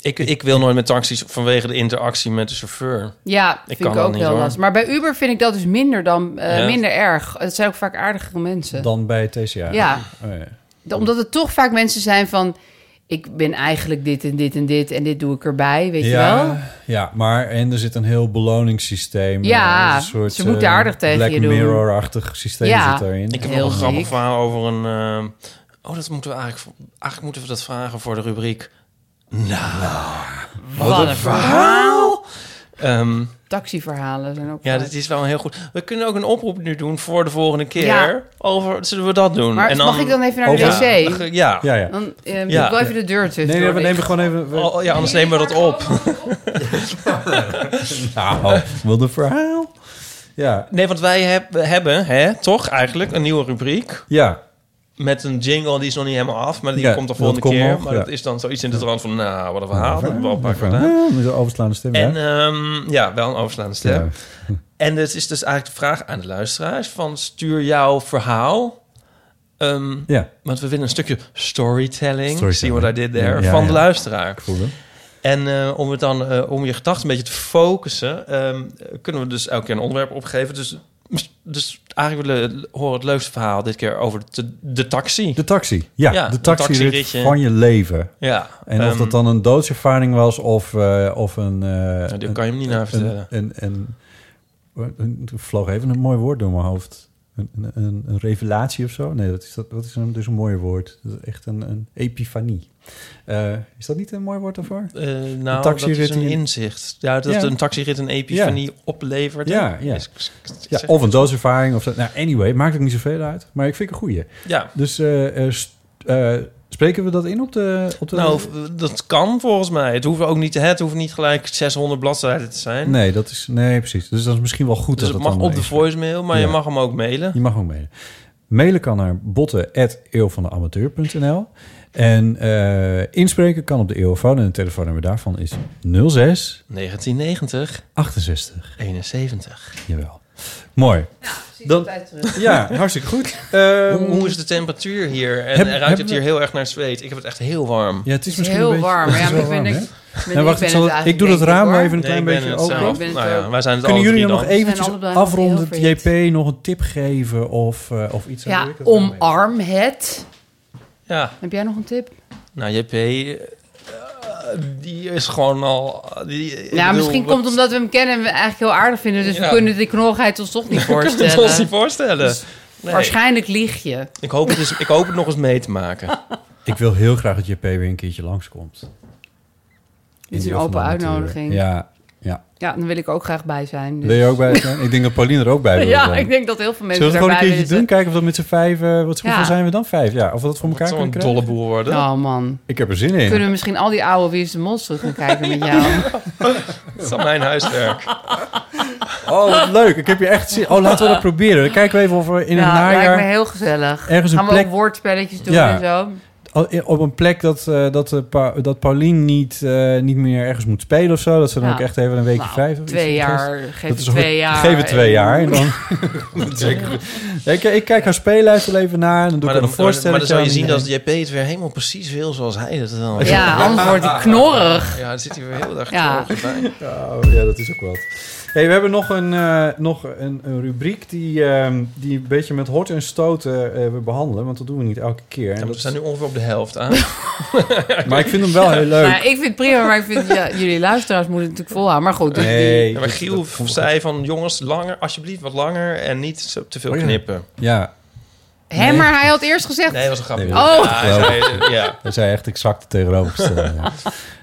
Speaker 2: Ik, ik wil nooit met taxis vanwege de interactie met de chauffeur.
Speaker 3: Ja,
Speaker 2: Ik
Speaker 3: vind
Speaker 2: kan
Speaker 3: ik
Speaker 2: dat
Speaker 3: ook
Speaker 2: niet,
Speaker 3: heel
Speaker 2: hoor.
Speaker 3: lastig. Maar bij Uber vind ik dat dus minder dan eh,
Speaker 2: Ja.
Speaker 3: minder erg. Het zijn ook vaak aardigere mensen.
Speaker 1: Dan bij TCA.
Speaker 3: Ja.
Speaker 1: Oh, ja.
Speaker 3: De- Omdat het toch vaak mensen zijn van... ik ben eigenlijk dit en dit en dit en dit doe ik erbij, weet je wel?
Speaker 1: Ja, ja, maar en er zit een heel beloningssysteem.
Speaker 3: Ja,
Speaker 1: eh,
Speaker 3: ze moeten
Speaker 1: eh,
Speaker 3: aardig tegen
Speaker 1: Black
Speaker 3: je doen.
Speaker 1: Mirror-achtig systeem
Speaker 3: Ja.
Speaker 1: zit daarin.
Speaker 2: Ik heb
Speaker 3: Heel
Speaker 2: nog een grappig
Speaker 3: ziek.
Speaker 2: verhaal over een... eh, oh, dat moeten we eigenlijk... voor- Eigenlijk moeten we dat vragen voor de rubriek.
Speaker 3: Wat, een verhaal!
Speaker 2: Ehm,
Speaker 3: Taxiverhalen zijn ook
Speaker 2: ja,
Speaker 3: vaak.
Speaker 2: dit is wel heel goed. We kunnen ook een oproep nu doen voor de volgende keer.
Speaker 3: Ja.
Speaker 2: Over, zullen we dat doen?
Speaker 3: Maar
Speaker 2: En
Speaker 3: mag ik dan even naar de wc?
Speaker 1: Over-
Speaker 2: Ja, ja.
Speaker 1: Ja, ja.
Speaker 3: Dan eh, doe
Speaker 2: Ja.
Speaker 3: ik wel even de deur tussen.
Speaker 1: Nee, nee, we nemen gewoon even... we-
Speaker 2: Oh, ja, anders nemen we dat op.
Speaker 1: Nou, wat een verhaal. Ja,
Speaker 2: Nee, want wij heb- we hebben, hè, toch eigenlijk, een nieuwe rubriek.
Speaker 1: ja.
Speaker 2: met een jingle, die is nog niet helemaal af, maar die
Speaker 1: Ja,
Speaker 2: komt de
Speaker 1: dat
Speaker 2: volgende
Speaker 1: komt
Speaker 2: keer.
Speaker 1: nog,
Speaker 2: maar
Speaker 1: ja.
Speaker 2: dat is dan zoiets in de trant van, nou, wat een verhaal. dat
Speaker 1: Ja,
Speaker 2: we wel pakken.
Speaker 1: ja,
Speaker 2: hè?
Speaker 1: Met de overslaande stem, ja.
Speaker 2: En ehm, ja, wel een overslaande stem. En het is dus eigenlijk de vraag aan de luisteraars van stuur jouw verhaal. Ehm,
Speaker 1: Ja.
Speaker 2: Want we willen een stukje storytelling.
Speaker 1: Storytelling.
Speaker 2: See what I did there.
Speaker 1: Ja, ja,
Speaker 2: van de
Speaker 1: ja.
Speaker 2: luisteraar.
Speaker 1: Cool, hè?
Speaker 2: en eh, om, het dan, eh, om je gedachten een beetje te focussen... ehm, kunnen we dus elke keer een onderwerp opgeven. Dus, dus eigenlijk willen we horen het leukste verhaal dit keer over de, de taxi.
Speaker 1: De taxi. Ja, de
Speaker 2: een
Speaker 1: taxirit
Speaker 2: taxiritje.
Speaker 1: van je leven.
Speaker 2: Ja,
Speaker 1: En of
Speaker 2: ehm,
Speaker 1: dat dan een doodservaring was of, eh, of een... eh
Speaker 2: die
Speaker 1: een-
Speaker 2: kan je hem niet naar vertellen.
Speaker 1: Een, een, een, een- er vloog even een mooi woord door mijn hoofd. Een, een- een, een revelatie of zo? Nee, dat is, dat, wat is een, dus een mooi woord. Dat is echt een, een epifanie. Eh, is dat niet een mooi woord daarvoor?
Speaker 2: Eh,
Speaker 1: Een
Speaker 2: nou,
Speaker 1: taxirit
Speaker 2: dat is een
Speaker 1: in-
Speaker 2: inzicht. Ja, dat
Speaker 1: Ja.
Speaker 2: een taxirit een epifanie oplevert.
Speaker 1: Ja, ja.
Speaker 2: Is- is- is-
Speaker 1: Ja,
Speaker 2: zeg-
Speaker 1: of een dooservaring. Of zo. Nou, anyway, maakt ook niet zoveel uit. Maar ik vind het een goeie.
Speaker 2: Ja.
Speaker 1: Dus eh, eh, st- eh, spreken we dat in op de... Op de
Speaker 2: Nou, v- dat kan volgens mij. Het hoeft ook niet, het hoeft niet gelijk 600 bladzijden te zijn.
Speaker 1: nee, dat is, nee, precies. Dus dat is misschien wel goed.
Speaker 2: Dus
Speaker 1: dat
Speaker 2: het mag
Speaker 1: dan
Speaker 2: op de
Speaker 1: eens-
Speaker 2: voicemail, maar je
Speaker 1: Ja.
Speaker 2: mag hem ook mailen.
Speaker 1: Je mag ook mailen. Mailen kan naar botten.eeuwvandeamateur.nl En eh, inspreken kan op de eeuwfoon. En het telefoonnummer daarvan is 06
Speaker 2: 1990,
Speaker 1: 68.
Speaker 2: 71.
Speaker 1: Jawel. Mooi. Ehm,
Speaker 3: Dan,
Speaker 1: Ja, hartstikke goed. (laughs)
Speaker 2: hoe, hoe is de temperatuur hier? En
Speaker 1: Heb-
Speaker 2: ruikt
Speaker 1: hebben
Speaker 2: het
Speaker 1: we-
Speaker 2: hier heel erg naar zweet? Ik heb het echt heel warm.
Speaker 1: Ja,
Speaker 3: Het
Speaker 1: het is
Speaker 3: is
Speaker 1: misschien een
Speaker 3: heel
Speaker 1: beetje-
Speaker 3: warm.
Speaker 1: het is
Speaker 3: Ja, maar
Speaker 1: wel
Speaker 3: ik ben
Speaker 1: warm,
Speaker 3: ik-
Speaker 1: hè?
Speaker 3: ben-
Speaker 1: Nou, wacht,
Speaker 3: ik ben
Speaker 1: ik, zal
Speaker 3: het
Speaker 1: het- ik
Speaker 3: eigenlijk
Speaker 1: doe dat
Speaker 3: denk ik,
Speaker 1: raam
Speaker 3: hoor.
Speaker 1: even een klein
Speaker 2: Nee, ik
Speaker 1: beetje
Speaker 2: ben het
Speaker 1: open.
Speaker 2: zelf.
Speaker 3: Ik ben het
Speaker 2: Nou ja,
Speaker 3: ook.
Speaker 2: wij zijn het
Speaker 1: Kunnen
Speaker 2: alle
Speaker 1: jullie
Speaker 2: drie
Speaker 1: nog
Speaker 2: dan.
Speaker 1: eventjes
Speaker 3: zijn allebei
Speaker 1: afrondend
Speaker 3: heel fit.
Speaker 1: JP nog een tip geven of, eh, of iets?
Speaker 3: Ja, omarm het.
Speaker 2: Ja,
Speaker 3: Heb jij nog een tip?
Speaker 2: nou JP, eh, die is gewoon al... Die, ik
Speaker 3: nou,
Speaker 2: bedoel,
Speaker 3: misschien
Speaker 2: wat- (laughs)
Speaker 3: komt het omdat we hem kennen en we hem eigenlijk heel aardig vinden. Dus
Speaker 2: Ja.
Speaker 3: we kunnen de knorrigheid ons
Speaker 2: (laughs)
Speaker 3: toch niet
Speaker 2: We kunnen
Speaker 3: voorstellen. Dus
Speaker 2: het ons niet voorstellen. Nee.
Speaker 3: Waarschijnlijk lieg je.
Speaker 2: Ik hoop, het is, ik hoop het nog eens mee te maken.
Speaker 1: Ik wil heel graag dat JP weer een keertje langskomt.
Speaker 3: Dit is
Speaker 1: In
Speaker 3: een
Speaker 1: die
Speaker 3: open
Speaker 1: afgelopen
Speaker 3: uitnodiging.
Speaker 1: uren. Ja, ja.
Speaker 3: Ja, dan wil ik ook graag bij zijn. dus.
Speaker 1: Wil je ook bij zijn? Ik denk dat Pauline er
Speaker 3: (laughs)
Speaker 1: ook bij wil
Speaker 3: Ja,
Speaker 1: zijn.
Speaker 3: ik denk dat heel veel
Speaker 1: Zullen we
Speaker 3: mensen
Speaker 1: het gewoon een
Speaker 3: daarbij
Speaker 1: keertje
Speaker 3: willen
Speaker 1: doen? Kijken of dat met z'n vijf... eh, wat hoeveel
Speaker 3: Ja.
Speaker 1: zijn we dan? Vijf, ja. Of we dat voor elkaar
Speaker 2: Het zal
Speaker 1: kunnen
Speaker 2: een
Speaker 1: krijgen?
Speaker 2: dolle boel worden.
Speaker 3: zijn. Oh man.
Speaker 1: Ik heb er zin in.
Speaker 3: Kunnen we misschien al die oude Wie is de Mol terug gaan kijken met
Speaker 1: (laughs)
Speaker 3: jou?
Speaker 2: Het is al mijn huiswerk.
Speaker 1: Oh, wat leuk. Ik heb je echt zin. Oh, laten
Speaker 3: (laughs)
Speaker 1: we dat proberen. Dan kijken we even of we in
Speaker 3: ja,
Speaker 1: het najaar...
Speaker 3: lijkt me heel gezellig.
Speaker 1: ergens een
Speaker 3: gaan we
Speaker 1: plek-
Speaker 3: ook woordspelletjes doen
Speaker 1: Ja.
Speaker 3: en zo.
Speaker 1: Al- Op een plek dat, eh, dat, eh, Pa- dat Paulien niet, eh, niet meer ergens moet spelen of zo. Dat ze dan
Speaker 3: Ja.
Speaker 1: ook echt even een weekje
Speaker 3: Nou,
Speaker 1: vijf... of iets
Speaker 3: Twee
Speaker 1: moet testen.
Speaker 3: jaar, geef
Speaker 1: Dat
Speaker 3: het
Speaker 1: is
Speaker 3: twee jaar.
Speaker 1: Geef het twee jaar. En
Speaker 3: En-
Speaker 1: dan...
Speaker 3: (laughs)
Speaker 1: Ja, ik, ik kijk haar speellijst wel even na. En dan doe
Speaker 2: Maar
Speaker 1: ik er
Speaker 2: dan,
Speaker 1: een voorstelling
Speaker 2: maar dan zou je zien dat JP het weer helemaal precies wil zoals hij het dan.
Speaker 3: Ja, anders wordt hij knorrig.
Speaker 2: Ja, dan zit hij weer heel erg
Speaker 3: Ja.
Speaker 2: knorrig bij.
Speaker 1: Oh, ja, dat is ook wat. Hey, we hebben nog een, eh, nog een, een rubriek die, ehm, die een beetje met horten en stoten eh, we behandelen. Want dat doen we niet elke keer. En
Speaker 2: Ja,
Speaker 1: dat
Speaker 2: we
Speaker 1: is-
Speaker 2: zijn nu ongeveer op de helft aan.
Speaker 3: (laughs)
Speaker 1: Maar ik vind hem
Speaker 2: (laughs)
Speaker 1: wel heel
Speaker 3: Nou,
Speaker 1: (laughs) leuk.
Speaker 3: ik vind het prima, maar ik vind ja, jullie luisteraars moeten het natuurlijk volhouden. Maar goed, dus die-
Speaker 1: Nee.
Speaker 2: Ja, maar Giel zei van jongens, langer, alsjeblieft wat langer en niet zo- te veel
Speaker 1: Oh ja.
Speaker 2: knippen.
Speaker 1: Ja,
Speaker 3: Hè,
Speaker 1: Nee.
Speaker 3: maar hij had eerst gezegd...
Speaker 2: Nee, dat was een grapje.
Speaker 1: Nee,
Speaker 3: dat was-
Speaker 2: Ja, hij zei- ja.
Speaker 1: dat zei echt exact het tegenovergestelde.
Speaker 2: (laughs)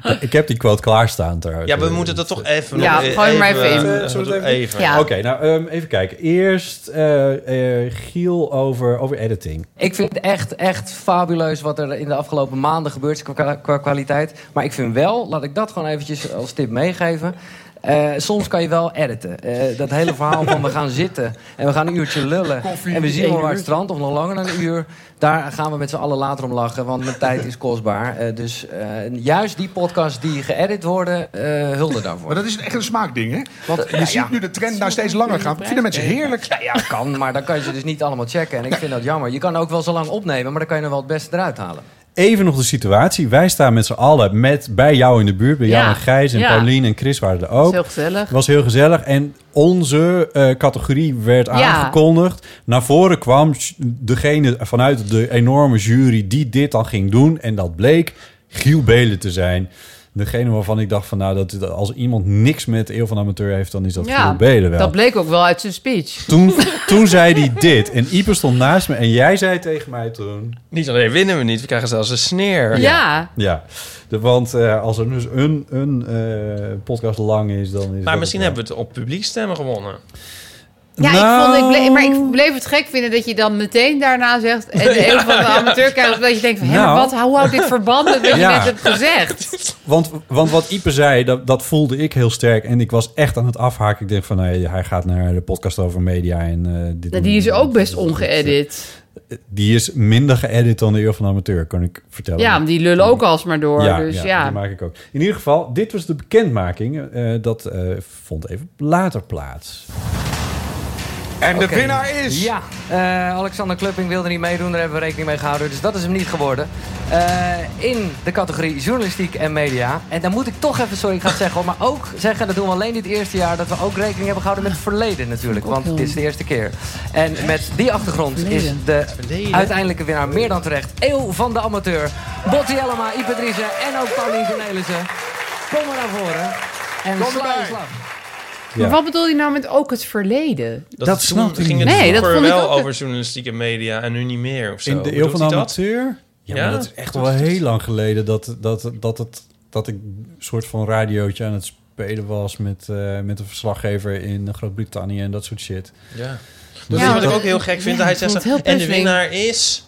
Speaker 1: ja. Ik heb die quote klaarstaan trouwens.
Speaker 2: ja, we moeten dat toch even...
Speaker 3: Ja,
Speaker 2: nog
Speaker 3: gooi hem maar even in.
Speaker 2: eh,
Speaker 1: Zullen we het even
Speaker 2: even.
Speaker 3: Ja.
Speaker 1: Oké, nou ehm, even kijken. Eerst eh, eh, Giel over, over editing.
Speaker 8: Ik vind het echt, echt fabuleus wat er in de afgelopen maanden gebeurt qua, qua kwaliteit. Maar ik vind wel, laat ik dat gewoon eventjes als tip meegeven. eh, soms kan je wel editen. Eh, dat hele verhaal van we gaan zitten en we gaan een uurtje lullen. en we zien wel waar het strand of nog langer dan een uur. Daar gaan we met z'n allen later om lachen, want mijn tijd is kostbaar. Eh, dus eh, juist die podcasts die geëdit worden, eh hulde daarvoor.
Speaker 9: Maar Oh, dat is echt een smaakding, hè? Want je
Speaker 8: Ja, ja.
Speaker 9: ziet nu de trend nou steeds langer gaan. Vinden mensen heerlijk?
Speaker 8: Ja, ja, kan, maar dan kan je ze dus niet allemaal checken. En ik vind dat jammer. Je kan ook wel zo lang opnemen, maar dan kan je er wel het beste eruit halen.
Speaker 1: Even nog de situatie. Wij staan met z'n allen met, bij jou in de buurt. Bij jou
Speaker 3: Ja,
Speaker 1: en Gijs en
Speaker 3: ja.
Speaker 1: Paulien en Chris waren er
Speaker 3: Dat
Speaker 1: ook.
Speaker 3: is heel gezellig.
Speaker 1: Het was heel gezellig. En onze eh, categorie werd aangekondigd. Naar voren kwam j- degene vanuit de enorme jury die dit dan ging doen. En dat bleek Giel Belen te zijn. Degene waarvan ik dacht van nou, dat, dat als iemand niks met Eeuw van Amateur heeft, dan is dat Giel
Speaker 3: Ja,
Speaker 1: Belen wel.
Speaker 3: dat bleek ook wel uit zijn speech.
Speaker 1: Toen, toen zei hij dit. En Ieper stond naast me en jij zei tegen mij toen...
Speaker 2: Niet alleen winnen we niet, we krijgen zelfs een sneer.
Speaker 3: Ja,
Speaker 1: Ja, de, want eh, als er dus een, een eh, podcast lang is, dan is dat
Speaker 2: Maar
Speaker 1: het
Speaker 2: misschien
Speaker 1: wel.
Speaker 2: hebben we het op publiek stemmen gewonnen.
Speaker 3: ja
Speaker 1: Nou.
Speaker 3: ik vond, ik bleef, maar ik bleef het gek vinden dat je dan meteen daarna zegt...
Speaker 1: (laughs)
Speaker 3: en de een van de amateur kijkt, dat je denkt van... hé, maar
Speaker 1: Nou.
Speaker 3: wat, hoe houdt dit verband met wat je
Speaker 1: Ja.
Speaker 3: net hebt gezegd?
Speaker 1: Want, want wat Ipe zei, dat, dat voelde ik heel sterk. En ik was echt aan het afhaken. nou Ik dacht van, nee, hij gaat naar de podcast over media en eh, dit.
Speaker 3: Nou, die is ook best ongeëdit.
Speaker 1: die is minder geëdit dan de Eeuw van de Amateur, kan ik vertellen.
Speaker 3: Ja, die lullen ook alsmaar door.
Speaker 1: Ja,
Speaker 3: dus ja.
Speaker 1: ja, die maak ik ook. In ieder geval, dit was de bekendmaking. Eh, dat eh, vond even later plaats.
Speaker 9: En
Speaker 8: Oké. Ja, eh, Alexander Klupping wilde niet meedoen, daar hebben we rekening mee gehouden. Dus dat is hem niet geworden. Eh, in de categorie journalistiek en media. En dan moet ik toch even, sorry, ik ga het zeggen, hoor, maar ook zeggen, dat doen we alleen dit eerste jaar, dat we ook rekening hebben gehouden met het verleden natuurlijk. Want dit is de eerste keer. En met die achtergrond is de uiteindelijke winnaar meer dan terecht. Eeuw van de amateur. Botti Jellema, Ipatrice en ook Paulien Cornelissen. Kom maar naar voren. En
Speaker 9: Kom
Speaker 8: sla
Speaker 9: erbij.
Speaker 8: een slag.
Speaker 3: Maar wat bedoel je nou met ook het verleden?
Speaker 2: Dat, snap ik
Speaker 3: niet.
Speaker 2: ging het
Speaker 3: Nee, dat
Speaker 2: vroeger
Speaker 3: vond ik
Speaker 2: wel
Speaker 3: ook-
Speaker 2: over journalistiek en media en nu niet meer of zo.
Speaker 1: In de Eeuw
Speaker 2: Bedoelt
Speaker 1: van
Speaker 2: hij
Speaker 1: de
Speaker 2: dat?
Speaker 1: Amateur? Ja, maar dat is echt al wel heel lang geleden dat, dat, dat, het, dat ik een soort van radiootje aan het spelen was met, eh, met een verslaggever in Groot-Brittannië en dat soort shit.
Speaker 2: Ja. Dat
Speaker 1: Dus dat-
Speaker 2: is wat ik
Speaker 1: dat-
Speaker 2: ook heel gek vind.
Speaker 1: Ja,
Speaker 2: hij
Speaker 1: ik vond
Speaker 2: zegt,
Speaker 1: het heel
Speaker 2: en de
Speaker 1: plotseling.
Speaker 2: winnaar is...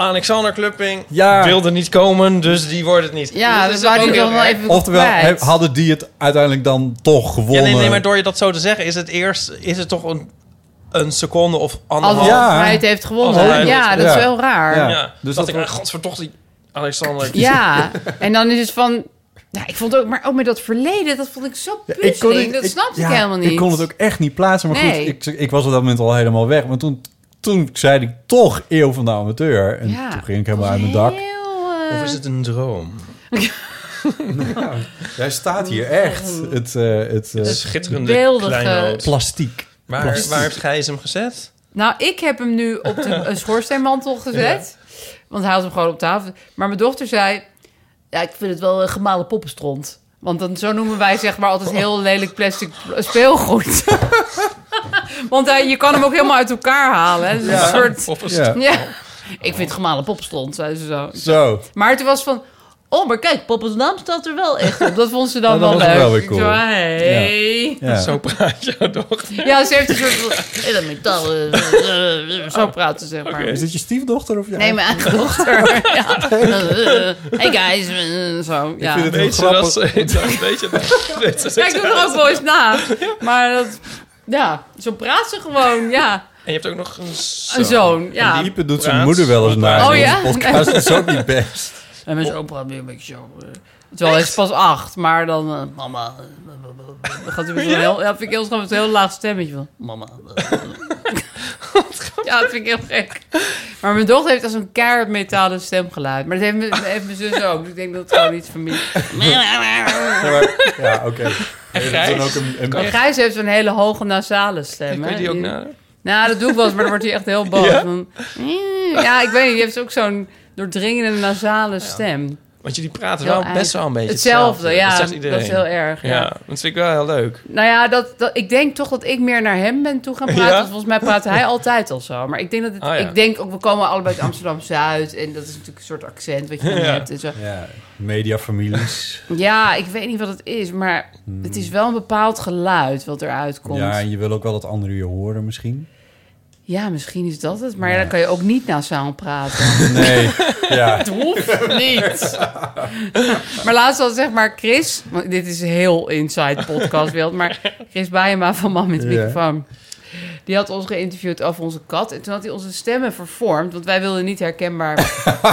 Speaker 2: Alexander Klupping
Speaker 1: Ja.
Speaker 2: wilde niet komen, dus die wordt het niet.
Speaker 3: Ja, dat
Speaker 2: is
Speaker 3: wou
Speaker 2: ook
Speaker 3: die
Speaker 2: heel
Speaker 3: dan wel
Speaker 2: erg.
Speaker 3: even
Speaker 1: Oftewel,
Speaker 3: kwijt.
Speaker 1: he- hadden die het uiteindelijk dan toch
Speaker 2: Ja,
Speaker 1: gewonnen?
Speaker 2: nee, nee, maar door je dat zo te zeggen, is het eerst is het toch een, een seconde of anderhalf.
Speaker 3: Alsof
Speaker 1: Ja.
Speaker 3: hij het heeft gewonnen.
Speaker 2: Alsof hij het
Speaker 3: Ja,
Speaker 2: heeft
Speaker 3: dat is
Speaker 2: gewonnen.
Speaker 3: wel raar. Ja.
Speaker 2: Ja,
Speaker 1: Dus
Speaker 2: Dus
Speaker 1: dat
Speaker 2: dat, ik,
Speaker 1: wordt-
Speaker 2: ah, godverdocht, die Alexander.
Speaker 1: (laughs)
Speaker 3: Ja, en dan is het van... Nou, ik vond ook, maar ook met dat verleden, dat vond ik zo plotseling. dat snapte ik
Speaker 1: ja,
Speaker 3: helemaal niet.
Speaker 1: Ik kon het ook echt niet plaatsen. Maar
Speaker 3: Nee.
Speaker 1: goed, ik, ik was op dat moment al helemaal weg. Maar toen, toen zei ik toch eeuw van de amateur. En
Speaker 3: Ja,
Speaker 1: toen ging ik helemaal uit mijn dak.
Speaker 3: eh,
Speaker 2: Of is het een droom?
Speaker 1: Jij staat hier echt. Het, eh het, eh,
Speaker 2: Schitterende
Speaker 3: Beeldige-
Speaker 2: kleine hoop.
Speaker 1: Plastiek.
Speaker 2: Waar,
Speaker 1: Plastiek.
Speaker 2: waar heeft Gijs hem gezet?
Speaker 3: Nou, ik heb hem nu op de een schoorsteenmantel gezet. Want hij had hem gewoon op tafel. Maar mijn dochter zei... Ja, ik vind het wel een gemalen poppenstront. Want dan, zo noemen wij zeg maar altijd heel lelijk plastic speelgoed. (laughs) Want hij, je kan hem ook helemaal uit elkaar halen. hè. Het is
Speaker 1: Ja.
Speaker 3: een soort...
Speaker 1: Poppenstront.
Speaker 3: Ja. Ik vind gemalen poppenstront, zei ze zo.
Speaker 1: Zo.
Speaker 3: Maar toen was van... Oh, maar kijk, papa's naam staat er wel echt op. Dat vond ze
Speaker 1: (laughs)
Speaker 3: dan
Speaker 1: Nou, dat
Speaker 3: wel leuk.
Speaker 1: was wel weer cool.
Speaker 3: Ik zo, hey.
Speaker 1: Ja. Ja.
Speaker 2: Zo praat (laughs) jouw dochter.
Speaker 3: Ja, ze heeft een soort van... eh, dat metal... eh, eh, zo
Speaker 1: Oh.
Speaker 3: praten ze, zeg maar.
Speaker 1: Is dit je stiefdochter of je
Speaker 3: Nee, mijn eigen dochter. (laughs) ja. Eh, hey guys. eh, zo, ja.
Speaker 1: vind het heel
Speaker 2: Weet je
Speaker 1: grappig.
Speaker 2: dat ze (laughs) Weet je dat? Weet je
Speaker 3: Ja, ik doe er ook wel eens
Speaker 1: (laughs)
Speaker 3: na. Maar dat... Ja, zo praat ze gewoon, ja.
Speaker 2: En je hebt ook nog een zoon.
Speaker 3: Een zoon, ja.
Speaker 1: En die Ipe doet zijn
Speaker 2: Praat.
Speaker 1: moeder wel eens na.
Speaker 3: Oh
Speaker 1: in
Speaker 3: ja?
Speaker 1: deze podcast Dat is ook niet best.
Speaker 3: En
Speaker 2: Oh.
Speaker 3: mijn zoon praat nu een beetje zo... eh. Terwijl hij is pas acht, maar dan... eh, mama... eh, Dan gaat hij weer zo heel... Ja, vind ik heel schattig, met een heel laag stemmetje van... Mama...
Speaker 2: (laughs)
Speaker 3: eh, eh. ja, dat vind ik heel gek. Maar mijn dochter heeft als een keihard metalen stemgeluid. Maar dat heeft mijn, heeft mijn zus ook. Dus ik denk dat het gewoon iets van mij...
Speaker 1: Ja, maar- ja, oké. En
Speaker 2: Gijs?
Speaker 1: ook een, een-
Speaker 3: Maar Gijs heeft zo'n hele hoge nasale stem.
Speaker 2: Kun
Speaker 3: hè?
Speaker 2: je die ook nadoen?
Speaker 3: Nou, dat doe ik wel eens, maar dan wordt hij echt heel boos.
Speaker 2: Ja?
Speaker 3: Dan- ja, ik weet niet. Je hebt ook zo'n doordringende nasale stem.
Speaker 2: Want jullie praten
Speaker 3: Heel
Speaker 2: wel
Speaker 3: eigen.
Speaker 2: best wel een beetje
Speaker 3: Hetzelfde,
Speaker 2: hetzelfde.
Speaker 3: ja,
Speaker 2: zegt iedereen.
Speaker 3: dat is heel erg, ja.
Speaker 2: dat vind ik wel heel leuk.
Speaker 3: Nou ja, dat, dat, ik denk toch dat ik meer naar hem ben toe gaan praten.
Speaker 2: Ja?
Speaker 3: Want Volgens mij praat hij altijd al zo. Maar ik denk dat het,
Speaker 2: Ah, ja.
Speaker 3: ik denk ook, we komen allebei uit Amsterdam-Zuid. En dat is natuurlijk een soort accent wat je dan
Speaker 1: Ja.
Speaker 3: hebt. En zo.
Speaker 1: ja, mediafamilies.
Speaker 3: Ja, ik weet niet wat het is, maar het is wel een bepaald geluid wat eruit komt.
Speaker 1: Ja,
Speaker 3: Ja,
Speaker 1: en je wil ook wel dat anderen je
Speaker 3: (laughs)
Speaker 1: horen misschien.
Speaker 3: misschien is dat het. Maar ja, dan kan je ook niet nasaal praten.
Speaker 1: Nee, ja.
Speaker 3: Het hoeft niet. (laughs) maar laatst had zeg maar Chris... Want dit is heel inside podcastwereld. Maar Chris Baiema van Man met
Speaker 10: Ja.
Speaker 3: Microfoon... Die had ons geïnterviewd over onze kat. En toen had hij onze stemmen vervormd. Want wij wilden niet herkenbaar...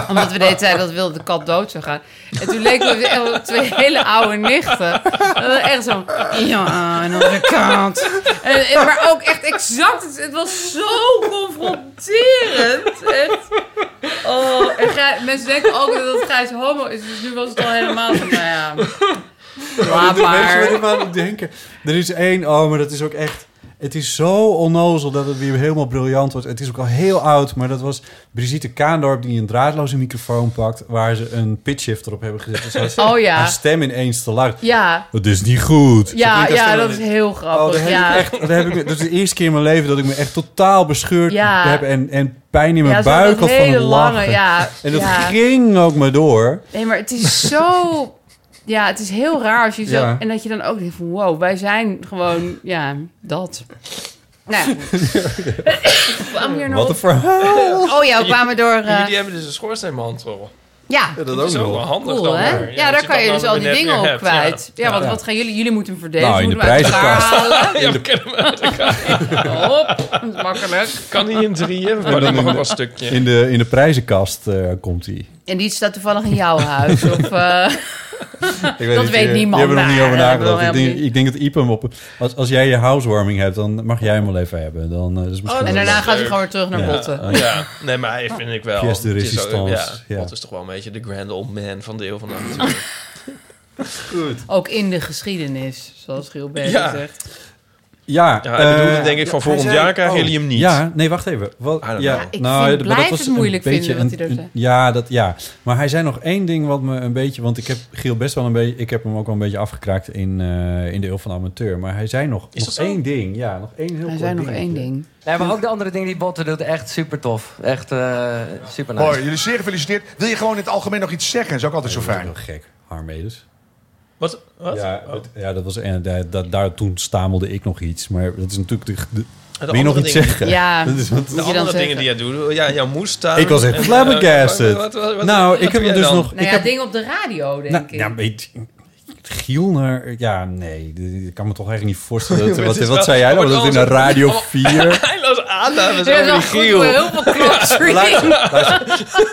Speaker 3: omdat we de hele tijd dat wilde de kat dood zou gaan. En toen leken we echt wel twee hele oude nichten. En dan echt zo... Ja, en onze kat. En, en- maar ook echt exact. Het, het was zo confronterend. Echt. Oh, en Gij- mensen denken ook dat Gijs homo is. Dus nu was het al helemaal van, nou ja... Laat
Speaker 1: De mensen
Speaker 3: (laughs) maar.
Speaker 1: willen maar aan denken. Er is één, oh, maar dat is ook echt... Het is zo onnozel dat het weer helemaal briljant wordt. Het is ook al heel oud, maar dat was Brigitte Kaandorp... die een draadloze microfoon pakt... waar ze een pitchshifter op hebben gezet. Dus haar-
Speaker 3: (laughs) Oh ja.
Speaker 1: Haar stem ineens te luid.
Speaker 3: Ja.
Speaker 1: Dat is niet goed. Zo
Speaker 3: Ja,
Speaker 1: klinkt haar
Speaker 3: ja,
Speaker 1: stem
Speaker 3: dat
Speaker 1: dan
Speaker 3: is heel
Speaker 1: Oh, daar
Speaker 3: grappig.
Speaker 1: heb
Speaker 3: ja.
Speaker 1: ik echt, daar heb ik, me- dat is de eerste keer in mijn leven dat ik me echt totaal bescheurd
Speaker 3: Ja.
Speaker 1: heb en, en pijn in mijn
Speaker 3: Ja, zo
Speaker 1: buik
Speaker 3: dat
Speaker 1: had van
Speaker 3: hele
Speaker 1: het lachen.
Speaker 3: lange, ja,
Speaker 1: En dat
Speaker 3: ja.
Speaker 1: ging ook maar door.
Speaker 3: Nee, maar het
Speaker 1: (laughs)
Speaker 3: is zo... Ja, het is heel raar als je zo...
Speaker 1: Ja.
Speaker 3: En dat je dan ook denkt van... Wow, wij zijn gewoon... Ja, dat. Nou, ja.
Speaker 1: (laughs)
Speaker 3: kwam hier nog...
Speaker 1: Wat een verhaal.
Speaker 3: Oh ja, we kwamen door... eh,
Speaker 2: Jullie hebben dus een schoorsteenmantel.
Speaker 3: Ja,
Speaker 2: Ja, dat is ook wel handig
Speaker 3: Cool,
Speaker 2: dan
Speaker 3: hè?
Speaker 2: maar.
Speaker 3: Ja,
Speaker 2: Ja, dat
Speaker 3: daar
Speaker 2: je
Speaker 3: kan
Speaker 2: dat
Speaker 3: je
Speaker 2: dan
Speaker 3: dus al die
Speaker 2: weer net
Speaker 3: dingen
Speaker 2: weer
Speaker 3: op
Speaker 2: hebt, ja.
Speaker 3: kwijt. Ja, want
Speaker 2: Ja.
Speaker 3: wat gaan jullie... Jullie moeten hem verdelen. dus
Speaker 1: Nou, in
Speaker 3: moeten
Speaker 1: de
Speaker 3: hem uit elkaar
Speaker 1: prijzenkast.
Speaker 3: halen.
Speaker 2: Ja, we kennen hem uit elkaar.
Speaker 3: Hop, makkelijk.
Speaker 2: Kan niet in drieën,
Speaker 1: En
Speaker 2: maar dat
Speaker 1: dan
Speaker 2: mag
Speaker 1: in
Speaker 2: wel
Speaker 1: de-
Speaker 2: een stukje.
Speaker 1: In de, in de prijzenkast eh, komt hij.
Speaker 3: En die staat toevallig in jouw huis. Of, eh, dat weet niemand.
Speaker 1: Die hebben er nog niet
Speaker 3: Nou,
Speaker 1: over
Speaker 3: ja, dat wil
Speaker 1: nagedacht. Ik
Speaker 3: helemaal
Speaker 1: denk,
Speaker 3: niet.
Speaker 1: ik denk dat Iep hem op... Als, als jij je housewarming hebt, dan mag jij hem wel even hebben. Dan, eh, dat is misschien
Speaker 3: en
Speaker 1: wel
Speaker 3: Oh, daarna
Speaker 1: leuk.
Speaker 3: gaat hij gewoon weer terug naar
Speaker 1: Ja.
Speaker 3: Botten.
Speaker 2: Ja, nee, maar hij vind ik wel.
Speaker 1: Pièce de
Speaker 2: het is ook-
Speaker 1: résistance, ja.
Speaker 2: ja, Bot is toch wel een beetje de grand old man van deel van de avontuur.
Speaker 3: Ook in de geschiedenis, zoals Gilbert
Speaker 2: Ja.
Speaker 3: zegt.
Speaker 1: Ja,
Speaker 2: Ja, hij bedoelde
Speaker 1: eh,
Speaker 2: denk ik van volgend
Speaker 1: hij
Speaker 2: jaar krijgen jullie hem niet.
Speaker 1: Ja, nee, wacht even. Wat,
Speaker 2: I don't
Speaker 1: ja, nou,
Speaker 2: know.
Speaker 3: oh. Ik vind-
Speaker 1: maar dat
Speaker 3: blijf
Speaker 1: was
Speaker 3: het
Speaker 1: een
Speaker 3: moeilijk
Speaker 1: beetje
Speaker 3: vinden wat
Speaker 1: een-
Speaker 3: hij er
Speaker 1: een-
Speaker 3: zei.
Speaker 1: Ja, dat, ja, maar hij zei nog één ding wat me een beetje... Want ik heb Giel best wel een beetje... Ik heb hem ook wel een beetje afgekraakt in, eh, in de eeuw van de amateur. Maar hij zei nog, nog één ding. Ja, nog één heel
Speaker 3: Hij
Speaker 1: kort
Speaker 3: zei nog
Speaker 1: ding.
Speaker 3: één ding.
Speaker 8: Nee, maar ook de andere dingen die Botten doet, echt super tof. Echt eh, super nice.
Speaker 9: Mooi, jullie zeer gefeliciteerd. Wil je gewoon in het algemeen nog iets zeggen? Dat is ook altijd zo fijn.
Speaker 1: gek, Harmedes.
Speaker 2: Wat? Wat? Oh.
Speaker 1: Ja, het- ja, dat was en daar, daar, daar- toen stamelde ik nog iets, maar dat is natuurlijk de, de, wil je
Speaker 2: andere
Speaker 1: nog iets
Speaker 2: dingen.
Speaker 1: zeggen? (laughs) Dat is wat-
Speaker 2: de andere dingen die jij doet. Ja, jouw moestuin.
Speaker 1: Ik was echt
Speaker 2: en, eh,
Speaker 1: flabbergasted.
Speaker 2: wat- wat- wat-
Speaker 1: Nou,
Speaker 2: wat
Speaker 1: ik heb
Speaker 2: doe
Speaker 1: hem
Speaker 2: jij
Speaker 1: dus
Speaker 2: dan?
Speaker 1: nog-
Speaker 3: Nou
Speaker 1: Ik
Speaker 3: ja,
Speaker 1: heb-
Speaker 3: dingen op de radio, denk
Speaker 1: Nou,
Speaker 3: ik.
Speaker 1: ja, weet Giel naar... Ja, nee, ik kan me toch eigenlijk niet
Speaker 2: (laughs)
Speaker 1: voorstellen. dat-
Speaker 2: Het
Speaker 1: wat,
Speaker 2: is
Speaker 1: wat
Speaker 2: wel-
Speaker 1: zei jij nou?
Speaker 2: het
Speaker 1: Dat in
Speaker 2: wordt
Speaker 1: een
Speaker 2: allemaal- (laughs)
Speaker 1: Radio
Speaker 2: allemaal-
Speaker 1: 4...
Speaker 2: Eindeloos aannames
Speaker 3: Ja,
Speaker 2: over
Speaker 3: wel
Speaker 2: die
Speaker 3: goed voor heel
Speaker 2: Giel.
Speaker 3: veel klokstream.
Speaker 1: Luister,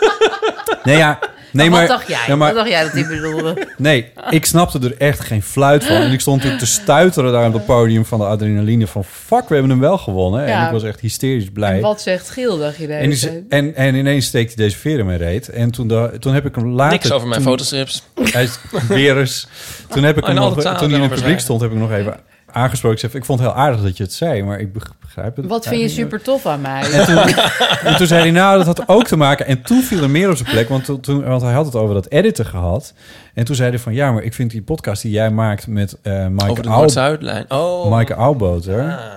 Speaker 1: Nee, ja, nee, maar,
Speaker 3: Wat dacht jij?
Speaker 1: ja, maar-
Speaker 3: Wat dacht jij dat hij bedoelde?
Speaker 1: (laughs) Nee, ik snapte er echt geen fluit van. En ik stond natuurlijk te stuiteren daar op het podium van de adrenaline van... fuck, we hebben hem wel gewonnen.
Speaker 3: Ja.
Speaker 1: En ik was echt hysterisch blij.
Speaker 3: En wat zegt Giel, dacht je
Speaker 1: En, die
Speaker 3: deze?
Speaker 1: ze- en, en ineens steekt hij deze veer in mijn reet. En toen, da- toen heb ik hem later...
Speaker 2: Niks over mijn
Speaker 1: toen-
Speaker 2: fotostrips.
Speaker 1: Hij is weer eens... Toen, heb ik
Speaker 2: Oh,
Speaker 1: hem
Speaker 2: en
Speaker 1: nog,
Speaker 2: alle
Speaker 1: toen
Speaker 2: talen
Speaker 1: hij in het
Speaker 2: daarover zijn.
Speaker 1: publiek stond, heb ik hem nog even aangesproken. Ik, zeg, ik vond het heel aardig dat je het zei, maar ik beg- begrijp het
Speaker 3: Wat vind je
Speaker 1: eigenlijk niet.
Speaker 3: super tof aan mij?
Speaker 1: En toen, en toen zei hij, nou, dat had ook te maken. En toen viel er meer op zijn plek, want, toen- toen, want hij had het over dat editen gehad. En toen zei hij van, ja, maar ik vind die podcast die jij maakt met eh Maaike
Speaker 2: Over de Ah.
Speaker 1: Au-
Speaker 2: Noord-Zuidlijn. Oh.
Speaker 1: Maaike Auwboter,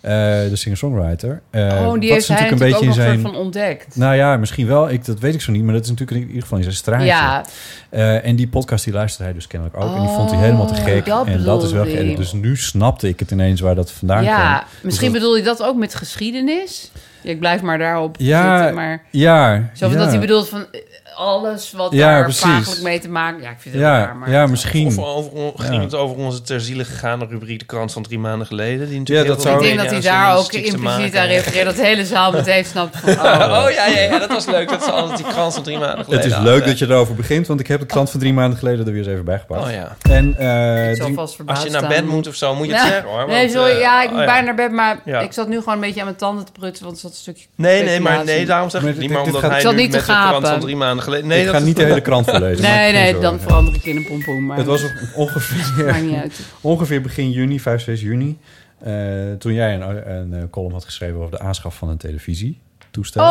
Speaker 1: eh, de singer-songwriter. eh,
Speaker 3: oh,
Speaker 1: dat
Speaker 3: die
Speaker 1: is
Speaker 3: heeft hij
Speaker 1: natuurlijk
Speaker 3: natuurlijk ook nog
Speaker 1: in
Speaker 3: soort
Speaker 1: zijn-
Speaker 3: van ontdekt.
Speaker 1: nou ja, misschien wel. Ik, dat weet ik zo niet. Maar dat is natuurlijk in ieder geval in zijn straatje.
Speaker 3: Ja.
Speaker 1: Eh, en die podcast die luisterde hij dus kennelijk ook. en die vond hij helemaal te gek.
Speaker 3: Oh, dat
Speaker 1: en dat is wel
Speaker 3: bedoelde
Speaker 1: geëdit.
Speaker 3: hij.
Speaker 1: Dus nu snapte ik het ineens waar dat vandaan
Speaker 3: ja,
Speaker 1: kwam.
Speaker 3: misschien
Speaker 1: Dus
Speaker 3: bedoel je dat ook met geschiedenis? Ja, ik blijf maar daarop
Speaker 1: Ja,
Speaker 3: zitten, maar...
Speaker 1: ja,
Speaker 3: Zo van
Speaker 1: ja.
Speaker 3: dat hij bedoelt van eh, alles wat
Speaker 1: Ja,
Speaker 3: daar
Speaker 1: precies.
Speaker 3: vaaglijk mee te maken... Ja, ik
Speaker 1: dat-
Speaker 3: vind het
Speaker 1: ja,
Speaker 3: raar, maar...
Speaker 1: ja, misschien.
Speaker 2: Of over, ging
Speaker 1: Ja.
Speaker 2: het over onze ter ziele gegaane rubriek De Krant van drie maanden geleden? Die
Speaker 1: Ja,
Speaker 2: natuurlijk
Speaker 1: dat
Speaker 2: heel
Speaker 1: zou-
Speaker 2: veel
Speaker 3: Ik denk dat hij daar ook
Speaker 2: mediajournalistiek te
Speaker 3: impliciet
Speaker 2: maken
Speaker 3: aan
Speaker 2: heeft.
Speaker 3: refereert. Dat de hele zaal meteen snapt van...
Speaker 2: (laughs) Oh,
Speaker 3: Oh,
Speaker 2: oh, ja, ja, ja, dat was leuk. Dat ze altijd die krant van drie maanden
Speaker 1: het
Speaker 2: geleden
Speaker 1: is leuk dat je erover begint, want ik heb de krant van drie maanden geleden er weer eens even bijgepakt.
Speaker 2: Oh ja.
Speaker 1: En eh,
Speaker 3: Ik zal
Speaker 1: drie-
Speaker 3: vast verbaasd
Speaker 2: Als je naar
Speaker 3: staan.
Speaker 2: bed moet of zo, moet je het
Speaker 3: Ja.
Speaker 2: zeggen hoor.
Speaker 3: Nee,
Speaker 2: want,
Speaker 3: sorry,
Speaker 2: eh,
Speaker 3: ja, ik
Speaker 2: oh
Speaker 3: moet bijna naar bed, maar
Speaker 2: Ja.
Speaker 3: ik zat nu gewoon een beetje aan mijn tanden te prutsen, want er zat een stukje
Speaker 2: Nee, nee, maar
Speaker 3: speculatie.
Speaker 2: nee, daarom zeg ik
Speaker 1: Maar
Speaker 2: het niet.
Speaker 1: dit-
Speaker 2: Maar
Speaker 1: dit
Speaker 2: omdat
Speaker 1: gaat-
Speaker 2: hij
Speaker 3: Ik zat
Speaker 2: nu
Speaker 3: niet te
Speaker 2: met de krant van
Speaker 3: gapen.
Speaker 2: drie maanden geleden... Nee,
Speaker 1: ik
Speaker 2: dat
Speaker 1: ga
Speaker 2: is-
Speaker 1: niet de hele krant voorlezen. maak je
Speaker 3: Nee,
Speaker 1: geen
Speaker 3: nee,
Speaker 1: zorgen.
Speaker 3: dan verander ik in een pompoen, maar...
Speaker 1: Het was ongeveer...
Speaker 3: Maakt
Speaker 1: (laughs)
Speaker 3: niet uit.
Speaker 1: Ongeveer begin juni, 5, 6 juni. eh, toen jij een, een eh, column had geschreven over de aanschaf van een televisietoestel.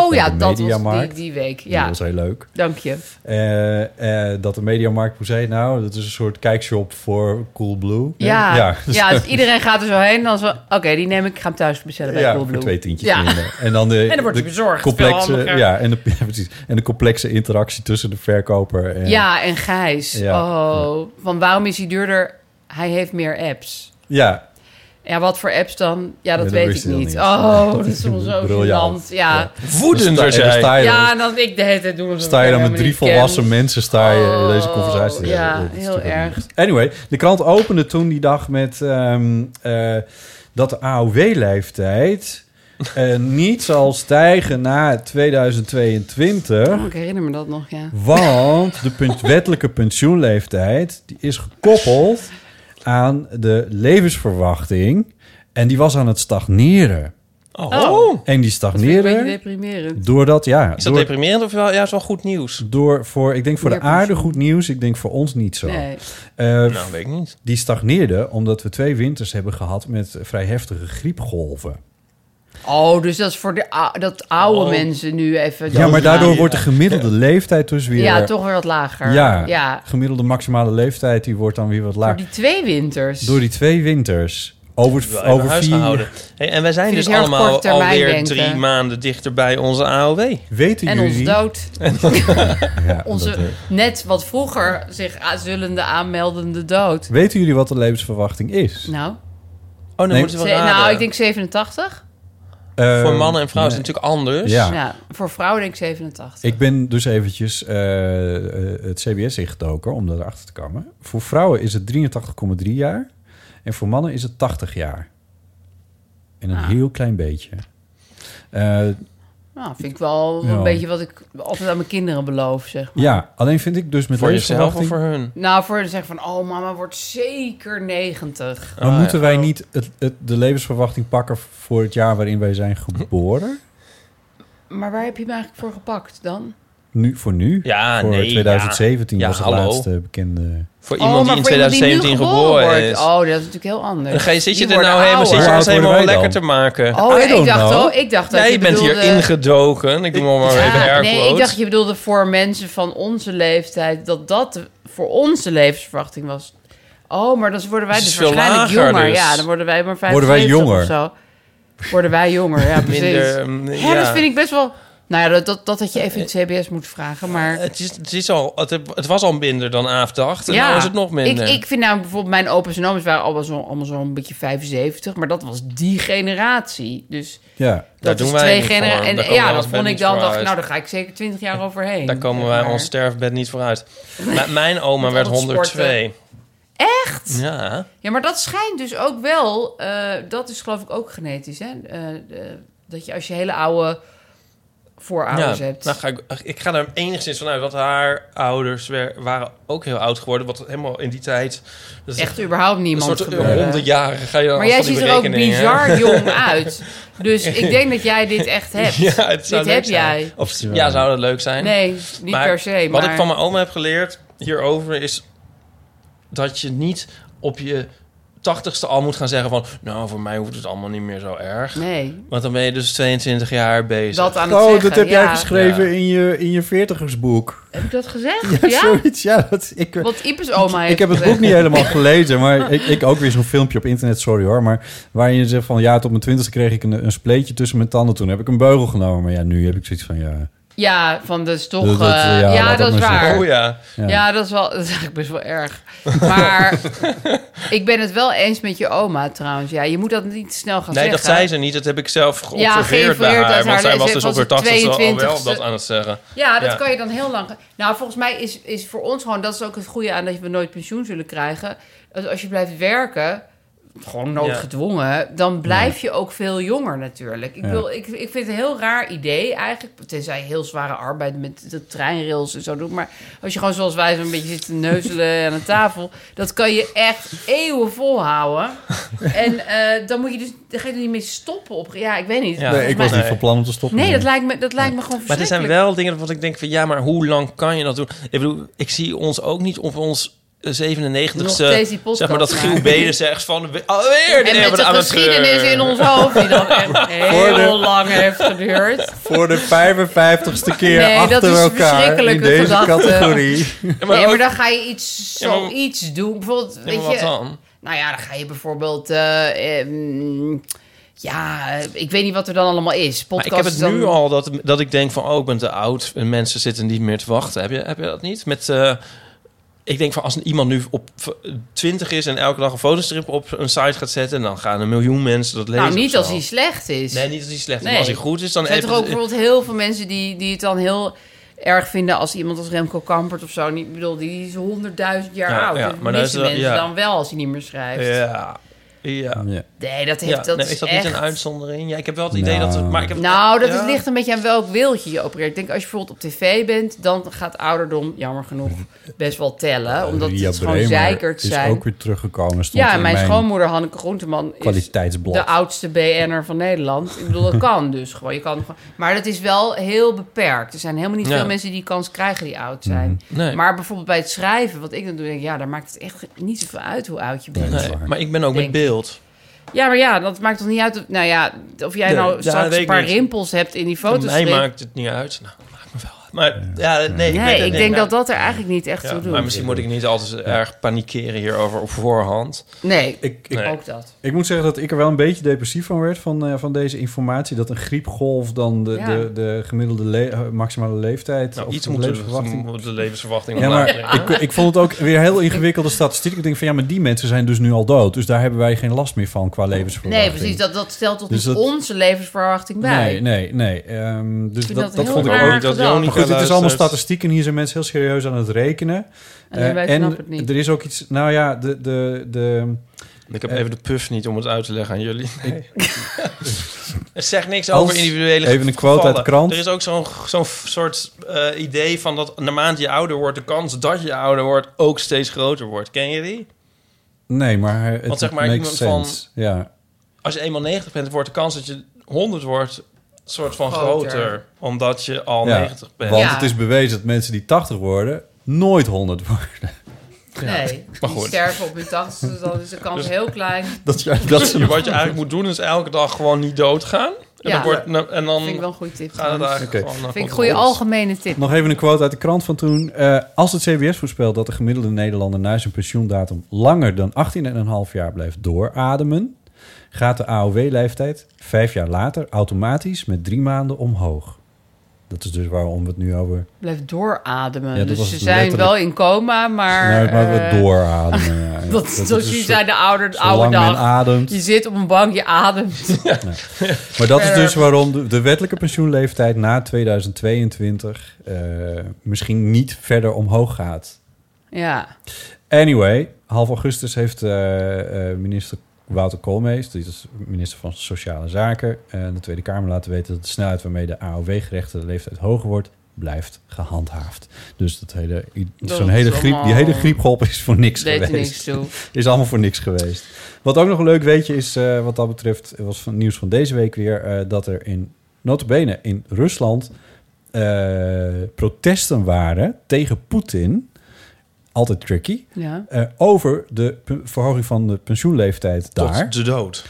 Speaker 3: Oh
Speaker 1: bij
Speaker 3: ja,
Speaker 1: de
Speaker 3: dat was die,
Speaker 1: Mediamarkt.
Speaker 3: die week.
Speaker 1: Dat
Speaker 3: Ja,
Speaker 1: was heel leuk.
Speaker 3: dank je.
Speaker 1: Eh, eh, dat de Mediamarkt hoe zei het nou, dat is een soort kijkshop voor Coolblue.
Speaker 3: Ja, ja,
Speaker 1: dus-
Speaker 3: dus iedereen gaat er zo heen. Dan zo, oké, die neem ik. Ik ga hem thuis bestellen bij
Speaker 1: ja,
Speaker 3: Coolblue.
Speaker 1: voor twee tientjes
Speaker 3: Ja.
Speaker 1: minder. En dan de,
Speaker 3: (laughs) En dan wordt
Speaker 1: de
Speaker 3: hij bezorgd. Veel
Speaker 1: Complexe,
Speaker 3: handiger.
Speaker 1: ja, en de, (laughs) ja, precies. En de complexe interactie tussen de verkoper en...
Speaker 3: Ja, en Gijs.
Speaker 1: Ja.
Speaker 3: Oh, van waarom is hij duurder? Hij heeft meer apps.
Speaker 1: ja.
Speaker 3: Ja, wat voor apps dan? Ja, dat
Speaker 1: Ja, dat
Speaker 3: weet ik
Speaker 1: wist hij
Speaker 3: niet.
Speaker 1: dan
Speaker 3: Oh,
Speaker 1: niet.
Speaker 3: dat is soms zo
Speaker 1: (laughs) Briljant.
Speaker 3: gênant. Ja.
Speaker 2: Woedend was
Speaker 1: Dan sta- Dus en dan
Speaker 2: jij.
Speaker 1: sta
Speaker 3: Ja.
Speaker 1: je dan-
Speaker 3: en dan ik de hele tijd doen. alsof
Speaker 1: Sta
Speaker 3: ik
Speaker 1: je dan
Speaker 3: hem
Speaker 1: met drie
Speaker 3: helemaal niet
Speaker 1: volwassen
Speaker 3: ken.
Speaker 1: mensen sta je
Speaker 3: Oh,
Speaker 1: deze conversatie te
Speaker 3: ja,
Speaker 1: hebben. Dat is
Speaker 3: heel
Speaker 1: natuurlijk
Speaker 3: erg.
Speaker 1: niet. Anyway, de krant opende toen die dag met ehm, eh, dat de AOW-leeftijd
Speaker 2: (laughs)
Speaker 1: eh, niet zal stijgen na 2022.
Speaker 3: Oh, ik herinner me dat nog, ja.
Speaker 1: Want de punt- wettelijke pensioenleeftijd die is gekoppeld aan de levensverwachting. En die was aan het stagneren.
Speaker 2: Oh.
Speaker 1: En die
Speaker 3: Een beetje
Speaker 1: stagneerde
Speaker 3: deprimerend.
Speaker 1: doordat, ja...
Speaker 2: Is dat
Speaker 1: door-
Speaker 2: deprimerend of wel, juist wel goed nieuws?
Speaker 1: door voor, ik denk voor de
Speaker 3: Meer pensioen.
Speaker 1: aarde goed nieuws, ik denk voor ons niet zo.
Speaker 3: Nee.
Speaker 1: Eh,
Speaker 2: Nou, weet ik niet.
Speaker 1: Die stagneerde omdat we twee winters hebben gehad met vrij heftige griepgolven.
Speaker 3: Oh, dus dat is voor de, ou- dat oude mensen nu even...
Speaker 1: Ja, maar daardoor wordt de gemiddelde leeftijd dus weer.
Speaker 3: Ja, toch weer wat lager.
Speaker 1: Ja,
Speaker 3: ja.
Speaker 1: gemiddelde maximale leeftijd die wordt dan weer wat
Speaker 3: Door
Speaker 1: laag.
Speaker 3: die twee winters.
Speaker 1: Door die twee winters. Over,
Speaker 2: Wel
Speaker 1: over
Speaker 2: even huisgehouden.
Speaker 1: vier.
Speaker 2: Hey, en wij zijn
Speaker 3: Vind ik
Speaker 2: dus
Speaker 3: heel erg
Speaker 2: allemaal
Speaker 3: kort termijn
Speaker 2: alweer
Speaker 3: denken.
Speaker 2: drie maanden dichter bij onze AOW.
Speaker 1: Weten
Speaker 3: En ons
Speaker 1: jullie? (laughs)
Speaker 3: dood.
Speaker 1: Ja,
Speaker 3: (laughs) Onze
Speaker 1: dat, eh,
Speaker 3: net wat vroeger zich a- zullende aanmeldende dood.
Speaker 1: weten jullie wat de levensverwachting is?
Speaker 3: Nou,
Speaker 2: Oh, dan
Speaker 1: Nee.
Speaker 2: moeten
Speaker 3: ze-
Speaker 2: we raden.
Speaker 3: nou ik denk 87.
Speaker 1: Eh,
Speaker 2: voor mannen en vrouwen is
Speaker 1: nee.
Speaker 2: het natuurlijk anders.
Speaker 1: Ja.
Speaker 3: voor vrouwen denk ik 87.
Speaker 1: Ik ben dus eventjes eh, eh, het CBS ingedoken om daarachter te komen. Voor vrouwen is het 83,3 jaar en voor mannen is het 80 jaar. En
Speaker 2: Ah.
Speaker 1: een heel klein beetje. Eh,
Speaker 3: Nou, vind ik wel
Speaker 1: Ja.
Speaker 3: een beetje wat ik altijd aan mijn kinderen beloof, zeg.
Speaker 1: ja, alleen vind ik dus met
Speaker 2: Voor jezelf of
Speaker 1: levensverwachting-
Speaker 2: voor hun?
Speaker 3: Nou, voor zeg van, oh mama wordt zeker 90.
Speaker 2: Oh,
Speaker 1: Maar moeten wij niet het, het, de levensverwachting pakken voor het jaar waarin wij zijn geboren?
Speaker 3: Maar waar heb je me eigenlijk voor gepakt dan?
Speaker 1: Nu, voor nu?
Speaker 2: Ja,
Speaker 1: voor
Speaker 2: nee,
Speaker 1: 2017
Speaker 2: ja.
Speaker 1: was het
Speaker 2: Ja, hallo.
Speaker 1: laatste bekende...
Speaker 2: Voor iemand die
Speaker 3: Oh, maar
Speaker 2: in
Speaker 3: voor iemand nu
Speaker 2: 2017 geboren,
Speaker 3: wordt.
Speaker 2: is.
Speaker 3: Oh, dat is natuurlijk heel anders.
Speaker 2: Dan ga je, zit je
Speaker 3: Die
Speaker 2: er nou
Speaker 3: worden
Speaker 2: helemaal, zit je
Speaker 3: ouder.
Speaker 2: ons helemaal lekker te maken.
Speaker 3: Oh, I ik don't dacht know. al- ik dacht dat
Speaker 2: Jij
Speaker 3: je
Speaker 2: bent hier
Speaker 3: bedoelde-
Speaker 2: ingedoken. Ik doe maar, maar even
Speaker 3: Ja,
Speaker 2: air
Speaker 3: nee, ik
Speaker 2: quotes.
Speaker 3: dacht je bedoelde voor mensen van onze leeftijd dat dat de- voor onze levensverwachting was. Oh, maar dan worden wij
Speaker 2: Dus
Speaker 3: dus,
Speaker 2: het is veel
Speaker 3: waarschijnlijk
Speaker 2: lager
Speaker 3: jonger.
Speaker 2: dus.
Speaker 3: Ja, dan worden wij maar 75
Speaker 1: Worden wij jonger?
Speaker 3: of zo. Worden wij jonger, ja, precies.
Speaker 2: (laughs) Minder, ehm,
Speaker 3: Hè,
Speaker 2: ja.
Speaker 3: Dat vind ik best wel... Nou ja, dat, dat, dat had je even in het CBS moeten vragen, maar...
Speaker 2: Eh, Het, is, het, is al, het, het was al minder dan Aaf dacht. En nou is het nog minder.
Speaker 3: Ik, ik vind nou bijvoorbeeld mijn opa's en oma's waren allemaal zo'n allemaal zo'n beetje 75, maar dat was die generatie. Dus
Speaker 1: Ja.
Speaker 2: Daar
Speaker 3: dat
Speaker 2: doen
Speaker 3: is
Speaker 2: wij
Speaker 3: twee
Speaker 2: niet voor.
Speaker 3: generaties.
Speaker 2: Daar
Speaker 3: En
Speaker 2: komen
Speaker 3: ja,
Speaker 2: we
Speaker 3: dat
Speaker 2: ons
Speaker 3: vond
Speaker 2: bed
Speaker 3: ik
Speaker 2: niet
Speaker 3: dan,
Speaker 2: voor
Speaker 3: dacht ik,
Speaker 2: uit.
Speaker 3: nou, daar ga ik zeker 20 jaar overheen.
Speaker 2: Daar komen
Speaker 3: zeg
Speaker 2: wij
Speaker 3: maar.
Speaker 2: ons sterfbed niet vooruit. uit. mijn oma
Speaker 3: Met
Speaker 2: werd
Speaker 3: al het
Speaker 2: 102.
Speaker 3: Echt?
Speaker 2: Ja.
Speaker 3: Ja, maar dat schijnt dus ook wel. eh, dat is geloof ik ook genetisch, hè? Eh, eh, dat je als je hele oude voorouders
Speaker 2: ja.
Speaker 3: hebt.
Speaker 2: Nou ga ik, ik ga er enigszins vanuit dat haar ouders wer- waren ook heel oud geworden. Wat helemaal in die tijd... dat is
Speaker 3: Echt überhaupt niemand
Speaker 2: Een soort
Speaker 3: gebeurde.
Speaker 2: ronde jaren ga je dan
Speaker 3: maar
Speaker 2: af
Speaker 3: jij
Speaker 2: van die
Speaker 3: ziet er ook
Speaker 2: berekeningen. (laughs)
Speaker 3: bizar jong uit. Dus ik denk dat jij dit echt hebt.
Speaker 2: Ja, het zou
Speaker 3: dit
Speaker 2: leuk
Speaker 3: heb
Speaker 2: zijn.
Speaker 3: jij.
Speaker 2: Of, ja, zou dat leuk zijn?
Speaker 3: Nee, niet per se,
Speaker 2: Wat
Speaker 3: maar-
Speaker 2: ik van mijn oma heb geleerd hierover is dat je niet op je tachtigste al moet gaan zeggen van... nou, voor mij hoeft het allemaal niet meer zo erg.
Speaker 3: Nee.
Speaker 2: Want dan ben je dus 22 jaar bezig.
Speaker 3: Dat aan het
Speaker 1: Oh,
Speaker 3: zeggen,
Speaker 1: dat heb
Speaker 3: ja.
Speaker 1: jij geschreven in je, in je veertigersboek.
Speaker 3: Heb ik dat gezegd?
Speaker 1: Ja,
Speaker 3: Ja.
Speaker 1: (laughs) zoiets. Ja, dat, ik,
Speaker 3: Want Ipes oma heeft
Speaker 1: ik
Speaker 3: (laughs)
Speaker 1: heb het boek
Speaker 3: gezegd.
Speaker 1: niet helemaal gelezen, maar ik, ik ook weer zo'n filmpje op internet, sorry hoor. Maar waarin je zegt van ja, tot mijn twintigste kreeg ik een, een spleetje tussen mijn tanden. Toen heb ik een beugel genomen. Maar ja, nu heb ik zoiets van ja.
Speaker 3: Ja, van dat is toch.
Speaker 1: Dat- dat-
Speaker 3: eh,
Speaker 1: ja,
Speaker 3: ja,
Speaker 1: laat dat
Speaker 3: dat, is
Speaker 1: maar zitten.
Speaker 3: waar.
Speaker 1: Oh, ja. Ja.
Speaker 3: ja. dat is wel. (laughs) Dat is eigenlijk best wel erg. Maar ik ben het wel eens met je oma trouwens. Ja, je moet dat niet snel gaan
Speaker 2: Nee,
Speaker 3: zeggen.
Speaker 2: dat zei ze niet. Dat heb ik zelf geobserveerd
Speaker 3: geïnformeerd
Speaker 2: bij haar.
Speaker 3: uit
Speaker 2: want
Speaker 3: haar
Speaker 2: zij
Speaker 3: les.
Speaker 2: was
Speaker 3: Ze
Speaker 2: dus
Speaker 3: was
Speaker 2: op haar
Speaker 3: de
Speaker 2: tachtigste al wel
Speaker 3: 22e.
Speaker 2: dat aan het zeggen.
Speaker 3: Ja, dat kan je dan heel lang. Nou, volgens mij is, is voor ons gewoon. Dat is ook het goede aan dat we nooit pensioen zullen krijgen. Dat Als je blijft werken, gewoon noodgedwongen, dan blijf je ook veel jonger natuurlijk. Ik,
Speaker 10: Ja.
Speaker 3: wil, ik, ik vind het een heel raar idee eigenlijk. Tenzij je heel zware arbeid met de treinrails en zo doet. Maar als je gewoon zoals wij zo'n beetje zit te neuzelen (laughs) aan een tafel... dat kan je echt eeuwen volhouden. En eh, dan moet je dus... Dan ga je er niet mee stoppen op... Ja, ik weet niet.
Speaker 2: Ja.
Speaker 1: nee, ik was
Speaker 2: Nee.
Speaker 1: niet van plan om te stoppen.
Speaker 3: Nee, dat lijkt me, dat lijkt me gewoon
Speaker 2: Maar er zijn
Speaker 3: verschrikkelijk.
Speaker 2: wel dingen waarvan ik denk van... ja, maar hoe lang kan je dat doen? Ik bedoel, ik zie ons ook niet op ons eh, 97ste...
Speaker 3: Nog steeds die podcast
Speaker 2: zeg maar dat Giel
Speaker 3: maken.
Speaker 2: Beden zegt van... we- oh, alweer
Speaker 3: En
Speaker 2: de
Speaker 3: met de geschiedenis in ons hoofd die dan
Speaker 2: (laughs)
Speaker 3: echt heel
Speaker 1: Voor de-
Speaker 3: lang heeft geduurd.
Speaker 1: Voor de 55ste keer
Speaker 3: Nee, dat
Speaker 1: achter
Speaker 3: is
Speaker 1: elkaar in
Speaker 3: verschrikkelijke
Speaker 1: deze
Speaker 3: gedachte. (laughs)
Speaker 1: categorie.
Speaker 3: Maar nee, maar dan ga je iets,
Speaker 2: Ja, maar-
Speaker 3: zoiets doen. Bijvoorbeeld,
Speaker 2: maar
Speaker 3: weet
Speaker 2: wat
Speaker 3: je,
Speaker 2: dan?
Speaker 3: Nou ja, dan ga je bijvoorbeeld... eh, ehm, ja, eh, ik weet niet wat er dan allemaal is.
Speaker 2: Maar
Speaker 3: Podcast
Speaker 2: ik heb het
Speaker 3: is dan-
Speaker 2: nu al dat, dat ik denk van... oh, ik ben te oud en mensen zitten niet meer te wachten. Heb je, heb je dat niet? Met... eh, ik denk van als iemand nu op v- 20 is en elke dag een fotostrip op een site gaat zetten, dan gaan een miljoen mensen dat lezen.
Speaker 3: Nou, niet
Speaker 2: of zo.
Speaker 3: als hij slecht is.
Speaker 2: Nee, niet als hij slecht is. Maar als hij goed is, dan
Speaker 3: Er zijn
Speaker 2: even-
Speaker 3: toch ook bijvoorbeeld heel veel mensen die, die het dan heel erg vinden... als iemand als Remco Kampert of zo... Niet, ik bedoel, die is honderdduizend jaar
Speaker 2: Ja,
Speaker 3: oud.
Speaker 2: ja,
Speaker 3: dat
Speaker 2: maar dan
Speaker 3: missen
Speaker 2: is het wel-
Speaker 3: mensen
Speaker 2: ja.
Speaker 3: dan wel als hij niet meer schrijft.
Speaker 2: Ja. Ja.
Speaker 3: Nee, dat heeft- dat
Speaker 2: nee,
Speaker 3: is
Speaker 2: dat niet
Speaker 3: echt-
Speaker 2: een uitzondering? Ja, ik heb wel het idee dat...
Speaker 1: Nou.
Speaker 2: Maar ik heb,
Speaker 3: Nou, dat
Speaker 2: ja.
Speaker 3: is, ligt een beetje aan welk wereldje je opereert. Ik denk, als je bijvoorbeeld op tv bent, dan gaat ouderdom, jammer genoeg, best wel tellen. Omdat
Speaker 1: Ria
Speaker 3: het gewoon
Speaker 1: Bremer
Speaker 3: zeikert
Speaker 1: is
Speaker 3: zijn.
Speaker 1: ook weer teruggekomen. Stond
Speaker 3: Ja,
Speaker 1: in
Speaker 3: en mijn schoonmoeder Hanneke Groenteman is
Speaker 1: kwaliteitsblad.
Speaker 3: de oudste BN'er van Nederland. Ik bedoel, dat kan dus gewoon. Je kan gewoon. Maar dat is wel heel beperkt. Er zijn helemaal niet
Speaker 10: Ja.
Speaker 3: veel mensen die die kans krijgen die oud zijn.
Speaker 2: Mhm. Nee.
Speaker 3: Maar bijvoorbeeld bij het schrijven, wat ik dan doe, denk ik, ja, daar maakt het echt niet zoveel uit hoe oud je bent.
Speaker 2: Nee, maar ik ben ook met
Speaker 3: Denk
Speaker 2: beeld.
Speaker 3: Ja, maar ja, dat maakt toch niet uit. Of, nou ja, of jij
Speaker 2: Nee,
Speaker 3: nou
Speaker 2: ja,
Speaker 3: straks
Speaker 2: weet
Speaker 3: een
Speaker 2: ik
Speaker 3: paar
Speaker 2: niet.
Speaker 3: rimpels hebt in die
Speaker 2: Voor
Speaker 3: foto's.
Speaker 2: mij maakt het niet uit. Nou, maakt me wel uit. Maar ja, nee.
Speaker 3: Nee,
Speaker 2: weet het
Speaker 3: ik
Speaker 2: niet.
Speaker 3: denk dat
Speaker 2: Nou,
Speaker 3: dat er eigenlijk niet echt
Speaker 2: ja,
Speaker 3: toe doet.
Speaker 2: Maar misschien moet ik niet altijd zo erg panikeren hierover op voorhand.
Speaker 3: Nee,
Speaker 1: ik,
Speaker 2: Nee.
Speaker 3: ook dat.
Speaker 1: Ik moet zeggen dat ik er wel een beetje depressief van werd van, eh, van deze informatie. Dat een griepgolf dan de,
Speaker 2: Ja.
Speaker 1: de, de gemiddelde le- eh, maximale leeftijd...
Speaker 2: Nou,
Speaker 1: of
Speaker 2: iets
Speaker 1: de
Speaker 2: moeten we-
Speaker 1: levensverwachting-
Speaker 2: moeten we de levensverwachting
Speaker 1: Ja,
Speaker 2: omlaag
Speaker 1: maar ik,
Speaker 2: brengen.
Speaker 1: ik vond het ook weer heel ingewikkelde statistiek. Ik denk van ja, maar die mensen zijn dus nu al dood. Dus daar hebben wij geen last meer van qua levensverwachting.
Speaker 3: Nee, precies. Dat, dat stelt toch
Speaker 1: Dus
Speaker 3: niet
Speaker 1: dat-
Speaker 3: onze levensverwachting bij.
Speaker 1: Nee, nee, nee. Ehm, dus
Speaker 3: vind
Speaker 1: dat,
Speaker 3: dat
Speaker 1: dat,
Speaker 3: heel
Speaker 1: vond ik
Speaker 3: raar
Speaker 1: ook.
Speaker 3: Dat gedaan. Jonica
Speaker 1: maar goed, het is allemaal
Speaker 2: luistert.
Speaker 1: statistieken. Hier zijn mensen heel serieus aan het rekenen.
Speaker 3: Alleen
Speaker 1: Eh,
Speaker 3: wij
Speaker 1: en
Speaker 3: snappen het niet.
Speaker 1: er is ook iets... Nou ja, de... de, de
Speaker 2: Ik heb
Speaker 1: eh,
Speaker 2: even de puff niet om het uit te leggen aan jullie.
Speaker 1: (laughs)
Speaker 2: Nee. het zegt niks
Speaker 1: Als-
Speaker 2: over individuele
Speaker 1: Even een quote uit
Speaker 2: gevallen.
Speaker 1: de krant.
Speaker 2: Er is ook zo'n zo'n f- soort eh, idee van dat naarmate je ouder wordt... de kans dat je ouder wordt ook steeds groter wordt. Ken je die?
Speaker 1: Nee, maar het
Speaker 2: Want zeg maar,
Speaker 1: makes
Speaker 2: iemand van-
Speaker 1: sense. Ja.
Speaker 2: Als je eenmaal 90 bent, wordt de kans dat je 100 wordt... soort van
Speaker 3: Groter.
Speaker 2: groter. omdat je al
Speaker 1: Ja,
Speaker 2: 90 bent.
Speaker 1: Want het is bewezen dat mensen die 80 worden nooit 100 worden. (laughs)
Speaker 3: Nee,
Speaker 2: (laughs)
Speaker 3: die
Speaker 2: Maar goed.
Speaker 3: sterven op hun tachtigste, dan is de kans
Speaker 2: Dus-
Speaker 3: heel klein.
Speaker 1: Dat je,
Speaker 2: dat Dus je- wat je eigenlijk moet doen is elke dag gewoon niet doodgaan. En
Speaker 3: Ja.
Speaker 2: dan, wordt, en dan
Speaker 3: Vind ik wel een goede tip.
Speaker 2: Gaat het eigenlijk
Speaker 1: Oké.
Speaker 2: gewoon, eh,
Speaker 3: Vind ik een
Speaker 2: goed
Speaker 3: goede
Speaker 2: rond.
Speaker 3: algemene tip.
Speaker 1: Nog even een quote uit de krant van toen. Eh, als het CBS voorspelt dat de gemiddelde Nederlander na zijn pensioendatum langer dan 18,5 jaar blijft doorademen, gaat de AOW-leeftijd vijf jaar later automatisch met drie maanden omhoog. Dat is dus waarom we het nu over.
Speaker 3: Blijft doorademen.
Speaker 1: Ja, dat
Speaker 3: dus
Speaker 1: was
Speaker 3: ze zijn
Speaker 1: letterlijk-
Speaker 3: wel in coma, maar...
Speaker 1: Nou, maar we
Speaker 3: eh,
Speaker 1: doorademen,
Speaker 3: (laughs)
Speaker 1: ja.
Speaker 3: dat,
Speaker 1: Dat is
Speaker 3: dat,
Speaker 1: een
Speaker 3: je
Speaker 1: soort-
Speaker 3: zei de oude,
Speaker 1: zolang
Speaker 3: oude
Speaker 1: men
Speaker 3: dag.
Speaker 1: ademt.
Speaker 3: Je zit op een bank, je
Speaker 1: (laughs)
Speaker 3: ademt.
Speaker 1: Maar dat is
Speaker 3: Verder.
Speaker 1: dus waarom de, de wettelijke pensioenleeftijd na 2022 eh, misschien niet verder omhoog gaat.
Speaker 3: Ja.
Speaker 1: Anyway, half augustus heeft eh, eh, minister Wouter Koolmees, die is minister van Sociale Zaken, en de Tweede Kamer laten weten dat de snelheid waarmee de AOW-gerechten de leeftijd hoger wordt, blijft gehandhaafd. Dus dat hele, i-
Speaker 3: Dat
Speaker 1: zo'n
Speaker 3: is
Speaker 1: hele griep, die
Speaker 3: allemaal-
Speaker 1: hele griepgolp is voor niks
Speaker 3: Deed er
Speaker 1: geweest.
Speaker 3: niks toe.
Speaker 1: Is allemaal voor niks geweest. Wat ook nog een leuk weetje is, eh, wat dat betreft, was van nieuws van deze week weer, eh, dat er in notabene in Rusland eh, protesten waren tegen Poetin. Altijd tricky.
Speaker 3: Ja.
Speaker 1: Eh, over de p- verhoging van de pensioenleeftijd
Speaker 2: Tot
Speaker 1: daar.
Speaker 2: de dood.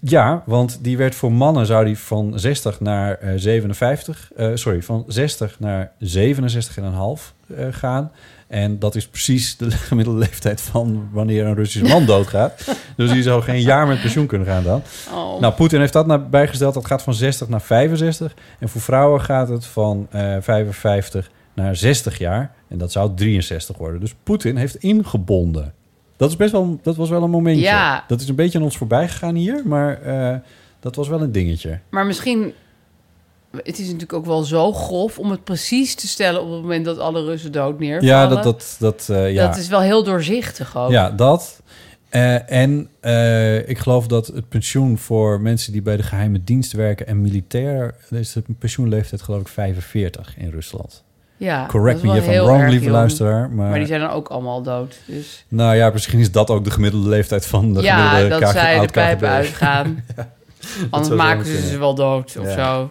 Speaker 1: Ja, want die werd voor mannen zou die van 60 naar eh, 57, eh, sorry, van 60 naar 67,5 eh gaan. En dat is precies de (laughs) gemiddelde leeftijd van wanneer een Russisch man doodgaat. Dus die zou geen jaar met pensioen kunnen gaan dan.
Speaker 3: Oh.
Speaker 1: Nou, Poetin heeft dat naar bijgesteld. Dat gaat van 60 naar 65. En voor vrouwen gaat het van eh 55 naar 60 jaar. En dat zou 63 worden. Dus Poetin heeft ingebonden. Dat, is best wel, dat was wel een momentje.
Speaker 3: Ja.
Speaker 1: Dat is een beetje aan ons voorbij gegaan hier. Maar eh, dat was wel een dingetje.
Speaker 3: Maar misschien... Het is natuurlijk ook wel zo grof om het precies te stellen... op het moment dat alle Russen dood neervallen.
Speaker 1: Ja, dat, dat, dat, eh, ja.
Speaker 3: Dat is wel heel doorzichtig ook.
Speaker 1: Ja, dat. Eh, en eh, ik geloof dat het pensioen voor mensen die bij de geheime dienst werken en militair, is de pensioenleeftijd geloof ik 45 in Rusland.
Speaker 3: Ja, dat
Speaker 1: Correct
Speaker 3: is
Speaker 1: me
Speaker 3: wel
Speaker 1: if I'm
Speaker 3: heel
Speaker 1: wrong,
Speaker 3: erg
Speaker 1: lieve
Speaker 3: jong.
Speaker 1: luisteraar. eh, Maar,
Speaker 3: die zijn dan ook allemaal dood. Dus
Speaker 1: Nou ja, misschien is dat ook de gemiddelde leeftijd van de
Speaker 3: ja,
Speaker 1: gemiddelde
Speaker 3: dat
Speaker 1: KG
Speaker 3: zij de
Speaker 1: oud-KGB. (laughs)
Speaker 3: pijpen uitgaan. Anders
Speaker 1: zou
Speaker 3: maken
Speaker 1: zomaar
Speaker 3: ze ze
Speaker 1: kunnen.
Speaker 3: wel dood of
Speaker 1: Ja.
Speaker 3: zo.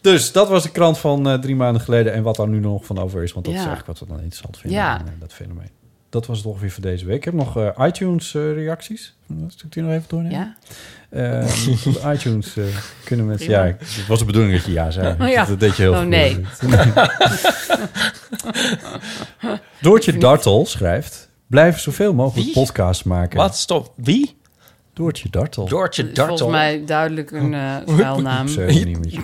Speaker 1: Dus dat was de krant van eh, drie maanden geleden en wat daar nu nog van over is. Want dat
Speaker 3: Ja.
Speaker 1: is eigenlijk wat we dan interessant vinden,
Speaker 3: Ja.
Speaker 1: aan, eh, dat fenomeen. Dat was het ongeveer voor deze week. Ik heb nog eh, iTunes eh, reacties. Zal ik die nog even doornemen?
Speaker 3: Ja.
Speaker 1: Eh, op
Speaker 3: (laughs)
Speaker 1: iTunes eh, kunnen mensen...
Speaker 3: Prima.
Speaker 1: Ja, het was de bedoeling dat je ja zei.
Speaker 3: Oh ja.
Speaker 1: Dat deed je heel
Speaker 3: Oh,
Speaker 1: goed.
Speaker 3: nee.
Speaker 1: (laughs) Doortje Dartel schrijft... Blijf zoveel mogelijk podcasts maken.
Speaker 2: Wat? Stop. Wie?
Speaker 1: Doortje Dartel.
Speaker 2: Doortje
Speaker 3: Dat is
Speaker 2: Dartel.
Speaker 3: dus volgens mij duidelijk
Speaker 1: (laughs)
Speaker 3: een eh schuilnaam.
Speaker 1: Pseudoniemetje.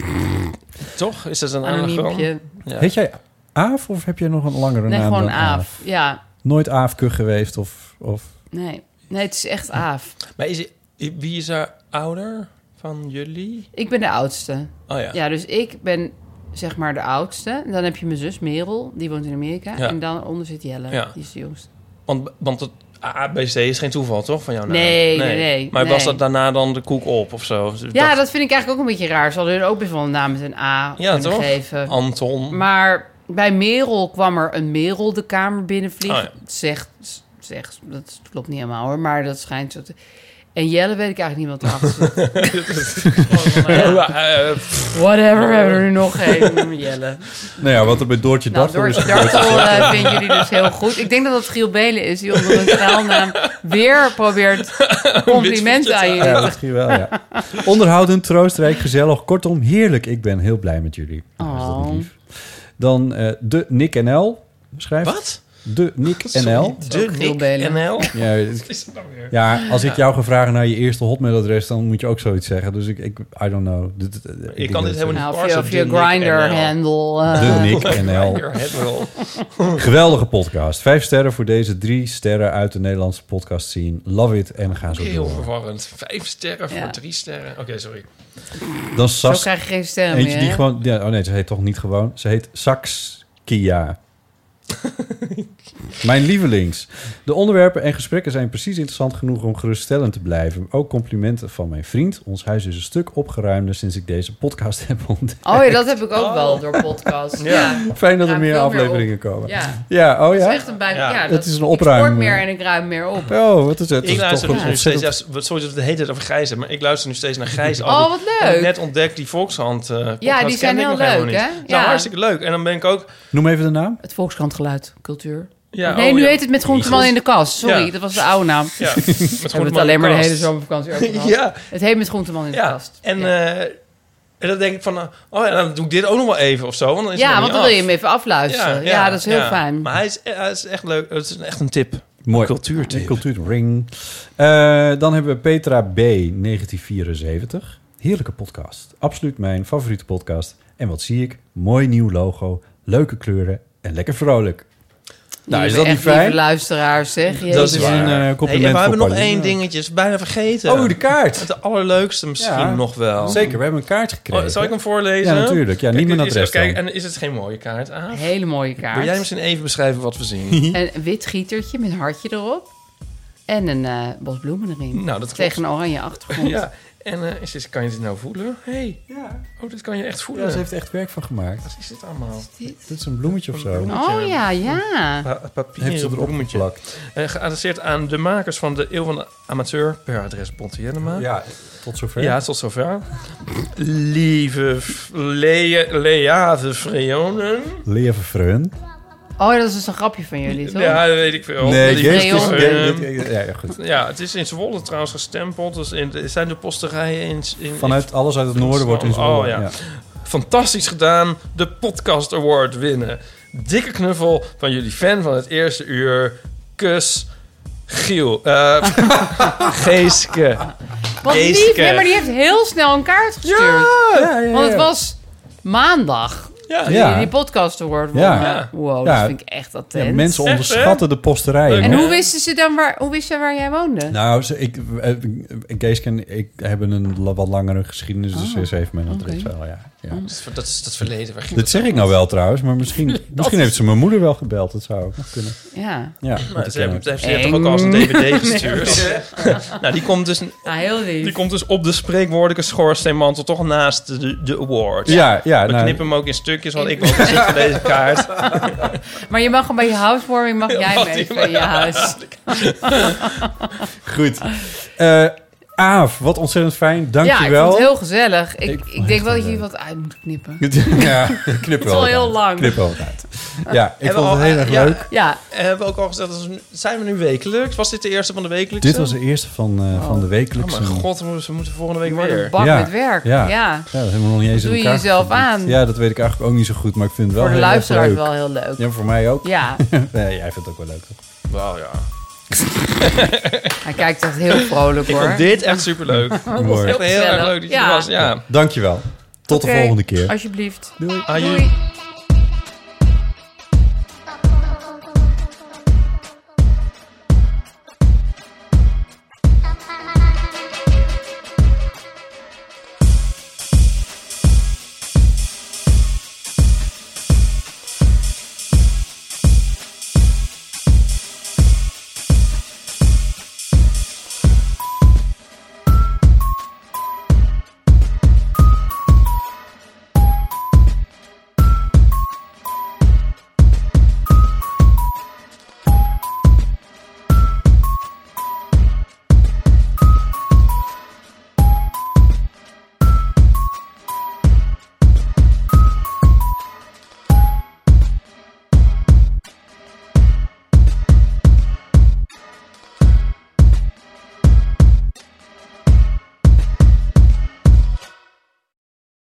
Speaker 2: Toch? Is dat een
Speaker 3: Anoniempje.
Speaker 2: anagram?
Speaker 1: Heet jij Aaf of heb jij nog een langere
Speaker 3: Nee,
Speaker 1: naam
Speaker 3: gewoon
Speaker 1: dan
Speaker 3: Aaf. Ja,
Speaker 1: Nooit Aafke geweest of... of...
Speaker 3: nee. Nee, het is echt Aaf.
Speaker 2: Maar is, wie is er ouder van jullie?
Speaker 3: Ik ben de oudste.
Speaker 2: Oh ja.
Speaker 3: dus ik ben zeg maar de oudste. En dan heb je mijn zus Merel, die woont in Amerika.
Speaker 2: Ja.
Speaker 3: En dan onder zit Jelle,
Speaker 2: Ja.
Speaker 3: die is de jongste.
Speaker 2: Want, want het ABC is geen toeval, toch? Van jouw naam?
Speaker 3: Nee, nee, nee,
Speaker 2: Maar was
Speaker 3: nee.
Speaker 2: dat daarna dan de koek op of zo? Dus
Speaker 3: Ja, dat vind ik eigenlijk ook een beetje raar. Ze hadden hun ook best wel een naam met een A
Speaker 2: ja
Speaker 3: kunnen
Speaker 2: toch?
Speaker 3: geven.
Speaker 2: Anton.
Speaker 3: Maar bij Merel kwam er een Merel de kamer binnenvliegen.
Speaker 2: Oh ja.
Speaker 3: Zegt, zegt, dat klopt niet helemaal hoor, maar dat schijnt zo te... En Jelle weet ik eigenlijk niet wat erachter
Speaker 2: (laughs)
Speaker 3: zit.
Speaker 2: (laughs) Ja. eh,
Speaker 3: Whatever, we hebben er nu nog één, Jelle.
Speaker 1: Nou ja, wat er bij Doortje
Speaker 3: Nou,
Speaker 1: Dartel
Speaker 3: door
Speaker 1: is gebeurd.
Speaker 3: Dartel eh, vinden jullie dus heel goed. Ik denk dat dat Giel Belen is, die onder een schaalnaam weer probeert complimenten aan jullie
Speaker 1: Ja,
Speaker 3: te
Speaker 1: misschien wel, ja. Onderhoudend, troostrijk, gezellig. Kortom, heerlijk. Ik ben heel blij met jullie. Nou, Is dat
Speaker 3: Oh.
Speaker 1: niet lief? dan eh, de Nick NL schrijft.
Speaker 2: Wat?
Speaker 1: De (laughs) Nick NL.
Speaker 2: De Nick NL.
Speaker 1: (laughs) Ja,
Speaker 2: Wat is dat nou weer?
Speaker 1: Ja, als ik
Speaker 2: Ja.
Speaker 1: jou ga vragen naar je eerste hotmailadres, dan moet je ook zoiets zeggen. Dus ik, ik I don't know. Dit- dit- ik denk
Speaker 2: kan
Speaker 1: dat-
Speaker 2: dit helemaal
Speaker 3: Nou, of
Speaker 2: niet
Speaker 3: je,
Speaker 2: parsen,
Speaker 3: of je
Speaker 2: de Nick NL.
Speaker 3: Grindr-handle.
Speaker 1: De
Speaker 3: eh.
Speaker 1: Nick (laughs) NL. Geweldige podcast. Vijf sterren voor deze drie sterren uit de Nederlandse podcast scene. Love it en ga zo
Speaker 2: Heel
Speaker 1: door.
Speaker 2: verwarrend. Vijf sterren voor
Speaker 3: Ja.
Speaker 2: drie sterren. Oké, sorry.
Speaker 1: Dan
Speaker 3: Zo
Speaker 1: Sas,
Speaker 3: krijg je geen sterren
Speaker 1: eentje
Speaker 3: meer,
Speaker 1: die
Speaker 3: hè?
Speaker 1: gewoon, ja, Oh nee, ze heet toch niet gewoon. Ze heet
Speaker 3: (laughs)
Speaker 1: Saxkia. Mijn lievelings. De onderwerpen en gesprekken zijn precies interessant genoeg om geruststellend te blijven. Ook complimenten van mijn vriend. Ons huis is een stuk opgeruimder sinds ik deze podcast heb ontdekt.
Speaker 3: Oh ja, dat heb ik ook wel door podcast. Ja.
Speaker 1: Fijn dat er
Speaker 3: Ruim
Speaker 1: meer
Speaker 3: veel op.
Speaker 1: afleveringen komen.
Speaker 3: Ja.
Speaker 1: oh ja.
Speaker 3: Dat is echt een buik. Ja,
Speaker 1: Het
Speaker 3: dat
Speaker 1: is een
Speaker 3: Ik
Speaker 1: opruim.
Speaker 3: sport meer en ik ruim meer op.
Speaker 1: Oh, wat is het? Dat
Speaker 2: Ik
Speaker 1: is
Speaker 2: luister
Speaker 1: toch
Speaker 2: dus
Speaker 1: een
Speaker 2: nu steeds,
Speaker 1: ontzettend-
Speaker 2: ja, wat- sorry dat we de hele tijd over Gijs hebben, maar ik luister nu
Speaker 1: (laughs)
Speaker 2: steeds naar Gijs.
Speaker 3: Oh,
Speaker 2: Al
Speaker 3: wat
Speaker 2: die-
Speaker 3: leuk.
Speaker 2: Ik heb net ontdekt die Volkshand eh podcast
Speaker 3: die zijn
Speaker 2: kende ik
Speaker 3: heel
Speaker 2: nog helemaal
Speaker 3: leuk,
Speaker 2: niet.
Speaker 3: hè?
Speaker 2: Nou,
Speaker 3: Ja.
Speaker 2: hartstikke leuk. En dan ben ik ook...
Speaker 1: Noem even de naam.
Speaker 3: Het Volkskrantgeluid, cultuur.
Speaker 2: Ja,
Speaker 3: nee,
Speaker 2: oh,
Speaker 3: nu
Speaker 2: ja.
Speaker 3: heet het met groenteman in de kast. Sorry,
Speaker 2: Ja.
Speaker 3: dat was de oude naam.
Speaker 2: Ja,
Speaker 3: (laughs)
Speaker 2: met
Speaker 3: We hebben het
Speaker 2: Groenteman
Speaker 3: alleen
Speaker 2: in
Speaker 3: maar
Speaker 2: de
Speaker 3: de
Speaker 2: kast.
Speaker 3: hele
Speaker 2: (laughs)
Speaker 3: zomervakantie
Speaker 1: (laughs)
Speaker 3: over gehad.
Speaker 2: Ja.
Speaker 3: Het heet met groenteman in de
Speaker 2: Ja,
Speaker 3: kast.
Speaker 2: en, eh, en dan denk ik van, eh, oh ja, dan doe ik dit ook nog wel even of zo. Want dan is
Speaker 3: Ja,
Speaker 2: het nog
Speaker 3: want
Speaker 2: niet
Speaker 3: dan wil
Speaker 2: af.
Speaker 3: je hem even afluisteren. Ja, dat is heel fijn.
Speaker 2: Maar hij is, eh, hij is echt leuk. Het is een- echt een tip.
Speaker 1: Mooi. Cultuurtip. Cultuurring. Eh, dan hebben we Petra B. 1974. Heerlijke podcast. Absoluut mijn favoriete podcast. En wat zie ik? Mooi nieuw logo, leuke kleuren en lekker vrolijk. Nou, is
Speaker 3: Lieve-
Speaker 1: dat
Speaker 3: echt
Speaker 1: niet
Speaker 3: lieve
Speaker 1: fijn?
Speaker 3: luisteraars, zeg.
Speaker 1: Dat is waar. een, eh, compliment
Speaker 2: en we
Speaker 1: voor
Speaker 2: hebben nog
Speaker 1: Pauline.
Speaker 2: één dingetje, is bijna vergeten.
Speaker 1: Oh, de kaart.
Speaker 2: Het allerleukste misschien
Speaker 1: Ja.
Speaker 2: nog wel.
Speaker 1: Zeker, we hebben een kaart gekregen.
Speaker 2: Oh, zal ik hem voorlezen?
Speaker 1: Ja, natuurlijk. Ja,
Speaker 2: Kijk,
Speaker 1: niet mijn
Speaker 2: dit is-
Speaker 1: adres
Speaker 2: Kijk,
Speaker 1: dan.
Speaker 2: en is het geen mooie kaart, Aaf?
Speaker 3: Hele mooie kaart.
Speaker 2: Wil jij misschien even beschrijven wat we
Speaker 1: (laughs)
Speaker 2: zien?
Speaker 3: Een wit gietertje met een hartje erop. En een eh bos bloemen erin.
Speaker 2: Nou, dat
Speaker 3: Tegen
Speaker 2: klopt.
Speaker 3: een oranje achtergrond.
Speaker 2: ja, en eh, is dit, kan je dit nou voelen? hey. oh, dit kan je echt voelen.
Speaker 1: Ja, ze heeft er echt werk van gemaakt.
Speaker 2: Wat is dit allemaal?
Speaker 1: Dit is een bloemetje of zo.
Speaker 3: Oh ja, ja.
Speaker 2: Pa- papier
Speaker 1: Heeft ze erop
Speaker 2: geplakt. Eh, geadresseerd aan de makers van de Eeuw van de Amateur per adres Bonte Jennema.
Speaker 1: Ja, tot zover.
Speaker 2: Ja, tot zover. Lieve v- Le- Leave Freonen.
Speaker 1: Leven Freun.
Speaker 3: Oh, dat is dus een grapje van jullie, toch?
Speaker 2: Ja, dat weet ik veel.
Speaker 1: Nee,
Speaker 2: Lieve
Speaker 1: Geest is-
Speaker 2: Freonen.
Speaker 1: Ge- dit- ja, ja, goed.
Speaker 2: Ja, het is in Zwolle trouwens gestempeld. Dus in, de- zijn de posterijen in... in
Speaker 1: Vanuit alles uit het noorden wordt in Zwolle,
Speaker 2: Oh, ja.
Speaker 1: ja.
Speaker 2: Fantastisch gedaan. De Podcast Award winnen. Dikke knuffel van jullie fan van het eerste uur. Kus. Giel. Eh, Geeske.
Speaker 3: Wat lief, hè? maar die heeft heel snel een kaart gestuurd.
Speaker 1: ja, ja.
Speaker 3: Want het was maandag.
Speaker 2: Ja.
Speaker 3: Die,
Speaker 1: Ja.
Speaker 3: die podcast award won.
Speaker 1: Ja.
Speaker 3: Ja. Wow,
Speaker 1: Ja.
Speaker 3: dat vind ik echt attent.
Speaker 1: Ja, mensen onderschatten de posterijen.
Speaker 3: En hoe wisten ze dan waar, hoe wist jij waar jij woonde?
Speaker 1: Nou, ze, ik, eh, Geeske en ik hebben een la- wat langere geschiedenis,
Speaker 3: Oh,
Speaker 1: dus ze heeft mijn adres
Speaker 3: oké. Mm.
Speaker 1: wel, ja. ja.
Speaker 2: Dat is, (laughs) dat is het verleden. Waar ging
Speaker 1: Dat
Speaker 2: dat
Speaker 1: zeg ik nou wel trouwens, maar misschien, misschien heeft ze mijn moeder wel gebeld. Dat zou ook nog kunnen.
Speaker 3: Ja.
Speaker 1: Ja,
Speaker 2: (laughs) Maar
Speaker 1: want
Speaker 2: ze
Speaker 1: ik
Speaker 2: hebben-
Speaker 1: ken
Speaker 2: ze
Speaker 1: haar.
Speaker 2: heeft het toch ook al als een dvd (laughs) gestuurd.
Speaker 3: Nee.
Speaker 2: nou, die komt dus...
Speaker 3: Ah, heel lief.
Speaker 2: Die komt dus op de spreekwoordelijke schoorsteenmantel toch naast de, de award.
Speaker 1: Ja, ja,
Speaker 2: We
Speaker 1: nou-
Speaker 2: knippen hem ook in stukjes, want ik wil ook zitten voor deze kaart.
Speaker 3: Maar je mag hem bij je housewarming, mag jij
Speaker 2: Mag
Speaker 3: mee
Speaker 2: die
Speaker 3: van je
Speaker 2: maar-
Speaker 1: (laughs)
Speaker 3: huis.
Speaker 1: Goed. Eh Aaf, wat ontzettend fijn. Dank
Speaker 3: ja,
Speaker 1: je
Speaker 3: ik
Speaker 1: wel.
Speaker 3: vond het heel gezellig. Ik,
Speaker 1: Ik
Speaker 3: ik,
Speaker 1: vond
Speaker 3: denk
Speaker 1: het
Speaker 3: wel dat
Speaker 1: heel
Speaker 3: je wat uit moet knippen.
Speaker 1: (laughs) ja, knip
Speaker 3: is
Speaker 1: wel
Speaker 3: al
Speaker 1: wat
Speaker 3: heel
Speaker 1: uit.
Speaker 3: lang.
Speaker 1: Knip wel wat uit. Ja, ik
Speaker 2: Hebben
Speaker 1: vond het
Speaker 2: we al-
Speaker 1: heel erg
Speaker 2: ja,
Speaker 1: leuk.
Speaker 3: Ja.
Speaker 2: Hebben we ook al gezegd, dat we- zijn we nu wekelijks? Was dit de eerste van de wekelijkse?
Speaker 1: Dit was de eerste van, eh, van de
Speaker 2: Oh
Speaker 1: wekelijkse.
Speaker 2: mijn god, we we moeten volgende week
Speaker 3: Wat
Speaker 2: weer.
Speaker 3: een bak
Speaker 1: Ja,
Speaker 3: met werk.
Speaker 1: Ja.
Speaker 3: Ja.
Speaker 1: ja. dat hebben we nog niet eens
Speaker 3: Doe
Speaker 1: in
Speaker 3: je
Speaker 1: elkaar
Speaker 3: jezelf
Speaker 1: gevonden.
Speaker 3: aan.
Speaker 1: Ja, dat weet ik eigenlijk ook niet zo goed, maar ik vind het wel
Speaker 3: Voor de
Speaker 1: heel erg
Speaker 3: luisteraars
Speaker 1: leuk.
Speaker 3: wel heel leuk.
Speaker 1: Ja, voor mij ook.
Speaker 3: Ja.
Speaker 1: (laughs) nee, jij vindt het ook wel leuk. toch?
Speaker 2: Wauw, ja.
Speaker 3: Hij kijkt echt
Speaker 1: (laughs)
Speaker 3: heel vrolijk
Speaker 2: Ik
Speaker 3: hoor.
Speaker 2: vond dit echt superleuk. Het was
Speaker 1: Mooi.
Speaker 2: echt heel erg
Speaker 3: Gezellig.
Speaker 2: leuk dat je
Speaker 3: Ja.
Speaker 2: er was. Ja.
Speaker 1: Dankjewel. Tot
Speaker 3: Oké,
Speaker 1: de volgende keer.
Speaker 3: Alsjeblieft.
Speaker 1: Doei.
Speaker 2: Adieu.
Speaker 3: Doei.